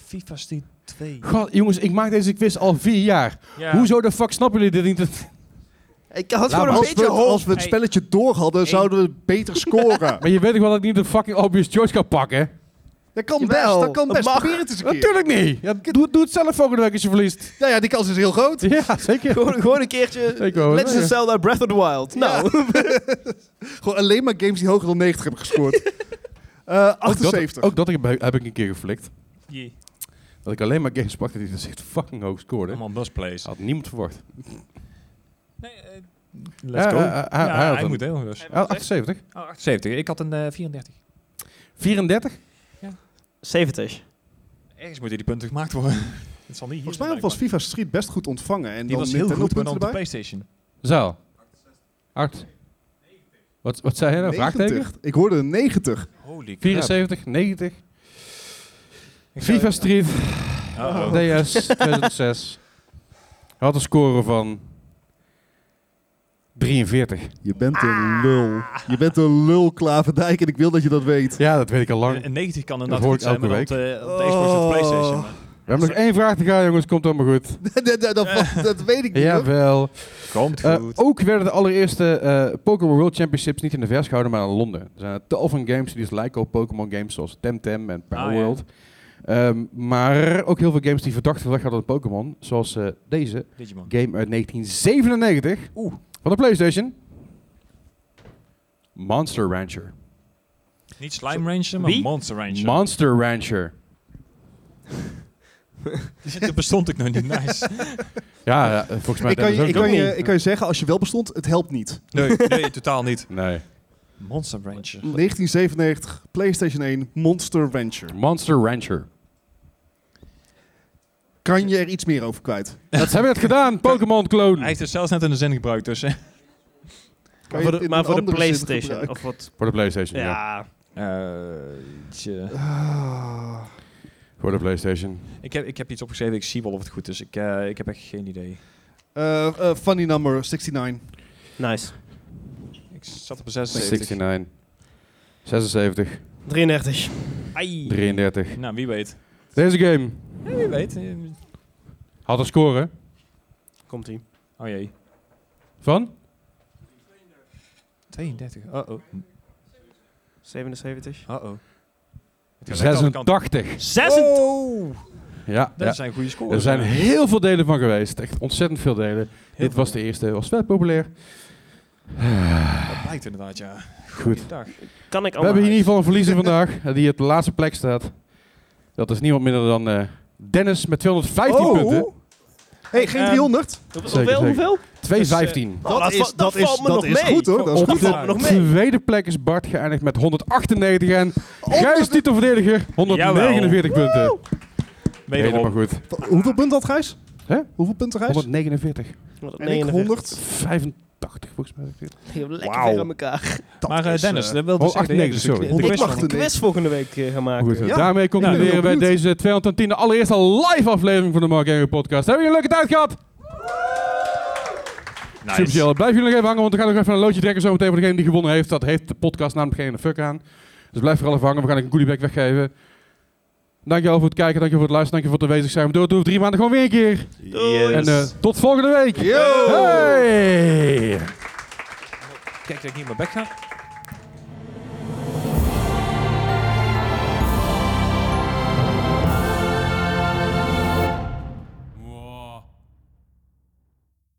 Speaker 2: FIFA Street 2.
Speaker 1: God, jongens, ik maak deze quiz al vier jaar.
Speaker 6: Ja.
Speaker 1: Hoezo de fuck snappen jullie dit niet?
Speaker 3: Ik had
Speaker 1: Laat
Speaker 3: gewoon
Speaker 1: maar.
Speaker 3: een
Speaker 4: Als we,
Speaker 3: beetje
Speaker 4: het,
Speaker 3: hoog.
Speaker 4: als we het
Speaker 6: Hey.
Speaker 4: spelletje door hadden, zouden we beter scoren.
Speaker 1: Maar je weet toch wel dat ik niet de fucking obvious choice ga pakken?
Speaker 4: Dat kan best,
Speaker 3: Jawel,
Speaker 4: dat kan
Speaker 3: dat
Speaker 4: best.
Speaker 3: mag.
Speaker 4: Probeer het eens een keer.
Speaker 1: Natuurlijk niet. Ja, doe, doe het zelf volgende week als je verliest.
Speaker 4: Nou ja, die kans is heel groot.
Speaker 1: Ja, zeker.
Speaker 3: Gewoon, gewoon een keertje
Speaker 1: Ik wou het
Speaker 3: Legend of
Speaker 1: zeggen.
Speaker 3: Zelda Breath of the Wild. Nou,
Speaker 4: Gewoon alleen maar games die hoger dan 90 hebben gescoord. Eh
Speaker 1: Ook dat-
Speaker 4: 78.
Speaker 1: Ook dat, heb- heb ik een keer geflikt.
Speaker 6: Jee.
Speaker 1: Dat ik alleen maar games pakte die dus echt fucking hoog scoorden.
Speaker 6: Allemaal best
Speaker 4: Ah.
Speaker 6: plays.
Speaker 1: Had niemand verwacht.
Speaker 6: Nee, eh, let's
Speaker 1: Ja,
Speaker 6: go.
Speaker 1: hij- hij- hij
Speaker 6: Ja,
Speaker 1: had
Speaker 6: hij
Speaker 1: hem.
Speaker 6: moet helemaal dus.
Speaker 1: Oh, 78.
Speaker 6: Oh, 78. Ik had een eh, 34.
Speaker 1: 34?
Speaker 3: 70.
Speaker 6: Ergens moeten die punten gemaakt worden. Het zal niet hier
Speaker 4: Volgens mij
Speaker 6: zijn,
Speaker 4: was
Speaker 6: maar-
Speaker 4: FIFA Street best goed ontvangen. En
Speaker 6: Die
Speaker 4: dan
Speaker 6: was heel
Speaker 4: Nintendo
Speaker 6: goed, maar dan
Speaker 4: punten
Speaker 6: op de
Speaker 4: erbij.
Speaker 6: PlayStation.
Speaker 1: Zaal. 8. Wat, wat zei hij nou? Vraagteken?
Speaker 4: 90. Ik hoorde een 90.
Speaker 6: Holy crap.
Speaker 1: 74, 90. FIFA Street
Speaker 6: Uh-oh.
Speaker 1: DS 2006. Hij had een score van 43.
Speaker 4: Je bent
Speaker 6: Ah.
Speaker 4: een lul. Je bent een lul, Klaverdijk. En ik wil dat je dat weet.
Speaker 1: Ja, dat weet ik al lang.
Speaker 6: Een- Een 90 kan inderdaad
Speaker 1: hoor
Speaker 6: goed
Speaker 1: ik
Speaker 6: zijn, maar eh,
Speaker 1: elke
Speaker 6: dan op de, op de Xbox of
Speaker 4: Oh.
Speaker 6: PlayStation. maar-
Speaker 1: We hebben nog één vraag te gaan, jongens. Komt allemaal goed.
Speaker 4: dat, dat- dat- dat weet ik niet. hoor.
Speaker 1: Jawel.
Speaker 6: Komt
Speaker 1: Eh,
Speaker 6: goed.
Speaker 1: ook werden de allereerste eh, Pokémon World Championships niet in de vers gehouden, maar in Londen. Er zijn een tal van games die dus lijken op Pokémon games, zoals Temtem en Power
Speaker 6: Ah, ja.
Speaker 1: World. Ehm, maar ook heel veel games die verdacht gedrag hadden op Pokémon, zoals eh, deze
Speaker 6: Digimon.
Speaker 1: game uit 1997 van de PlayStation. Monster Rancher.
Speaker 6: Niet Slime Ranger, maar
Speaker 3: Wie?
Speaker 6: Monster Ranger.
Speaker 1: Monster Rancher.
Speaker 6: Daar bestond ik nog niet. Nice.
Speaker 1: Ja, ja, eh, volgens mij
Speaker 4: Ik kan,
Speaker 1: hebben
Speaker 4: je,
Speaker 1: ze
Speaker 4: ik,
Speaker 1: ook
Speaker 4: kan
Speaker 1: niet.
Speaker 4: je, ik kan je zeggen, als je wel bestond, het helpt niet.
Speaker 6: Nee, nee, totaal niet.
Speaker 1: Nee.
Speaker 6: Monster Ranger.
Speaker 4: 1997, PlayStation 1, Monster Rancher.
Speaker 1: Monster Rancher.
Speaker 4: Kan je er iets meer over kwijt?
Speaker 1: Dat hebben we het gedaan, Pokémon
Speaker 6: Hij
Speaker 1: clone.
Speaker 6: heeft het zelfs net in de zin gebruikt, dus... eh,
Speaker 4: Kan
Speaker 3: Maar
Speaker 4: je het
Speaker 3: voor de,
Speaker 4: in
Speaker 3: maar
Speaker 4: een
Speaker 3: voor de
Speaker 4: andere zin
Speaker 3: PlayStation.
Speaker 4: gebruiken?
Speaker 3: Of wat?
Speaker 1: Voor de PlayStation, ja.
Speaker 3: Ja.
Speaker 6: eh, tje.
Speaker 4: Ah.
Speaker 1: Voor de PlayStation.
Speaker 6: ik, heb, ik heb iets opgeschreven, ik zie wel of het goed is. Ik, eh, ik heb echt geen idee.
Speaker 4: Eh, eh, funny number 69.
Speaker 3: Nice.
Speaker 6: Ik zat op een 76.
Speaker 1: 69. 76.
Speaker 3: 33.
Speaker 6: Ai.
Speaker 1: 33.
Speaker 6: Nou, wie weet.
Speaker 1: Deze game
Speaker 6: Ja, wie weet. Eh,
Speaker 1: had een score
Speaker 3: Komt ie.
Speaker 6: Oh jee.
Speaker 1: van
Speaker 6: 32. Uh-oh.
Speaker 3: 77.
Speaker 6: Uh-oh. Het gaat echt alle kanten.
Speaker 1: 86.
Speaker 3: 6.
Speaker 6: Wow.
Speaker 1: Ja,
Speaker 6: Oh! Dat
Speaker 1: ja.
Speaker 6: zijn goede scores.
Speaker 1: er zijn
Speaker 6: ja.
Speaker 1: heel veel delen van geweest. Echt ontzettend veel delen.
Speaker 6: Heel
Speaker 1: Dit was
Speaker 6: veel.
Speaker 1: de eerste, was wel populair.
Speaker 6: Dat blijkt inderdaad, ja.
Speaker 1: Goed.
Speaker 6: Dag.
Speaker 3: Kan ik
Speaker 1: We hebben
Speaker 3: allemaal
Speaker 1: hier in ieder geval een verliezer vandaag, eh, die op de laatste plek staat. Dat is niemand minder dan eh, Dennis met 215
Speaker 4: Oh.
Speaker 1: punten.
Speaker 4: Hey, geen
Speaker 6: Ehm,
Speaker 4: 300.
Speaker 3: Hoeveel?
Speaker 1: Zeker, zeker.
Speaker 3: hoeveel?
Speaker 1: 215.
Speaker 3: Oh, dat va- dat valt me nog
Speaker 4: is
Speaker 3: mee.
Speaker 4: goed hoor. eh, Dat is
Speaker 1: Op
Speaker 4: goed.
Speaker 3: valt me
Speaker 1: de
Speaker 3: nog mee.
Speaker 1: tweede plek is Bart geëindigd met 198 en Gijs titelverdediger 149 punten. Helemaal
Speaker 6: Wederom.
Speaker 1: goed.
Speaker 4: Hoeveel punten had Gijs?
Speaker 1: Hè?
Speaker 4: Hoeveel punten Gijs?
Speaker 1: 149.
Speaker 4: En ik 100.
Speaker 1: 85 volgens mij.
Speaker 3: Lekker
Speaker 4: Wauw.
Speaker 3: ver aan elkaar.
Speaker 4: Dat
Speaker 6: Maar eh,
Speaker 4: is,
Speaker 6: Dennis,
Speaker 4: eh,
Speaker 6: dat wil dus
Speaker 1: oh,
Speaker 6: zeggen...
Speaker 1: 98, sorry.
Speaker 6: de
Speaker 3: Ik
Speaker 6: quiz
Speaker 3: mag
Speaker 6: van-
Speaker 3: een quiz volgende week eh, gaan maken.
Speaker 1: Goed,
Speaker 4: Ja.
Speaker 1: Daarmee
Speaker 4: Ja,
Speaker 1: concluderen
Speaker 4: heel
Speaker 1: wij
Speaker 4: goed.
Speaker 1: deze 210e allereerste live aflevering van de Mark Gaming Podcast. Hebben jullie een leuke tijd gehad?
Speaker 6: Nice.
Speaker 1: Super chill. Blijf jullie nog even hangen, want we gaan nog even een loodje trekken zo meteen voor degene die gewonnen heeft. Dat heeft de podcast namelijk geen fuck aan. Dus blijf vooral even hangen. We gaan een goodiebag weggeven. Dankjewel voor het kijken, dankjewel voor het luisteren, dankjewel voor het aanwezig zijn. We doen het over drie maanden gewoon weer een keer. En eh, tot volgende week.
Speaker 4: Yo!
Speaker 1: Hey!
Speaker 6: Kijk dat ik niet in mijn bek ga.